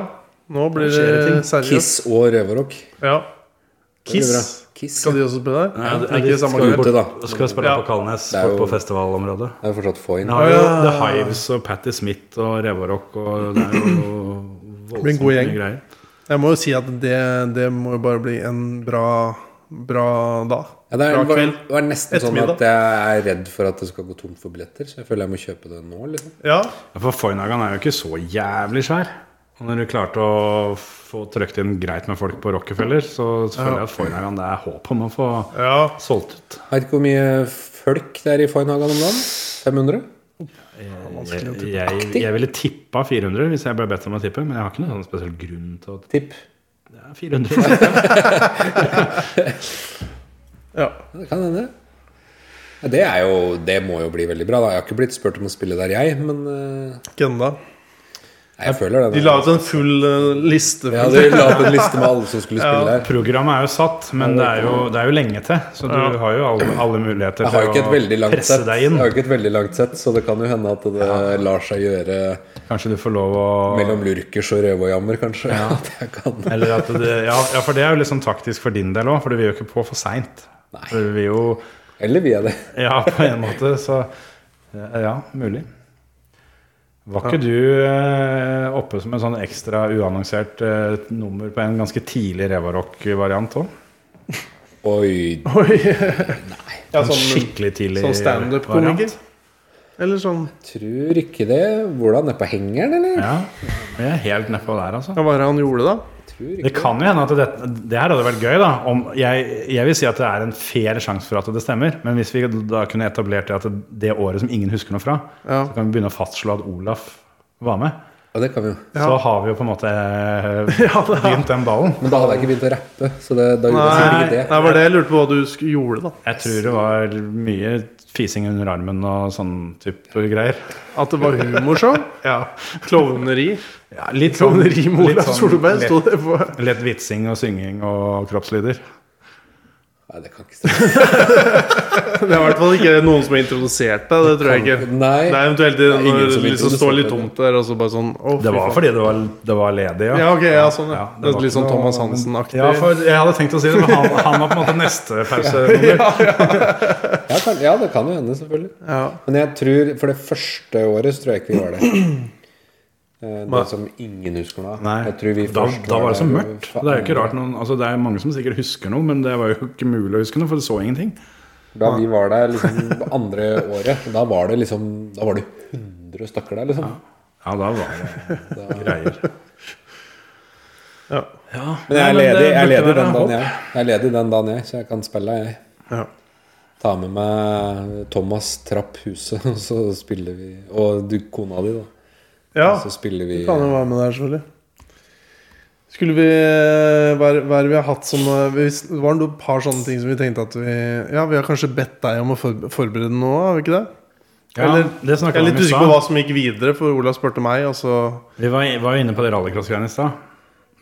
Speaker 1: nå blir
Speaker 6: skjer det ting.
Speaker 1: det seriøst.
Speaker 4: Kiss og røverrock.
Speaker 1: Ja.
Speaker 4: Det blir bra.
Speaker 1: Kiss.
Speaker 4: Kiss.
Speaker 1: Skal de også spille der?
Speaker 6: Ja,
Speaker 1: det er ikke samme kveld.
Speaker 4: skal jo borte, da.
Speaker 6: Skal vi spille
Speaker 1: Ja.
Speaker 6: på Kalnes,
Speaker 4: Det er
Speaker 6: på-
Speaker 4: jo-
Speaker 6: på festivalområdet.
Speaker 4: Det er jo fortsatt få inn.
Speaker 6: Det har jo
Speaker 1: Ja.
Speaker 6: The Hives og Patti Smith og Revarock og Det er jo
Speaker 1: Blir en
Speaker 6: voldsomt
Speaker 1: god gjeng.
Speaker 6: mye greier.
Speaker 1: Jeg må jo si at det, det må jo bare bli en bra, bra dag.
Speaker 4: Ja, det,
Speaker 1: Bra
Speaker 4: er, var,
Speaker 1: kveld.
Speaker 4: det var nesten sånn
Speaker 1: Ettermiddag.
Speaker 4: at jeg er redd for at det skal gå tomt for billetter, så jeg føler jeg må kjøpe det nå. liksom
Speaker 1: Ja.
Speaker 6: Ja, For Foynagan er jo ikke så jævlig svær. Og når du klarte å få trøkt inn greit med folk på Rockefeller, så føler jeg at Foynagan det er håp om å få
Speaker 1: ja.
Speaker 6: solgt ut.
Speaker 4: Veit ikke hvor mye folk det er i Foynhagen om dagen? 500?
Speaker 6: Jeg, jeg, jeg ville tippa 400 hvis jeg ble bedt om å tippe, men jeg har ikke noen sånn spesiell grunn til å
Speaker 4: Tipp.
Speaker 6: Det er 400.
Speaker 1: ja.
Speaker 4: Ja, det kan hende. Ja, det, er jo, det må jo bli veldig bra. da Jeg har ikke blitt spurt om å spille der, jeg, men eh,
Speaker 1: Ikke enda.
Speaker 4: nei, jeg føler det.
Speaker 1: De la ut en full eh, liste.
Speaker 4: ja, de la opp en liste med alle som skulle spille der.
Speaker 6: Programmet er jo satt, men det er jo, det er jo lenge til. Så du har jo alle, alle muligheter
Speaker 4: Jeg har jo ikke et veldig
Speaker 6: til å
Speaker 4: langt
Speaker 6: presse
Speaker 4: sett,
Speaker 6: deg
Speaker 4: jeg
Speaker 6: inn.
Speaker 4: har jo ikke et veldig langt sett så det kan jo hende at det lar seg gjøre
Speaker 6: Kanskje du får lov å
Speaker 4: mellom lurkers og røverjammer, kanskje. At jeg kan
Speaker 6: Eller at det, ja, ja, for det er jo liksom taktisk for din del òg, for du vil jo ikke på for seint. Du vil jo
Speaker 4: Eller vil jeg det?
Speaker 6: Ja, på en måte, så eh, Ja, mulig. Var ikke du eh, oppe som en sånn ekstra uannonsert eh, nummer på en ganske tidlig Revarock-variant òg?
Speaker 4: Oi,
Speaker 1: Oi. Ja,
Speaker 6: En
Speaker 1: sånn,
Speaker 6: skikkelig tidlig
Speaker 1: sånn standup-komiker.
Speaker 6: variant.
Speaker 1: Eller sånn
Speaker 4: Tror ikke det. Hvordan? Nedpå hengeren, eller?
Speaker 6: Ja, Vi er helt nedpå der, altså.
Speaker 1: Hva var det han gjorde, da?
Speaker 4: Tror ikke.
Speaker 6: Det kan jo hende at det, det her hadde vært gøy, da. Om, jeg, jeg vil si at det er en fair sjanse for at det stemmer. Men hvis vi da kunne etablert det at det året som ingen husker noe fra,
Speaker 1: Ja.
Speaker 6: så kan vi begynne å fastslå at Olaf var med.
Speaker 4: Ja, det kan vi jo.
Speaker 6: Så har vi jo på en måte eh, begynt den ballen.
Speaker 4: Men da hadde jeg ikke begynt å rappe. Så det, da gjorde jeg
Speaker 1: Nei,
Speaker 4: sikkert ikke det.
Speaker 1: det var det jeg lurte på hva du sk- gjorde, da.
Speaker 6: Jeg tror det var mye fising under armen og sånn type greier.
Speaker 1: At det var sånn? humorshow?
Speaker 6: Ja,
Speaker 1: Klovneri?
Speaker 6: litt sånn,
Speaker 1: Klovneri med
Speaker 6: litt
Speaker 1: Olav
Speaker 6: sånn
Speaker 1: Solberg?
Speaker 6: lett,
Speaker 1: Sto det på
Speaker 6: lett vitsing og synging og kroppslyder.
Speaker 4: Nei, det kan ikke stemme.
Speaker 1: Det er i hvert fall ikke noen som har introdusert deg. Det tror jeg ikke.
Speaker 4: Nei.
Speaker 1: Det er eventuelt
Speaker 4: er
Speaker 1: når det
Speaker 4: ingen som
Speaker 1: liksom
Speaker 4: introduserte
Speaker 1: står litt
Speaker 4: det.
Speaker 1: tomt der, og så bare sånn å, fy
Speaker 6: Det var
Speaker 1: faen.
Speaker 6: fordi det var, det var ledig,
Speaker 1: Ja, ok, ja, sånn, ja.
Speaker 6: Ja, det
Speaker 1: det
Speaker 6: var
Speaker 1: er litt sånn
Speaker 6: ikke noe-
Speaker 1: Thomas Hansen-aktig.
Speaker 6: Ja, for jeg hadde tenkt å si det, men han, han var på en måte neste pause.
Speaker 4: Ja, kan, ja, det kan jo hende, selvfølgelig.
Speaker 1: Ja.
Speaker 4: Men jeg tror for det første året så tror jeg ikke vi var det. Eh, Det
Speaker 1: Nei.
Speaker 4: som ingen husker nå.
Speaker 6: Nei,
Speaker 4: Jeg tror vi
Speaker 6: da,
Speaker 4: første
Speaker 6: da var det så
Speaker 4: året
Speaker 6: mørkt. Det er jo ikke rart noen, altså det er mange som sikkert husker noe, men det var jo ikke mulig å huske noe, for det så ingenting.
Speaker 4: Da vi var der liksom det andre året, da var det liksom Da var det 100 stykker der, liksom.
Speaker 6: Ja, da var det greier.
Speaker 1: Ja.
Speaker 6: Ja,
Speaker 4: Men jeg er
Speaker 6: nei,
Speaker 4: ledig,
Speaker 6: det
Speaker 4: jeg er
Speaker 6: burde
Speaker 4: ledig
Speaker 6: være
Speaker 4: den dagen,
Speaker 6: håp.
Speaker 4: jeg. Jeg er ledig den dagen, jeg, så jeg kan spille, jeg.
Speaker 1: Ja.
Speaker 4: Ta med meg Thomas Trapp Huset, og så spiller vi Og du, kona di, da.
Speaker 1: ja.
Speaker 4: Så spiller vi
Speaker 1: Kan jo være med der, selvfølgelig. Skulle vi eh, Hva er hva er det vi har hatt som eh, hvis- Det var et par sånne ting som vi tenkte at vi Ja, vi har kanskje bedt deg om å forbe- forberede noe, har vi ikke det?
Speaker 6: Ja, det
Speaker 1: Jeg
Speaker 6: snakket
Speaker 1: er
Speaker 6: vi
Speaker 1: litt
Speaker 6: om i
Speaker 1: usikker på
Speaker 6: stad.
Speaker 1: hva som gikk videre, for Olav spurte meg, og så
Speaker 6: Vi var, var jo inne på det rallycross-greiene i stad.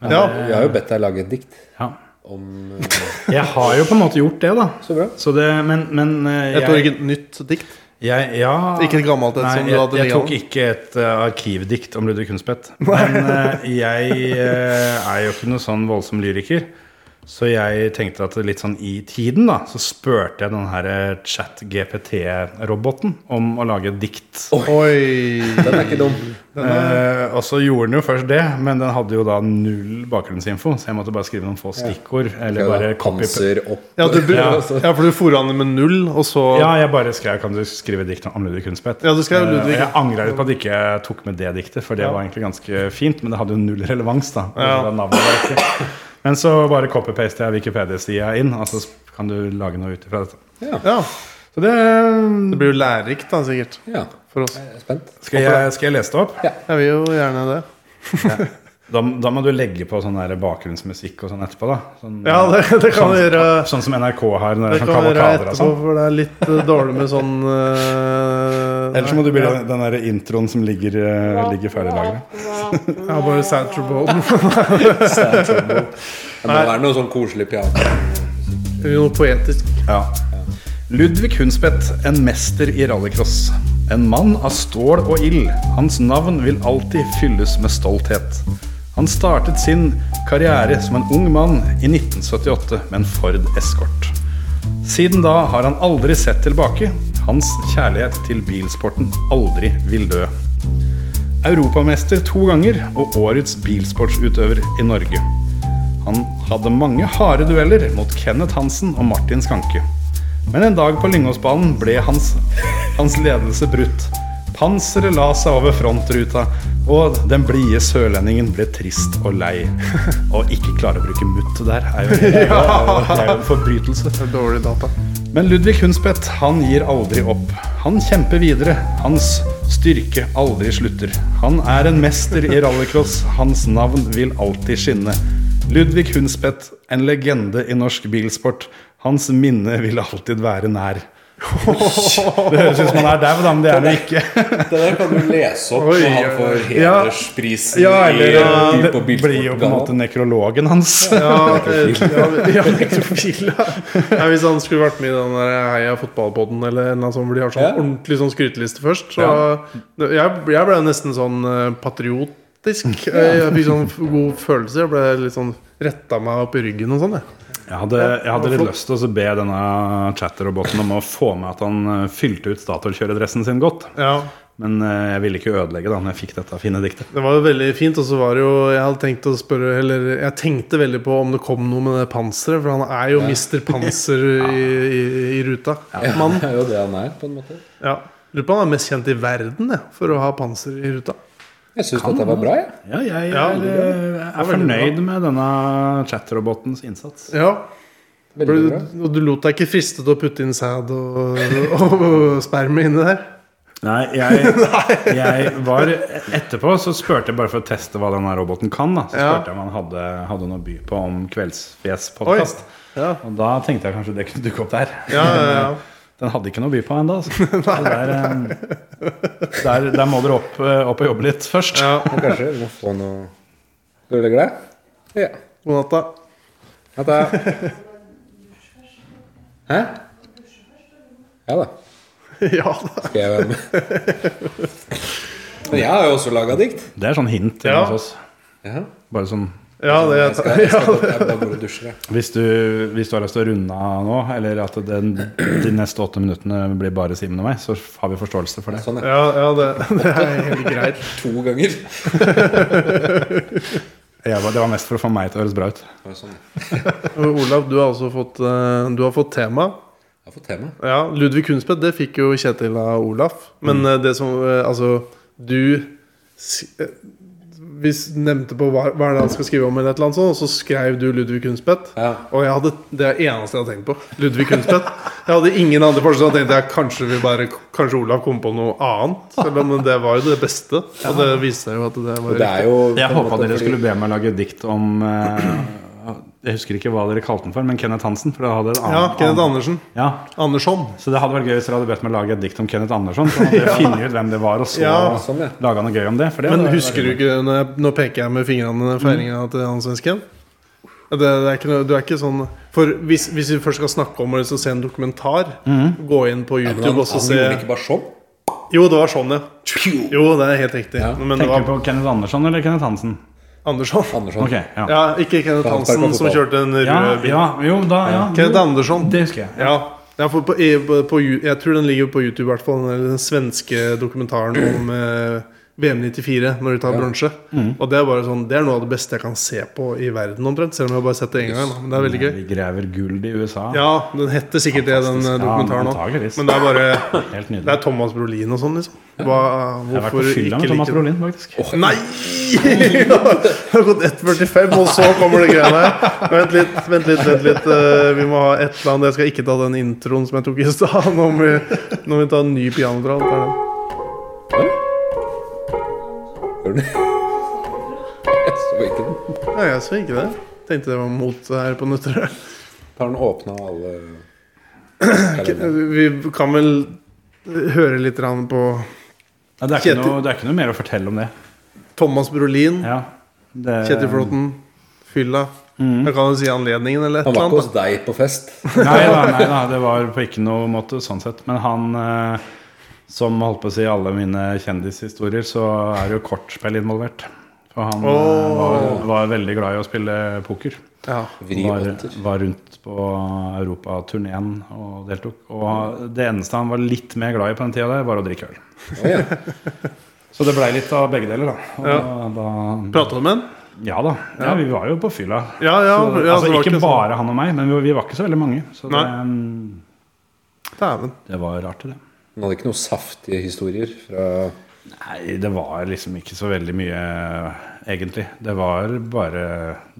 Speaker 1: Ja.
Speaker 4: Jeg har jo bedt deg lage et dikt
Speaker 6: Ja.
Speaker 4: om eh,
Speaker 6: Jeg har jo på en måte gjort det, da.
Speaker 4: Så bra.
Speaker 6: Så det, men, men eh,
Speaker 1: Et
Speaker 6: jeg,
Speaker 1: origin- nytt dikt?
Speaker 6: jeg, ja,
Speaker 1: Ikke et gammelt et
Speaker 6: Nei,
Speaker 1: som du
Speaker 6: jeg,
Speaker 1: hadde
Speaker 6: jeg tok
Speaker 1: liggende?
Speaker 6: ikke et eh, arkivdikt om Ludvig Hundspett. Men eh, jeg eh, er jo ikke noe sånn voldsom lyriker. Så jeg tenkte at litt sånn i tiden, da, så spurte jeg den her eh, chat-GPT-roboten om å lage et dikt.
Speaker 1: Oi!
Speaker 4: Den er ikke dum.
Speaker 6: Eh, og så gjorde den jo først det, men den hadde jo da null bakgrunnsinfo, så jeg måtte bare skrive noen få stikkord. Eller bare copy
Speaker 4: Panser opp
Speaker 1: Ja, du, bru-
Speaker 6: Ja.
Speaker 1: ja, for du fôra han med null, og så
Speaker 6: Ja, jeg bare skrev Kan du skrive dikt om Ludvig Hundspett?
Speaker 1: Ja, du skrev
Speaker 6: Eh,
Speaker 1: Ludvig.
Speaker 6: og Jeg angra litt på at jeg ikke tok med det diktet, for det var egentlig ganske fint, men det hadde jo null relevans. da
Speaker 1: Ja.
Speaker 6: Det var navnet var riktig. Men så bare copy-paster jeg Wikipedia-sida inn, og så sp- kan du lage noe ut ifra dette.
Speaker 1: Ja,
Speaker 6: Så det
Speaker 1: Det blir jo lærerikt, da, sikkert.
Speaker 4: Ja,
Speaker 1: For oss.
Speaker 4: jeg er spent.
Speaker 6: skal jeg, skal jeg lese det opp?
Speaker 1: Jeg vil jo gjerne det.
Speaker 6: Da, da må du legge på sånn der bakgrunnsmusikk og sånn etterpå. da Sånn,
Speaker 1: Ja, det, det kan vi gjøre.
Speaker 6: sånn som NRK har når
Speaker 1: Det
Speaker 6: det er sånn
Speaker 1: kan vi gjøre
Speaker 6: kavalkader og
Speaker 1: etterpå,
Speaker 6: sånn.
Speaker 1: for det er litt eh, dårlig med sånn eh,
Speaker 6: Ellers må du bli
Speaker 1: ja,
Speaker 6: den, den der introen som ligger, eh, ligger ferdig lagra.
Speaker 1: ja, bare Santrobone.
Speaker 4: Det må være noe sånn koselig piano.
Speaker 1: Noe poetisk.
Speaker 6: Ja. Ludvig Hundspett, en mester i rallycross. En mann av stål og ild. Hans navn vil alltid fylles med stolthet. Han startet sin karriere som en ung mann i 1978 med en Ford Escort. Siden da har han aldri sett tilbake. Hans kjærlighet til bilsporten aldri vil dø. Europamester to ganger og årets bilsportsutøver i Norge. Han hadde mange harde dueller mot Kenneth Hansen og Martin Skanke. Men en dag på Lyngåsbanen ble hans, hans ledelse brutt. Panseret la seg over frontruta, og den blide sørlendingen ble trist og lei. Og ikke klare å bruke mutt der er jo, det er jo, det er jo en forbrytelse.
Speaker 1: Det er Dårlig data.
Speaker 6: Men Ludvig Hundspett han gir aldri opp. Han kjemper videre. Hans styrke aldri slutter. Han er en mester i rallycross. Hans navn vil alltid skinne. Ludvig Hundspett, en legende i norsk bilsport. Hans minne vil alltid være nær. Det høres ut som han er dau, da, men det er han jo ikke.
Speaker 4: Det der kan du lese opp
Speaker 1: Oi,
Speaker 4: når han får
Speaker 6: ja.
Speaker 4: hedersprisen
Speaker 6: Ja, eller
Speaker 4: i,
Speaker 6: ja,
Speaker 1: eh,
Speaker 4: i-
Speaker 6: Det
Speaker 4: på
Speaker 6: blir jo på en måte
Speaker 4: Bilsportgallaen.
Speaker 6: nekrologen hans.
Speaker 1: Ja, eh, ja, ja, nekrofil, ja. Nei, Hvis han skulle vært med i den der Heia fotballpodden eller en eller annen sånn, hvor de har sånn
Speaker 4: Ja.
Speaker 1: ordentlig sånn skryteliste først, så jeg, jeg ble nesten sånn eh, patriotisk. Jeg, jeg fikk sånn f- god følelse. Jeg ble litt sånn retta meg opp i ryggen og sånn, jeg.
Speaker 6: Jeg hadde, jeg hadde litt lyst til å be denne chat-roboten om å få med at han eh, fylte ut Statoil-kjøredressen sin godt.
Speaker 1: Ja.
Speaker 6: Men eh, jeg ville ikke ødelegge da når jeg fikk dette fine diktet.
Speaker 1: Det var jo veldig fint, og så var det jo Jeg hadde tenkt å spørre Eller jeg tenkte veldig på om det kom noe med det panseret, for han er jo mister panser i, i, i ruta. Mann.
Speaker 4: Det er jo det han er, på en måte.
Speaker 1: Ja. Lurer på om han er mest kjent i verden jeg, for å ha panser i ruta.
Speaker 4: Jeg syns dette var bra, jeg.
Speaker 6: Ja, jeg
Speaker 1: Ja,
Speaker 6: er,
Speaker 1: det er
Speaker 6: eh, er fornøyd med denne chatrobotens innsats.
Speaker 1: Ja, for
Speaker 4: Veldig
Speaker 1: du,
Speaker 4: bra.
Speaker 1: Og du lot deg ikke friste til å putte inn sæd og, og, og sperma inni der?
Speaker 6: Nei, jeg, jeg var Etterpå så spurte jeg bare for å teste hva denne roboten kan. da Så
Speaker 1: Ja.
Speaker 6: spurte jeg om han hadde, hadde noe å by på om Kveldsfjes
Speaker 1: Oi!
Speaker 6: podkast.
Speaker 1: Ja,
Speaker 6: Og da tenkte jeg kanskje det kunne dukke opp der.
Speaker 1: ja, ja, ja.
Speaker 6: Den hadde ikke noe å by på ennå. Altså. Så Der, eh, der, der må dere opp, eh, opp og jobbe litt først.
Speaker 4: Men Kanskje vi må få noe Skal du legge deg? Ja.
Speaker 1: God natta.
Speaker 4: At jeg... Hæ? Ja da.
Speaker 1: Ja da.
Speaker 4: Skal jeg være med? Men jeg har jo også laga dikt.
Speaker 6: Det er sånn hint
Speaker 1: Ja.
Speaker 6: ja. hos oss.
Speaker 4: Ja.
Speaker 6: Bare sånn
Speaker 1: Ja, det
Speaker 4: Jeg skal, jeg
Speaker 1: ja.
Speaker 4: skal jeg bare går og dusjer, jeg.
Speaker 6: Hvis du, hvis du har lyst til å runde av nå, eller at den, de neste åtte minuttene blir bare Simen og meg, så har vi forståelse for det.
Speaker 4: Sånn, ja.
Speaker 1: Ja, ja det, det er helt greit.
Speaker 4: To ganger.
Speaker 6: Jeg var, det var mest for å få meg til å høres bra ut.
Speaker 4: Bare Sånn. ja.
Speaker 1: Og Olav, du har også fått, eh, du har fått tema.
Speaker 4: Jeg har fått tema.
Speaker 1: Ja, Ludvig Kunstvedt, det fikk jo Kjetil av Olaf.
Speaker 4: Mm.
Speaker 1: Men eh, det som eh, Altså, du s- eh, vi s- nevnte på hva, hva er det han skal skrive om, eller et eller annet sånt, og så skrev du Ludvig Kunstvedt.
Speaker 4: Ja.
Speaker 1: Og jeg hadde, det er det eneste jeg har tenkt på. Ludvig Kunstvedt. Jeg hadde ingen andre forslag. Jeg tenkte jeg kanskje vi bare Kanskje Olav kom på noe annet. Selv om det var jo det beste. Og det viste seg jo at det
Speaker 4: Og
Speaker 1: var
Speaker 4: det er jo på en
Speaker 6: Jeg håpa
Speaker 4: måte
Speaker 6: dere
Speaker 4: fordi-
Speaker 6: skulle be meg lage dikt om eh, Jeg husker ikke hva dere kalte den for, men Kenneth Hansen. For det hadde en
Speaker 1: Ja,
Speaker 6: annen,
Speaker 1: Kenneth Andersen.
Speaker 6: annen- Ja,
Speaker 1: Andersson.
Speaker 6: Så det hadde vært gøy hvis dere hadde bedt meg lage et dikt om Kenneth Andersson. sånn Så hadde jeg funnet ut hvem det var, og så
Speaker 1: Ja,
Speaker 4: sånn, ja.
Speaker 6: laga noe gøy om det. For det
Speaker 1: Men
Speaker 6: var-
Speaker 1: husker du ikke når jeg, Nå peker jeg med fingrene
Speaker 6: Mm.
Speaker 1: feiringa til han svensken. Det, det er ikke noe, du er ikke sånn For hvis, hvis vi først skal snakke om å liksom se en dokumentar,
Speaker 6: Mm.
Speaker 1: gå inn på
Speaker 4: Men
Speaker 1: YouTube
Speaker 4: han,
Speaker 1: og så
Speaker 4: han
Speaker 1: se
Speaker 4: gjorde ikke bare sånn.
Speaker 1: Jo, det var sånn, ja. Jo, det er helt riktig.
Speaker 4: Ja.
Speaker 1: Men det
Speaker 6: Tenker du
Speaker 1: var
Speaker 6: på Kenneth Andersson eller Kenneth Hansen?
Speaker 1: Andersson.
Speaker 4: Andersson.
Speaker 6: Ok, ja.
Speaker 1: Ja, ikke Kenneth
Speaker 4: For han sparket
Speaker 1: Hansen som
Speaker 4: fotball.
Speaker 1: kjørte en rød
Speaker 6: ja,
Speaker 1: bil.
Speaker 6: ja, jo, da, ja.
Speaker 1: Kenneth
Speaker 6: jo,
Speaker 1: Andersson.
Speaker 6: Det husker jeg.
Speaker 1: Ja. ja for på, i- på, på, Ju- jeg tror den ligger på YouTube, i hvert fall. Den, der- den svenske dokumentaren om eh, VM 94, når de tar bronse.
Speaker 6: Mm.
Speaker 1: Og det er bare sånn Det er noe av det beste jeg kan se på i verden, omtrent. Selv om jeg bare har sett det én gang. da. Men det er veldig gøy.
Speaker 6: Vi graver gull i USA.
Speaker 1: Ja, den heter sikkert det, den eh,
Speaker 6: Fantastisk.
Speaker 1: dokumentaren òg.
Speaker 6: Ja, antageligvis.
Speaker 1: Men det er bare
Speaker 6: Helt
Speaker 1: Det
Speaker 6: nydelig.
Speaker 1: er Thomas Brolin og sånn, liksom. Hva,
Speaker 6: Jeg har vært
Speaker 1: hvorfor
Speaker 6: på
Speaker 1: ikke
Speaker 6: fylla med Thomas
Speaker 1: like det?
Speaker 6: Brolin, faktisk.
Speaker 1: Nei! Det har gått 1,45, og så kommer det greiene her. Vent litt, vent litt. vent litt eh, Vi må ha et eller annet. Jeg skal ikke ta den introen som jeg tok i stad. Nå må vi, nå må vi ta en ny pianodrall. Det er den.
Speaker 4: Hører du? Jeg så ikke den.
Speaker 1: Nei, jeg så ikke det. Tenkte det var mot her på Nøtterøy.
Speaker 4: Har den åpna alle
Speaker 1: Vi kan vel eh, høre litt grann på
Speaker 6: Ja, det, er ikke
Speaker 1: Kjetil-
Speaker 6: noe, det er ikke noe mer å fortelle om det.
Speaker 1: Thomas Brolin,
Speaker 6: Ja, det
Speaker 1: Kjetil Flåten, Fylla.
Speaker 6: Mm.
Speaker 1: Jeg kan jo si anledningen eller et
Speaker 4: Han
Speaker 1: eller
Speaker 4: var ikke
Speaker 1: annet.
Speaker 4: hos deg på fest.
Speaker 6: Nei da, nei da, det var på ikke noe måte sånn sett. Men han eh, som holdt på å si alle mine kjendishistorier, så er det jo kortspill involvert. For han eh, var, var veldig glad i å spille poker.
Speaker 1: da. Ja.
Speaker 4: Vri
Speaker 6: Var,
Speaker 4: åtter.
Speaker 6: var rundt på europaturneen og deltok. Og det eneste han var litt mer glad i på den tida der, var å drikke øl.
Speaker 4: Å, ja.
Speaker 6: Så det blei litt av begge deler, da. Og da, da
Speaker 1: Prata du med han?
Speaker 6: ja da. Ja, vi var jo på fylla.
Speaker 1: Ja, ja.
Speaker 6: Så,
Speaker 1: ja
Speaker 6: altså,
Speaker 1: det var
Speaker 6: ikke
Speaker 1: sånn.
Speaker 6: bare han og meg, men vi, vi var ikke så veldig mange. Så det, mm,
Speaker 1: Dæven.
Speaker 6: det var rart, det.
Speaker 4: Han hadde ikke noen saftige historier fra
Speaker 6: Nei, det var liksom ikke så veldig mye, egentlig. Det var bare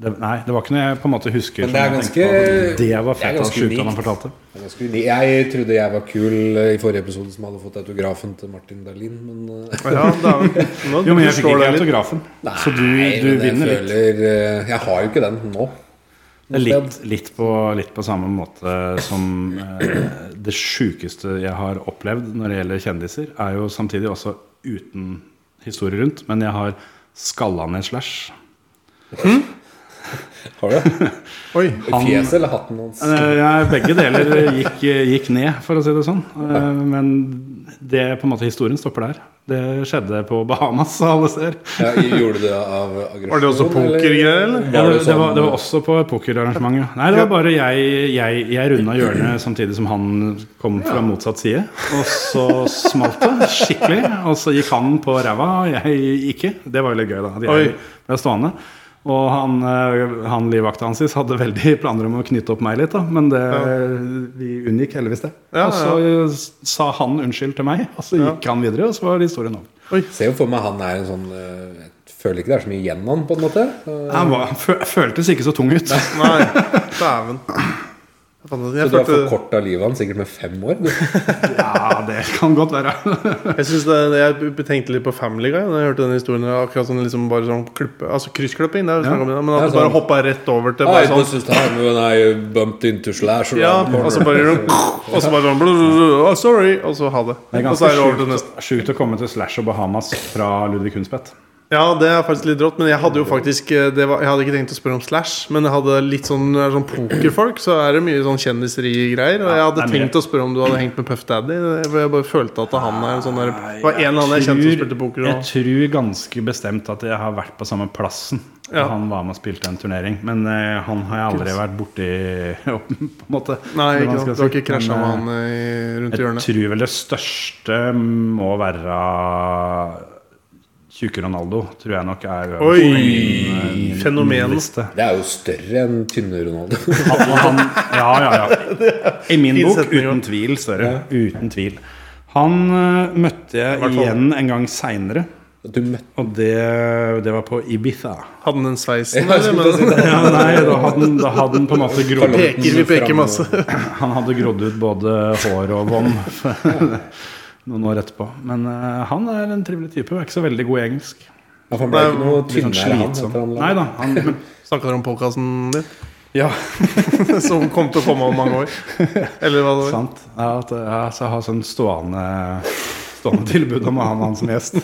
Speaker 6: det, Nei, det var ikke noe jeg på en måte husker.
Speaker 4: Men det er
Speaker 6: som jeg
Speaker 4: ganske-
Speaker 6: tenkte på. Det var
Speaker 4: det er
Speaker 6: fett av
Speaker 4: ganske
Speaker 6: sjukt at han
Speaker 4: unikt.
Speaker 6: fortalte.
Speaker 4: Det er ganske unik. Jeg trodde jeg var kul eh, i forrige episode som hadde fått autografen til Martin Berlin, men eh,
Speaker 1: Ja, dæven. Nå
Speaker 6: Jo, men jeg fikk
Speaker 1: forstår
Speaker 6: ikke
Speaker 1: jeg litt.
Speaker 6: autografen, så du,
Speaker 4: nei,
Speaker 6: du
Speaker 4: men jeg
Speaker 6: vinner litt.
Speaker 4: føler, eh, Jeg har jo ikke den nå.
Speaker 6: Det er litt, litt, på, litt på samme måte som eh, det sjukeste jeg har opplevd når det gjelder kjendiser, er jo samtidig også uten historie rundt, men jeg har skalla ned Slash.
Speaker 4: Har du det?
Speaker 1: Oi.
Speaker 4: Fjeset eller hatten hans?
Speaker 6: Eh, Ja, begge deler gikk, gikk ned, for å si det sånn. Eh, Men det på en måte historien stopper der. Det skjedde på Bahamas, av alle steder.
Speaker 4: Ja, gjorde du det av aggresjon?
Speaker 1: Var det også pokergreier, Sånn, eller?
Speaker 6: Ja, det, det, var,
Speaker 4: sånn-
Speaker 6: det var også på pokerarrangement. ja. Nei, det var bare jeg, jeg, jeg runda hjørnet samtidig som han kom fra motsatt side. Og så smalt det skikkelig. Og så gikk han på ræva, og jeg ikke. Det var jo litt gøy, da. At
Speaker 1: Oi.
Speaker 6: jeg ble stående. Og han, eh, han livvakta hans sist hadde veldig planer om å knytte opp meg litt, da. men det, vi unngikk heldigvis det.
Speaker 1: Ja,
Speaker 6: og så eh, sa han unnskyld til meg, og så gikk han videre, og så var historien over.
Speaker 4: Ser jo for meg han er en sånn eh, Jeg føler ikke det er så mye igjen han, på en måte. Så-
Speaker 6: Han var, fø, føltes ikke så tung ut.
Speaker 1: Nei, dæven. Jeg fant ut-
Speaker 4: Så
Speaker 1: Jeg,
Speaker 4: du har
Speaker 1: følte-
Speaker 4: forkorta livet hans sikkert med fem år? Du.
Speaker 6: Ja, det kan godt være.
Speaker 1: jeg, synes det, jeg tenkte litt på Family Guy da jeg hørte den historien. Akkurat sånn liksom bare sånn klippe, altså kryssklipping. Det er jo snakk om det, men at
Speaker 4: Ja,
Speaker 1: du bare
Speaker 4: sånn.
Speaker 1: hoppa rett over til
Speaker 4: I
Speaker 1: bare sånn
Speaker 4: was just having when I bumped into Slash around
Speaker 1: Ja,
Speaker 4: the corner.
Speaker 1: og så bare gjør du Og så bare sånn blu, blu, blu, oh, Sorry, og så ha det.
Speaker 6: Det er
Speaker 1: Og så
Speaker 6: ganske
Speaker 1: er det over til neste.
Speaker 6: sjukt, sjukt å komme til Slash og Bahamas fra Ludvig Hundspett.
Speaker 1: Ja, det er faktisk litt rått, men jeg hadde jo faktisk eh, det var, Jeg hadde ikke tenkt å spørre om Slash, men jeg hadde litt sånn, er sånn pokerfolk, så er det mye sånn kjendiseri-greier. Og jeg hadde
Speaker 6: det er mye.
Speaker 1: tenkt å spørre om du hadde hengt med Puff Daddy. For jeg bare følte at han er en sånn der Det var en eller annen jeg kjente som spilte poker.
Speaker 6: jeg
Speaker 1: Og,
Speaker 6: tror ganske bestemt at jeg har vært på samme plassen. da
Speaker 1: Ja.
Speaker 6: Han var med og spilte en turnering, men eh, han har jeg aldri vært borti på en måte.
Speaker 1: nei,
Speaker 6: eller
Speaker 1: ikke
Speaker 6: hva man skal
Speaker 1: sant. Du har
Speaker 6: si.
Speaker 1: ikke krasja
Speaker 6: Men,
Speaker 1: med
Speaker 6: eh,
Speaker 1: han eh, rundt i
Speaker 6: Jeg
Speaker 1: hjørnet.
Speaker 6: tror vel det største må være Tjukke Ronaldo, tror jeg nok er øverst
Speaker 1: Oi,
Speaker 6: på min, eh, min
Speaker 1: fenomenet.
Speaker 6: liste.
Speaker 4: Det er jo større enn tynne Ronaldo.
Speaker 6: Han, han, ja, ja, ja. I min
Speaker 1: Fin
Speaker 6: bok
Speaker 1: setning,
Speaker 6: uten tvil større. Uten tvil. Han eh, møtte jeg
Speaker 1: Hvertfall.
Speaker 6: igjen en gang seinere,
Speaker 4: Du møtte
Speaker 6: og det, det var på Ibiza.
Speaker 1: Hadde han den sveisen, eller? Men,
Speaker 6: Ja, nei, da hadde han, da hadde han på en måte grodd
Speaker 4: Carl
Speaker 1: peker, vi peker masse.
Speaker 6: Han hadde grodd ut både hår og vom noen år etterpå. Men eh, han er en trivelig type. Er ikke så veldig god i engelsk.
Speaker 4: Ja, for han ble ikke noe
Speaker 6: Litt sånn
Speaker 4: tynnere, han.
Speaker 6: slitsom.
Speaker 4: etter han la-
Speaker 6: Nei da. Han, men,
Speaker 1: Snakka dere om podkasten din?
Speaker 6: ja,
Speaker 1: Som kom til å komme om mange år? Eller hva det var?
Speaker 6: sant. Ja, at, ja, så jeg har sånn stående, stående tilbud om å ha han som gjest.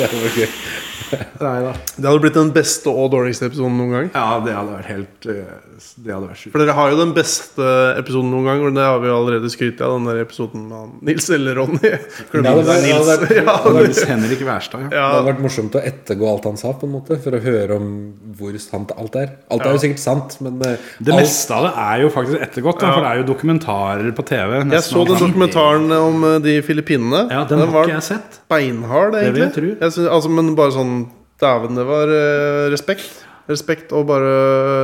Speaker 4: Det var gøy.
Speaker 1: Det hadde blitt den beste og dårligste episoden noen gang.
Speaker 6: Ja, det hadde vært helt eh, Det hadde vært sjukt.
Speaker 1: For dere har jo den beste episoden noen gang, og det har vi jo allerede skrytt av. Den der episoden med han Nils eller Ronny.
Speaker 4: Ja, det var- ja, det var-
Speaker 1: Ja,
Speaker 6: Det var visst Henrik Wærstad, ja.
Speaker 4: Det
Speaker 1: ja,
Speaker 4: hadde vært morsomt å ettergå alt han sa, på en måte for å høre om hvor sant alt er. Alt er jo sikkert sant, men eh,
Speaker 6: Det
Speaker 4: alt,
Speaker 6: meste av det er jo faktisk ettergått, da, for det er jo dokumentarer på TV.
Speaker 1: jeg så den dokumentaren om eh, de filippinene.
Speaker 6: Ja, den, har
Speaker 1: var
Speaker 6: ikke jeg sett.
Speaker 1: beinhard,
Speaker 6: Det vil
Speaker 1: egentlig.
Speaker 6: jeg tro.
Speaker 1: Jeg synes, altså, men bare sånn Dæven, det var eh, respekt. Respekt og bare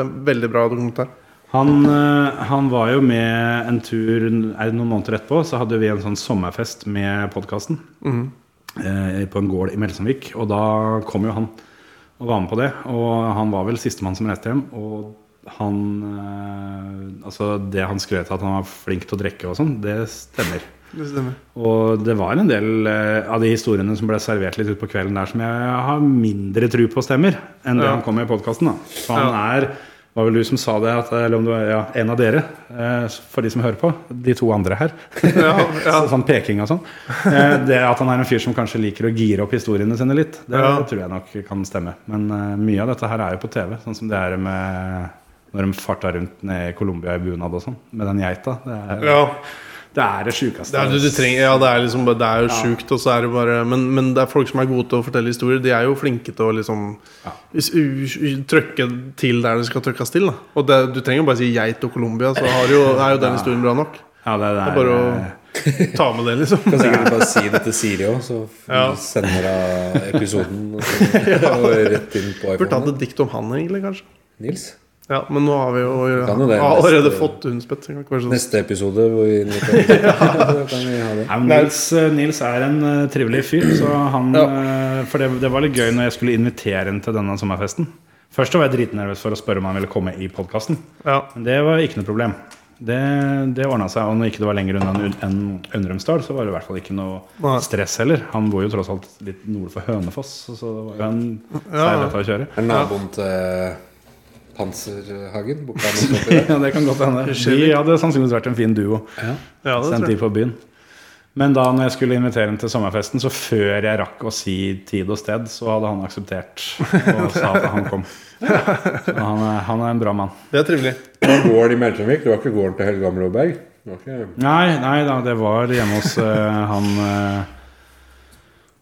Speaker 1: eh, veldig bra dokumentar.
Speaker 6: Han, eh, han var jo med en tur er det noen måneder etterpå. Så hadde vi en sånn sommerfest med podkasten
Speaker 1: Mhm.
Speaker 6: eh, på en gård i Melsomvik. Og da kom jo han og var med på det. Og han var vel sistemann som reiste hjem. Og han eh, Altså, det han skrøt av at han var flink til å drikke og sånn, det stemmer.
Speaker 1: Det stemmer.
Speaker 6: Og det var en del eh, av de historiene som ble servert litt utpå kvelden der, som jeg har mindre tru på stemmer enn det
Speaker 1: Ja.
Speaker 6: han kom med i podkasten. For han er var vel du som sa det, at, eller om det var ja, en av dere, eh, for de som hører på. De to andre her. Så, sånn peking og sånn. Eh, det at han er en fyr som kanskje liker å gire opp historiene sine litt, det
Speaker 1: Ja.
Speaker 6: tror jeg nok kan stemme. Men eh, mye av dette her er jo på TV, sånn som det er med når de farta rundt ned i Colombia i bunad og sånn, med den geita. Det er
Speaker 1: Ja,
Speaker 6: det, er det sjukeste.
Speaker 1: det er, det du trenger, ja, det er, liksom, bare- det er jo sjukt, og så er det bare men, men det er folk som er gode til å fortelle historier. De er jo flinke til å liksom s- u- u- trykke til der det skal trykkes til. Da. Og det, du trenger jo bare si geit og Colombia, så har jo, er jo den historien bra nok.
Speaker 6: Ja, det, det
Speaker 1: Det
Speaker 6: er
Speaker 1: er bare å ta med det, liksom.
Speaker 4: kan sikkert bare si det til Siri òg, så f-
Speaker 1: Ja.
Speaker 4: sender hun episoden og, så, og rett inn på
Speaker 1: Burde hatt
Speaker 4: iPhone.
Speaker 1: et dikt om han, egentlig, kanskje.
Speaker 4: Nils?
Speaker 1: Ja, Men nå har vi jo
Speaker 4: Kan jo det.
Speaker 1: har allerede
Speaker 4: Neste-
Speaker 1: fått hundspett. så det kan ikke være sånn.
Speaker 4: Neste episode hvor vi inviterer Da kan vi ha det.
Speaker 6: Nei, men Nils, Nils er en eh, trivelig fyr, så han eh, For det, det var litt gøy når jeg skulle invitere ham til denne sommerfesten. Først var jeg dritnervøs for å spørre om han ville komme i podkasten.
Speaker 1: Ja.
Speaker 6: Men det var ikke noe problem. Det, det ordna seg. Og når ikke det var lenger unna enn enn Undrumsdal, så var det i hvert fall ikke noe
Speaker 1: Nei.
Speaker 6: stress heller. Han bor jo tross alt litt nord for Hønefoss, så så det var jo en
Speaker 1: Ja.
Speaker 6: seilighet å kjøre.
Speaker 4: Er naboen til eh, Panserhagen? Boka noe sånt i dag?
Speaker 6: Ja, det kan godt hende. Vi hadde sannsynligvis vært en fin duo.
Speaker 1: ja, det
Speaker 6: Sendt
Speaker 1: tror
Speaker 6: de
Speaker 1: jeg.
Speaker 6: på byen. Men da når jeg skulle invitere ham til sommerfesten, så før jeg rakk å si tid og sted, så hadde han akseptert og sa at han kom. Så han er, han er en bra mann.
Speaker 1: Det er trivelig.
Speaker 4: Gården i Melkjømvik? Det var ikke gården til Helge Amlåberg? Det var ikke-
Speaker 6: Nei, nei da, det var hjemme hos eh, han eh,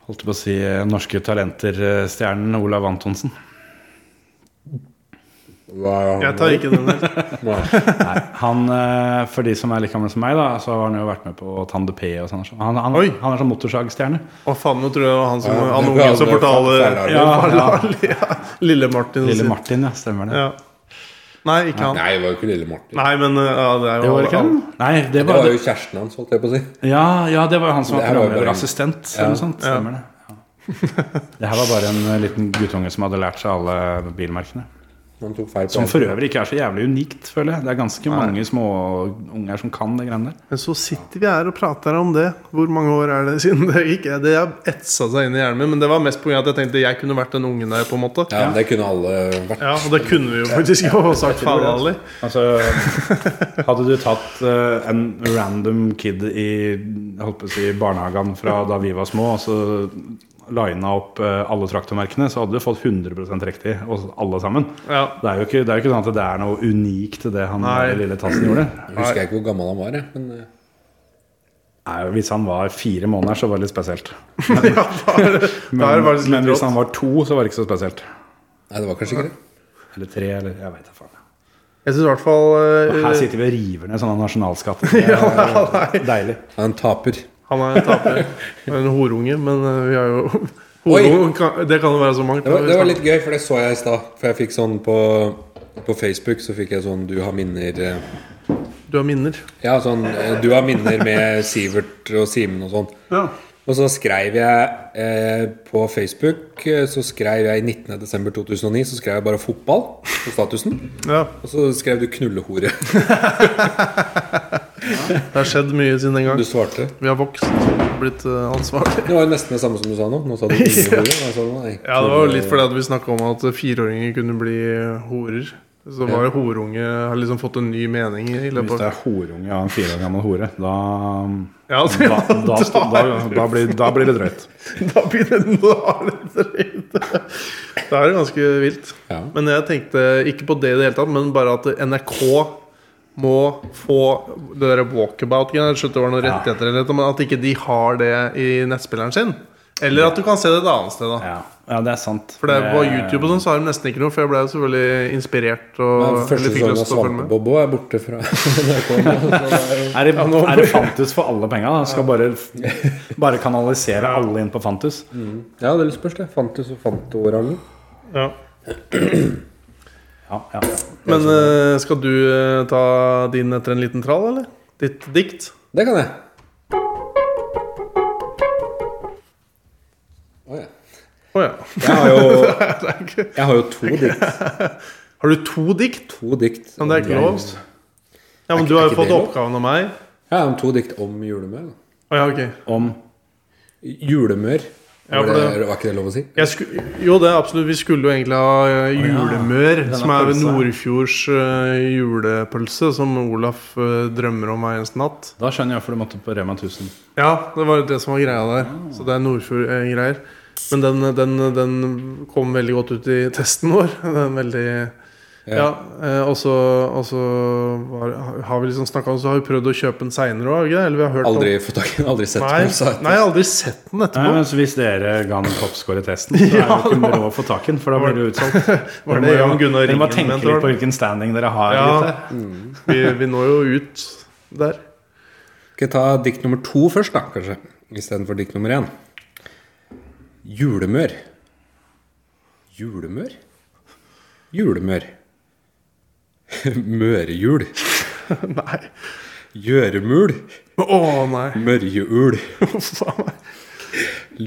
Speaker 6: Holdt på å eh, si eh, norske talenter-stjernen Olav Antonsen.
Speaker 4: Hva er han
Speaker 1: Jeg tar ikke den der.
Speaker 4: Nei.
Speaker 6: Nei, han, eh, for de som er like gamle som meg, da, så har han jo vært med på Tande P. Og sånn, han, han,
Speaker 1: Oi.
Speaker 6: han er sånn motorsagstjerne.
Speaker 1: Å faen, nå tror jeg det var han som
Speaker 4: Ja,
Speaker 1: Han
Speaker 4: det
Speaker 1: ungen som
Speaker 4: var
Speaker 1: fortalte
Speaker 4: Ferrari.
Speaker 1: Ja,
Speaker 6: Ja.
Speaker 1: ja. Lille Martin.
Speaker 6: Lille
Speaker 1: sin.
Speaker 6: Martin, ja. Stemmer det.
Speaker 1: Ja. Nei, ikke han.
Speaker 4: Nei, det var jo ikke lille Martin.
Speaker 1: Nei, men uh, ja, det er
Speaker 6: Det
Speaker 1: jo
Speaker 6: var ikke han? Nei, det
Speaker 4: Det
Speaker 6: var,
Speaker 4: var jo kjæresten hans, holdt jeg på å si.
Speaker 6: ja, ja, det var jo han som
Speaker 4: Det
Speaker 6: var
Speaker 4: her var jo bare en-
Speaker 6: programlederassistent.
Speaker 4: Ja.
Speaker 6: Eller noe sånt. Stemmer det. Ja. Det her var bare en eh, liten guttunge som hadde lært seg alle bilmerkene.
Speaker 4: Han tok feil på
Speaker 6: Som
Speaker 4: en.
Speaker 6: for øvrig ikke er så jævlig unikt, føler jeg. Det er ganske mange små unger som kan det greiene der.
Speaker 1: Men så sitter vi her og prater om det. Hvor mange år er det siden det gikk? Ja, Det har etsa seg inn i hjernen min, men det var mest pga. at jeg tenkte jeg kunne vært den ungen der, på en måte.
Speaker 4: Ja, men det kunne alle vært.
Speaker 1: Ja, og det kunne vi jo faktisk jo ha sagt faen Ali.
Speaker 6: Altså, hadde du tatt eh, en random kid i holdt på å si, barnehagen fra da vi var små, og så lina opp eh, alle traktormerkene, så hadde du fått 100 riktig, og alle sammen.
Speaker 1: Ja.
Speaker 6: Det er jo ikke, det er jo ikke sånn at det er noe unikt i det han
Speaker 1: Nei.
Speaker 6: lille tassen gjorde.
Speaker 4: Jeg husker jeg ikke hvor gammel han var, jeg. Men eh,
Speaker 6: Nei, hvis han var fire måneder, så var det litt spesielt.
Speaker 1: ja da er det, da er
Speaker 6: Men,
Speaker 1: det faktisk
Speaker 6: men
Speaker 1: litt
Speaker 6: hvis
Speaker 1: rått.
Speaker 6: han var to, så var det ikke så spesielt.
Speaker 4: nei, det var kanskje ikke det.
Speaker 6: Eller tre, eller jeg vet da faen.
Speaker 1: Jeg syns i hvert fall
Speaker 6: Og
Speaker 1: uh,
Speaker 6: Her sitter vi og river ned sånne nasjonalskatter. Det er deilig.
Speaker 4: Han taper.
Speaker 1: han er en taper. Han er En horunge, men uh, vi har jo
Speaker 4: Oi!
Speaker 1: Horunge kan, Det kan jo være så mangt.
Speaker 4: Det var, det var litt gøy, for det så jeg i stad. For jeg fikk sånn på, på Facebook så fikk jeg sånn 'Du har minner' eh,
Speaker 1: Du har minner.
Speaker 4: Ja, sånn eh, 'Du har minner' med Sivert og Simen og sånn.
Speaker 6: Ja.
Speaker 4: Og så skrev jeg eh, på Facebook eh, Så skrev jeg 19.12.2009 Så skrev jeg bare fotball på statusen.
Speaker 1: Ja,
Speaker 4: Og så skrev du 'knullehore'.
Speaker 1: Det har skjedd mye siden den gang.
Speaker 4: Du svarte.
Speaker 1: Vi har vokst og blitt uh, ansvarlige.
Speaker 4: Det var jo nesten det samme som du sa nå. Nå sa du 'knullehore'. og jeg sa du, nei,
Speaker 1: Ja, det var jo
Speaker 4: knulle-
Speaker 6: eh,
Speaker 1: litt fordi at vi snakka om at fireåringer kunne bli uh, horer. Så var det horunge har liksom fått en ny mening i
Speaker 6: Hvis
Speaker 1: løpet
Speaker 6: det
Speaker 1: av
Speaker 6: er horunge av en fire år gammel hore, da,
Speaker 1: Ja, altså,
Speaker 6: da, da, da, da,
Speaker 1: da-
Speaker 6: blir, da blir det drøyt.
Speaker 1: Da begynner den å ha litt dritt. Da er det ganske vilt.
Speaker 4: Ja.
Speaker 1: Men jeg tenkte ikke på det i det hele tatt, men bare at NRK må få det derre walkabout Jeg skjønte det var noen rettigheter, eller noe, men at ikke de har det i nettspilleren sin. Eller at du kan se det et annet sted, da.
Speaker 6: Ja, ja det er sant.
Speaker 1: For det er på
Speaker 6: Eh,
Speaker 1: YouTube og sånn, så har de nesten ikke noe. For jeg ble jo selvfølgelig inspirert og
Speaker 4: Men Første
Speaker 1: eller fikk
Speaker 4: sesongen av
Speaker 1: lyst til å følge med.
Speaker 4: Svampebobo er borte fra NRK. nå, så det er jo-
Speaker 6: Er det, er det Fantus for alle penga? da? Skal bare, bare kanalisere alle inn på Fantus?
Speaker 4: Ja, det spørs, det. Fantus og Fanto-orangen.
Speaker 1: Ja.
Speaker 6: Ja, ja.
Speaker 1: Men eh, skal du eh, ta din etter en liten trall, eller? Ditt dikt?
Speaker 4: Det kan jeg. Å ja.
Speaker 1: Å ja.
Speaker 4: Jeg har jo, jeg har jo to dikt.
Speaker 1: Har du to dikt?
Speaker 4: To dikt
Speaker 1: Men det er ikke
Speaker 4: om-
Speaker 1: lov. Ja, men
Speaker 4: Er-
Speaker 1: du
Speaker 4: er
Speaker 1: har jo
Speaker 4: ikke
Speaker 1: fått
Speaker 4: det lov?
Speaker 1: oppgaven av meg.
Speaker 4: Ja, om to dikt om julemør. da.
Speaker 1: Å, ja, ok
Speaker 6: Om
Speaker 4: Julemør.
Speaker 1: Ja, for
Speaker 4: var, det, var ikke det lov å si?
Speaker 1: jeg sku, Jo, det er absolutt. Vi skulle jo egentlig ha eh, julemør,
Speaker 6: Den er
Speaker 1: som er ved
Speaker 6: pølse.
Speaker 1: Nordfjords eh, julepølse, som Olaf eh, drømmer om hver eneste natt.
Speaker 6: Da skjønner jeg hvorfor du måtte på Rema 1000.
Speaker 1: Ja, det var det som var greia der. Så det er Nordfjord-greier. Men den, den, den kom veldig godt ut i testen vår. Den veldig
Speaker 4: Ja.
Speaker 1: ja, eh, og så og så var- har vi liksom snakka om Så har vi prøvd å kjøpe den seinere òg, eller vi har hørt
Speaker 4: Aldri fått tak i den, aldri sett
Speaker 1: om Nei,
Speaker 4: den. sa jeg.
Speaker 1: nei, jeg har aldri sett den
Speaker 6: Nei,
Speaker 1: etterpå.
Speaker 6: men så Hvis dere ga den toppscore-testen, så er det jo ikke råd å få tak i den, for da blir det utsolgt.
Speaker 1: Var det
Speaker 6: Dere må
Speaker 1: Jan
Speaker 6: jo-
Speaker 1: Gunnar
Speaker 6: Dere må
Speaker 1: Ringen
Speaker 6: tenke
Speaker 1: mente,
Speaker 6: litt
Speaker 1: var
Speaker 6: på
Speaker 1: det?
Speaker 6: hvilken standing dere har.
Speaker 1: Ja,
Speaker 6: gutter.
Speaker 4: Mm.
Speaker 1: vi, vi når jo ut der.
Speaker 4: Skal jeg ta dikt nummer to først, da, kanskje? Istedenfor dikt nummer én. Julemør. Julemør? Julemør. Mørejul.
Speaker 1: Nei.
Speaker 4: Gjøremul.
Speaker 1: Å nei.
Speaker 4: Mørjeul.
Speaker 1: Faen meg.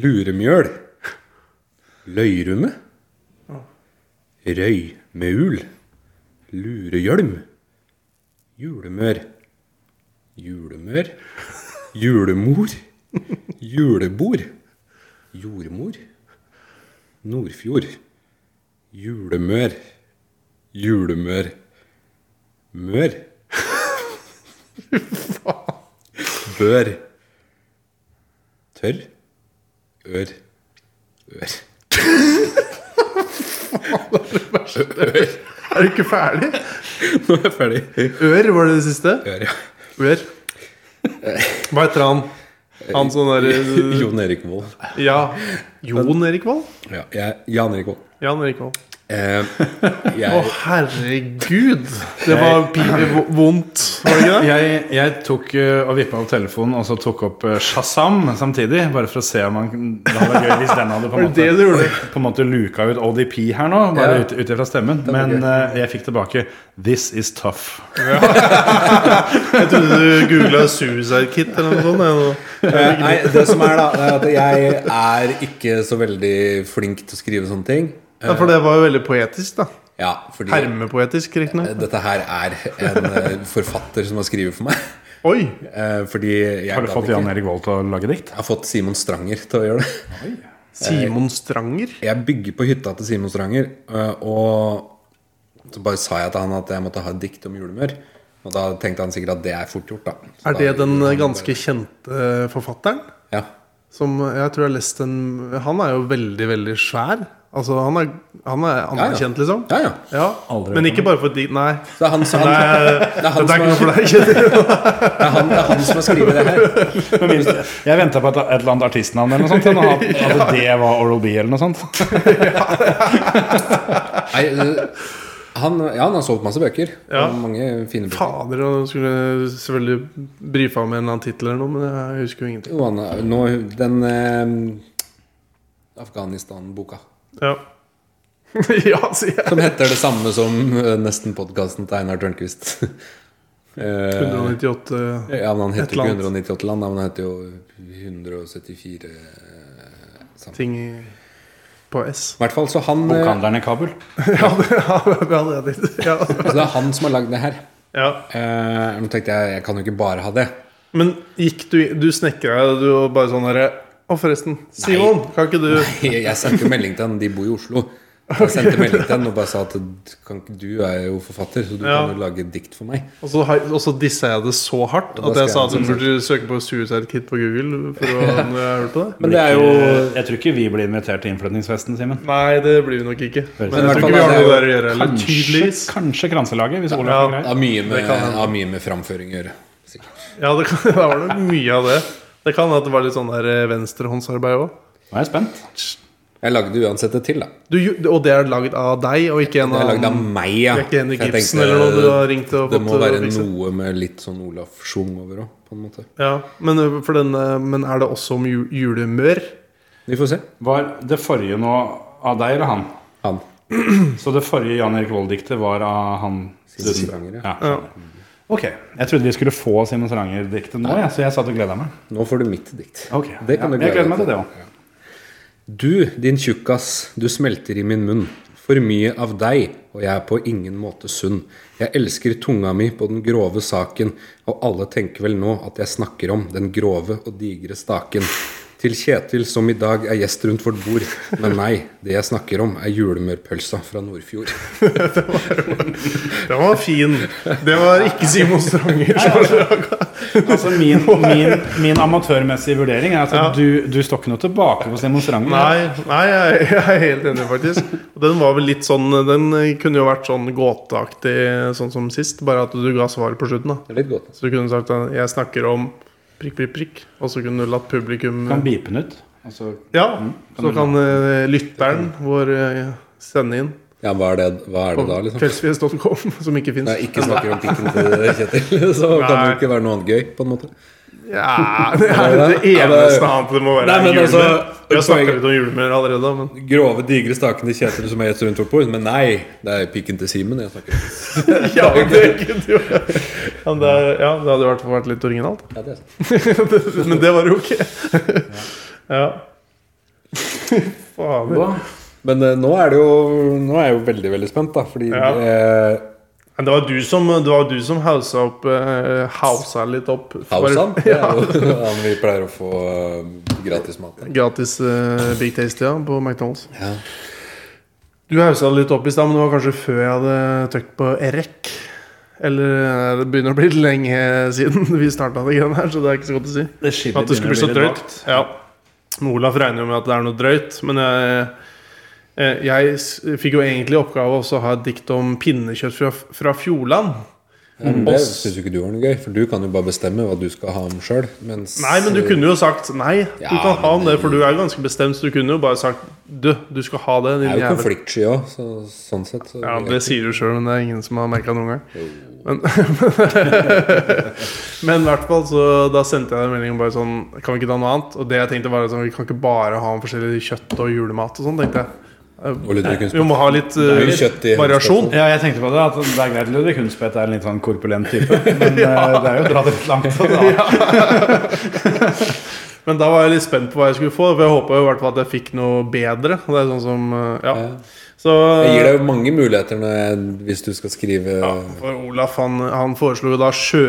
Speaker 4: Luremjøl. Løyrume. Røymeul. Lurehjelm. Julemør. Julemør. Julemor. Julebord. Jordmor. Nordfjord. Julemør. Julemør. Mør. Bør. Tørr. Ør. Ør.
Speaker 1: Er du ikke ferdig?
Speaker 4: Nå er jeg ferdig.
Speaker 1: Ør var det det siste?
Speaker 4: Ør, ja.
Speaker 1: Ør. Hva heter han? Han sånn derre
Speaker 4: Jon Erik Vold.
Speaker 1: Ja. Jon Erik Vold?
Speaker 4: Ja, jeg, Jan Erik Vold.
Speaker 1: Jan Erik Vold.
Speaker 4: Eh,
Speaker 1: Å,
Speaker 4: jeg,
Speaker 1: herregud! Det var pinlig vo- vondt, var det ikke det?
Speaker 6: Jeg, jeg tok eh, og vippa opp telefonen og så tok opp eh, Shazam samtidig. Bare for å se om han Det hadde vært gøy hvis den hadde på
Speaker 1: Var
Speaker 6: en
Speaker 1: det det
Speaker 6: måte,
Speaker 1: du gjorde?
Speaker 6: på en måte luka ut ODP her nå, bare
Speaker 4: Ja.
Speaker 6: ut ut ifra stemmen. Men eh, jeg fikk tilbake 'This is tough'.
Speaker 1: Jeg trodde du googla 'suicide kit' eller noe sånt. jeg, nå.
Speaker 4: eh, nei, det som er, da, det er at jeg er ikke så veldig flink til å skrive sånne ting.
Speaker 1: Ja, for det var jo veldig poetisk, da.
Speaker 4: Ja, fordi
Speaker 1: Hermepoetisk,
Speaker 4: eh,
Speaker 1: riktignok.
Speaker 4: dette her er en eh, forfatter som har skrevet for meg.
Speaker 1: Oi!
Speaker 4: Eh, fordi jeg
Speaker 6: Har du
Speaker 4: gadd
Speaker 6: fått
Speaker 4: ikke.
Speaker 6: Jan Erik Vold til å lage dikt?
Speaker 4: Jeg har fått Simon Stranger til å gjøre det.
Speaker 1: Simon Stranger?
Speaker 4: Jeg bygger på hytta til Simon Stranger, øh, og så bare sa jeg til han at jeg måtte ha et dikt om julemør. Og da tenkte han sikkert at det er fort gjort, da. Så
Speaker 1: Er
Speaker 4: da
Speaker 1: det den
Speaker 4: gjorde han
Speaker 1: ganske kjente forfatteren?
Speaker 4: bare- Ja.
Speaker 1: Som jeg tror jeg har lest en Han er jo veldig, veldig svær. Altså, han er, han er anerkjent, liksom.
Speaker 4: ja, ja.
Speaker 1: Ja, Men ikke bare for de Nei.
Speaker 4: Så det er han som,
Speaker 1: Det
Speaker 4: han,
Speaker 1: er,
Speaker 4: det er
Speaker 1: det er
Speaker 4: han som,
Speaker 1: ikke noe
Speaker 4: har-
Speaker 1: for deg. Kjetil.
Speaker 4: det er han, det er han som har skrevet det her.
Speaker 6: Jeg venta på et, et eller annet artistnavn eller noe sånt. Og at, at det var Oral B eller noe sånt.
Speaker 4: Nei, øh, han, ja, han har solgt masse bøker.
Speaker 1: Ja.
Speaker 4: Og mange fine bøker.
Speaker 1: Fader, han skulle selvfølgelig brifa med en eller annen tittel eller noe, men jeg husker jo ingenting.
Speaker 4: Jo, han, er- nå, den eh, Afghanistan-boka.
Speaker 1: Ja, ja sier jeg.
Speaker 4: Som heter det samme som øh, nesten podkasten til Einar Tørnquist. Eh,
Speaker 1: 198
Speaker 4: Ja, men han
Speaker 1: Et
Speaker 4: heter
Speaker 1: eller
Speaker 4: ikke
Speaker 1: annet.
Speaker 4: 198 land, da, men han heter jo 174
Speaker 1: ting i, på S.
Speaker 4: I hvert fall, så han eh,
Speaker 6: Bokhandleren i Kabul.
Speaker 1: Ja, det ja, det hadde jeg tenkt. Ja.
Speaker 4: eh, Så det er han som har lagd det her.
Speaker 1: Ja.
Speaker 4: Eh, nå tenkte jeg jeg kan jo ikke bare ha det.
Speaker 1: Men gikk du Du snekra deg, du og bare sånn herre Å, forresten. Simon, kan ikke du
Speaker 4: Jeg jeg sendte jo melding til han, de bor i Oslo. Jeg sendte melding til han og bare sa at kan, ikke- du er jo forfatter, så du
Speaker 1: Ja.
Speaker 4: kan jo lage et dikt for meg.
Speaker 1: Og så, har- og så dissa jeg det så hardt
Speaker 4: Da
Speaker 1: at jeg sa
Speaker 4: skal jeg- liksom-
Speaker 1: at du burde søke på Suicide Kit på Google. For å, når jeg hørte på det
Speaker 4: Men det er jo
Speaker 6: Jeg tror ikke vi blir invitert til innflyttingsfesten, Simen.
Speaker 1: Nei, det blir vi nok ikke. Men
Speaker 6: Men
Speaker 4: i
Speaker 1: jeg
Speaker 4: hvert
Speaker 1: tror ikke
Speaker 4: fall
Speaker 1: vi
Speaker 4: er
Speaker 1: har
Speaker 4: det
Speaker 1: noe
Speaker 4: jo
Speaker 1: der å gjøre heller. Tydeligvis.
Speaker 6: kanskje Kranselaget, hvis Olav
Speaker 1: Ja.
Speaker 6: er grei.
Speaker 4: det har mye med,
Speaker 1: Det kan hende.
Speaker 4: det har mye med framføring å gjøre. sikkert.
Speaker 1: Ja, det, kan, det var nok mye av det. Det kan hende at det var litt sånn der eh, venstrehåndsarbeid òg.
Speaker 6: Nå er jeg spent.
Speaker 4: Jeg lagde uansett et til, da.
Speaker 1: Og det er lagd av deg, og ikke en
Speaker 4: Det er
Speaker 1: av
Speaker 4: lagd av meg, ja.
Speaker 1: Det er ikke Henrik
Speaker 4: For jeg
Speaker 1: Ibsen
Speaker 4: tenkte,
Speaker 1: eller noe du har ringt og
Speaker 4: Det
Speaker 1: fått eh,
Speaker 4: må være
Speaker 1: fikset?
Speaker 4: noe med litt sånn Olaf Schwung over òg, på en måte.
Speaker 1: Ja, men, eh, for den, eh, men er det også om ju- julemør?
Speaker 4: Vi får se.
Speaker 6: Var det forrige nå av deg eller han?
Speaker 4: Han.
Speaker 6: Så det forrige Jan Erik Vold-diktet var av han?
Speaker 4: Simon Stranger, ja.
Speaker 1: Ja.
Speaker 6: Ok. Jeg trodde vi skulle få Simon Stranger-diktet nå, jeg, så jeg satt og gleda meg.
Speaker 4: Nå får du mitt dikt.
Speaker 6: Ok,
Speaker 4: Det kan
Speaker 6: ja, Jeg
Speaker 4: du glede
Speaker 6: gleder meg
Speaker 4: deg
Speaker 6: til det
Speaker 4: til.
Speaker 6: òg.
Speaker 4: Du, din tjukkas, du smelter i min munn. For mye av deg, og jeg er på ingen måte sunn. Jeg elsker tunga mi på den grove saken, og alle tenker vel nå at jeg snakker om den grove og digre staken. Til Kjetil, som i dag er gjest rundt vårt bord. Men nei, det jeg snakker om, er julemørpølsa fra Nordfjord.
Speaker 1: Den var fin. Det var ikke Simon Stranger.
Speaker 6: Altså, min, min, min amatørmessige vurdering er at du, du står ikke noe tilbake på Simon Stranger.
Speaker 1: Nei, nei jeg, jeg er helt enig, faktisk. Og Den var vel litt sånn Den kunne jo vært sånn gåteaktig, sånn som sist. Bare at du ga svaret på slutten. da
Speaker 4: Det er litt godt.
Speaker 1: Så du kunne sagt at 'jeg snakker om prikk, prikk, prikk', og så kunne du latt publikum
Speaker 6: Du kan bipe den ut. Altså,
Speaker 1: Ja, så kan eh, lytteren vår eh, sende inn
Speaker 4: Ja, hva er det, hva er
Speaker 1: på
Speaker 4: det da, liksom?
Speaker 1: kveldsfjes.com, som ikke
Speaker 4: Når
Speaker 1: fins.
Speaker 4: jeg ikke snakker om pikken til Kjetil, så kan det jo ikke være noe annet gøy, på en måte.
Speaker 1: Ja, det er det
Speaker 4: det det? Ja, det-
Speaker 1: eneste annet det må være.
Speaker 4: Nei, men
Speaker 1: julemør.
Speaker 4: altså,
Speaker 1: Vi har snakka
Speaker 4: poenget-
Speaker 1: litt om julemør allerede, men
Speaker 4: grove, digre staken til Kjetil som er gjest rundt vårt bord. Men nei, det er pikken til Simen jeg snakker om.
Speaker 1: Ja, men det kunne jo ja, det, er, ja, det hadde i hvert fall vært litt originalt.
Speaker 4: Ja, det er sant.
Speaker 1: Men det var det jo ikke. Ja. Fader.
Speaker 4: Men eh, nå er det jo Nå er jeg jo veldig, veldig spent, da. Fordi
Speaker 1: Ja.
Speaker 4: eh,
Speaker 1: Men det var du som, det var du som hausa opp eh, Hausa litt opp.
Speaker 4: Hausan
Speaker 1: Bare-
Speaker 4: det er jo han vi pleier å få eh, gratis mat av.
Speaker 1: Gratis eh, Big Tasty ja, på McDonald's.
Speaker 4: Ja.
Speaker 1: Du hausa det litt opp i stad, men det var kanskje før jeg hadde trykt på REC. Eller eh, det begynner å bli lenge siden vi starta det greiene her, så det er ikke så godt å si.
Speaker 6: det skillet
Speaker 1: At det skulle bli så
Speaker 6: begynner å litt
Speaker 1: drøyt. Ja. Men Olaf regner jo med at det er noe drøyt, men jeg, eh, jeg s- fikk jo egentlig i oppgave også å ha et dikt om pinnekjøtt fra, fra Fjordland.
Speaker 4: Det syns jo ikke du var noe gøy, for du kan jo bare bestemme hva du skal ha om sjøl.
Speaker 1: Nei, men du kunne jo sagt nei. Du
Speaker 4: Ja,
Speaker 1: kan ha
Speaker 4: men
Speaker 1: den der, for du er jo ganske bestemt. Så du kunne jo bare sagt du, du skal ha det,
Speaker 4: Jeg
Speaker 1: din
Speaker 4: er jo
Speaker 1: jævel.
Speaker 4: konfliktsky òg, så, sånn sett. Så,
Speaker 1: Ja, det sier du sjøl, men det er ingen som har merka det noen gang. Men, men i hvert fall, så da sendte jeg en melding bare sånn Kan vi ikke ta noe annet? Og det jeg tenkte var sånn, vi kan ikke bare ha forskjellig kjøtt og julemat og sånn, tenkte jeg.
Speaker 4: og Ludvig kunne
Speaker 1: Vi må ha litt eh,
Speaker 4: Det er jo kjøtt i
Speaker 1: variasjon.
Speaker 6: Ja, jeg tenkte på det. At det er greit Ludvig Hundspett er en litt sånn korpulent type. Men eh, det er jo å dra det litt langt. Så da.
Speaker 1: Men da var jeg litt spent på hva jeg skulle få, for jeg håpa i hvert fall at jeg fikk noe bedre. Og det er sånn som eh, Ja.
Speaker 4: Ja.
Speaker 1: Så
Speaker 4: Jeg gir deg jo mange muligheter når jeg, hvis du skal skrive
Speaker 1: Ja, for Olaf han, han foreslo jo da sjø...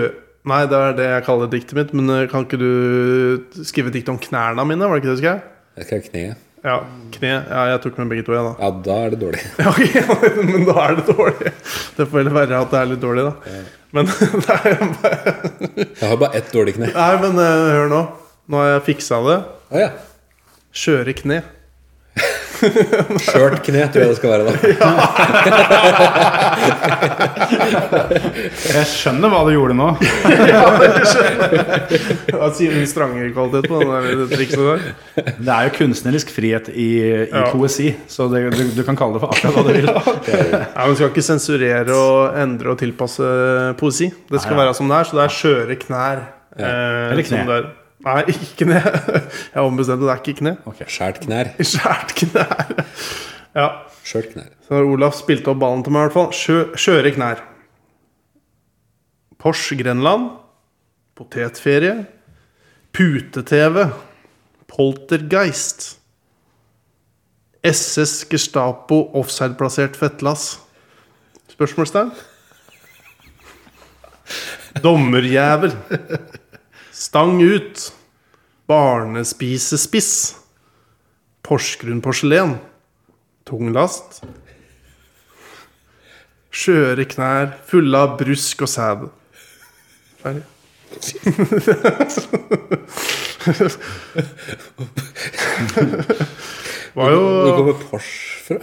Speaker 1: Nei, det er det jeg kaller diktet mitt. Men eh, kan ikke du skrive et dikt om knærne mine? Var det ikke det du skrev?
Speaker 4: Jeg skrev kneet.
Speaker 1: Ja, kne. Ja, jeg tok med begge to, jeg, da.
Speaker 4: Ja, da er det dårlig.
Speaker 1: Ja, ok, men da er det dårlig. Det får heller være at det er litt dårlig, da. Men nei, bare...
Speaker 4: Jeg har bare ett dårlig kne.
Speaker 1: nei, men eh, hør nå. Nå har jeg fiksa det.
Speaker 4: Å ja.
Speaker 1: Skjøre kne.
Speaker 4: Skjørt kne tror jeg det skal være, da.
Speaker 6: Jeg skjønner hva du gjorde nå.
Speaker 1: Hva sier den strangere kvalitet på den der det trikset der?
Speaker 6: Det er jo kunstnerisk frihet i, i
Speaker 1: Ja.
Speaker 6: poesi, så det, du, du kan kalle det for akkurat hva du vil.
Speaker 1: Nei, men Skal ikke sensurere og endre og tilpasse poesi. Det skal
Speaker 6: Nei, ja.
Speaker 1: være som det er, så det er skjøre knær. eh,
Speaker 6: Eller kne.
Speaker 1: som det er. Nei, ikke kne. Jeg ombestemte, det er ikke kne.
Speaker 4: Skjært knær.
Speaker 1: Skjært knær. Ja.
Speaker 4: Skjørt knær.
Speaker 1: Så Olaf spilte opp ballen til meg, i hvert fall. Skjø, skjøre knær. Pors Grenland. Potetferie. Pute-TV. Poltergeist. SS Gestapo offside-plassert fettlass. Spørsmålstegn? Dommerjævel. Stang ut. Barnespisespiss. Porsgrunn porselen. Tung last. Skjøre knær fulle av brusk og sæd. Ferdig. var jo
Speaker 4: Hvor kommer Pors fra?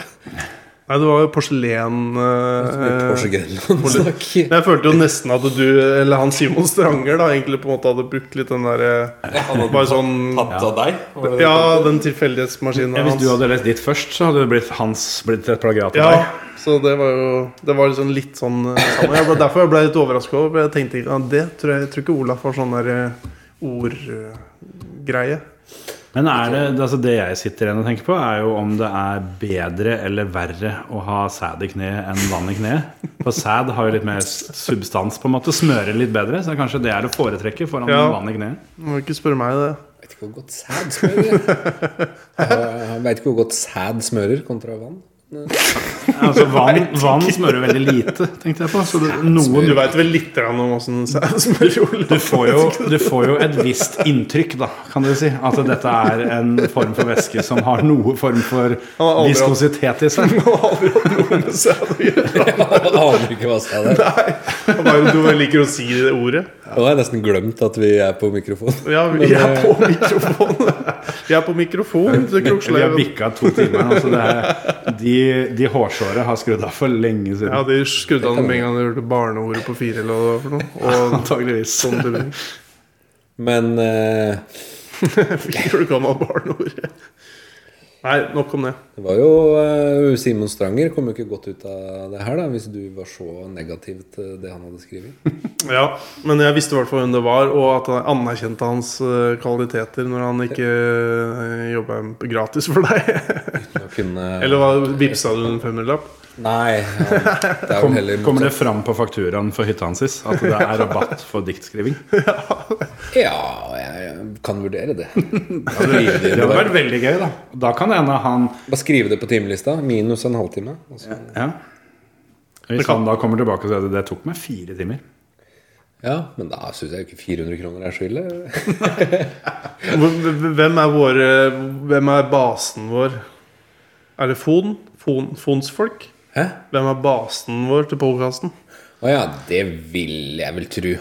Speaker 1: Nei, det var jo porselen eh,
Speaker 4: Pors Grenland.
Speaker 1: Men Jeg følte jo nesten at du, eller han Simon Stranger, da egentlig på en måte hadde brukt litt den derre Bare sånn
Speaker 5: Hatt av deg? Var det det?
Speaker 1: Ja, den tilfeldighetsmaskinen
Speaker 6: Hvis du
Speaker 1: hans.
Speaker 6: hadde lest ditt først, så hadde det blitt hans blitt et plagiat. av
Speaker 1: Ja,
Speaker 6: deg.
Speaker 1: så det var jo Det var liksom litt sånn eh, sammen. Jeg ble, derfor jeg ble litt overraska over for Jeg tenkte ikke at det tror jeg, jeg tror ikke Olaf var sånn der ordgreie.
Speaker 6: Men er det, altså det jeg sitter igjen og tenker på, er jo om det er bedre eller verre å ha sæd i kneet enn vann i kneet. For sæd har jo litt mer s- substans, på en måte. Smører litt bedre. Så kanskje det er å foretrekke foran
Speaker 1: Ja.
Speaker 6: vann i kneet.
Speaker 1: Må ikke spørre meg det.
Speaker 4: Jeg vet ikke hvor godt sæd smører. Jeg, jeg vet ikke hvor godt sæd smører kontra vann.
Speaker 6: Altså vann, vann smører veldig lite, tenkte jeg på. Så det, noen
Speaker 1: Du veit vel litt grann om åssen smører
Speaker 6: du
Speaker 1: Olaf?
Speaker 6: får, jo, du får jo et visst inntrykk, da, kan du si. At dette er en form for væske som har noe form for
Speaker 1: har aldri hatt-
Speaker 6: viskositet i seg.
Speaker 1: Nå har vi hatt noe med sæd å gjøre.
Speaker 4: Jeg aner ikke hva sæd er.
Speaker 1: Det var jo- Du liker å si det ordet.
Speaker 4: Nå har jeg nesten glemt at vi er på mikrofon.
Speaker 1: Ja, vi vi er på mikrofon. eh, Vi er på mikrofon til
Speaker 6: Vi har
Speaker 1: Kroksleiven.
Speaker 6: bikka to timer nå, så det er, de, de hårsårene har skrudd av for lenge siden.
Speaker 1: Ja, de skrudde av med en gang de hørte barneordet på fire eller hva det var for noe. Og
Speaker 6: Antageligvis.
Speaker 1: sånn til
Speaker 4: Men eh,
Speaker 1: Fikk du gammel barneord? Nei, nok om det.
Speaker 4: det var jo eh, Simon Stranger kom jo ikke godt ut av det her, da, hvis du var så negativ til det han hadde skrevet.
Speaker 1: Ja, Men jeg visste i hvert fall hvem det var, og at jeg anerkjente hans eh, kvaliteter når han ikke eh, jobba gratis for deg.
Speaker 4: Å kunne
Speaker 1: Eller hva, vipsa du en femmerlapp?
Speaker 4: Nei. Ja, det er vel
Speaker 6: Kom,
Speaker 4: heller
Speaker 6: kommer det fram på fakturaen for hytta hans at det er rabatt for diktskriving?
Speaker 4: Ja, jeg, jeg kan vurdere det.
Speaker 6: Det hadde vært veldig gøy, da. Da kan det hende han
Speaker 4: Bare skrive det på timelista. Minus en halvtime. og så-
Speaker 6: ja. Hvis han da kommer tilbake og sier at det tok meg fire timer
Speaker 4: Ja, men da syns jeg ikke 400 kroner er så ille.
Speaker 1: Hvor- Hvem er våre Hvem er basen vår? Er det Fon? Fon Fonsfolk?
Speaker 4: Hæ?
Speaker 1: Hvem er basen vår til podkasten?
Speaker 4: Å ja, det vil jeg vel tru.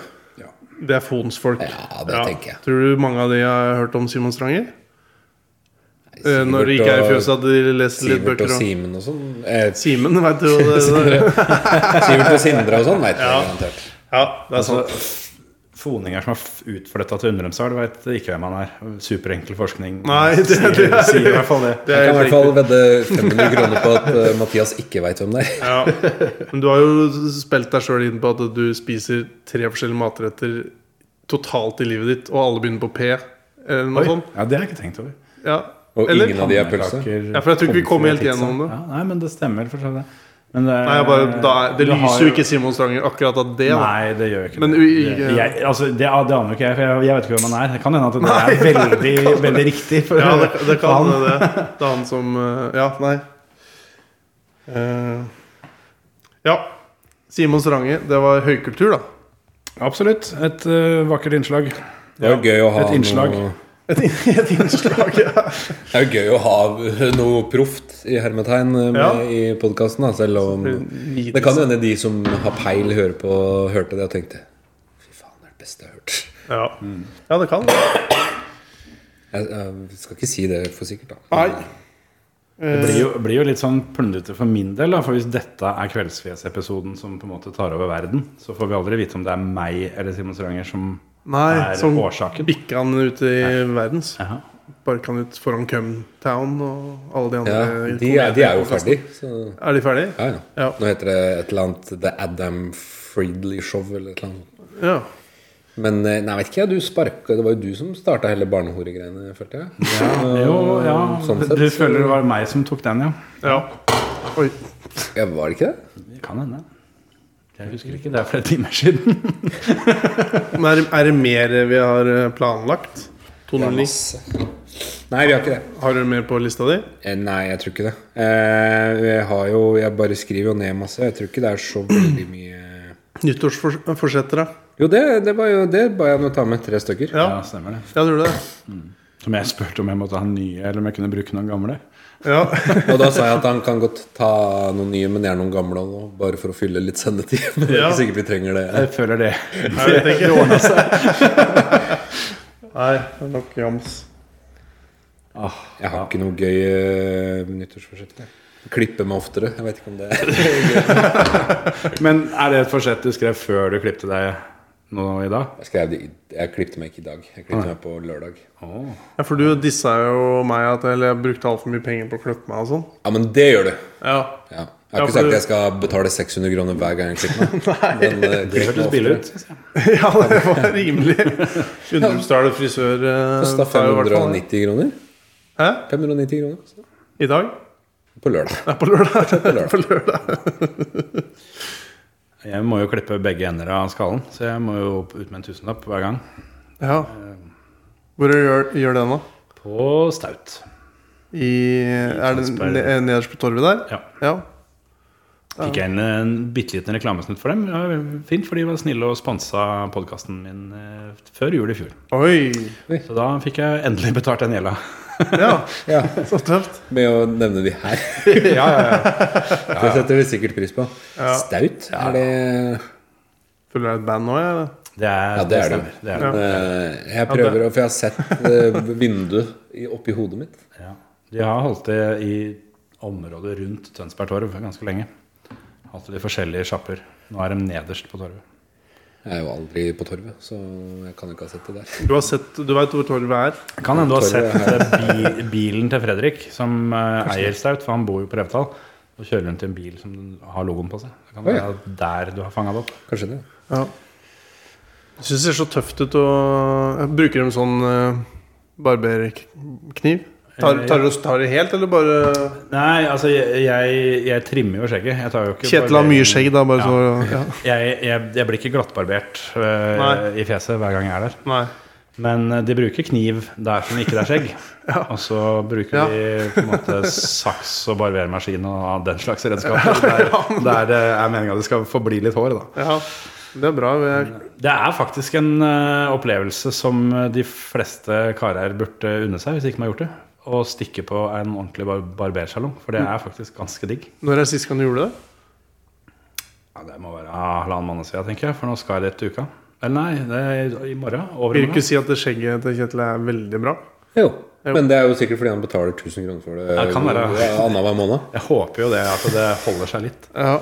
Speaker 1: Det er Fonsfolk.
Speaker 4: Ja, det tenker jeg.
Speaker 1: Tror du mange av de har hørt om Simon Stranger? Eh, Når de
Speaker 4: Sivert
Speaker 1: ikke er i
Speaker 4: og-
Speaker 1: fjøset, at de leser litt
Speaker 4: Sivert og
Speaker 1: bøker om
Speaker 4: Simen og sånn. Eh,
Speaker 1: Simen, vet du hva det
Speaker 4: Sivert og Sindre og sånn, veit jeg garantert.
Speaker 1: Ja, det er sant.
Speaker 6: Altså, Foninger som er utflytta til Undremsdal, veit ikke hvem han er. Superenkel forskning.
Speaker 1: Nei, det-
Speaker 6: sier,
Speaker 1: det er-
Speaker 6: sier i hvert fall det.
Speaker 1: Det
Speaker 4: Jeg
Speaker 1: er
Speaker 4: kan i
Speaker 1: helt
Speaker 4: hvert fall vedde 500 kroner på at eh, Mathias ikke veit hvem det er.
Speaker 1: riktig. Ja. Men du har jo spilt deg sjøl inn på at du spiser tre forskjellige matretter totalt i livet ditt, og alle begynner på P. Eller noe
Speaker 6: Oi,
Speaker 1: sånt.
Speaker 6: Ja, det har jeg ikke tenkt over.
Speaker 1: Ja.
Speaker 4: Og
Speaker 1: Eller-
Speaker 4: ingen av de er pølse.
Speaker 1: ja, for jeg tror ikke vi kom helt gjennom det.
Speaker 6: Ja, nei, men det stemmer. For seg det. Men det,
Speaker 1: Nei, jeg bare, da, er- det
Speaker 6: du har
Speaker 1: lyser jo ikke Simon Stranger akkurat av det. Da.
Speaker 6: Nei, det gjør jo ikke
Speaker 1: Men
Speaker 6: det.
Speaker 1: vi-
Speaker 6: det. Jeg, altså, det, det aner jo ikke jeg, for jeg, jeg vet ikke hvem han er. Det kan hende at det er veldig, veldig riktig. For,
Speaker 1: Ja, det, det kan
Speaker 6: for han.
Speaker 1: det. Det er han som eh, Ja, nei. Eh, ja. Simon Strange. Det var høykultur, da.
Speaker 6: Absolutt. Et øh, vakkert innslag.
Speaker 4: Det er jo gøy å ha
Speaker 6: Et innslag.
Speaker 4: noe
Speaker 1: Et, et innslag. Ja.
Speaker 4: Det er jo gøy å ha eh, noe proft i hermetegn eh, med
Speaker 1: Ja.
Speaker 4: i podkasten, selv om Det kan jo hende de som har peil, hører på, hørte det og tenkte Fy faen, det er det beste jeg har hørt.
Speaker 1: Ja.
Speaker 6: Mm.
Speaker 1: ja, det kan det.
Speaker 4: Jeg, jeg skal ikke si det for sikkert, da.
Speaker 1: Nei.
Speaker 6: Det blir jo, blir jo litt sånn plundrete for min del, da, for hvis dette er Kveldsfjes-episoden som på en måte tar over verden, så får vi aldri vite om det er meg eller Simon Stranger som
Speaker 1: Nei,
Speaker 6: er
Speaker 1: som
Speaker 6: årsaken.
Speaker 1: bikka han ut i verdens.
Speaker 6: Jaha.
Speaker 1: Barka han ut foran Cumtown og alle de andre.
Speaker 4: Ja, de, er, de er jo ferdig, så
Speaker 1: Er de ferdig?
Speaker 4: ja, ja.
Speaker 1: Ja.
Speaker 4: Nå heter det et eller annet The Adam Friedley Show eller et eller annet.
Speaker 1: ja.
Speaker 4: Men eh, nei, vet ikke jeg, du sparka Det var jo du som starta hele barnehoregreiene, følte jeg. Så,
Speaker 6: Jo, ja.
Speaker 4: sånn sett,
Speaker 6: du
Speaker 4: så-
Speaker 6: føler det var meg som tok den, ja?
Speaker 1: ja. Oi.
Speaker 4: Ja, var det ikke det?
Speaker 6: Det kan hende. Jeg husker ikke, det er flere timer siden.
Speaker 1: Men er, er det mer vi har eh, planlagt? 209.
Speaker 4: Nei, vi har ikke det.
Speaker 1: Har du mer på lista di?
Speaker 4: Eh, Nei, jeg tror ikke det. Eh, Jeg, har jo, jeg bare skriver jo ned masse. Jeg tror ikke det er så veldig mye
Speaker 1: Nyttårsforsetter, da?
Speaker 4: Jo, det, det var jo det ba jeg om å ta med tre stykker.
Speaker 1: Ja.
Speaker 6: Ja, stemmer det.
Speaker 1: Ja, du gjorde det?
Speaker 6: Som jeg spurte om jeg måtte ha nye, eller om jeg kunne bruke noen gamle.
Speaker 1: Ja.
Speaker 4: Og da sa jeg at han kan godt ta noen nye, men gjerne noen gamle nå, bare for å fylle litt sendetid. Men det er
Speaker 1: Ja.
Speaker 4: ikke sikkert vi trenger det.
Speaker 6: Jeg føler det.
Speaker 1: Nei, det tenker jeg. Nei, det er nok jams.
Speaker 6: Ah.
Speaker 4: Jeg har ikke noe gøy eh, nyttårsforsett. jeg. Klippe meg oftere. Jeg vet ikke om det er
Speaker 6: Men er det et forsett du skrev før du klipte deg nå i dag?
Speaker 4: Jeg skrev det i Jeg klippet meg ikke i dag. Jeg klippet meg på lørdag.
Speaker 1: Ja, for du dissa jo meg at eller jeg brukte altfor mye penger på å klippe meg og sånn.
Speaker 4: Ja, men det gjør du!
Speaker 1: Ja.
Speaker 4: Ja. Jeg
Speaker 1: Ja, for
Speaker 4: har ikke sagt
Speaker 1: du-
Speaker 4: at jeg skal betale 600 kroner hver gang jeg klipper meg. Men, eh,
Speaker 6: Det
Speaker 4: klipp meg
Speaker 6: hørtes billig
Speaker 4: oftere.
Speaker 6: ut.
Speaker 1: ja, det var rimelig. Undrumsdal frisør eh,
Speaker 4: Kosta
Speaker 1: tar jo i hvert fall det.
Speaker 4: 590 kroner.
Speaker 1: Hæ?
Speaker 4: 590 kroner kostet det.
Speaker 1: I dag?
Speaker 4: på lørdag.
Speaker 1: Nei, på lørdag.
Speaker 4: På lørdag.
Speaker 6: Jeg må jo klippe begge ender av skallen, så jeg må jo opp- ut med en tusenlapp hver gang.
Speaker 1: Ja. Hvor gjør, gjør den, da?
Speaker 6: På staut.
Speaker 1: I, er det
Speaker 6: Tønsberg.
Speaker 1: ne- nederst på torvet der?
Speaker 6: Ja.
Speaker 1: ja.
Speaker 6: Fikk jeg en, en bitte liten reklamesnutt for dem. Ja, fint, for de var snille og sponsa podkasten min eh, før jul i fjor.
Speaker 1: Oi!
Speaker 6: Så da fikk jeg endelig betalt den gjelda.
Speaker 1: Ja,
Speaker 4: Ja,
Speaker 1: så tøft.
Speaker 4: med å nevne de her.
Speaker 6: ja, ja, ja.
Speaker 4: Det setter de sikkert pris på.
Speaker 1: Ja.
Speaker 4: Staut, er det
Speaker 1: Føler du deg et band nå, jeg? eller?
Speaker 6: Det er,
Speaker 4: Ja, det er
Speaker 6: stemmer. Det er det.
Speaker 4: Eh, Jeg prøver, å- for jeg har sett eh, vinduet i- oppi hodet mitt.
Speaker 6: Ja. De har holdt det i området rundt Tønsberg Torv ganske lenge. Hatt det i forskjellige sjapper. Nå er de nederst på torvet.
Speaker 4: Jeg er jo aldri på torvet, så jeg kan ikke ha sett det der.
Speaker 1: Du har sett, du veit hvor torvet er?
Speaker 6: Det Kan hende du har
Speaker 4: Torvet
Speaker 6: sett eh, bi bilen til Fredrik, som eh, eier Staut, for han bor jo på Revtal. Og kjører rundt i en bil som har logoen på seg. Det kan
Speaker 4: Oi.
Speaker 6: være der du har fanga det opp.
Speaker 4: Kanskje det.
Speaker 1: Ja. Jeg syns det ser så tøft ut å jeg Bruker de sånn eh, barberkniv? Tar,
Speaker 6: Eh,
Speaker 1: tar, du- tar de helt, eller bare
Speaker 6: Nei, altså, jeg, jeg, jeg trimmer jo skjegget. Jeg tar jo ikke
Speaker 1: Kjetil har
Speaker 6: barbering-
Speaker 1: mye skjegg, da. Bare så ja.
Speaker 6: Jeg, jeg, jeg blir ikke glattbarbert eh,
Speaker 1: Nei.
Speaker 6: i fjeset hver gang jeg er der.
Speaker 1: Nei.
Speaker 6: Men eh, de bruker kniv der som ikke det er skjegg. Og så bruker
Speaker 1: Ja.
Speaker 6: de på en måte saks og barbermaskin og den slags redskaper der, der det er meninga det skal forbli litt hår. da
Speaker 1: Ja. Det er bra. Jeg,
Speaker 6: Det er faktisk en eh, opplevelse som eh, de fleste karer burde unne seg, hvis ikke de har gjort det. Å stikke på en ordentlig bar barbersalong, for det er faktisk ganske digg.
Speaker 1: når er sist gang du gjorde det?
Speaker 6: Ja, det må være ah, halvannen måned siden, tenker jeg, for nå skal jeg dit til uka. Eller nei, det er i morgen. Over i
Speaker 1: Vil du ikke
Speaker 6: morgen.
Speaker 1: si at det skjegget til Kjetil er veldig bra?
Speaker 4: Jo. Men det er jo sikkert fordi han betaler 1000 kroner for det,
Speaker 6: Ja, det kan være.
Speaker 4: annenhver måned.
Speaker 6: Jeg håper jo det, at det holder seg litt.
Speaker 1: Ja.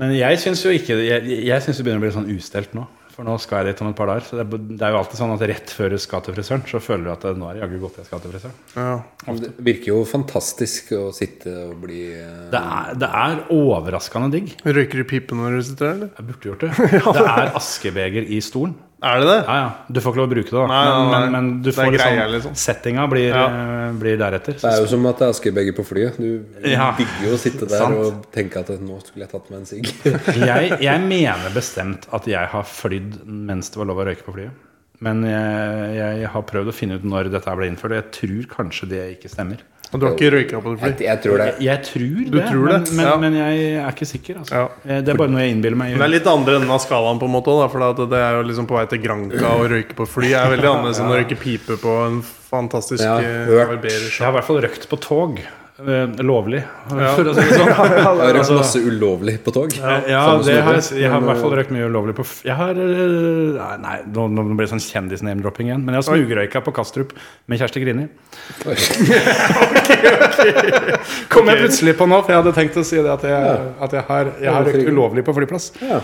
Speaker 6: Men jeg syns jo ikke Jeg, jeg syns det begynner å bli sånn ustelt nå. For nå skal jeg dit om et par dager. Så det, er- det er jo alltid sånn at rett før du skal til frisøren, så føler du at nå er det jaggu godt jeg skal til frisøren.
Speaker 1: Ja.
Speaker 4: Det virker jo fantastisk å sitte og bli eh,
Speaker 6: Det er, det er overraskende digg.
Speaker 1: Røyker du pipe når du sitter der, eller?
Speaker 6: Jeg burde gjort det. Det er askebeger i stolen.
Speaker 1: Er det det?
Speaker 6: Ja, ja. Du får ikke lov å bruke det, da.
Speaker 1: Nei, nei, nei.
Speaker 6: Men, men, men du
Speaker 1: Det er
Speaker 6: får liksom,
Speaker 1: greia, liksom.
Speaker 6: Settinga blir,
Speaker 1: Ja.
Speaker 6: eh, blir deretter.
Speaker 4: Det er jo som at det er askebeger på flyet. Du
Speaker 6: Ja.
Speaker 4: digger jo å sitte der
Speaker 6: Sant.
Speaker 4: og tenke at nå skulle jeg tatt meg en sigg.
Speaker 6: jeg, jeg mener bestemt at jeg har flydd mens det var lov å røyke på flyet. Men jeg, jeg har prøvd å finne ut når dette ble innført, og jeg tror kanskje det ikke stemmer.
Speaker 1: Og du har ikke røyka på det
Speaker 4: Jeg,
Speaker 1: fly?
Speaker 4: jeg tror det.
Speaker 6: Jeg, jeg tror det,
Speaker 1: Du tror
Speaker 6: men,
Speaker 1: det,
Speaker 6: Men,
Speaker 1: ja.
Speaker 6: men jeg er ikke sikker. Altså.
Speaker 1: Ja.
Speaker 6: Eh, Det er bare noe jeg innbiller meg.
Speaker 1: Men det er litt andre enden av skalaen, på en måte. Da, for at det er jo liksom på vei til Granca å røyke på fly. er veldig annerledes enn å røyke pipe på en fantastisk
Speaker 4: Ja,
Speaker 1: eh,
Speaker 4: hørt.
Speaker 6: Jeg har
Speaker 1: barbershop.
Speaker 6: i hvert fall røkt på tog. eh, Lovlig,
Speaker 1: Ja.
Speaker 6: for å si det sånn.
Speaker 4: Jeg har røkt
Speaker 6: Altså-
Speaker 4: masse ulovlig på tog.
Speaker 6: Ja,
Speaker 4: Samme
Speaker 6: det
Speaker 4: som
Speaker 6: har,
Speaker 4: dere.
Speaker 6: jeg har i
Speaker 4: Men,
Speaker 6: hvert fall røkt mye ulovlig på f- Jeg har eh, Nei, nei nå, nå blir det sånn kjendis-name-dropping igjen. Men jeg har smugrøyka på Kastrup med Kjersti Grini. Kom jeg plutselig på nå, for jeg hadde tenkt å si det at jeg, at jeg har, jeg har røkt ulovlig på flyplass.
Speaker 4: Ja.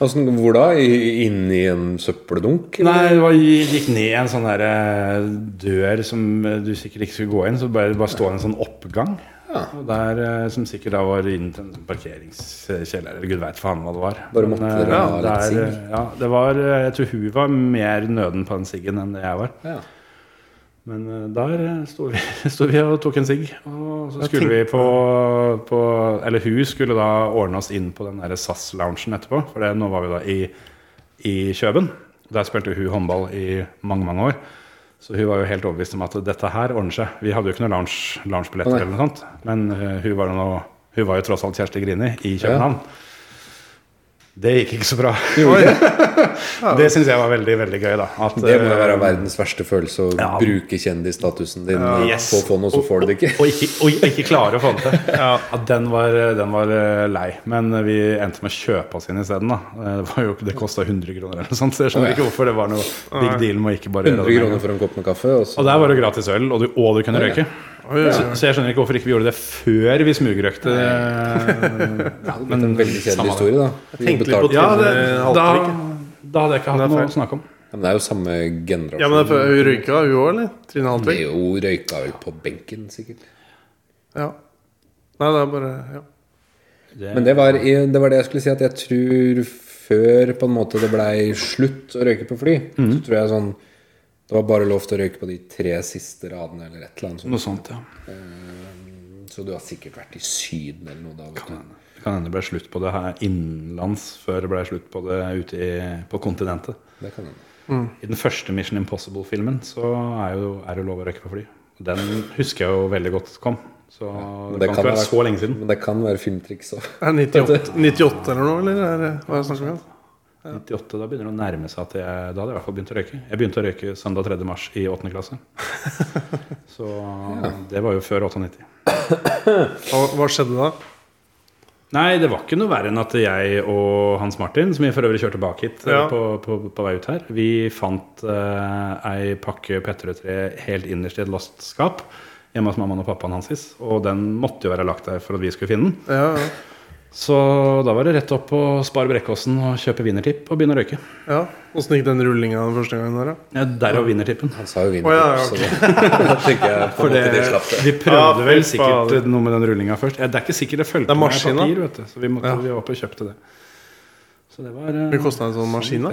Speaker 4: Altså, hvor da? I- Inni en søppeldunk?
Speaker 6: Nei, det var, gikk ned en sånn der eh, dør som eh, du sikkert ikke skulle gå inn. Så bare, bare stå en sånn oppgang.
Speaker 4: Ja.
Speaker 6: Og der, eh, som sikkert da var inn til en sånn parkeringskjeller, eller gud veit faen hva det var.
Speaker 4: Bare måtte
Speaker 6: eh,
Speaker 4: dere ha
Speaker 6: ja,
Speaker 4: litt
Speaker 6: der, eh, ja, det var eh, Jeg tror hun var mer nøden på den siggen enn det jeg var.
Speaker 4: Ja.
Speaker 6: Men eh, der eh, sto vi, sto vi og tok en sigg. Og så
Speaker 1: Jeg
Speaker 6: skulle vi på, på Eller hun skulle da ordne oss inn på den der SAS-loungen etterpå. For det, nå var vi da i, i Kjøben. Der spilte hun håndball i mange, mange år. Så hun var jo helt overbevist om at dette her ordner seg. Vi hadde jo ikke noen lounge- loungebilletter,
Speaker 4: Nei.
Speaker 6: eller noe sånt. men eh, hun, var jo nå, hun var jo tross alt Kjersti Grini i København. Det gikk ikke så bra. det syns jeg var veldig veldig gøy. da at,
Speaker 4: Det må jo
Speaker 6: eh,
Speaker 4: være verdens verste følelse å
Speaker 6: Ja.
Speaker 4: bruke kjendisstatusen din
Speaker 6: Yes.
Speaker 4: på å få noe, så får du det ikke.
Speaker 6: Og ikke, og ikke klare å få det til. Ja, den, var, den var eh, lei. Men vi endte med å kjøpe oss inn isteden. da. Eh, Det, var jo- det kosta 100 kroner eller noe sånt, så jeg skjønner ikke hvorfor det var noe big deal med å ikke bare gjøre
Speaker 4: 100
Speaker 6: det med en
Speaker 4: kroner
Speaker 6: gang.
Speaker 4: for en kopp med kaffe, og så
Speaker 6: Og der var det gratis øl, og du, og du kunne røyke.
Speaker 1: Oi, oi,
Speaker 6: Så,
Speaker 1: oi.
Speaker 6: så jeg skjønner ikke hvorfor ikke vi gjorde det før vi smugrøykte. eh, Ja,
Speaker 4: Men en veldig kjedelig historie, da. Vi
Speaker 1: Tenkte litt på
Speaker 4: betalte-
Speaker 6: Ja,
Speaker 1: det,
Speaker 6: det, da,
Speaker 1: halter ikke.
Speaker 6: da hadde jeg ikke
Speaker 1: Det er
Speaker 6: hatt noe å
Speaker 1: feil.
Speaker 6: snakke om.
Speaker 4: Ja, Men det er jo samme
Speaker 1: Ja, men det er
Speaker 4: generasjon.
Speaker 1: for- hun røyka, hun òg, eller? Trine
Speaker 4: Det
Speaker 1: Haltvik?
Speaker 4: er jo røyka vel på benken, sikkert.
Speaker 1: Ja. Nei, det er bare ja.
Speaker 4: Men det var, i- det var det jeg skulle si, at jeg tror før på en måte det blei slutt å røyke på fly,
Speaker 6: Mhm.
Speaker 4: så tror jeg sånn Det var bare lov til å røyke på de tre siste radene eller et eller annet sånt.
Speaker 6: Noe sånt, ja.
Speaker 4: Så du har sikkert vært i Syden eller noe da. Vet du.
Speaker 6: Det kan hende det ble slutt på det her innenlands før det ble slutt på det ute i, på kontinentet.
Speaker 4: Det kan hende.
Speaker 6: I den første Mission Impossible-filmen så er, jo, er det lov å røyke på fly. Og Den husker jeg jo veldig godt kom. Så det, kan ikke
Speaker 4: ha
Speaker 6: være
Speaker 4: vært-
Speaker 6: så lenge siden.
Speaker 4: Men det kan være filmtriks òg.
Speaker 1: Er det 98, 98 eller noe, eller? Er det, hva er det snakk om? igjen?
Speaker 6: 98, Da begynner det å nærme seg at jeg Da hadde jeg i hvert fall begynt å røyke. Jeg begynte å røyke søndag 3. mars i 8. klasse. Så det var jo før 98.
Speaker 1: Hva, hva skjedde da?
Speaker 6: Nei, det var ikke noe verre enn at jeg og Hans Martin, som vi for øvrig kjørte bak hit eh,
Speaker 1: Ja.
Speaker 6: på, på, på vei ut her, vi fant eh, ei pakke Petterøe-tre helt innerst i et lost skap hjemme hos mammaen og pappaen hans. Og den måtte jo være lagt der for at vi skulle finne den.
Speaker 1: Ja, ja.
Speaker 6: Så da var det rett opp på Spar Brekkåsen og kjøpe wienertipp og begynne å røyke.
Speaker 1: ja. Åssen gikk den rullinga den første gangen der, da?
Speaker 6: Ja, Derav wienertippen.
Speaker 4: Han sa jo vinter,
Speaker 1: Å, ja, ja,
Speaker 4: så da- da tenker jeg på en
Speaker 6: For det,
Speaker 4: måte det slapp det.
Speaker 6: vi
Speaker 1: Ja,
Speaker 6: prøvde
Speaker 1: fy
Speaker 6: vel sikkert
Speaker 1: fader.
Speaker 6: noe med den rullinga først. Ja, Det er ikke sikkert det
Speaker 1: Det
Speaker 6: fulgte
Speaker 1: er
Speaker 6: med
Speaker 1: maskina.
Speaker 6: papir, vet du. Så vi, måtte,
Speaker 1: Ja.
Speaker 6: vi var oppe og kjøpte det. Så det var eh,
Speaker 1: Mye kosta en sånn maskin, da?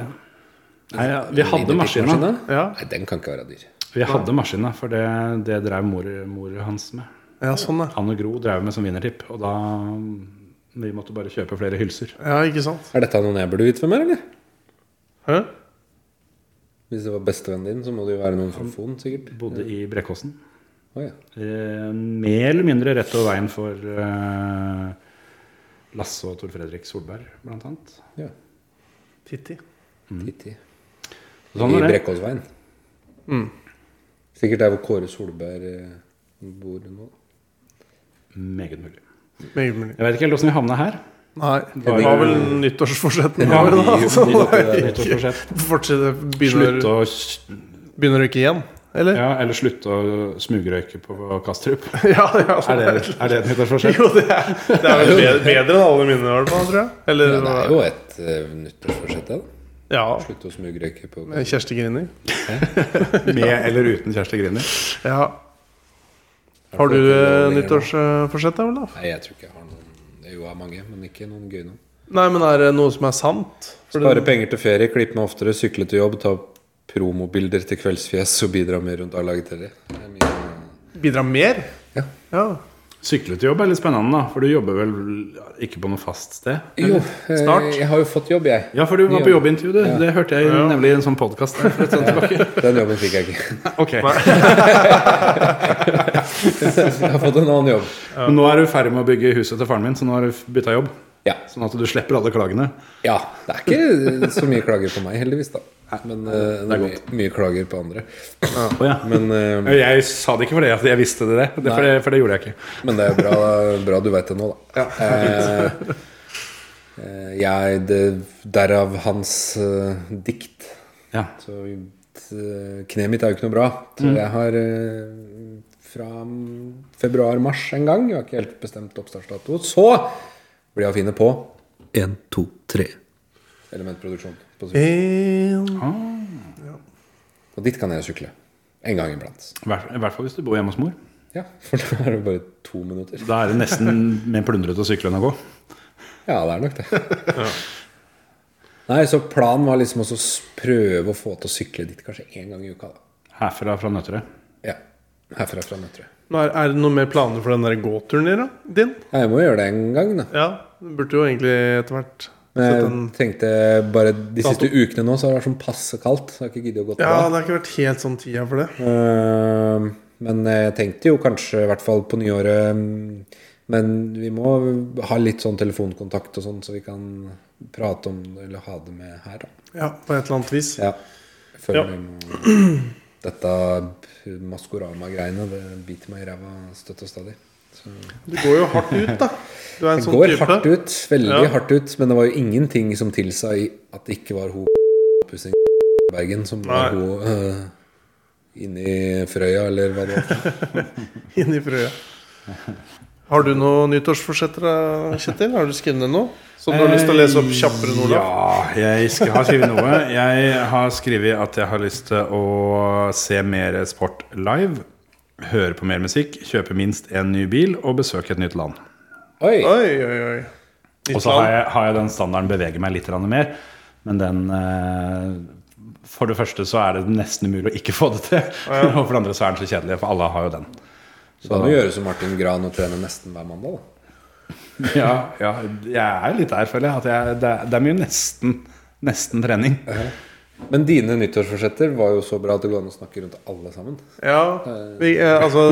Speaker 6: Nei, ja, vi hadde maskina.
Speaker 4: Vintertippmaskina?
Speaker 1: Ja.
Speaker 4: Nei, den kan ikke være dyr.
Speaker 6: Vi hadde maskina, for det, det drev mor, mor hans med.
Speaker 1: ja, sånn, ja.
Speaker 6: Han og Gro drev med som vinnertipp, og da Vi måtte bare kjøpe flere hylser.
Speaker 1: Ja, ikke sant?
Speaker 4: Er dette noen jeg burde vite hvem er, eller?
Speaker 1: Hæ?
Speaker 4: Hvis det var bestevennen din, så må det jo være noen fra Fon, sikkert.
Speaker 6: Bodde i Brekkåsen.
Speaker 4: Å, ja.
Speaker 6: Eh, mer eller mindre rett over veien for eh, Lasse og Tor Fredrik Solberg, blant annet.
Speaker 4: ja.
Speaker 1: Titti.
Speaker 4: Titti.
Speaker 6: Mm. Sånn
Speaker 4: I
Speaker 6: var det.
Speaker 4: Brekkåsveien.
Speaker 1: Mm.
Speaker 4: Sikkert der hvor Kåre Solberg eh, bor nå.
Speaker 6: Meget mulig.
Speaker 1: Meget mulig.
Speaker 6: Jeg vet ikke helt åssen vi havna her.
Speaker 1: Nei. Det
Speaker 6: var-
Speaker 1: var vel nyttårsforsetten
Speaker 6: Ja,
Speaker 1: vår, da.
Speaker 6: vi-
Speaker 1: Altså, det
Speaker 6: vi-
Speaker 1: er
Speaker 6: nyttårsforsett.
Speaker 1: ikke- Fortsette, begynne
Speaker 6: Slutt
Speaker 1: å-
Speaker 6: å
Speaker 1: begynne å røyke igjen. Eller?
Speaker 6: Ja, eller slutte å smugrøyke på Kastrup.
Speaker 1: Ja, ja.
Speaker 6: Er det, er det et nyttårsforsett?
Speaker 1: Jo, det er, det er vel bedre, bedre enn alle mine, i hvert fall, tror jeg. Eller
Speaker 4: Ja, det er jo et uh, nyttårsforsett, det. da.
Speaker 1: Ja.
Speaker 4: Slutte å smugrøyke på
Speaker 1: Kjersti Grini.
Speaker 6: Med eller uten Kjersti Grini?
Speaker 1: Ja. Har du eh, nyttårsforsett, da, Olaf?
Speaker 4: Nei, jeg tror ikke jeg har noen Jo, jeg har mange, men ikke noen gøye noen.
Speaker 1: Nei, men er det noe som er sant? For det-
Speaker 4: Spare penger til ferie, klippe meg oftere, sykle til jobb, ta promobilder til kveldsfjes og bidra mer rundt A-laget til det. Det er mye-
Speaker 1: Bidra mer?
Speaker 4: Ja.
Speaker 6: Sykle til jobb er litt spennende, da. For du jobber vel ikke på noe fast sted?
Speaker 4: Jo, eh,
Speaker 1: Snart.
Speaker 4: jeg har jo fått jobb, jeg.
Speaker 6: Ja, for du var
Speaker 4: Ny
Speaker 6: på
Speaker 4: jobb.
Speaker 6: jobbintervju, du. Det hørte jeg nemlig i en sånn podkast.
Speaker 4: Den jobben fikk jeg ikke.
Speaker 6: Ok,
Speaker 4: Jeg har fått en annen jobb.
Speaker 6: Men nå er du ferdig med å bygge huset til faren min, så nå har du bytta jobb.
Speaker 4: Ja.
Speaker 6: Sånn at du slipper alle klagene.
Speaker 4: ja. Det er ikke så mye klager på meg, heldigvis, da. Men eh, det er mye, mye klager på andre.
Speaker 6: Å, ja.
Speaker 4: Men, eh,
Speaker 6: Jeg sa det ikke fordi at jeg visste det, det for, det, for det gjorde jeg ikke.
Speaker 4: men det er bra, bra du veit det nå, da. Eh, eh, jeg, det, derav hans eh, dikt.
Speaker 6: Ja.
Speaker 4: Så eh, kneet mitt er jo ikke noe bra. Så jeg har eh, fra februar-mars en gang, jeg har ikke helt bestemt oppstartsdato, så blir jeg å finne på 1, 2, 3 elementproduksjon. På sykkel.
Speaker 1: En
Speaker 4: og dit kan jeg sykle. En gang iblant.
Speaker 6: I hvert i hvert fall hvis du bor hjemme hos mor.
Speaker 4: Ja, for da er det bare to minutter.
Speaker 6: Da er det nesten mer plundrete å sykle enn å gå.
Speaker 4: Ja, det er nok det. Nei, så planen var liksom også å s- prøve å få til å sykle dit kanskje én gang i uka, da.
Speaker 6: Herfra fra Nøtterøy.
Speaker 4: Ja. Herfra fra Nøtterøy.
Speaker 1: Nå Er, er det noe mer planer for den der gåturen din, da? din?
Speaker 4: Ja, jeg må gjøre det en gang, da.
Speaker 1: Ja, du burde jo egentlig etter hvert
Speaker 4: Men
Speaker 1: sette
Speaker 4: jeg
Speaker 1: en
Speaker 4: Eh, tenkte bare De siste ukene nå så har det vært sånn passe kaldt. Så jeg har ikke giddet å gå til
Speaker 1: Ja,
Speaker 4: bad.
Speaker 1: det har ikke vært helt sånn tida for det.
Speaker 4: Eh, Men jeg tenkte jo kanskje, i hvert fall på nyåret mm, Men vi må ha litt sånn telefonkontakt og sånn, så vi kan prate om det eller ha det med her, da.
Speaker 1: Ja, På et eller annet vis.
Speaker 4: Ja. Jeg føler
Speaker 1: Ja.
Speaker 4: vi må Dette Maskorama-greiene, det biter meg i ræva støtt og stadig.
Speaker 1: Du går jo hardt ut, da. Du er en
Speaker 4: Det
Speaker 1: sånn
Speaker 4: går
Speaker 1: type.
Speaker 4: hardt ut, veldig
Speaker 1: Ja.
Speaker 4: hardt ut, men det var jo ingenting som tilsa i at det ikke var hun pussing Bergen som
Speaker 1: Nei.
Speaker 4: var hun uh, inni Frøya, eller hva det var.
Speaker 1: Inn i frøya. Har du noen nyttårsforsetter, da, Kjetil? Har du skrevet ned noe? Som du har lyst til å lese opp kjappere enn
Speaker 6: Eh,
Speaker 1: Olav?
Speaker 6: Ja, jeg skal, har skrevet noe. Jeg har skrevet at jeg har lyst til å se mer sport live. Høre på mer musikk, kjøpe minst én ny bil og besøke et nytt land.
Speaker 4: Oi!
Speaker 1: Oi, oi, oi.
Speaker 6: Og
Speaker 1: Nytt
Speaker 6: så har
Speaker 1: land.
Speaker 6: jeg, har jeg den standarden bevege meg litt grann mer, men den eh, For det første så er det nesten umulig å ikke få det til. Og for det andre så er den så kjedelig, for alle har jo den.
Speaker 4: Så da må du gjøre som Martin Gran og trene nesten hver mandag, da.
Speaker 6: Ja, ja jeg er litt der, føler jeg. At jeg det, er- det er mye nesten, nesten trening.
Speaker 4: Men dine nyttårsforsetter var jo så bra at det går an å snakke rundt alle sammen.
Speaker 1: Ja. Vi, eh, altså,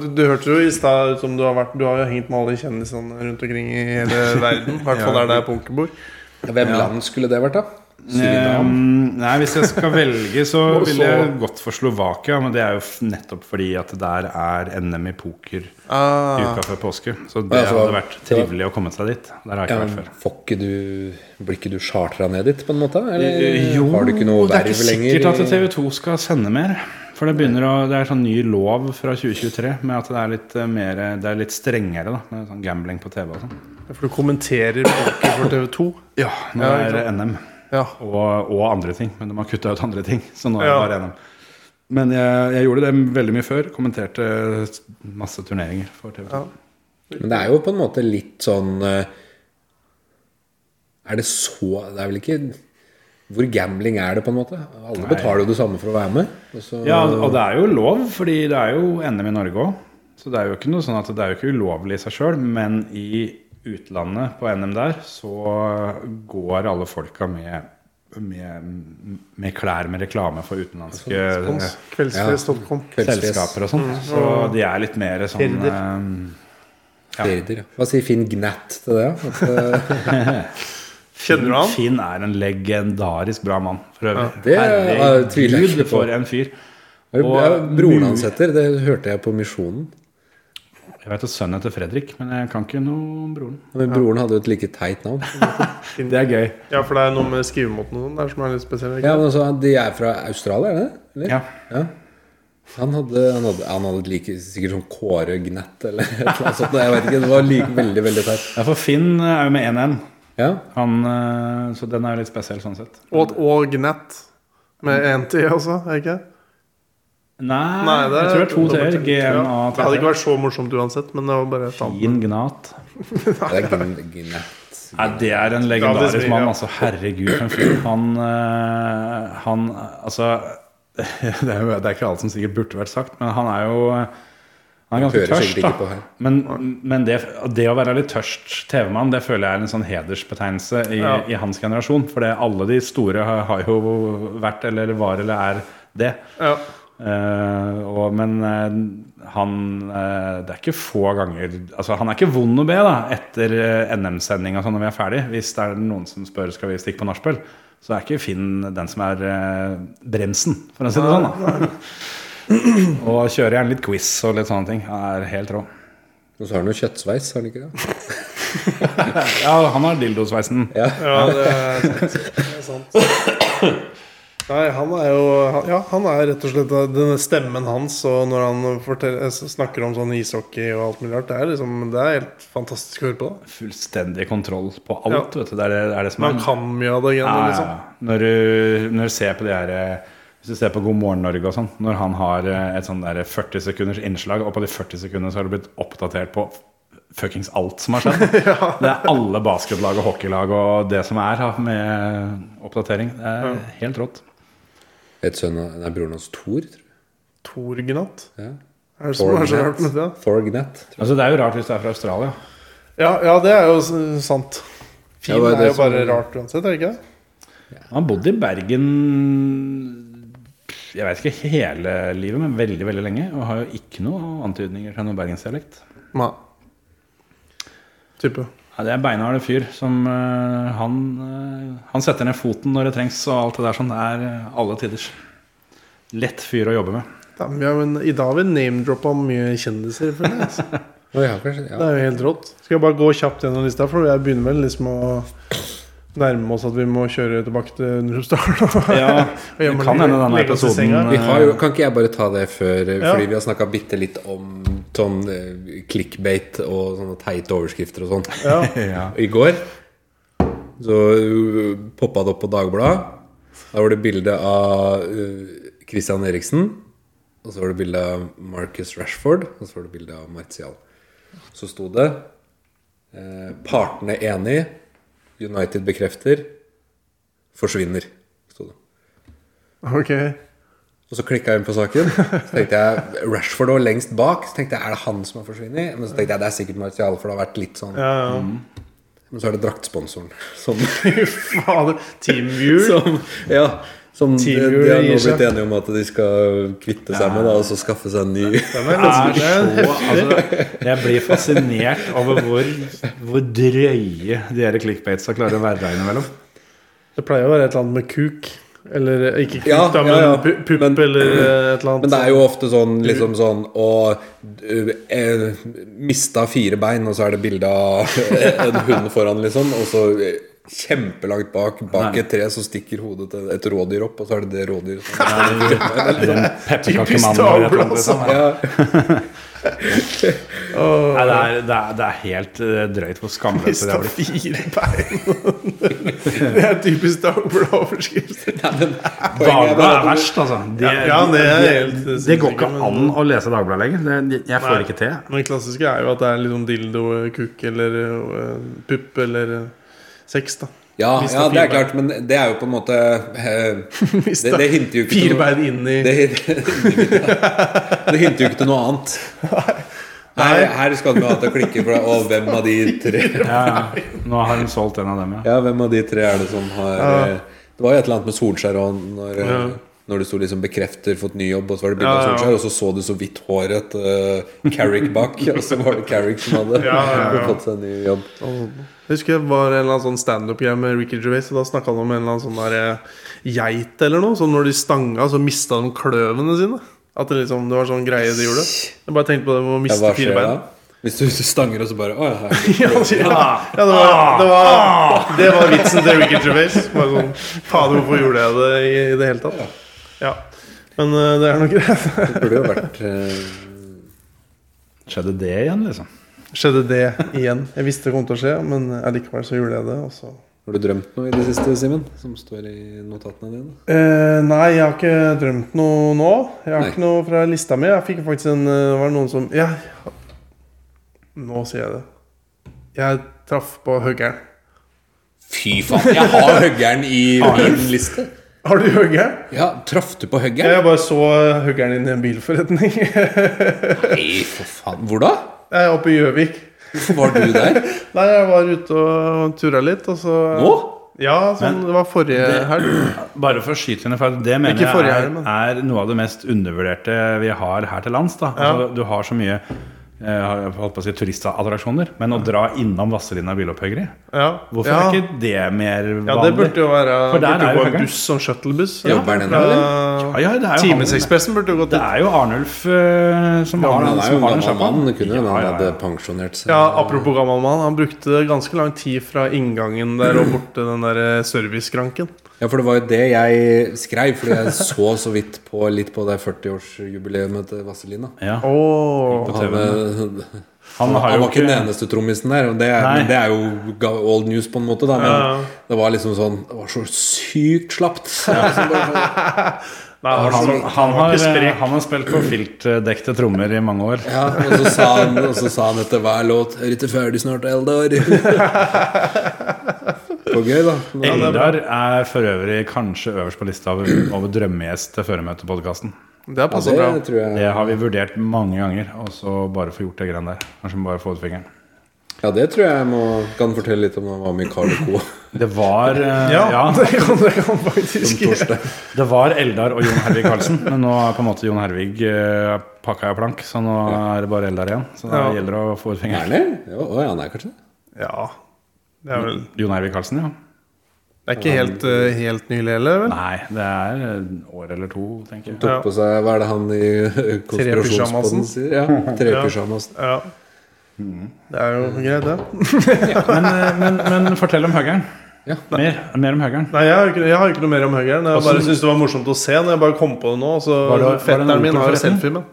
Speaker 1: du, du hørte jo i stad ut som du har vært Du har jo hengt med alle kjendisene rundt omkring i hele verden. I hvert fall der det er pokerbord.
Speaker 4: Hvem land skulle det vært, da? Surinam?
Speaker 6: Ehm, nei, hvis jeg skal velge, så
Speaker 4: Og
Speaker 6: ville
Speaker 4: så-
Speaker 6: jeg gått for Slovakia. Men det er jo f- nettopp fordi at der er NM i poker
Speaker 1: Ah,
Speaker 6: uka før påske. Så
Speaker 4: Ja,
Speaker 6: det
Speaker 4: så-
Speaker 6: hadde vært trivelig å komme seg dit. Der har jeg
Speaker 4: Ja,
Speaker 6: ikke
Speaker 4: men
Speaker 6: vært før.
Speaker 4: får ikke du, blir ikke du chartra ned dit, på en måte? Eller
Speaker 6: Eh, Jo,
Speaker 4: Eh, har du ikke noe
Speaker 6: det er ikke
Speaker 4: verv lenger?
Speaker 6: sikkert at TV2 skal sende mer. For det begynner å, det er sånn ny lov fra 2023 med at det er litt, eh, mer, det er litt strengere da, med sånn gambling på TV og sånn.
Speaker 1: for du kommenterer poker for TV2?
Speaker 6: Ja, nå
Speaker 1: Ja, ikke
Speaker 6: er det NM.
Speaker 1: Ja.
Speaker 6: og, og andre ting. Men de har kutta ut andre ting. Så nå er det
Speaker 1: Ja.
Speaker 6: bare NM. Men jeg, jeg gjorde det veldig mye før. Kommenterte masse turneringer for TV2.
Speaker 1: Ja.
Speaker 4: Men det er jo på en måte litt sånn eh, Er det så Det er vel ikke Hvor gambling er det, på en måte? Alle betaler jo det samme for å være med. Og så,
Speaker 6: Ja, altså, og det er jo lov, fordi det er jo NM i Norge òg. Så det er jo ikke noe sånn at det er jo ikke ulovlig i seg sjøl, men i utlandet på NM der så går alle folka med, med, med klær med reklame for utenlandske
Speaker 1: Spons. Kveldsfest.com.
Speaker 4: Kveldsfjes.
Speaker 6: selskaper og sånn.
Speaker 1: Mm.
Speaker 6: Så de er litt mer sånn
Speaker 1: Herder.
Speaker 6: eh, Ja.
Speaker 4: Ferder, ja. Hva sier Finn Gnatt til det? da? At, eh,
Speaker 1: Kjenner du han?
Speaker 6: Finn er en legendarisk bra mann, for øvrig.
Speaker 4: det er- tviler jeg ikke
Speaker 6: Herregud,
Speaker 4: på.
Speaker 6: for en fyr.
Speaker 4: hva er det-
Speaker 6: Og eh,
Speaker 4: ja, broren
Speaker 6: mye-
Speaker 4: hans heter Det hørte jeg på Misjonen.
Speaker 6: Jeg vet at sønnen heter Fredrik, men jeg kan ikke noe om broren.
Speaker 4: Men broren hadde jo et like teit navn.
Speaker 6: Det er gøy.
Speaker 1: Ja, for det er noe med skrivemåten og sånn der som er litt spesiell. ikke?
Speaker 4: Ja, men altså, De er fra Australia, er det det? Eller?
Speaker 6: Ja.
Speaker 4: Ja. Han hadde, han hadde, han hadde like, sikkert sånn Kåre Gnett eller et eller annet sånt. Jeg vet ikke, Det var like, veldig, veldig teit.
Speaker 6: Ja, for Finn er jo med 1-1.
Speaker 4: Ja.
Speaker 6: Han, eh, så den er jo litt spesiell sånn sett.
Speaker 1: Og, og Gnett. Med én T også, er det ikke?
Speaker 6: Nei,
Speaker 1: Nei, det
Speaker 6: jeg tror det er to t-er.
Speaker 1: dobbelt-
Speaker 6: GNA
Speaker 1: Ja. Det hadde ikke vært så morsomt uansett, men det var bare et annet.
Speaker 6: Fin Gnat.
Speaker 4: Det er gn- Gnett.
Speaker 6: Nei, det er en
Speaker 1: Ja, det
Speaker 6: legendarisk
Speaker 1: blir,
Speaker 6: mann.
Speaker 1: ja.
Speaker 6: Altså, herregud, for en fyr. Han, eh, han Altså det er, jo, det er ikke alt som sikkert burde vært sagt, men han er jo han er ganske
Speaker 4: Hører
Speaker 6: tørst.
Speaker 4: sikkert ikke på
Speaker 6: da
Speaker 4: her.
Speaker 6: Men, men det, det å være litt tørst TV-mann, det føler jeg er en sånn hedersbetegnelse i,
Speaker 1: Ja.
Speaker 6: i hans generasjon. For det- alle de store har, har jo vært, eller var, eller er det.
Speaker 1: Ja.
Speaker 6: Eh, og, men eh, han eh, Det er ikke få ganger Altså Han er ikke vond å be da etter eh, NM-sendinga sånn når vi er ferdig. Hvis det er noen som spør skal vi stikke på nachspiel, så er ikke Finn den som er eh, bremsen, for å si det sånn. da Og kjører gjerne litt quiz og litt sånne ting. Han er helt rå.
Speaker 4: Og så har han jo kjøttsveis, har han ikke det?
Speaker 6: Ja, han har dildosveisen.
Speaker 1: ja, det er sant. Det er sant. Nei, han er jo han- Ja, han er rett og slett denne stemmen hans, og når han forteller, snakker om sånn ishockey og alt mulig rart, det er liksom Det er helt fantastisk å høre på. da
Speaker 6: Fullstendig kontroll på alt,
Speaker 1: Ja.
Speaker 6: vet du. Det er det, det, er det som
Speaker 1: Man
Speaker 6: er
Speaker 1: kan mye av det
Speaker 6: Mm. Ja,
Speaker 1: greiene,
Speaker 6: ja,
Speaker 1: liksom.
Speaker 6: ja. Når, du, når du ser på de her eh, Hvis du ser på God morgen Norge og sånn, når han har eh, et sånn der 40 sekunders innslag, og på de 40 sekundene så har du blitt oppdatert på fuckings alt som har skjedd. Det er alle basketlag og hockeylag og det som er har med oppdatering. Det er helt rått.
Speaker 4: Et sønn av Nei, broren hans Thor, tror jeg.
Speaker 1: Torgnatt?
Speaker 4: Ja.
Speaker 1: Er det som er så rart med det?
Speaker 4: Thor Gnett.
Speaker 6: Altså Det er jo rart hvis du er fra Australia.
Speaker 1: Ja, ja, det er jo s- sant. Fin
Speaker 4: Ja, det er
Speaker 1: er
Speaker 4: det
Speaker 1: jo bare
Speaker 4: som-
Speaker 1: rart uansett, er det ikke? det?
Speaker 6: Han bodde i Bergen jeg vet ikke hele livet, men veldig veldig lenge. Og har jo ikke noe antydninger til noen bergensdialekt.
Speaker 1: Nei. Type.
Speaker 6: Ja, det er beinharde fyr som eh, han, eh, han setter ned foten når det trengs, og alt det der sånn. Det er eh, alle tiders. Lett fyr å jobbe med.
Speaker 1: Ja, men vi har, jo en- I dag har vi name-droppa mye kjendiser. føler jeg, altså.
Speaker 4: Å ja, kanskje.
Speaker 1: Det
Speaker 4: Ja.
Speaker 1: er jo helt rått. Skal jeg bare gå kjapt gjennom lista, for jeg begynner vel liksom å nærme oss at vi må kjøre tilbake til Nurumsdal.
Speaker 6: Ja,
Speaker 1: Og gjemme
Speaker 6: det kan hende denne
Speaker 1: legge oss i
Speaker 6: episoden-
Speaker 1: senga.
Speaker 4: Vi har jo, kan ikke jeg bare ta det før eh,
Speaker 1: Ja.
Speaker 4: Fordi vi har snakka bitte litt om sånn eh, clickbait og sånne teite overskrifter og sånn.
Speaker 1: Ja.
Speaker 6: ja.
Speaker 4: I går så uh, poppa det opp på Dagbladet. Da var det bilde av uh, Christian Eriksen. Og så var det bilde av Marcus Rashford. Og så var det bilde av Martial. Så sto det eh, 'Partene enig'. United bekrefter. Forsvinner. Sto det.
Speaker 1: Ok.
Speaker 4: Og så klikka jeg inn på saken. Så tenkte jeg Rashford var lengst bak. Så tenkte jeg, er det han som har forsvunnet? Men så tenkte jeg det er sikkert Martial, for det har vært litt sånn.
Speaker 1: Ja, ja.
Speaker 4: Men så er det draktsponsoren som,
Speaker 1: Fader. Teamview.
Speaker 4: som Ja. Som de,
Speaker 1: Teamhjul
Speaker 4: de har nå
Speaker 1: gir seg.
Speaker 4: blitt enige om at de skal kvitte seg med, da, og så skaffe seg en ny
Speaker 6: Er så, altså, jeg blir fascinert over hvor, hvor drøye de her clickbatesa klarer å være innimellom.
Speaker 1: Det pleier å være et eller annet med kuk. Eller eh, ikke kuk,
Speaker 4: Ja,
Speaker 1: da, men
Speaker 4: ja, ja.
Speaker 1: pu- pupp
Speaker 4: Men-
Speaker 1: eller eh, et eller annet.
Speaker 4: Men det er jo ofte sånn liksom sånn å eh, Mista fire bein, og så er det bilde av en hund foran, liksom. Og så eh, kjempelangt bak, bak et tre, så stikker hodet til et rådyr opp, og så er det det rådyret som
Speaker 6: Sånn
Speaker 1: Typisk
Speaker 6: Pepperkakemann eller et eller
Speaker 1: tabel,
Speaker 6: annet.
Speaker 1: altså.
Speaker 6: liksom.
Speaker 4: ja.
Speaker 6: Nei, det, er, det, er, det er helt eh, drøyt hvor skamløse
Speaker 1: Mista
Speaker 6: det har blitt.
Speaker 1: fire bein. det er typisk Dagbladet-overskrift.
Speaker 4: Poenget er
Speaker 6: Dagbladet
Speaker 4: bare
Speaker 6: er
Speaker 4: at
Speaker 6: verst, altså. De,
Speaker 1: Ja, det er helt
Speaker 6: det går ikke an å lese Dagbladet lenger. Det- Jeg får ikke til.
Speaker 1: Men det klassiske er jo at det er litt sånn dildo, eh, kuk eller eh, pupp eller eh, sex, da.
Speaker 4: Ja,
Speaker 1: Mista
Speaker 4: ja, det
Speaker 1: fire
Speaker 4: er klart, men det er jo på en måte eh,
Speaker 1: Mista
Speaker 4: det, det hinter jo ikke
Speaker 1: fire
Speaker 4: til noe,
Speaker 1: bein inn i
Speaker 4: det, det hinter jo ikke til noe annet. Her, her skal vi ha til å klikke for deg. Og hvem av de tre
Speaker 6: Ja, ja. Nå har hun solgt en av dem, ja.
Speaker 4: Ja, hvem av de tre er det som har eh, Det var jo et eller annet med Solskjær og når, eh,
Speaker 1: Ja.
Speaker 4: når det sto liksom 'bekrefter, fått ny jobb', og så var det bilde
Speaker 1: Ja,
Speaker 4: av
Speaker 1: ja.
Speaker 4: Solskjær, og så så du så vidt håret eh, Carrick bak, og så var det Carrick som hadde
Speaker 1: Ja, ja, ja.
Speaker 4: fått seg ny jobb.
Speaker 1: Jeg husker det var en eller annen sånn standup-greie med Ricky Gervais. Og da snakka han om en eller annen sånn der eh, geit eller noe. Så når de stanga, så mista de kløvene sine. At det liksom, det var sånn greie de gjorde. Jeg bare tenkte på det med å
Speaker 4: Ja,
Speaker 1: miste
Speaker 4: hva
Speaker 1: fire
Speaker 4: skjer da?
Speaker 1: bein.
Speaker 4: Hvis du stanger og så bare Å ja. her».
Speaker 1: Ja, han sier, ja, det, var, det, var, det var vitsen til Ricky Gervais. Bare sånn, Fader, hvorfor gjorde jeg det i, i det hele tatt? Ja. Men eh, det er nok greit.
Speaker 4: Det burde jo vært eh,
Speaker 6: Skjedde det igjen, liksom?
Speaker 1: Skjedde det igjen. Jeg visste det kom til å skje, men eh, allikevel så gjorde jeg det. Og så
Speaker 4: Har du drømt noe i det siste, Simen? Som står i notatene dine?
Speaker 1: Eh, nei, jeg har ikke drømt noe nå. Jeg har
Speaker 4: Nei.
Speaker 1: ikke noe fra lista mi. Jeg fikk faktisk en eh, Var det noen som Ja, nå sier jeg det. Jeg traff på huggeren.
Speaker 4: Fy faen, jeg har høggeren i min liste.
Speaker 1: Har du huggeren?
Speaker 4: Ja, Traff du på
Speaker 1: Ja,
Speaker 4: høggeren?
Speaker 1: jeg bare så eh, huggeren din i en bilforretning.
Speaker 4: Nei, for faen. Hvor da?
Speaker 1: jeg er oppe i Gjøvik.
Speaker 4: Hvorfor var du der?
Speaker 1: Nei, jeg var ute og tura litt, og så
Speaker 4: Nå?
Speaker 1: Ja, sånn, det var forrige helg.
Speaker 6: Bare for å skyte henne, for det mener
Speaker 1: Ikke
Speaker 6: jeg
Speaker 1: forrige
Speaker 6: er,
Speaker 1: helg, men-
Speaker 6: er noe av det mest undervurderte vi har her til lands. Da. Altså, du har så mye eh, jeg holdt på å si, turistattraksjoner, men å dra innom Vazelina bilopphøggeri
Speaker 1: Ja.
Speaker 6: Hvorfor
Speaker 1: ja.
Speaker 6: er ikke det mer vanlig?
Speaker 1: ja, det burde jo være
Speaker 6: For der
Speaker 1: burde jo
Speaker 6: er jo
Speaker 1: gå en
Speaker 6: huggeren.
Speaker 1: buss, sånn shuttlebuss.
Speaker 4: Jobber den
Speaker 1: Fra-
Speaker 4: der,
Speaker 6: Ja, Ah, ja, det er jo han-
Speaker 1: Timesekspressen burde jo gått
Speaker 6: Det er jo Arnulf eh, som har
Speaker 4: Han
Speaker 6: den
Speaker 4: er jo
Speaker 6: som
Speaker 4: en
Speaker 6: har den
Speaker 4: gammel
Speaker 6: sjappa.
Speaker 4: mann. Det kunne hende
Speaker 6: Ja,
Speaker 4: han
Speaker 6: ja, ja.
Speaker 4: hadde pensjonert seg.
Speaker 1: Ja, apropos gammel mann. Han brukte ganske lang tid fra inngangen der og bort til den der eh, serviceskranken.
Speaker 4: Ja, for det var jo det jeg skrev, fordi jeg så så vidt på litt på det 40-årsjubileet til Vazelina.
Speaker 6: Ja.
Speaker 1: Oh.
Speaker 4: Han, eh,
Speaker 6: Han
Speaker 4: han,
Speaker 6: har jo
Speaker 4: var ikke den eneste trommisen der, og det er,
Speaker 6: Nei.
Speaker 4: men det er jo ga- old news på en måte, da. Men
Speaker 1: Ja.
Speaker 4: det var liksom sånn Det var så sykt slapt. Så
Speaker 1: Nei,
Speaker 4: bare,
Speaker 1: han,
Speaker 6: han,
Speaker 1: han,
Speaker 6: han,
Speaker 1: var ikke
Speaker 6: har, eh,
Speaker 1: sprek.
Speaker 6: han har spilt på filtdekte trommer i mange år.
Speaker 4: ja, og, så sa han, og så sa han etter hver låt 'Er ikke ferdig snart, Eldar'? Det var gøy, da. Men,
Speaker 6: Eldar er for øvrig kanskje øverst på lista over, over drømmegjest til Føremøtepodkasten.
Speaker 1: Det har passa bra.
Speaker 4: det tror jeg
Speaker 6: Det har vi vurdert mange ganger, og så bare få gjort det greiene der. Kanskje vi bare få ut fingeren.
Speaker 4: Ja, det tror jeg må Kan fortelle litt om da han var med i Carl Co.
Speaker 6: Det var eh,
Speaker 1: Ja,
Speaker 6: ja,
Speaker 1: det kan det kan faktisk
Speaker 6: Det var Eldar og Jon Hervig Karlsen, men nå er på en måte Jon Hervig eh, pakka jeg plank, så nå er det bare Eldar igjen. Så det
Speaker 1: Ja.
Speaker 6: gjelder å få ut
Speaker 4: Er
Speaker 6: fingeren.
Speaker 4: han det? Ja, å, ja, han er kanskje det.
Speaker 1: Ja. Det er vel
Speaker 6: Jon Hervig Karlsen, ja.
Speaker 1: Det er ikke helt, eh, helt nylig heller, vel?
Speaker 6: Nei, det er eh, år eller to, tenker jeg.
Speaker 4: Tok på seg Hva er det han i
Speaker 1: Trepyjamasen.
Speaker 4: konspirasjonspodden sier? Ja, Trepysjamasen.
Speaker 1: Ja.
Speaker 4: Mm.
Speaker 1: Det er jo greit, det.
Speaker 6: Men, eh, men, men fortell om høgeren.
Speaker 4: Ja.
Speaker 6: Mer, mer om høgeren.
Speaker 1: Nei, jeg har ikke, jeg har ikke noe mer om huggeren. Jeg bare syntes det var morsomt å se når jeg bare kom på det nå. Så
Speaker 6: Var det- var det en
Speaker 1: fetteren min har jo
Speaker 6: Opel-forretning?
Speaker 1: selfie med den.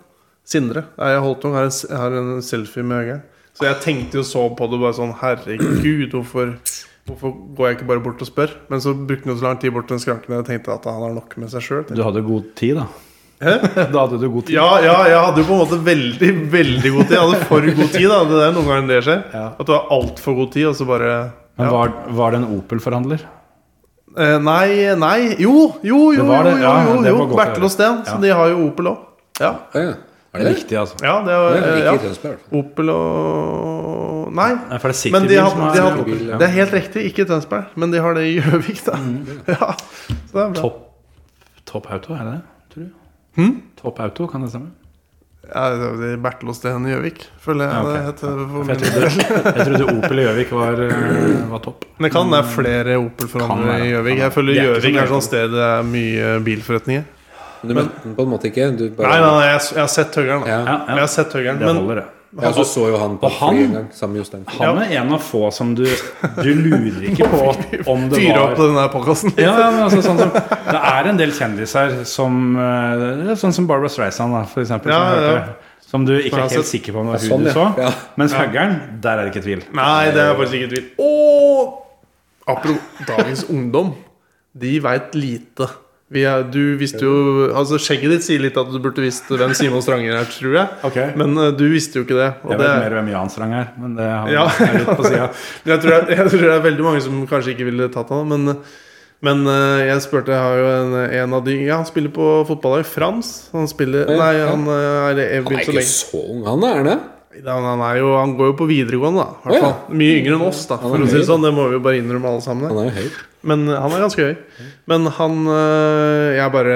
Speaker 1: Sindre. Nei, jeg holdt noe, har, en- har en selfie med huggeren. Så jeg tenkte jo så på det bare sånn Herregud, hvorfor, hvorfor går jeg ikke bare bort og spør? Men så brukte han jo så lang tid bort til den skranken og jeg tenkte at han har nok med seg sjøl.
Speaker 6: Du hadde god tid, da. Da hadde du god tid.
Speaker 1: Ja, ja, jeg hadde jo på en måte veldig, veldig god tid. Jeg hadde for god tid, da. Det er noen ganger det skjer.
Speaker 6: Ja.
Speaker 1: At du har altfor god tid, og så bare
Speaker 6: Men
Speaker 1: ja.
Speaker 6: var, var det en Opel-forhandler?
Speaker 1: Eh, Nei, nei Jo, jo, jo!
Speaker 6: Det var det,
Speaker 1: jo, jo,
Speaker 6: ja,
Speaker 1: jo,
Speaker 6: det var
Speaker 1: jo.
Speaker 6: godt å
Speaker 1: Bertel og
Speaker 6: høre.
Speaker 1: Steen.
Speaker 6: Ja.
Speaker 1: Så de har jo Opel òg. Ja.
Speaker 4: Å, ja. Er det det?
Speaker 6: Riktig, altså.
Speaker 1: ja, det
Speaker 4: Ja,
Speaker 1: var eh,
Speaker 4: Ikke i
Speaker 1: ja.
Speaker 4: Tønsberg, i hvert fall.
Speaker 1: Opel og Nei.
Speaker 6: Nei, for det er
Speaker 1: Men
Speaker 6: Citybil
Speaker 1: de har,
Speaker 6: som
Speaker 1: de
Speaker 6: er
Speaker 1: har, det er helt riktig, ikke i Tønsberg, men de har det i Gjøvik, da.
Speaker 6: Mm,
Speaker 1: Ja, så det er bra.
Speaker 6: Topp Topp Auto, er det det? Tror du?
Speaker 1: Hm?
Speaker 6: Topp Auto, kan det stemme?
Speaker 1: Ja, det er Bertel og Steen i Gjøvik, føler jeg
Speaker 6: Ja, ok.
Speaker 1: det heter. for
Speaker 6: For jeg
Speaker 1: min
Speaker 6: trodde, jeg trodde Opel i Gjøvik var, eh, var topp.
Speaker 1: Men det kan være flere
Speaker 6: Kan
Speaker 1: Opel-forhandlere
Speaker 6: være,
Speaker 1: i Gjøvik.
Speaker 6: kan
Speaker 1: Jeg
Speaker 6: være.
Speaker 1: føler
Speaker 6: Det er
Speaker 1: Gjøvik er
Speaker 6: ikke så
Speaker 1: et
Speaker 6: mye.
Speaker 1: sånt sted det er mye bilforretninger.
Speaker 4: Men du møtte den på en måte ikke? Du bare,
Speaker 1: Nei, nei, nei jeg, jeg har sett Høgeren. da.
Speaker 4: Ja.
Speaker 6: Ja,
Speaker 1: Jeg
Speaker 6: ja.
Speaker 1: har sett Høgeren,
Speaker 6: Det
Speaker 1: men
Speaker 6: holder, det.
Speaker 4: Ja, så så jo han på
Speaker 6: Og han-
Speaker 4: fly en gang, sammen med Jostein.
Speaker 6: Han er en av få som du Du lurer ikke på om det
Speaker 1: fyre opp
Speaker 6: var
Speaker 1: den der podkasten.
Speaker 6: ja, ja, men altså, sånn som, Det er en del kjendiser som eh, Sånn som Barbara Streisand, da, for eksempel.
Speaker 1: Ja,
Speaker 6: som, jeg
Speaker 1: ja.
Speaker 6: hørte, som du ikke
Speaker 1: Men
Speaker 6: er
Speaker 1: altså-
Speaker 6: helt sikker på om det var
Speaker 4: Ja,
Speaker 6: hun
Speaker 4: sånn,
Speaker 6: du så.
Speaker 4: ja. Ja.
Speaker 6: Mens Høggern, der er det ikke tvil.
Speaker 1: Nei, det er faktisk ikke tvil. Og apropos dagens ungdom. De veit lite. Vi er, du visste jo Altså, skjegget ditt sier litt at du burde visst hvem Simon Stranger er, tror jeg.
Speaker 6: Ok.
Speaker 1: Men eh, du visste jo ikke det. Og
Speaker 6: Jeg
Speaker 1: det
Speaker 6: vet mer hvem Jan Strang er, men det har
Speaker 1: Ja.
Speaker 6: er litt på sida.
Speaker 1: Men jeg, tror jeg, jeg tror det er veldig mange som kanskje ikke ville tatt han Men, men eh, jeg spurte Jeg har jo en, en av de Ja, han spiller på fotballag Frans Han spiller
Speaker 4: Ja,
Speaker 1: Nei,
Speaker 4: ja.
Speaker 1: han eh, er jeg
Speaker 4: Han er
Speaker 1: begynte så
Speaker 4: ikke
Speaker 1: lenge
Speaker 4: så ung, han er det?
Speaker 1: Nei, han, er jo, han går jo på videregående da i
Speaker 4: Å,
Speaker 1: hvert
Speaker 4: ja.
Speaker 1: fall. Mye yngre enn oss da
Speaker 4: er
Speaker 1: For å si
Speaker 4: høy,
Speaker 1: det sånn Det må vi jo bare innrømme alle sammen
Speaker 4: Han er jo høy.
Speaker 1: men han er ganske høy. Men han øh, Jeg bare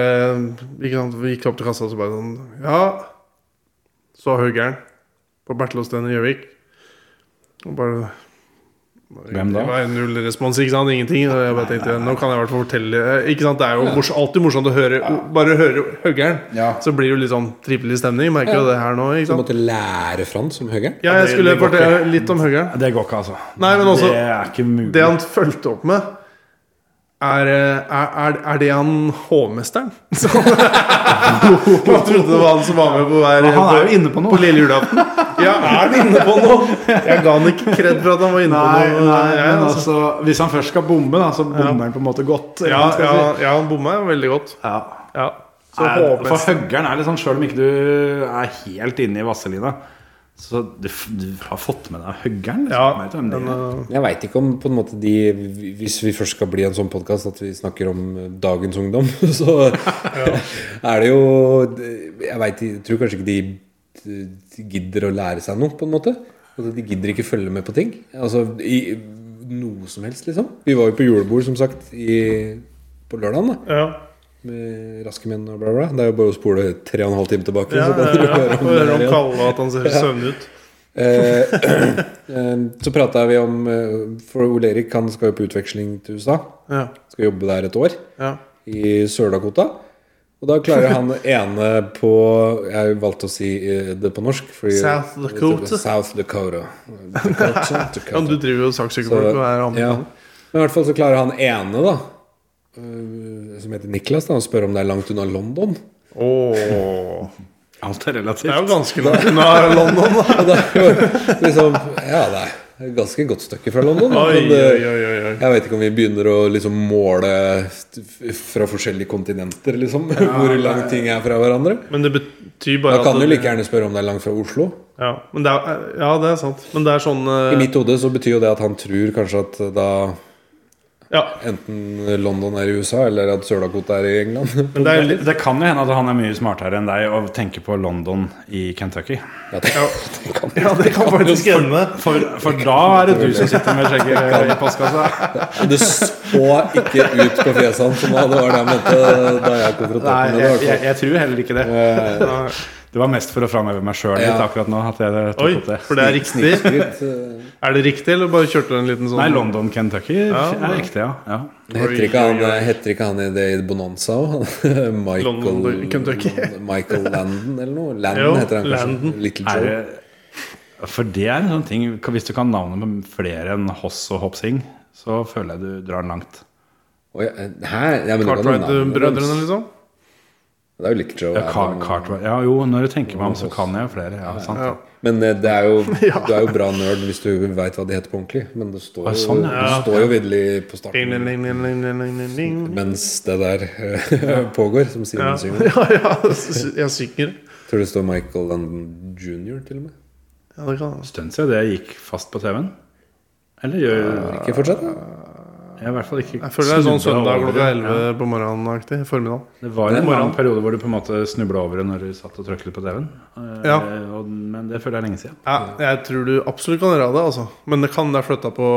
Speaker 1: ikke sant, gikk opp til kassa og så bare sånn Ja, så huggeren på Bertelåsten i Gjøvik. Og bare
Speaker 6: Hvem da?
Speaker 1: Det var null respons, ikke sant? Ingenting. Og jeg bare tenkte Nå kan jeg i hvert fall fortelle Ikke sant, Det er jo mors, alltid morsomt å høre Bare høre huggeren.
Speaker 4: Ja.
Speaker 1: Så blir det jo litt sånn trivelig stemning. Merker jo det her nå. ikke
Speaker 4: Du
Speaker 1: sant?
Speaker 4: måtte lære fra han som høgeren?
Speaker 1: Ja, jeg
Speaker 6: det-
Speaker 1: skulle
Speaker 6: det går
Speaker 1: fortelle litt om huggeren.
Speaker 6: Det går ikke, altså.
Speaker 1: Nei, men også
Speaker 6: det er ikke mulig.
Speaker 1: det han fulgte opp med, er, eh, er, er, er det han hovmesteren? Så Man trodde det var han som var med på hver
Speaker 6: Men han er jo inne på noe.
Speaker 1: lille julaften. Ja, er han inne på noe? Jeg ga han ikke kred for at han var inne
Speaker 6: Nei,
Speaker 1: på noe.
Speaker 6: nei,
Speaker 1: jeg,
Speaker 6: men
Speaker 1: altså.
Speaker 6: altså, hvis han først skal bombe, da, så bommer han på en måte godt. eller
Speaker 1: ja,
Speaker 6: hva man skal
Speaker 1: ja,
Speaker 6: si.
Speaker 1: ja, han bomma jo veldig godt.
Speaker 6: Ja.
Speaker 1: Ja. Så
Speaker 6: Er, for
Speaker 1: hovmesteren
Speaker 6: høggeren er liksom, sjøl om ikke du er helt inne i Vasselina, så du, f- du har fått med deg høggeren? Liksom.
Speaker 1: Ja,
Speaker 6: Vet du hvem det er?
Speaker 4: Jeg veit ikke om på en måte de Hvis vi først skal bli en sånn podkast at vi snakker om eh, dagens ungdom, så er det jo Jeg vet, jeg tror kanskje ikke de de gidder å lære seg noe, på en måte. Altså, de gidder ikke følge med på ting. Altså i noe som helst, liksom. Vi var jo på julebord, som sagt, i, på lørdagen. da
Speaker 1: ja.
Speaker 4: Med Raske menn og bla, bla. Det er jo bare å spole tre og en halv time tilbake.
Speaker 1: Ja, ja,
Speaker 4: så kan dere
Speaker 1: ja.
Speaker 4: høre om
Speaker 1: Får
Speaker 4: det
Speaker 1: høre
Speaker 4: her
Speaker 1: om
Speaker 4: igjen.
Speaker 1: Kalle og at han ser søvnig ut.
Speaker 4: Eh, eh, Så prata vi om eh, For Ole Erik han skal jo på utveksling til USA.
Speaker 1: Ja,
Speaker 4: Skal jobbe der et år,
Speaker 1: ja.
Speaker 4: i Sør-Dakota. Og da klarer han ene på Jeg valgte å si eh, det på norsk. fordi-
Speaker 1: South Dakota.
Speaker 4: South Dakota. Dakota,
Speaker 1: ja,
Speaker 4: Dakota.
Speaker 1: du driver jo og saksøker folk og er
Speaker 4: Ja.
Speaker 1: amerikaner.
Speaker 4: Men i hvert fall så klarer han ene, da, eh, som heter Niklas, da, å spørre om det er langt unna London.
Speaker 1: Åh. eh,
Speaker 6: Alt er
Speaker 1: Det er jo
Speaker 6: relativt.
Speaker 1: ganske langt unna London, da.
Speaker 4: Og da var det liksom Ja, det er et ganske godt stykke fra London. da,
Speaker 1: Oi,
Speaker 4: men eh,
Speaker 1: oi,
Speaker 4: det-
Speaker 1: oi, oi, oi.
Speaker 4: Jeg vet ikke om vi begynner å liksom måle f- fra forskjellige kontinenter, liksom. hvor langt ting er fra hverandre.
Speaker 1: Men det betyr bare
Speaker 4: Da kan du
Speaker 1: det-
Speaker 4: like gjerne spørre om det er langt fra Oslo.
Speaker 1: ja, men det er, ja, det er sant. Men det er sånn eh,
Speaker 4: I mitt hode så betyr jo det at han tror kanskje at da
Speaker 1: Ja,
Speaker 4: enten London er i USA, eller at Sør-Dakota er i England.
Speaker 1: men det er
Speaker 6: Det,
Speaker 1: litt
Speaker 6: det kan jo hende at han er mye smartere enn deg og tenker på London i Kentucky.
Speaker 4: Ja, det, det kan
Speaker 1: Ja, det kan faktisk hende.
Speaker 6: For, for da er det du som sitter med skjegget i postkassa.
Speaker 4: Det så ikke ut på fjeset hans som da, det var det jeg mente da jeg konfronterte
Speaker 6: Nei,
Speaker 4: ham med det. i
Speaker 6: jeg,
Speaker 4: hvert
Speaker 6: jeg,
Speaker 4: fall.
Speaker 6: jeg tror heller ikke det.
Speaker 4: Eh,
Speaker 6: Det var mest for å framheve meg sjøl litt
Speaker 4: Ja.
Speaker 6: akkurat nå. At jeg tok
Speaker 1: Oi,
Speaker 6: opp det.
Speaker 1: for det er riktig?
Speaker 4: skritt, eh,
Speaker 1: Er det riktig, eller bare kjørte du en liten sånn
Speaker 6: Nei, London, Kentucky
Speaker 1: Ja,
Speaker 6: er ekte, ja. ja.
Speaker 4: Heter ikke han, heter ikke han i det i Bonanza òg? Michael
Speaker 1: London, Kentucky.
Speaker 4: Michael Landon eller noe? Landon
Speaker 1: Jo,
Speaker 4: heter han kanskje.
Speaker 1: Landon.
Speaker 4: Little
Speaker 6: Er
Speaker 4: Joe.
Speaker 6: det, for det er en sånn ting Hvis du kan navnet med flere enn Hoss og Hopsing, så føler jeg du drar langt.
Speaker 4: Oi, Hæ? Ja, men det var noe navn.
Speaker 1: Cartwright-brødrene, liksom?
Speaker 4: Det er jo Little Joe.
Speaker 6: Ja, Car
Speaker 4: Adam.
Speaker 6: Cartwright. ja jo, når du tenker meg om, så kan jeg flere. Ja, sant.
Speaker 1: Ja.
Speaker 4: Men eh, det er jo, du er jo bra nerd hvis du veit hva de heter på ordentlig. Men det står
Speaker 6: Ah,
Speaker 4: jo,
Speaker 6: sånn,
Speaker 4: det
Speaker 6: ja.
Speaker 4: står jo vidderlig på
Speaker 1: Ding,
Speaker 4: starten
Speaker 1: ding, ding, ding, ding, ding, ding, ding, ding.
Speaker 4: mens det der eh, pågår, som Simen
Speaker 1: Ja.
Speaker 4: synger.
Speaker 1: ja, ja, jeg synger.
Speaker 4: Tror det står Michael Landon jr. til og med.
Speaker 1: Ja, det kan
Speaker 6: Stund siden det gikk fast på TV-en. Eller gjør
Speaker 4: Ikke fortsett, da.
Speaker 6: jeg i hvert fall ikke
Speaker 1: jeg føler det er sånn
Speaker 6: snublet
Speaker 1: søndag
Speaker 6: over
Speaker 1: klokka
Speaker 6: det.
Speaker 1: 11 på morgenen-aktig. Formiddag.
Speaker 6: Det var en
Speaker 1: Morgen.
Speaker 6: morgen periode hvor du på en måte snubla over det når du satt og trykket på TV-en. Eh,
Speaker 1: Ja.
Speaker 6: og- Men det føler jeg er lenge siden.
Speaker 1: Ja, jeg tror du absolutt kan gjøre det, altså. Men det kan det er flytta på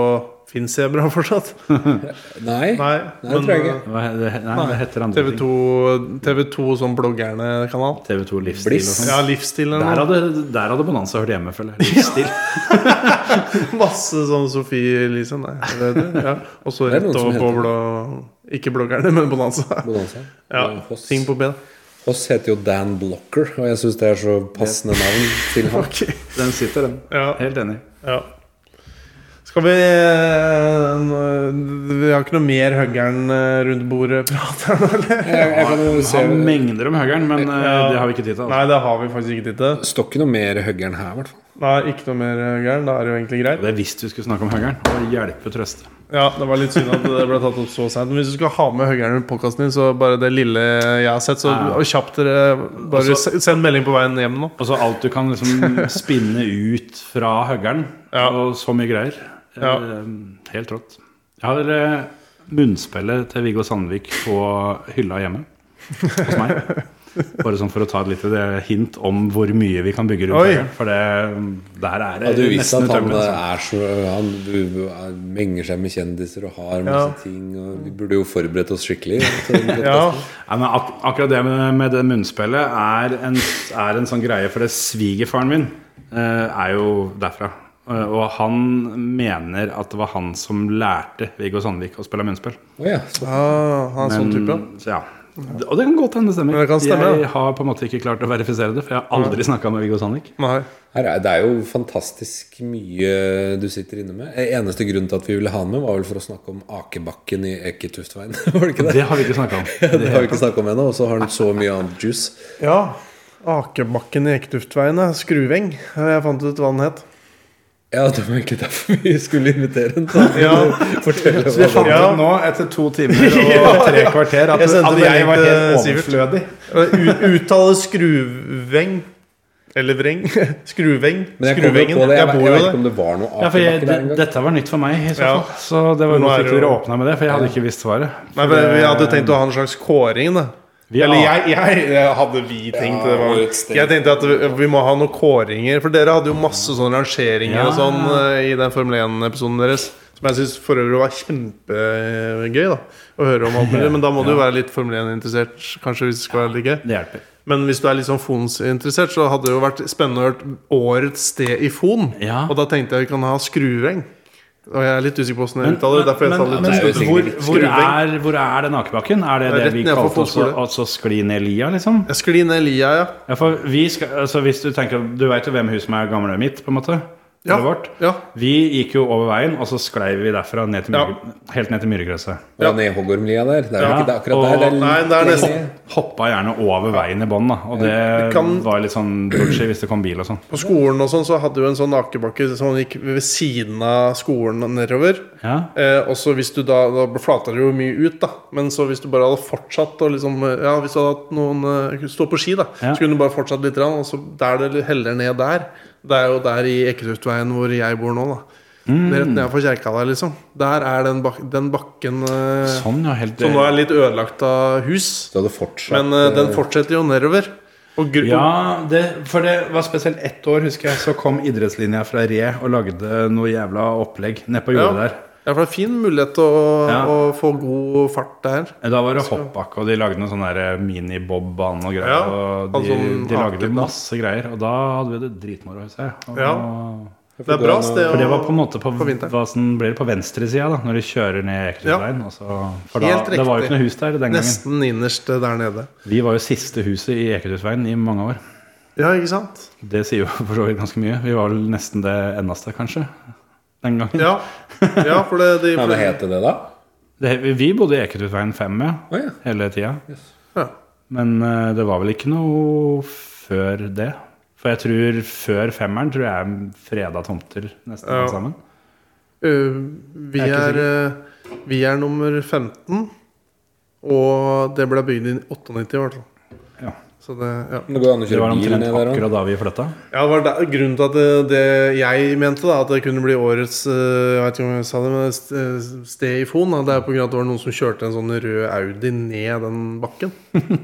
Speaker 1: Fins jeg bra fortsatt?
Speaker 4: Nei.
Speaker 1: Nei,
Speaker 4: Nei, det tror jeg ikke.
Speaker 6: Hva, det, nei, det heter andre
Speaker 1: TV2, TV2 sånn bloggerne-kanal.
Speaker 6: ting. TV2 Livsstil
Speaker 4: Bliss.
Speaker 6: og sånn.
Speaker 1: Ja, livsstil
Speaker 6: Der
Speaker 1: eller noe.
Speaker 6: hadde, der hadde Bonanza hørt hjemme, føler jeg. Livsstil.
Speaker 1: Masse sånn Sofie Elise, nei. det heter det, Ja. Og så
Speaker 4: Det er
Speaker 1: rett
Speaker 4: noen som
Speaker 1: over på
Speaker 4: heter
Speaker 1: blå Ikke bloggerne, men Bonanza.
Speaker 4: Bonanza.
Speaker 1: Ja,
Speaker 4: Eh, Hoss.
Speaker 1: Ting på B. da.
Speaker 4: Hoss heter jo Dan Blocker, og jeg syns det er så passende navn til han.
Speaker 1: Ok,
Speaker 6: Den sitter, den.
Speaker 1: ja,
Speaker 6: Helt enig.
Speaker 1: ja. Skal vi eh, nå- Vi har ikke noe mer høggeren eh, rundt bordet-prat her nå, eller?
Speaker 4: Jeg, jeg kan jo
Speaker 6: Vi
Speaker 4: se
Speaker 6: har mengder om høgeren, men eh,
Speaker 1: Ja.
Speaker 6: det har vi ikke tid til. Altså.
Speaker 1: Nei, det har vi faktisk ikke tid til.
Speaker 4: Står ikke noe mer høggeren her, i hvert fall.
Speaker 1: Nei, ikke noe mer høggeren. Da er det jo egentlig greit.
Speaker 6: Det er hvis du skulle snakke om høgeren. Og hjelpe trøste.
Speaker 1: Ja, det var litt synd at det ble tatt opp så seint. Men hvis du skal ha med høggeren i podkasten din, så bare det lille jeg har sett, så
Speaker 6: Ja.
Speaker 1: og kjapt dere Bare
Speaker 4: Altså-
Speaker 6: Og så-
Speaker 1: se- send melding på veien hjem nå.
Speaker 6: Og så Altså, alt du kan liksom spinne ut fra høgeren,
Speaker 1: Ja.
Speaker 6: og så mye greier. Eh,
Speaker 1: Ja.
Speaker 6: Helt rått. Jeg har eh, munnspillet til Viggo Sandvik på hylla hjemme hos meg. Bare sånn for å ta et lite eh, hint om hvor mye vi kan bygge rundt
Speaker 1: Oi.
Speaker 6: høgeren. For det, der er det
Speaker 4: Ja, du visste at han eh,
Speaker 6: utømmelig, altså.
Speaker 4: er så Han bu- bu- er- menger seg med kjendiser og har masse
Speaker 1: Ja.
Speaker 4: ting. Og vi burde jo forberedt oss skikkelig. til den
Speaker 1: Ja,
Speaker 4: podcasten.
Speaker 6: Ja, men ak akkurat det med, med det munnspillet er en, er en sånn greie, for det svigerfaren min eh, er jo derfra. Eh, og han mener at det var han som lærte Viggo Sandvik å spille munnspill.
Speaker 4: Å ja, så
Speaker 1: ah, han er sånn type.
Speaker 6: så ja. Og det kan godt hende det stemmer.
Speaker 1: Men det kan stemme, ja.
Speaker 6: jeg har på en måte ikke klart å verifisere det, for jeg har aldri snakka med Viggo Sandvik.
Speaker 1: Nei.
Speaker 4: Her er, det er jo fantastisk mye du sitter inne med. Eh, Eneste grunnen til at vi ville ha han med, var vel for å snakke om akebakken i Eketuftveien. Var det ikke det?
Speaker 6: Det har vi ikke snakka om.
Speaker 4: Det har vi ikke snakka om ennå, og så har han så mye annet juice.
Speaker 1: Ja. Akebakken i Ektuftveien er Skruveng. eh, Jeg fant ut hva den het.
Speaker 4: Ja, det var egentlig derfor vi skulle invitere ham. Så han
Speaker 1: Ja.
Speaker 4: kunne fortelle
Speaker 1: Så vi
Speaker 4: hva
Speaker 1: fant-
Speaker 4: det
Speaker 1: Ja.
Speaker 6: Nå, etter to timer og tre kvarter, at
Speaker 1: Jeg sendte
Speaker 6: at
Speaker 1: melding
Speaker 6: jeg var helt
Speaker 1: til Sivert.
Speaker 6: overflødig.
Speaker 1: U- Uttale skruveng. Eller vreng. Skruveng.
Speaker 4: Men jeg kommer
Speaker 1: Skruvengen.
Speaker 4: på det. Jeg,
Speaker 1: Jeg
Speaker 4: vet-
Speaker 1: bor
Speaker 4: jeg
Speaker 1: jo
Speaker 4: vet ikke
Speaker 1: der.
Speaker 4: om det var noe
Speaker 6: Ja, for jeg,
Speaker 4: akebakke der
Speaker 6: det-
Speaker 4: engang.
Speaker 6: dette var nytt for meg, i så
Speaker 1: Ja.
Speaker 6: fall. Så det var
Speaker 1: Nå
Speaker 6: godt
Speaker 1: er
Speaker 6: at
Speaker 1: det
Speaker 6: dere
Speaker 1: jo-
Speaker 6: åpna med det, for jeg hadde ikke visst svaret.
Speaker 1: Nei, men Vi hadde jo tenkt å ha en slags kåring, da.
Speaker 6: Eh, Vi
Speaker 1: Eller
Speaker 6: har-
Speaker 1: jeg, jeg, jeg hadde vi tenkt det var
Speaker 4: årets sted.
Speaker 1: Jeg tenkte at vi, vi må ha noen kåringer. For dere hadde jo masse sånne rangeringer
Speaker 6: Ja.
Speaker 1: og sånn eh, i den Formel 1-episoden deres. Som jeg syns for øvrig var kjempegøy da å høre om alt mulig. Men da må du jo være litt Formel 1-interessert, kanskje, hvis det skal være litt gøy.
Speaker 6: Det hjelper.
Speaker 1: Men hvis du er litt sånn Fons-interessert, så hadde det jo vært spennende å høre årets sted i Fon.
Speaker 6: Ja.
Speaker 1: Og da tenkte jeg vi kan ha Skruveng. Og jeg er litt usikker på åssen jeg
Speaker 6: Men-
Speaker 1: uttaler det. Derfor jeg
Speaker 6: men-
Speaker 1: tar
Speaker 6: men-
Speaker 1: litt sånn
Speaker 4: det er jo
Speaker 1: hvor,
Speaker 4: sikkert
Speaker 6: Hvor
Speaker 1: Skruveng.
Speaker 6: er, hvor er den akebakken? Er det
Speaker 1: Det er rett
Speaker 6: det vi
Speaker 1: ned for
Speaker 6: kalte oss
Speaker 1: fotskole.
Speaker 6: altså skli ned lia, liksom?
Speaker 1: Jeg sklir ned lia, ja.
Speaker 6: Ja, for vi skal, altså hvis Du tenker, du veit jo hvem huset med er gamle mitt, på en måte?
Speaker 1: Ja.
Speaker 6: Eller vårt.
Speaker 1: ja.
Speaker 6: Vi gikk jo over veien, og så sklei vi derfra ned til
Speaker 1: Ja.
Speaker 6: myr, helt ned til myregrøsset.
Speaker 4: Ja, ned Hoggormlia der. Det er jo
Speaker 6: Ja,
Speaker 4: ikke det akkurat
Speaker 6: og-
Speaker 4: der. Det er
Speaker 1: Nei, det er
Speaker 4: litt
Speaker 1: nesten
Speaker 4: lenger ned.
Speaker 6: Hoppa gjerne over veien i bånn, da. Og det
Speaker 1: Det kan-
Speaker 6: var litt sånn dodgy hvis det kom bil og sånn.
Speaker 1: På skolen og sånn så hadde vi en sånn akebakke som gikk ved siden av skolen og nedover.
Speaker 6: Ja.
Speaker 1: Eh, og så hvis du da, da flata det jo mye ut, da. Men så hvis du bare hadde fortsatt å liksom eh, Ja, hvis du hadde hatt noen eh, Stå på ski, da.
Speaker 6: Ja.
Speaker 1: Så kunne du bare fortsatt litt, grann, og så der det heller ned der. Det er jo der i Eketuftveien hvor jeg bor nå, da. Det er Rett nedenfor kjerka der, liksom. Der er den, bak den bakken eh,
Speaker 6: Sånn, ja. Helt
Speaker 1: som nå er litt ødelagt av hus.
Speaker 4: Så hadde fortsatt
Speaker 1: Men eh, den fortsetter jo nedover. Og gru
Speaker 6: Ja, det, for det var spesielt ett år, husker jeg, så kom idrettslinja fra Re og lagde noe jævla opplegg nedpå jordet
Speaker 1: Ja.
Speaker 6: der.
Speaker 1: Ja, for det er fin mulighet til å,
Speaker 6: Ja.
Speaker 1: å få god fart der.
Speaker 6: Da var det hoppbakke, og de lagde noen sånne der eh, minibob-bane og greier.
Speaker 1: Ja,
Speaker 6: og de,
Speaker 1: altså,
Speaker 6: de lagde
Speaker 1: haken, da.
Speaker 6: masse greier, og da hadde vi det dritmoro. husker jeg. Og-
Speaker 1: Ja. Det er bra sted.
Speaker 6: For det var
Speaker 1: å-
Speaker 6: på en måte på,
Speaker 1: På vinteren.
Speaker 6: hva som blir det på venstresida, da, når de kjører ned Ekebergveien. altså, For da,
Speaker 1: Helt
Speaker 6: det var jo
Speaker 1: riktig.
Speaker 6: ikke noe hus der den gangen.
Speaker 1: Nesten innerst der nede.
Speaker 6: Vi var jo siste huset i Ekebergveien i mange år.
Speaker 1: Ja, ikke sant?
Speaker 6: Det sier jo for så vidt ganske mye. Vi var vel nesten det eneste, kanskje. Den gangen.
Speaker 1: Ja, ja for det, de,
Speaker 4: Nei,
Speaker 1: for
Speaker 4: Hva heter det, da?
Speaker 6: Det, vi bodde i Ekebergveien 5 ja,
Speaker 4: Å ja.
Speaker 6: hele tida.
Speaker 1: Ja.
Speaker 6: Men eh, det var vel ikke noe før det. For jeg tror før femmeren tror jeg freda tomter nesten
Speaker 1: Ja.
Speaker 6: alle sammen.
Speaker 1: Øh, vi,
Speaker 6: Jeg er
Speaker 1: er,
Speaker 6: ikke
Speaker 1: øh, vi er nummer 15, og det ble bygd i 98 i hvert fall.
Speaker 6: Ja.
Speaker 1: Så det, ja.
Speaker 4: Men Det går an å
Speaker 6: Det var
Speaker 4: kjøre bil
Speaker 6: omtrent
Speaker 4: ned der òg.
Speaker 6: akkurat da vi flytta.
Speaker 1: ja, det var der, grunnen til at det, det jeg mente, da, at det kunne bli årets øh, Jeg vet ikke om jeg sa det, men st- øh, sted i Fon. Da, det er på grunn av at det var noen som kjørte en sånn rød Audi ned den bakken.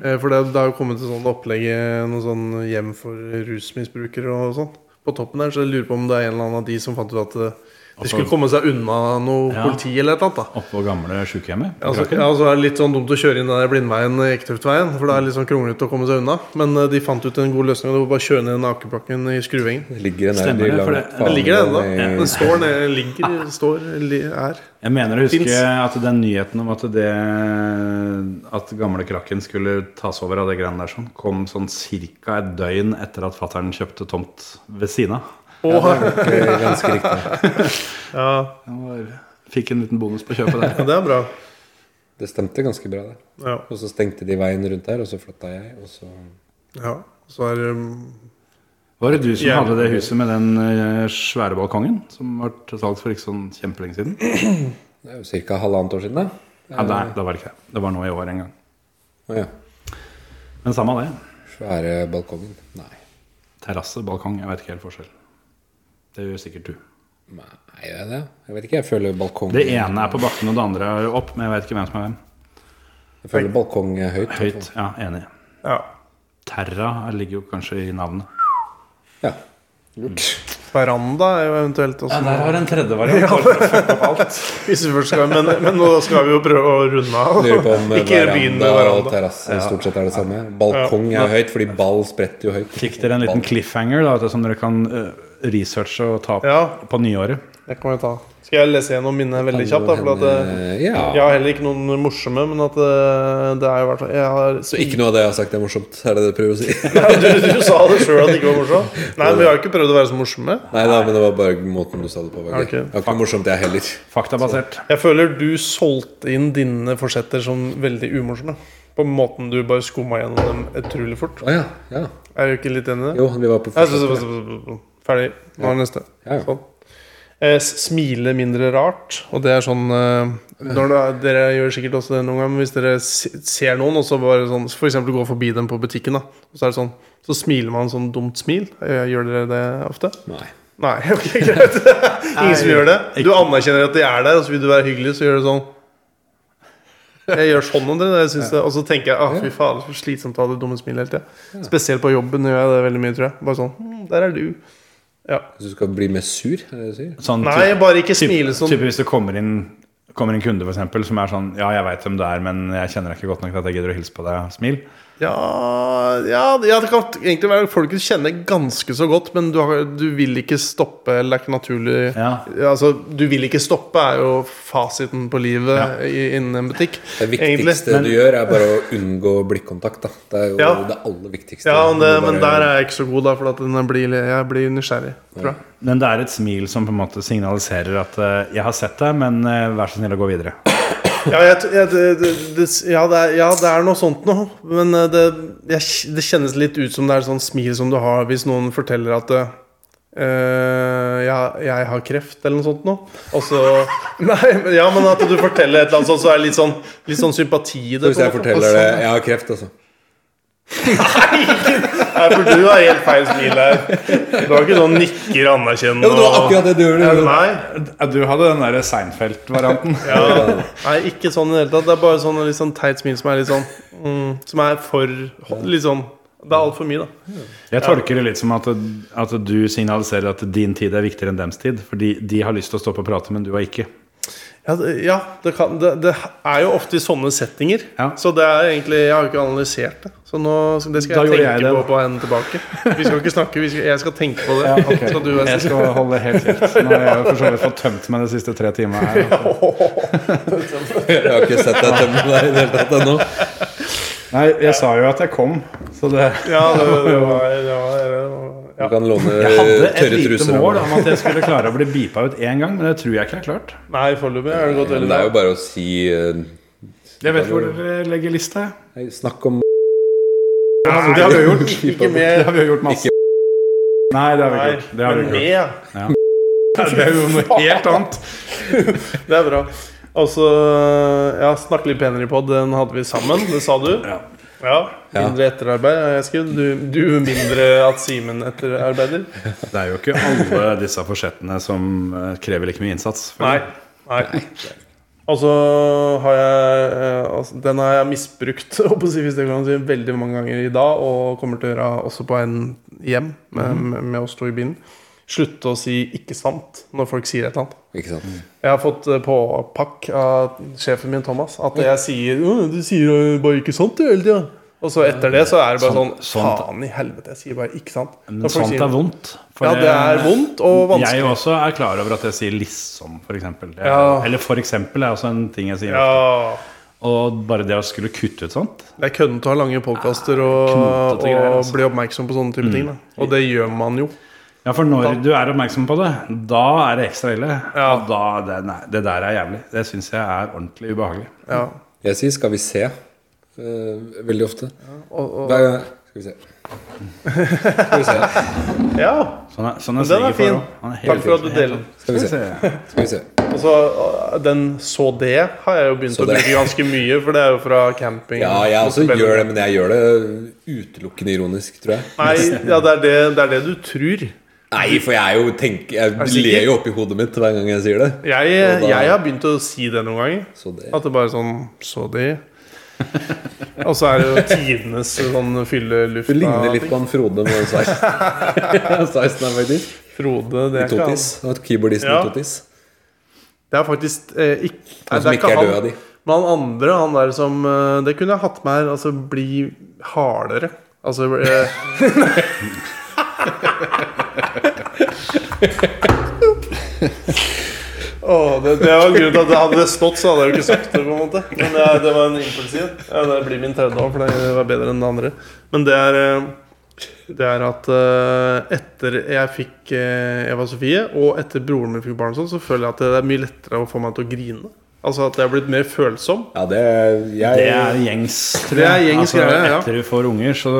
Speaker 1: Eh, For det, det har jo kommet et sånt opplegg, eh, noe sånn hjem for rusmisbrukere og sånn, på toppen der. Så jeg lurer på om det er en eller annen av de som fant ut at eh, de skulle komme seg unna noe
Speaker 6: Ja.
Speaker 1: politi eller et eller annet. da
Speaker 6: Oppå gamle sjukehjemmet.
Speaker 1: Ja, altså,
Speaker 6: Kraken.
Speaker 1: ja, altså er det litt sånn dumt å kjøre inn den der blindveien eh, Eketuftveien, for det er litt sånn kronglete å komme seg unna. Men eh, de fant ut en god løsning, og det var bare å kjøre ned den akebakken i skruvengen.
Speaker 4: Det ligger en
Speaker 6: Stemmer
Speaker 4: elg
Speaker 6: det, for
Speaker 4: langt
Speaker 6: det-
Speaker 4: faen
Speaker 1: Den ligger der ennå.
Speaker 4: ned i-
Speaker 1: Den står ned, ligger, står, li- er.
Speaker 6: Jeg mener å huske
Speaker 1: Fins.
Speaker 6: at den nyheten om at det At gamle krakken skulle tas over av det greiene der sånn, kom sånn ca. et døgn etter at fattern kjøpte tomt ved siden av.
Speaker 4: Det er eh, Ganske riktig.
Speaker 1: Ja,
Speaker 6: Han var- Fikk en liten bonus på kjøpet der.
Speaker 1: ja, det er bra.
Speaker 4: Det stemte ganske bra, det.
Speaker 1: Ja.
Speaker 4: Og så stengte de veien rundt der, og så flytta jeg, og så
Speaker 1: ja. Så er um,
Speaker 6: Var det du som
Speaker 1: Ja.
Speaker 6: hadde det huset med den eh, svære balkongen? Som var til salgs for ikke sånn kjempelenge siden?
Speaker 4: Det er jo ca. halvannet år siden, da.
Speaker 6: Ja, nei, det var det ikke det. Det var nå i år en gang.
Speaker 4: Å ja.
Speaker 6: Men samme det.
Speaker 4: Svære balkongen. Nei.
Speaker 6: Terrasse, balkong, jeg vet ikke helt forskjell. Det gjør sikkert du.
Speaker 4: Nei, gjør jeg det? Jeg vet ikke, jeg føler balkong
Speaker 6: Det ene er på bakken, og det andre er opp, men jeg vet ikke hvem som er hvem.
Speaker 4: Jeg føler balkong er høyt.
Speaker 6: Høyt, ja, enig.
Speaker 1: ja.
Speaker 6: Terra ligger jo kanskje i navnet.
Speaker 4: Ja. Lurt.
Speaker 1: Veranda er jo eventuelt også
Speaker 6: der har en tredje variant.
Speaker 1: Hvis vi først skal, men, men nå skal vi jo prøve å runde av.
Speaker 4: Lurer på om
Speaker 1: Ikke begynn
Speaker 4: veranda
Speaker 1: med
Speaker 4: og
Speaker 1: veranda.
Speaker 4: terrasse stort sett er det samme. Balkong er høyt, fordi ball spretter jo høyt.
Speaker 6: Fikk dere en liten cliffhanger da, vet du, som dere kan øh, research og ta opp
Speaker 1: Ja,
Speaker 6: på nyåret.
Speaker 1: det kan vi ta. Skal jeg lese gjennom minnet veldig kjapt? da, for at eh,
Speaker 4: Eh, ja.
Speaker 1: Jeg har heller ikke noen morsomme, men at eh, det er jo i hvert fall jeg har,
Speaker 4: Så ikke noe av det jeg har sagt er morsomt, er det det du prøver å si?
Speaker 1: Nei, du, du sa det sjøl at det ikke var morsomt. Nei, men vi har ikke prøvd å være så morsomme.
Speaker 4: Nei da, men det var bare måten du sa det på. Var gøy.
Speaker 1: Ok.
Speaker 4: Det var ikke noe morsomt, jeg heller.
Speaker 6: Faktabasert.
Speaker 1: Jeg føler du solgte inn dine forsetter som veldig umorsomme. På måten du bare skumma gjennom dem utrolig fort.
Speaker 4: Å ja. ja.
Speaker 1: Er du ikke litt enig i det?
Speaker 4: Jo, vi var på
Speaker 1: Jeg synes- Ferdig. Nå er det neste.
Speaker 4: Ja, ja.
Speaker 1: Sånn. Eh, s- smile mindre rart. Og det er sånn eh, når det, er- Dere gjør sikkert også det noen ganger, men hvis dere se- ser noen, og så bare sånn f.eks. går forbi dem på butikken, da, og så er det sånn Så smiler man sånn dumt smil. Eh, Gjør dere det ofte?
Speaker 4: Nei.
Speaker 1: Nei, ok, greit. Ingen som gjør det? Du anerkjenner at de er der, og så vil du være hyggelig, så gjør du sånn. Jeg gjør sånn om dere, jeg synes det. og så tenker jeg ah, fy faen, så slitsomt å ha det dumme smilet hele tida. Spesielt på jobben gjør jeg det veldig mye, tror jeg. Bare sånn «Hm, Der er du.
Speaker 4: Så du skal bli mer sur? Er det det du sier?
Speaker 6: Sånn
Speaker 1: Nei, bare ikke
Speaker 6: typ-
Speaker 1: smile sånn.
Speaker 6: type hvis det kommer inn Kommer en kunde for eksempel, som er sånn Ja, jeg veit hvem det er, men jeg kjenner deg ikke godt nok til at jeg gidder å hilse på deg. Smil.
Speaker 1: Ja, ja, ja, det kan egentlig være folk du kjenner ganske så godt, men du, har, du vil ikke stoppe, eller det er ikke naturlig
Speaker 6: Ja.
Speaker 1: Ja, altså, Du vil ikke stoppe er jo fasiten på livet i, innen en butikk.
Speaker 4: Det
Speaker 1: egentlig.
Speaker 4: viktigste du gjør, er bare å unngå blikkontakt. Da. Det er jo
Speaker 1: Ja.
Speaker 4: det aller viktigste.
Speaker 1: Ja, men, det,
Speaker 4: Du bare-
Speaker 1: men der er jeg ikke så god, da, for at den blir, jeg blir nysgjerrig. Tror jeg.
Speaker 6: Men det er et smil som på en måte signaliserer at eh, 'jeg har sett deg, men eh, vær så snill å gå videre'.
Speaker 1: Ja, jeg, t- jeg, det, det, det- ja, det er, ja, det er noe sånt noe, men eh, det, jeg, kj- det kjennes litt ut som det er et sånt smil som du har hvis noen forteller at eh, eh, ja, jeg har kreft, eller noe sånt noe. Og så Nei, men, ja, men at du forteller et eller annet sånt, så er det litt sånn, litt sånn sympati i det.
Speaker 4: Hvis jeg
Speaker 1: på en måte.
Speaker 4: forteller det Jeg har kreft, altså.
Speaker 1: Nei, for du har helt feil smil her. Du har ikke sånn nikker anerkjennende
Speaker 4: Ja, men det var akkurat det du
Speaker 1: og-
Speaker 4: gjorde.
Speaker 1: Nei.
Speaker 6: Ja, Eh, Du hadde den der Seinfeld-varianten.
Speaker 1: Ja. Nei, ikke sånn i det hele tatt. Det er bare sånn litt sånn teit smil som er litt sånn mm, Som er for Litt sånn Det er altfor mye, da.
Speaker 6: Jeg tolker det litt som at, at du signaliserer at din tid er viktigere enn dems tid. Fordi de har lyst til å stoppe og prate, men du har ikke.
Speaker 1: Ja, det, ja, det, kan, det, det er jo ofte i sånne settinger.
Speaker 6: Ja.
Speaker 1: Så det er egentlig Jeg har jo ikke analysert det. Så nå, så det
Speaker 6: Da
Speaker 1: skal jeg
Speaker 6: gjorde
Speaker 1: tenke
Speaker 6: jeg det.
Speaker 1: på på veien tilbake. Vi skal ikke snakke, vi skal, jeg skal tenke på det. Skal du være
Speaker 6: Jeg
Speaker 1: snill?
Speaker 6: skal holde helt kjeft. Nå har jeg jo for så vidt fått tømt meg de siste tre timene. her
Speaker 4: Jeg har ikke sett deg tømme deg i det hele tatt ennå.
Speaker 6: Nei, jeg sa jo at jeg kom, så det
Speaker 1: Ja, det, det var, det var, det var
Speaker 4: Du kan låne
Speaker 1: Eh,
Speaker 6: Jeg hadde et
Speaker 4: tørre
Speaker 6: lite
Speaker 4: truser. av
Speaker 6: mål
Speaker 4: meg.
Speaker 6: om at jeg skulle klare å bli beepa ut én gang, men det tror jeg ikke jeg har klart.
Speaker 1: Nei, foreløpig har det gått
Speaker 4: Men
Speaker 1: veldig
Speaker 4: det er jo
Speaker 1: bra.
Speaker 4: bare å si eh,
Speaker 6: Jeg vet hvor dere legger lista.
Speaker 4: hei, Snakk om
Speaker 6: Nei, det har vi jo gjort.
Speaker 1: Ikke
Speaker 6: Det
Speaker 1: med.
Speaker 6: har vi jo gjort masse. Nei, det har vi
Speaker 1: Nei,
Speaker 6: ikke gjort. Det har vi
Speaker 1: men
Speaker 6: ikke gjort.
Speaker 1: med.
Speaker 6: Det er jo noe helt annet.
Speaker 1: Det er bra. Og så ja, snakke litt penere på, den hadde vi sammen. Det sa du. Ja. Mindre etterarbeid, har jeg skrevet. Du, du mindre at Simen etterarbeider.
Speaker 6: Det er jo ikke alle disse forsettene som eh, krever like mye innsats.
Speaker 1: Nei. Nei. Og så har jeg eh, altså, Den har jeg misbrukt håper jeg, å si, hvis det kan si, veldig mange ganger i dag, og kommer til å gjøre også på en hjem med,
Speaker 6: Mhm.
Speaker 1: med, med oss to i bilen. Slutte å si 'ikke sant' når folk sier et eller annet.
Speaker 4: Ikke sant.
Speaker 1: Jeg har fått eh, påpakk av sjefen min Thomas at jeg sier «Å, Du sier eh, bare 'ikke sant' du hele tida. Og så etter det så er det bare sånn
Speaker 6: Sånt- sånt-
Speaker 1: Faen i helvete, jeg sier bare 'ikke sant'.
Speaker 6: Men
Speaker 1: Da folk
Speaker 6: sånt
Speaker 1: sier-
Speaker 6: er vondt. for
Speaker 1: Ja, det er vondt og
Speaker 6: Jeg
Speaker 1: vanskelig.
Speaker 6: også er klar over at jeg sier 'liksom', f.eks.
Speaker 1: Ja.
Speaker 6: Eller 'for eksempel' er også en ting jeg sier.
Speaker 1: Ja,
Speaker 6: Og bare det å skulle kutte ut sånt
Speaker 1: det er køddent å ha lange podkaster og,
Speaker 6: knotete
Speaker 1: og
Speaker 6: greier, altså.
Speaker 1: bli oppmerksom på sånne type ting. Da. Og det gjør man jo.
Speaker 6: Ja, for når du er oppmerksom på det, da er det ekstra ille.
Speaker 1: Ja.
Speaker 6: Og da, det, nei, det der er jævlig. Det syns jeg er ordentlig ubehagelig.
Speaker 1: Ja.
Speaker 4: Jeg sier 'skal vi se' eh, veldig ofte.
Speaker 1: Og, og,
Speaker 4: Hver gang Skal vi se. Skal vi se.
Speaker 1: ja.
Speaker 6: Sånn er, sånn er
Speaker 1: Den er
Speaker 6: svigerfar
Speaker 1: fin.
Speaker 6: også. Han er helt
Speaker 1: Takk for at du deler den.
Speaker 4: Skal vi se.
Speaker 6: Se.
Speaker 4: Skal vi se.
Speaker 1: Og så eh, den 'så det' har jeg jo begynt
Speaker 4: Så
Speaker 1: å
Speaker 4: det.
Speaker 1: bruke ganske mye, for det er jo fra camping.
Speaker 4: Ja, jeg også gjør det, men jeg gjør det utelukkende ironisk, tror jeg.
Speaker 1: Nei, ja, det er det, det, er det du tror.
Speaker 4: Nei, for jeg er jo tenk,
Speaker 1: du
Speaker 4: Jeg
Speaker 1: sikker?
Speaker 4: ler jo oppi hodet mitt hver gang jeg sier det.
Speaker 1: Jeg,
Speaker 4: Og da-
Speaker 1: jeg har begynt å si det noen ganger.
Speaker 4: Så det
Speaker 1: At det bare er sånn Så de Og så er det jo tidenes sånn fylle
Speaker 4: Du
Speaker 1: lufta
Speaker 4: ligner litt på han Frode med den sveisen. sveisen her, faktisk.
Speaker 1: Frode. Det er, ikke han.
Speaker 4: Totis. Han er Keyboardisten i
Speaker 1: Ja.
Speaker 4: Totis.
Speaker 1: det er faktisk eh, ikk- nei,
Speaker 4: Han som ikke er død av
Speaker 1: han.
Speaker 4: de.
Speaker 1: Men han andre, han der som eh, Det kunne jeg hatt med her. Altså bli hardere. Altså eh, Åh, det, det var grunnen til at det hadde det stått, så hadde jeg jo ikke sagt det. på en måte Men det, er- det var en impulsiv. Ja, det blir min tredje òg, for det var bedre enn det andre. Men det er eh, Det er at eh, etter jeg fikk eh, Eva Sofie, og etter broren min fikk barn, og sånn, så føler jeg at det er mye lettere å få meg til å grine. Altså at jeg er blitt mer følsom.
Speaker 4: Ja, det er- jeg,
Speaker 6: Det er gjengs, tror
Speaker 1: Det er
Speaker 6: jeg. Altså,
Speaker 1: gjengs greie, ja.
Speaker 6: Etter du får unger, så,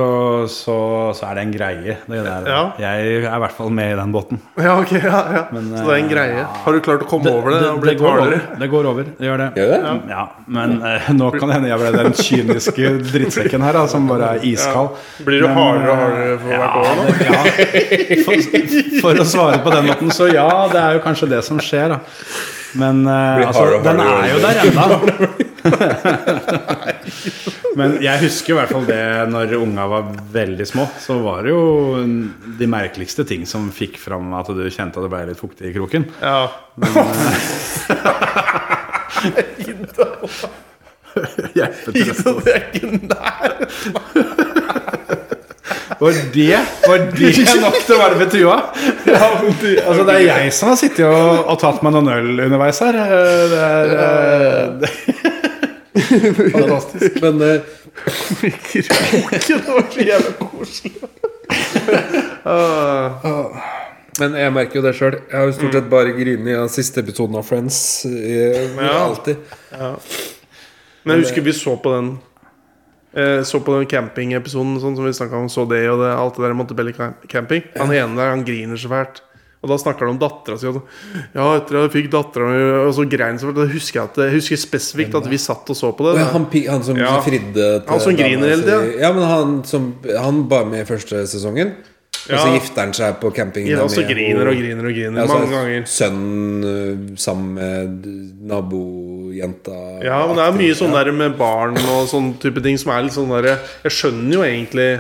Speaker 6: så, så er det en greie. Det er det.
Speaker 1: Ja.
Speaker 6: Jeg er i hvert fall med i den båten.
Speaker 1: Ja, ok, ja, ja.
Speaker 6: Men,
Speaker 1: Så det er en
Speaker 6: eh,
Speaker 1: greie. Har du klart å komme over det? og bli
Speaker 6: går over.
Speaker 1: hardere?
Speaker 6: det går over. Det gjør det.
Speaker 4: Gjør det?
Speaker 6: Ja, ja, men eh, nå kan det hende jeg ble den kyniske drittsekken her, da, som bare er iskald.
Speaker 1: Blir du
Speaker 6: Men,
Speaker 1: hardere og
Speaker 6: eh,
Speaker 1: hardere for hvert år nå?
Speaker 6: Ja, det- ja. For, for å svare på den måten, så ja, det er jo kanskje det som skjer, da. Men eh,
Speaker 4: Blir
Speaker 6: altså,
Speaker 4: hardere og
Speaker 6: den
Speaker 4: hardere.
Speaker 6: er jo der ennå. Men jeg husker i hvert fall det når unga var veldig små. Så var det jo en- de merkeligste ting som fikk fram at du kjente at det ble litt fuktig i kroken.
Speaker 1: Ja.
Speaker 6: Hjelpetrøst.
Speaker 1: Det er ikke nær.
Speaker 6: Var det, var det nok til å være med Tua? Altså, det er jeg som har sittet og, og tatt meg noen øl underveis her. Eh, Det er, eh, det
Speaker 4: Fantastisk. Men eh,
Speaker 1: Ikke noe så jævla koselig. Ah,
Speaker 4: Men jeg merker jo det sjøl. Jeg har jo stort sett bare grinet i den siste episoden av Friends. Jeg,
Speaker 1: Ja.
Speaker 4: Alltid.
Speaker 1: Men jeg husker vi så på den eh, Så på den campingepisoden sånn som vi snakket om. Så det og det, alt det der i Montebelli cam- camping. Han ene der, han griner så fælt. Og da snakker han om dattera si. og sånn, Ja, etter jeg fikk dattera mi, og så grein så fælt. Da husker jeg, at, jeg husker spesifikt at vi satt og så på
Speaker 4: Og
Speaker 1: det.
Speaker 4: ja, han, pi- han som
Speaker 1: Ja.
Speaker 4: fridde til
Speaker 1: Han som
Speaker 4: dama
Speaker 1: griner hele
Speaker 4: si.
Speaker 1: tiden.
Speaker 4: Ja, men han som Han var med i første sesongen. Og så
Speaker 1: Ja.
Speaker 4: gifter han seg på campingen.
Speaker 1: Ja,
Speaker 4: der
Speaker 1: og så
Speaker 4: med-
Speaker 1: griner og griner og griner
Speaker 4: Ja, altså, så er
Speaker 1: mange ganger.
Speaker 4: Sønnen eh, sammen med nabojenta
Speaker 1: Ja, men det er mye sånn der med barn og sånn type ting som er litt sånn der Jeg skjønner jo egentlig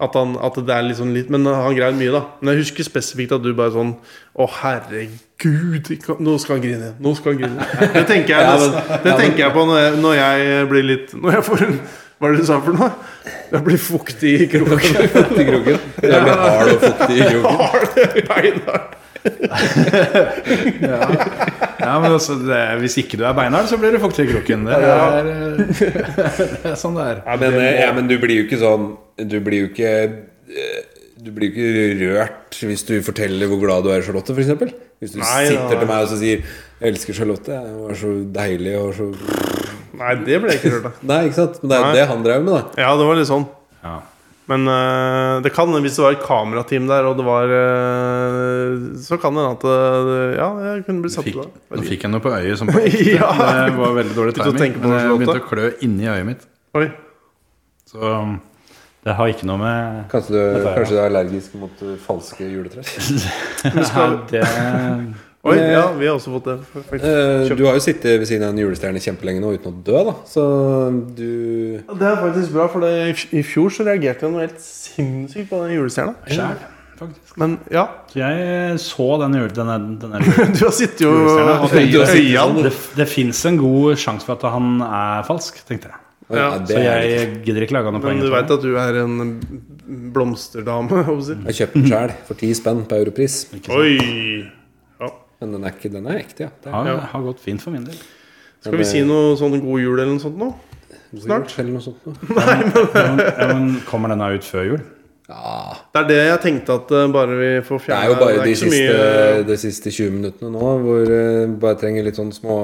Speaker 1: at, han, at det er litt sånn litt Men han grein mye, da. Men jeg husker spesifikt at du bare sånn Å, herregud, ikke- nå skal han grine. Nå skal han grine. Det tenker jeg,
Speaker 4: Ja, men-
Speaker 1: nesten- det tenker jeg på når jeg, når jeg blir litt Når jeg får en Hva er det du sa for noe? Jeg blir fuktig i kroken.
Speaker 4: Fuktig kroken. Jeg ble hard og fuktig i kroken.
Speaker 1: Har det beina?
Speaker 6: Ja, men altså, det, Hvis ikke du er beinhard, så blir du fuktig i kroken. Det er, eh, det er sånn det er.
Speaker 4: Men, eh, ja, men du blir jo ikke sånn Du blir jo ikke eh, Du blir jo ikke rørt hvis du forteller hvor glad du er i Charlotte, f.eks. Hvis du
Speaker 1: Nei,
Speaker 4: sitter
Speaker 1: nei.
Speaker 4: til meg og så sier 'Jeg elsker Charlotte. Hun var så deilig' og så
Speaker 1: Nei, det ble jeg ikke rørt av.
Speaker 4: Nei, ikke sant? Men det er
Speaker 1: Nei.
Speaker 4: jo det han drev med, da.
Speaker 1: Ja, det var litt sånn.
Speaker 6: Ja.
Speaker 1: Men eh, det kan, hvis det var et kamerateam der, og det var eh, Så kan det hende at eh, Ja, jeg kunne blitt satt
Speaker 6: Fikk,
Speaker 1: ut av
Speaker 6: nå fikk jeg noe på øyet som på ekte.
Speaker 1: Ja.
Speaker 6: Det var veldig dårlig
Speaker 1: Begynte å
Speaker 6: timing.
Speaker 1: tenke på
Speaker 6: Men jeg
Speaker 1: Charlotte.
Speaker 6: begynte å klø inni øyet mitt.
Speaker 1: Oi.
Speaker 6: Så um, det har ikke noe med
Speaker 4: Kanskje du,
Speaker 6: Dette er-
Speaker 4: kanskje du er allergisk mot eh, falske juletrær.
Speaker 1: skal-
Speaker 6: Det
Speaker 1: Oi, ja, vi har også fått det. faktisk.
Speaker 4: Eh, Du har jo sittet ved siden av en julestjerne kjempelenge nå uten å dø, da. Så du
Speaker 1: Ja, Det er faktisk bra, for det, i f- i fjor så reagerte jeg noe helt sinnssykt på den julestjerna.
Speaker 6: Skjæl, faktisk.
Speaker 1: Men ja,
Speaker 6: Så jeg eh, så den jul- denne, denne
Speaker 1: du har sittet jo
Speaker 6: julestjerna, og sånn.
Speaker 1: øya.
Speaker 6: tenkte, Det, det fins en god sjanse for at han er falsk, tenkte jeg.
Speaker 1: Ja,
Speaker 4: det
Speaker 6: Så
Speaker 4: er
Speaker 6: jeg
Speaker 4: litt-
Speaker 6: gidder ikke lage noe
Speaker 1: Men
Speaker 6: poeng.
Speaker 1: du
Speaker 6: ut av
Speaker 1: veit
Speaker 6: det.
Speaker 1: at du er en blomsterdame? hva skal jeg si.
Speaker 4: Jeg kjøpte den sjæl for ti spenn på europris.
Speaker 1: Oi!
Speaker 4: Men den er, ikke, den er ekte, ja. Det er
Speaker 6: Har,
Speaker 1: ja.
Speaker 6: har gått fint for min del.
Speaker 1: Skal vi si noe sånn god jul eller noe sånt nå? Snart.
Speaker 4: Eller noe sånt,
Speaker 6: Ja,
Speaker 4: da.
Speaker 6: men, ja, men kommer denne ut før jul?
Speaker 4: Ja,
Speaker 1: Det er det jeg tenkte at eh, bare vi får
Speaker 4: Det
Speaker 1: fjerna
Speaker 4: er jo bare de
Speaker 1: ikke så
Speaker 4: siste,
Speaker 1: mye-
Speaker 4: de siste 20 minuttene nå, hvor jeg bare trenger litt sånn små,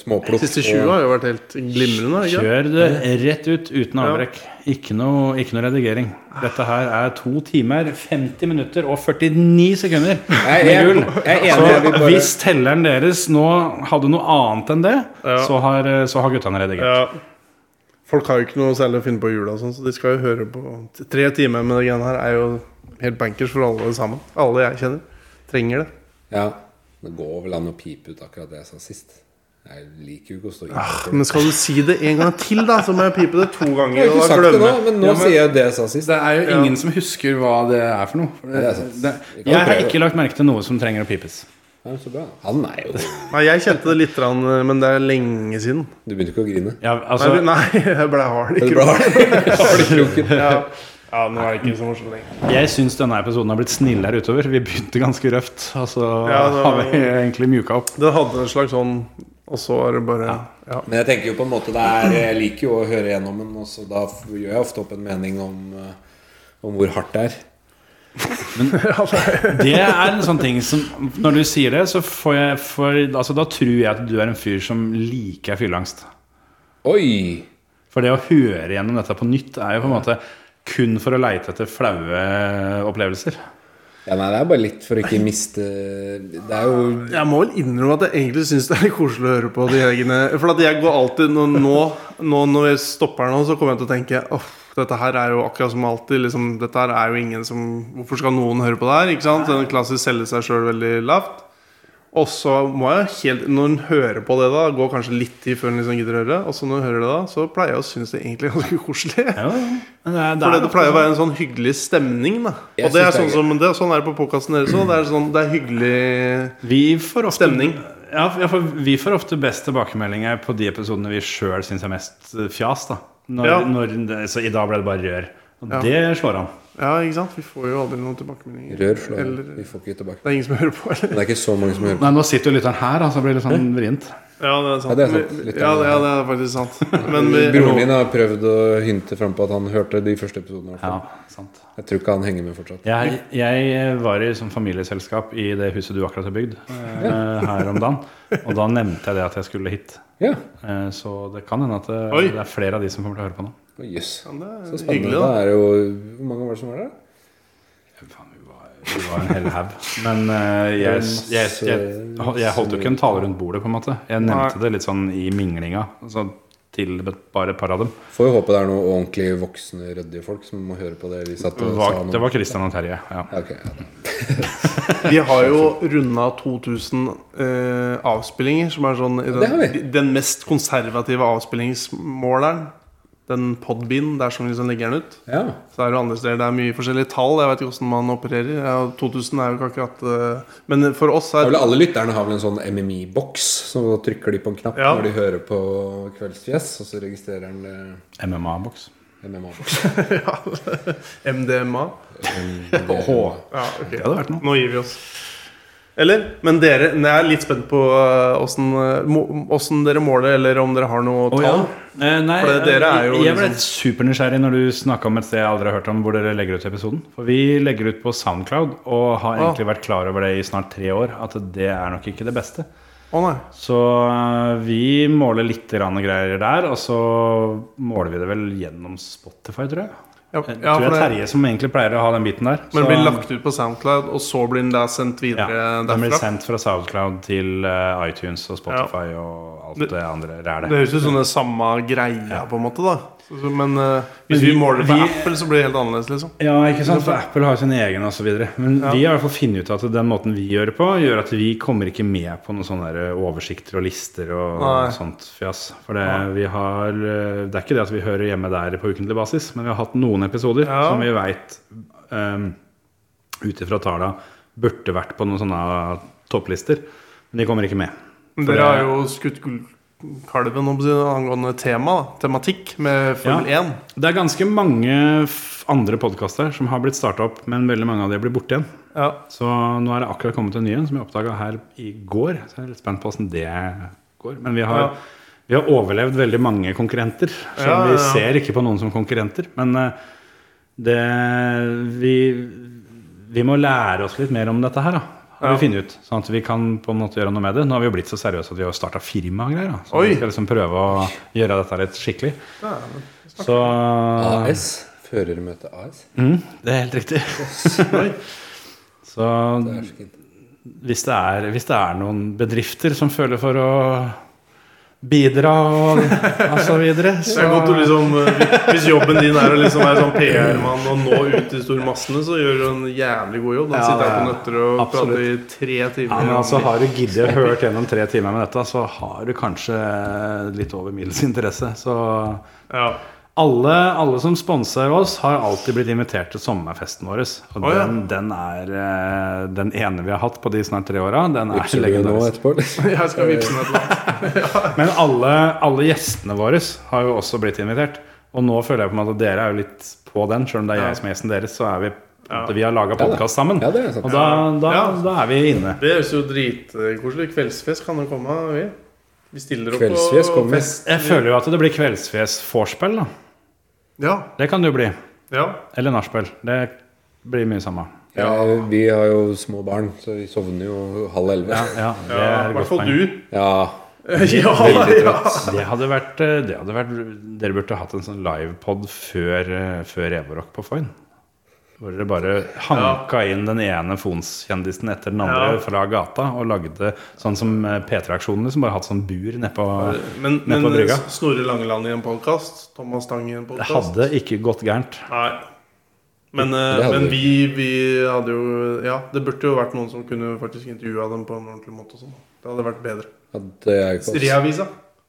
Speaker 4: småplukk.
Speaker 1: De siste 20 har jo vært helt glimrende. Ikke?
Speaker 6: Kjør det rett ut uten avbrekk. Ikke noe, ikke noe redigering. Dette her er to timer, 50 minutter og 49 sekunder
Speaker 4: Nei,
Speaker 6: med Altså-
Speaker 4: jeg-
Speaker 6: jul.
Speaker 4: jeg er enig, jeg vil
Speaker 6: Så
Speaker 4: bare-
Speaker 6: hvis telleren deres nå hadde noe annet enn det,
Speaker 1: Ja.
Speaker 6: så har, så har guttene redigert.
Speaker 1: Ja. Folk har jo ikke noe særlig å finne på i jula, og sånn, så de skal jo høre på Tre timer med det greiene her er jo helt bankers for alle sammen. Alle jeg kjenner. Trenger det.
Speaker 4: Ja, Det går vel an å pipe ut akkurat det jeg sa sist. Jeg liker jo ikke å stå inne for
Speaker 1: Ah,
Speaker 4: det.
Speaker 1: Men skal du si det en gang til, da, så må jeg pipe det to
Speaker 4: Jeg
Speaker 1: ganger. Og
Speaker 4: har ikke
Speaker 1: da
Speaker 4: sagt det nå,
Speaker 1: glemme.
Speaker 4: men nå
Speaker 6: Ja, men-
Speaker 4: sier jeg det jeg sa sist.
Speaker 6: Det er jo
Speaker 1: Ja.
Speaker 6: ingen som husker hva det er for noe. For
Speaker 4: det er
Speaker 6: det,
Speaker 4: sant.
Speaker 6: det,
Speaker 4: Vi kan
Speaker 6: jeg har
Speaker 4: prøve.
Speaker 6: ikke lagt merke til noe som trenger å pipes.
Speaker 4: Ja, så bra. Han er jo
Speaker 1: Nei, jeg kjente det litt, grann, eh, men det er lenge siden.
Speaker 4: Du begynte ikke å grine?
Speaker 6: Ja,
Speaker 1: Nei,
Speaker 6: altså,
Speaker 1: nei jeg ble hard i
Speaker 4: Er du
Speaker 1: kroppen.
Speaker 4: bra? Har du kroken?
Speaker 1: Ja. Ja, nå er det ikke så morsomt lenger.
Speaker 6: Jeg syns denne episoden har blitt snillere utover. Vi begynte ganske røft, og så
Speaker 1: Ja, det var-
Speaker 6: har vi egentlig mjuka opp.
Speaker 1: Det hadde en slags sånn Og så er det bare Ja.
Speaker 4: Men jeg tenker jo på en måte det er, Jeg liker jo å høre gjennom den, og så da f- gjør jeg ofte opp en mening om, eh, om hvor hardt det er.
Speaker 6: Det er en sånn ting som Når du sier det, så får jeg får, altså, Da tror jeg at du er en fyr som liker fylleangst.
Speaker 4: Oi!
Speaker 6: For det å høre gjennom dette på nytt er jo på en måte kun for å leite etter flaue opplevelser.
Speaker 4: Ja, nei, det er bare litt for å ikke miste Det er jo
Speaker 1: Jeg må vel innrømme at jeg egentlig syns det er litt koselig å høre på de helgene. For at jeg går alltid nå, nå, nå når jeg stopper nå, så kommer jeg til å tenke Åh, dette her er jo akkurat som alltid. Liksom, dette her er jo ingen som Hvorfor skal noen høre på det her? Ikke sant? Den klassisk selger seg sjøl veldig lavt. Og så må jeg helt Når en hører på det, da går kanskje litt tid før en liksom gidder å høre. Og så når en hører det, da så pleier jeg å synes det egentlig er ganske koselig.
Speaker 6: Ja, ja. Men det er-
Speaker 1: For det,
Speaker 6: det
Speaker 1: det pleier å være en sånn hyggelig stemning, da.
Speaker 4: Jeg
Speaker 1: Og det er
Speaker 4: synes det er
Speaker 1: sånn som det, er Sånn er det på podkasten deres òg. Det er sånn Det er hyggelig
Speaker 6: er- vi får ofte,
Speaker 1: Stemning.
Speaker 6: Ja, ja, for vi får ofte best tilbakemeldinger på de episodene vi sjøl syns er mest eh, fjas. da når,
Speaker 1: Ja.
Speaker 6: når det, Så i dag ble det bare rør. Og
Speaker 1: Ja.
Speaker 6: det slår an.
Speaker 1: Ja, ikke sant? Vi får jo aldri noen tilbakemeldinger.
Speaker 4: rør. slår jeg.
Speaker 1: Eller-
Speaker 4: Vi får ikke tilbake.
Speaker 1: Det er ingen som hører på, eller?
Speaker 4: Men det er ikke så mange som hører på.
Speaker 6: Nei, nå sitter jo lytteren her, da, så det blir litt sånn vrient.
Speaker 1: Ja, det er sant.
Speaker 4: Ja, det er sant.
Speaker 1: Men-
Speaker 4: Litt
Speaker 1: ja,
Speaker 4: av-
Speaker 1: det- ja, det er faktisk sant. Men vi,
Speaker 4: Broren min har prøvd å hynte fram på at han hørte de første episodene. i hvert
Speaker 6: Ja,
Speaker 4: fall.
Speaker 6: sant
Speaker 4: Jeg tror ikke han henger med fortsatt.
Speaker 6: Jeg, jeg var i sånn familieselskap i det huset du akkurat har bygd, eh, her om dagen. Og da nevnte jeg det at jeg skulle hit.
Speaker 4: Ja,
Speaker 6: Eh, Så det kan hende at eh,
Speaker 1: Oi.
Speaker 6: det, det er flere av de som kommer til å høre på nå.
Speaker 4: Å, jøss.
Speaker 1: Ja, det er
Speaker 4: Så
Speaker 1: hyggelig,
Speaker 4: spennende.
Speaker 1: da.
Speaker 4: Det er jo Hvor mange var det som var der? da?
Speaker 6: Faen, vi var, vi var en hel haug. Men eh, jeg, jeg, jeg, jeg, holdt jo ikke en tale rundt bordet, på en måte. Jeg nevnte det litt sånn i minglinga. Så til bare et par av dem.
Speaker 4: Får jo håpe det er noen ordentlig voksne, ryddige folk som må høre på det vi satt
Speaker 6: Det
Speaker 4: og
Speaker 6: var,
Speaker 4: sa nå.
Speaker 6: det var Christian og Terje. Ja.
Speaker 4: Ja, ok, ja.
Speaker 1: vi har jo runda 2000 eh, avspillinger, som er sånn i
Speaker 4: Det har vi.
Speaker 1: den, den mest konservative avspillingsmåleren. Den podbean, der som liksom legger den ut.
Speaker 4: ja.
Speaker 1: Så er det jo andre steder det er mye forskjellige tall. Jeg vet ikke hvordan man opererer. Ja, 2000 er jo ikke akkurat eh, Men for oss
Speaker 4: Det er
Speaker 1: er
Speaker 4: vel Alle lytterne har vel en sånn MMI-boks, så trykker de på en knapp
Speaker 1: Ja.
Speaker 4: når de hører på Kveldsfjes, og så registrerer den eh,
Speaker 6: MMA-boks.
Speaker 4: MMA-boks.
Speaker 1: MDMA. Ja, ok
Speaker 6: Det hadde vært noe.
Speaker 1: Nå gir vi oss. Eller? Men dere, jeg er litt spent på eh, åssen dere måler, eller om dere har noe
Speaker 6: Å,
Speaker 1: tall.
Speaker 6: ja. Eh, nei,
Speaker 1: For det- dere er jo
Speaker 6: jeg- jeg ble
Speaker 1: liksom-
Speaker 6: supernysgjerrig når du snakka om et sted jeg aldri har hørt om, hvor dere legger ut episoden. For vi legger ut på Soundcloud, og har
Speaker 1: Ah.
Speaker 6: egentlig vært klar over det i snart tre år, at det er nok ikke det beste.
Speaker 1: Å nei.
Speaker 6: Så eh, vi måler litt grann greier der, og så måler vi det vel gjennom Spotify, tror jeg.
Speaker 1: Ja,
Speaker 6: Jeg
Speaker 1: ja,
Speaker 6: tror
Speaker 1: for
Speaker 6: det er
Speaker 1: det,
Speaker 6: Terje som egentlig pleier å ha den biten der.
Speaker 1: men det
Speaker 6: så-
Speaker 1: blir lagt ut på SoundCloud, og så blir den da sendt videre
Speaker 6: ja, den blir
Speaker 1: derfra?
Speaker 6: sendt fra Soundcloud til eh, iTunes og Spotify og alt
Speaker 1: Det-
Speaker 6: det, andre rælet.
Speaker 1: Det høres ut som det er samme greia, på en måte. da Så- så- Men eh, hvis vi
Speaker 6: vi-
Speaker 1: måler på
Speaker 6: vi-
Speaker 1: Apple, så blir det helt annerledes, liksom.
Speaker 6: Ja, ikke sant, for Apple har sin egen osv. Men vi har i hvert fall funnet ut at den måten vi gjør det på, gjør at vi kommer ikke med på noen sånne der oversikter og lister og
Speaker 1: Nei.
Speaker 6: sånt fjas. For det, vi har, eh, det er ikke det at vi hører hjemme der på ukentlig basis, men vi har hatt noen episoder
Speaker 1: Ja.
Speaker 6: som vi veit um, ut ifra talla burde vært på noen sånne topplister. Men de kommer ikke med.
Speaker 1: Men
Speaker 6: For
Speaker 1: Dere har
Speaker 6: det-
Speaker 1: jo skutt gullkalven om å si, angående tema, da. tematikk, med Formel 1.
Speaker 6: Det er ganske mange f- andre podkaster som har blitt starta opp, men veldig mange av de blir borte igjen.
Speaker 1: Ja.
Speaker 6: Så nå er det akkurat kommet en ny en som jeg oppdaga her i går. Så jeg er litt spent på åssen det går. Men vi har,
Speaker 1: Ja.
Speaker 6: vi har overlevd veldig mange konkurrenter. Selv
Speaker 1: Ja,
Speaker 6: om
Speaker 1: ja,
Speaker 6: vi
Speaker 1: ja.
Speaker 6: ser ikke på noen som konkurrenter. Men eh, det vi, vi må lære oss litt mer om dette her, da. Har vi funnet ut, Sånn at vi kan på en måte gjøre noe med det. Nå har vi jo blitt så seriøse at vi har starta firma og greier. Da. Så
Speaker 1: Oi.
Speaker 6: vi skal liksom prøve å gjøre dette litt skikkelig. Så
Speaker 4: AS. Førermøte AS.
Speaker 6: mm, Det er helt riktig. så
Speaker 4: Det er så fint.
Speaker 6: hvis det, er, hvis det er noen bedrifter som føler for å bidra og, og så videre,
Speaker 1: Det er
Speaker 6: så
Speaker 1: godt å liksom eh, Hvis jobben din er å liksom være sånn PR-mann og nå ut til stormassene, så gjør du en jævlig god jobb. Da
Speaker 6: Ja,
Speaker 1: sitter jeg
Speaker 6: det
Speaker 1: på
Speaker 6: er-
Speaker 1: nøtter og
Speaker 6: absolutt.
Speaker 1: prater i tre
Speaker 6: ja,
Speaker 1: timer.
Speaker 6: men
Speaker 1: om-
Speaker 6: altså, Har du giddet å hørt gjennom tre timer med dette, så har du kanskje litt over middels interesse. Så
Speaker 1: ja.
Speaker 6: alle, alle som sponser oss, har alltid blitt invitert til sommerfesten vår. Og
Speaker 1: Å, ja.
Speaker 6: den, den er eh, den ene vi har hatt på de snart tre åra. Den altså. er
Speaker 4: Vipser du nå
Speaker 6: legendarisk.
Speaker 4: etterpå, eller?
Speaker 1: Jeg skal vippse ned et eller annet.
Speaker 6: Men alle, alle gjestene våre har jo også blitt invitert. Og nå føler jeg på en måte at dere er jo litt på den, sjøl om det er jeg som er gjesten deres. Så er vi Vi har laga podkast sammen.
Speaker 4: Ja, det er sant.
Speaker 6: og da, da,
Speaker 1: Ja.
Speaker 6: da er vi inne.
Speaker 1: Det høres jo dritkoselig ut. Kveldsfest kan jo komme. Vi, vi stiller opp
Speaker 4: Kveldsfest
Speaker 1: på
Speaker 4: kommer.
Speaker 1: fest.
Speaker 6: Jeg føler jo at det blir kveldsfjes-vorspiel, da.
Speaker 1: Ja.
Speaker 6: Det kan det jo bli.
Speaker 1: ja.
Speaker 6: Eller nachspiel. Det blir mye samme.
Speaker 4: Ja, vi har jo små barn, så vi sovner jo halv elleve.
Speaker 6: Ja, ja, det
Speaker 1: ja
Speaker 6: er
Speaker 1: I
Speaker 6: et
Speaker 1: hvert
Speaker 6: godt
Speaker 1: fall
Speaker 6: poeng.
Speaker 1: du.
Speaker 4: Ja.
Speaker 1: ja,
Speaker 4: Veldig
Speaker 1: ja.
Speaker 4: trøtt.
Speaker 6: Det hadde vært, eh, det hadde vært Dere burde hatt en sånn livepod før, eh, før Revorok på Foyn. Hvor dere bare hanka inn den ene Fons-kjendisen etter den
Speaker 1: Ja.
Speaker 6: andre fra gata og lagde sånn som eh, P3-aksjonen, som bare hatt sånn bur nedpå
Speaker 1: Men,
Speaker 6: Ned
Speaker 1: men
Speaker 6: på brygga.
Speaker 1: Snorre Langeland i en podkast? Thomas Stang i en
Speaker 6: Det
Speaker 1: podkast?
Speaker 6: hadde ikke gått gærent.
Speaker 1: Nei. Men, eh,
Speaker 4: Det hadde
Speaker 1: men
Speaker 4: vi.
Speaker 1: vi, vi hadde jo Ja, det burde jo vært noen som kunne faktisk intervjua dem på en ordentlig måte. og Sånn. Det hadde vært bedre.
Speaker 4: ja, det er jo ikke oss.
Speaker 1: Striavisa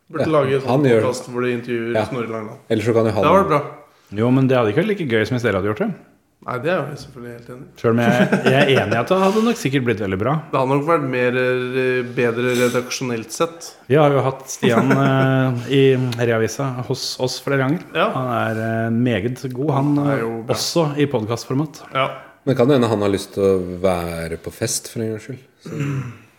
Speaker 1: burde
Speaker 4: Ja,
Speaker 1: lage en
Speaker 4: han
Speaker 1: sånn
Speaker 4: gjør det.
Speaker 1: podkast hvor de intervjuer
Speaker 4: Ja.
Speaker 1: Snorre Langeland.
Speaker 4: Ellers så kan jo
Speaker 1: Det hadde vært
Speaker 4: han
Speaker 1: bra.
Speaker 6: Jo, men det hadde ikke vært like gøy som hvis dere hadde gjort det.
Speaker 1: Nei, det er jeg selvfølgelig helt enig i.
Speaker 6: Selv om jeg, jeg er enig i at det hadde nok sikkert blitt veldig bra.
Speaker 1: Det hadde nok vært mer, eh, bedre redaksjonelt sett.
Speaker 6: Vi har jo hatt Stian eh, i Reavisa hos oss flere ganger.
Speaker 1: Ja.
Speaker 6: Han er eh, meget god, han,
Speaker 1: Han er
Speaker 6: eh,
Speaker 1: jo bra.
Speaker 6: også i podkastformat.
Speaker 1: Ja.
Speaker 4: Men kan det hende han har lyst til å være på fest for en gangs skyld? Så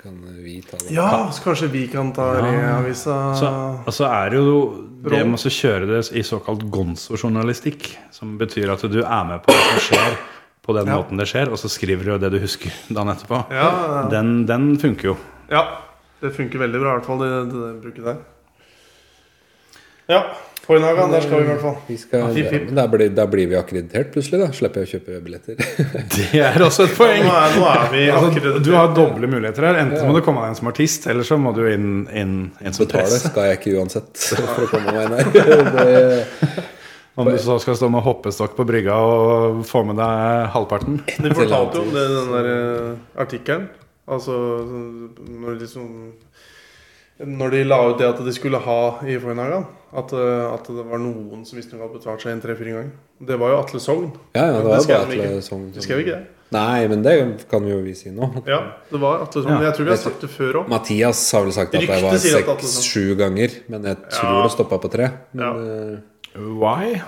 Speaker 4: kan vi ta det.
Speaker 1: ja, så kanskje vi kan ta Reavisa
Speaker 6: Så altså er det jo det
Speaker 1: Roll.
Speaker 6: med å kjøre det i såkalt gonzo-journalistikk, som betyr at du er med på det som skjer, på den
Speaker 1: Ja.
Speaker 6: måten det skjer, og så skriver du det du husker dagen etterpå.
Speaker 1: Ja,
Speaker 6: Den, den funker jo.
Speaker 1: ja. Det funker veldig bra, i hvert fall, det, det, det bruket der. Ja. Hoinhagan, der skal vi i hvert fall.
Speaker 4: Vi skal,
Speaker 1: Ja, fip, fip.
Speaker 4: Men der blir, der blir vi akkreditert plutselig, da. Slipper jeg å kjøpe billetter.
Speaker 6: Det er også et poeng.
Speaker 1: Nå er, nå er vi
Speaker 6: Altså,
Speaker 1: akkurat
Speaker 6: du har doble muligheter her. Enten må du komme deg inn som artist, eller så må du inn, inn, inn som
Speaker 4: Betale
Speaker 6: press.
Speaker 4: skal jeg ikke uansett for å komme meg inn her. Det,
Speaker 6: Om du så skal stå med hoppestokk på brygga og få med deg halvparten.
Speaker 1: De fortalte jo om det, den der eh, artikkelen. Altså sånn, når de, som, når de la ut det at de skulle ha i Foynhagan, at, eh, at det var noen som visstnok hadde betalt seg inn tre-fire ganger. Det var jo Atle Sogn.
Speaker 4: ja, ja, det
Speaker 1: Det
Speaker 4: var
Speaker 1: skrev
Speaker 4: bare
Speaker 1: de
Speaker 4: Atle
Speaker 1: ikke.
Speaker 4: Sogn.
Speaker 1: De skrev ikke det.
Speaker 4: Nei, men det kan jo vi si nå.
Speaker 1: Ja, det var Atle Sogn.
Speaker 6: Ja.
Speaker 1: Jeg tror vi har sagt det før òg.
Speaker 4: Mathias har vel sagt at det
Speaker 1: Ryktet
Speaker 4: var
Speaker 1: sier at Atle Sogn-
Speaker 4: seks-sju ganger, men jeg tror
Speaker 1: Ja.
Speaker 4: det stoppa på tre. Men,
Speaker 1: Ja.
Speaker 4: eh,
Speaker 6: Why?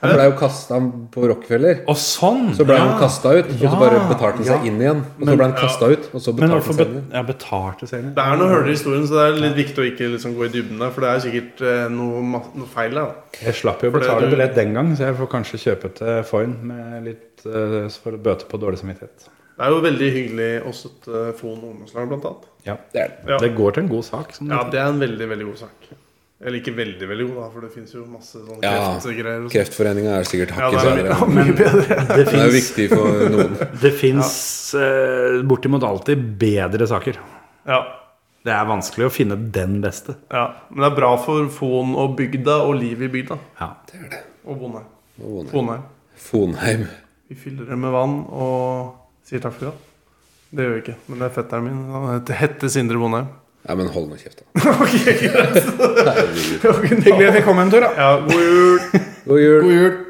Speaker 4: Han ble jo kasta på Rockefeller.
Speaker 6: Og sånn!
Speaker 4: Så ble han
Speaker 6: Ja.
Speaker 4: kasta ut, og så
Speaker 6: Ja.
Speaker 4: bare betalte han seg inn igjen. Og så ble han kasta ut, og så
Speaker 6: Men
Speaker 4: betalte
Speaker 6: hvorfor
Speaker 4: han
Speaker 6: be
Speaker 4: seg inn igjen.
Speaker 6: ja, betalte serien?
Speaker 1: Det er noe hull i historien, så det er litt viktig å ikke liksom gå i dybden der. For det er sikkert eh, noe, ma- noe feil der. da.
Speaker 6: Jeg slapp jo å
Speaker 1: For det
Speaker 6: betale
Speaker 1: du-
Speaker 6: billett den gang, så jeg får kanskje kjøpe til Foyn med litt eh, for å bøte på dårlig samvittighet.
Speaker 1: Det er jo veldig hyggelig også et eh, Fon ungdomslag, blant annet.
Speaker 6: Ja.
Speaker 4: Det er det.
Speaker 1: Ja.
Speaker 6: Det går til en god sak. Som
Speaker 1: Ja,
Speaker 6: det.
Speaker 1: det er en veldig, veldig god sak. Eller ikke veldig, veldig god, da, for det fins jo masse sånne
Speaker 4: Ja,
Speaker 1: kreftgreier. og sånt.
Speaker 4: Kreftforeninga er sikkert
Speaker 1: Ja,
Speaker 4: hakket
Speaker 1: det er
Speaker 4: verre.
Speaker 1: mye bedre.
Speaker 6: det
Speaker 4: Det er jo
Speaker 6: fins-
Speaker 4: viktig for noen.
Speaker 6: det fins eh, bortimot alltid bedre saker.
Speaker 1: Ja,
Speaker 6: Det er vanskelig å finne den beste.
Speaker 1: ja. Men det er bra for Fon og bygda og livet i bygda.
Speaker 6: Ja.
Speaker 1: Og Bonheim.
Speaker 4: Å, nei.
Speaker 1: Fonheim.
Speaker 4: Fonheim.
Speaker 1: Vi fyller det med vann og sier takk for i dag. Det gjør vi ikke, men det er fetteren min. Han heter Hette Sindre Bonheim.
Speaker 4: Nei, men hold nå kjeft, da.
Speaker 1: Hyggelig at vi kom en tur, da. Ja, god jul.
Speaker 4: God jul.
Speaker 6: jul!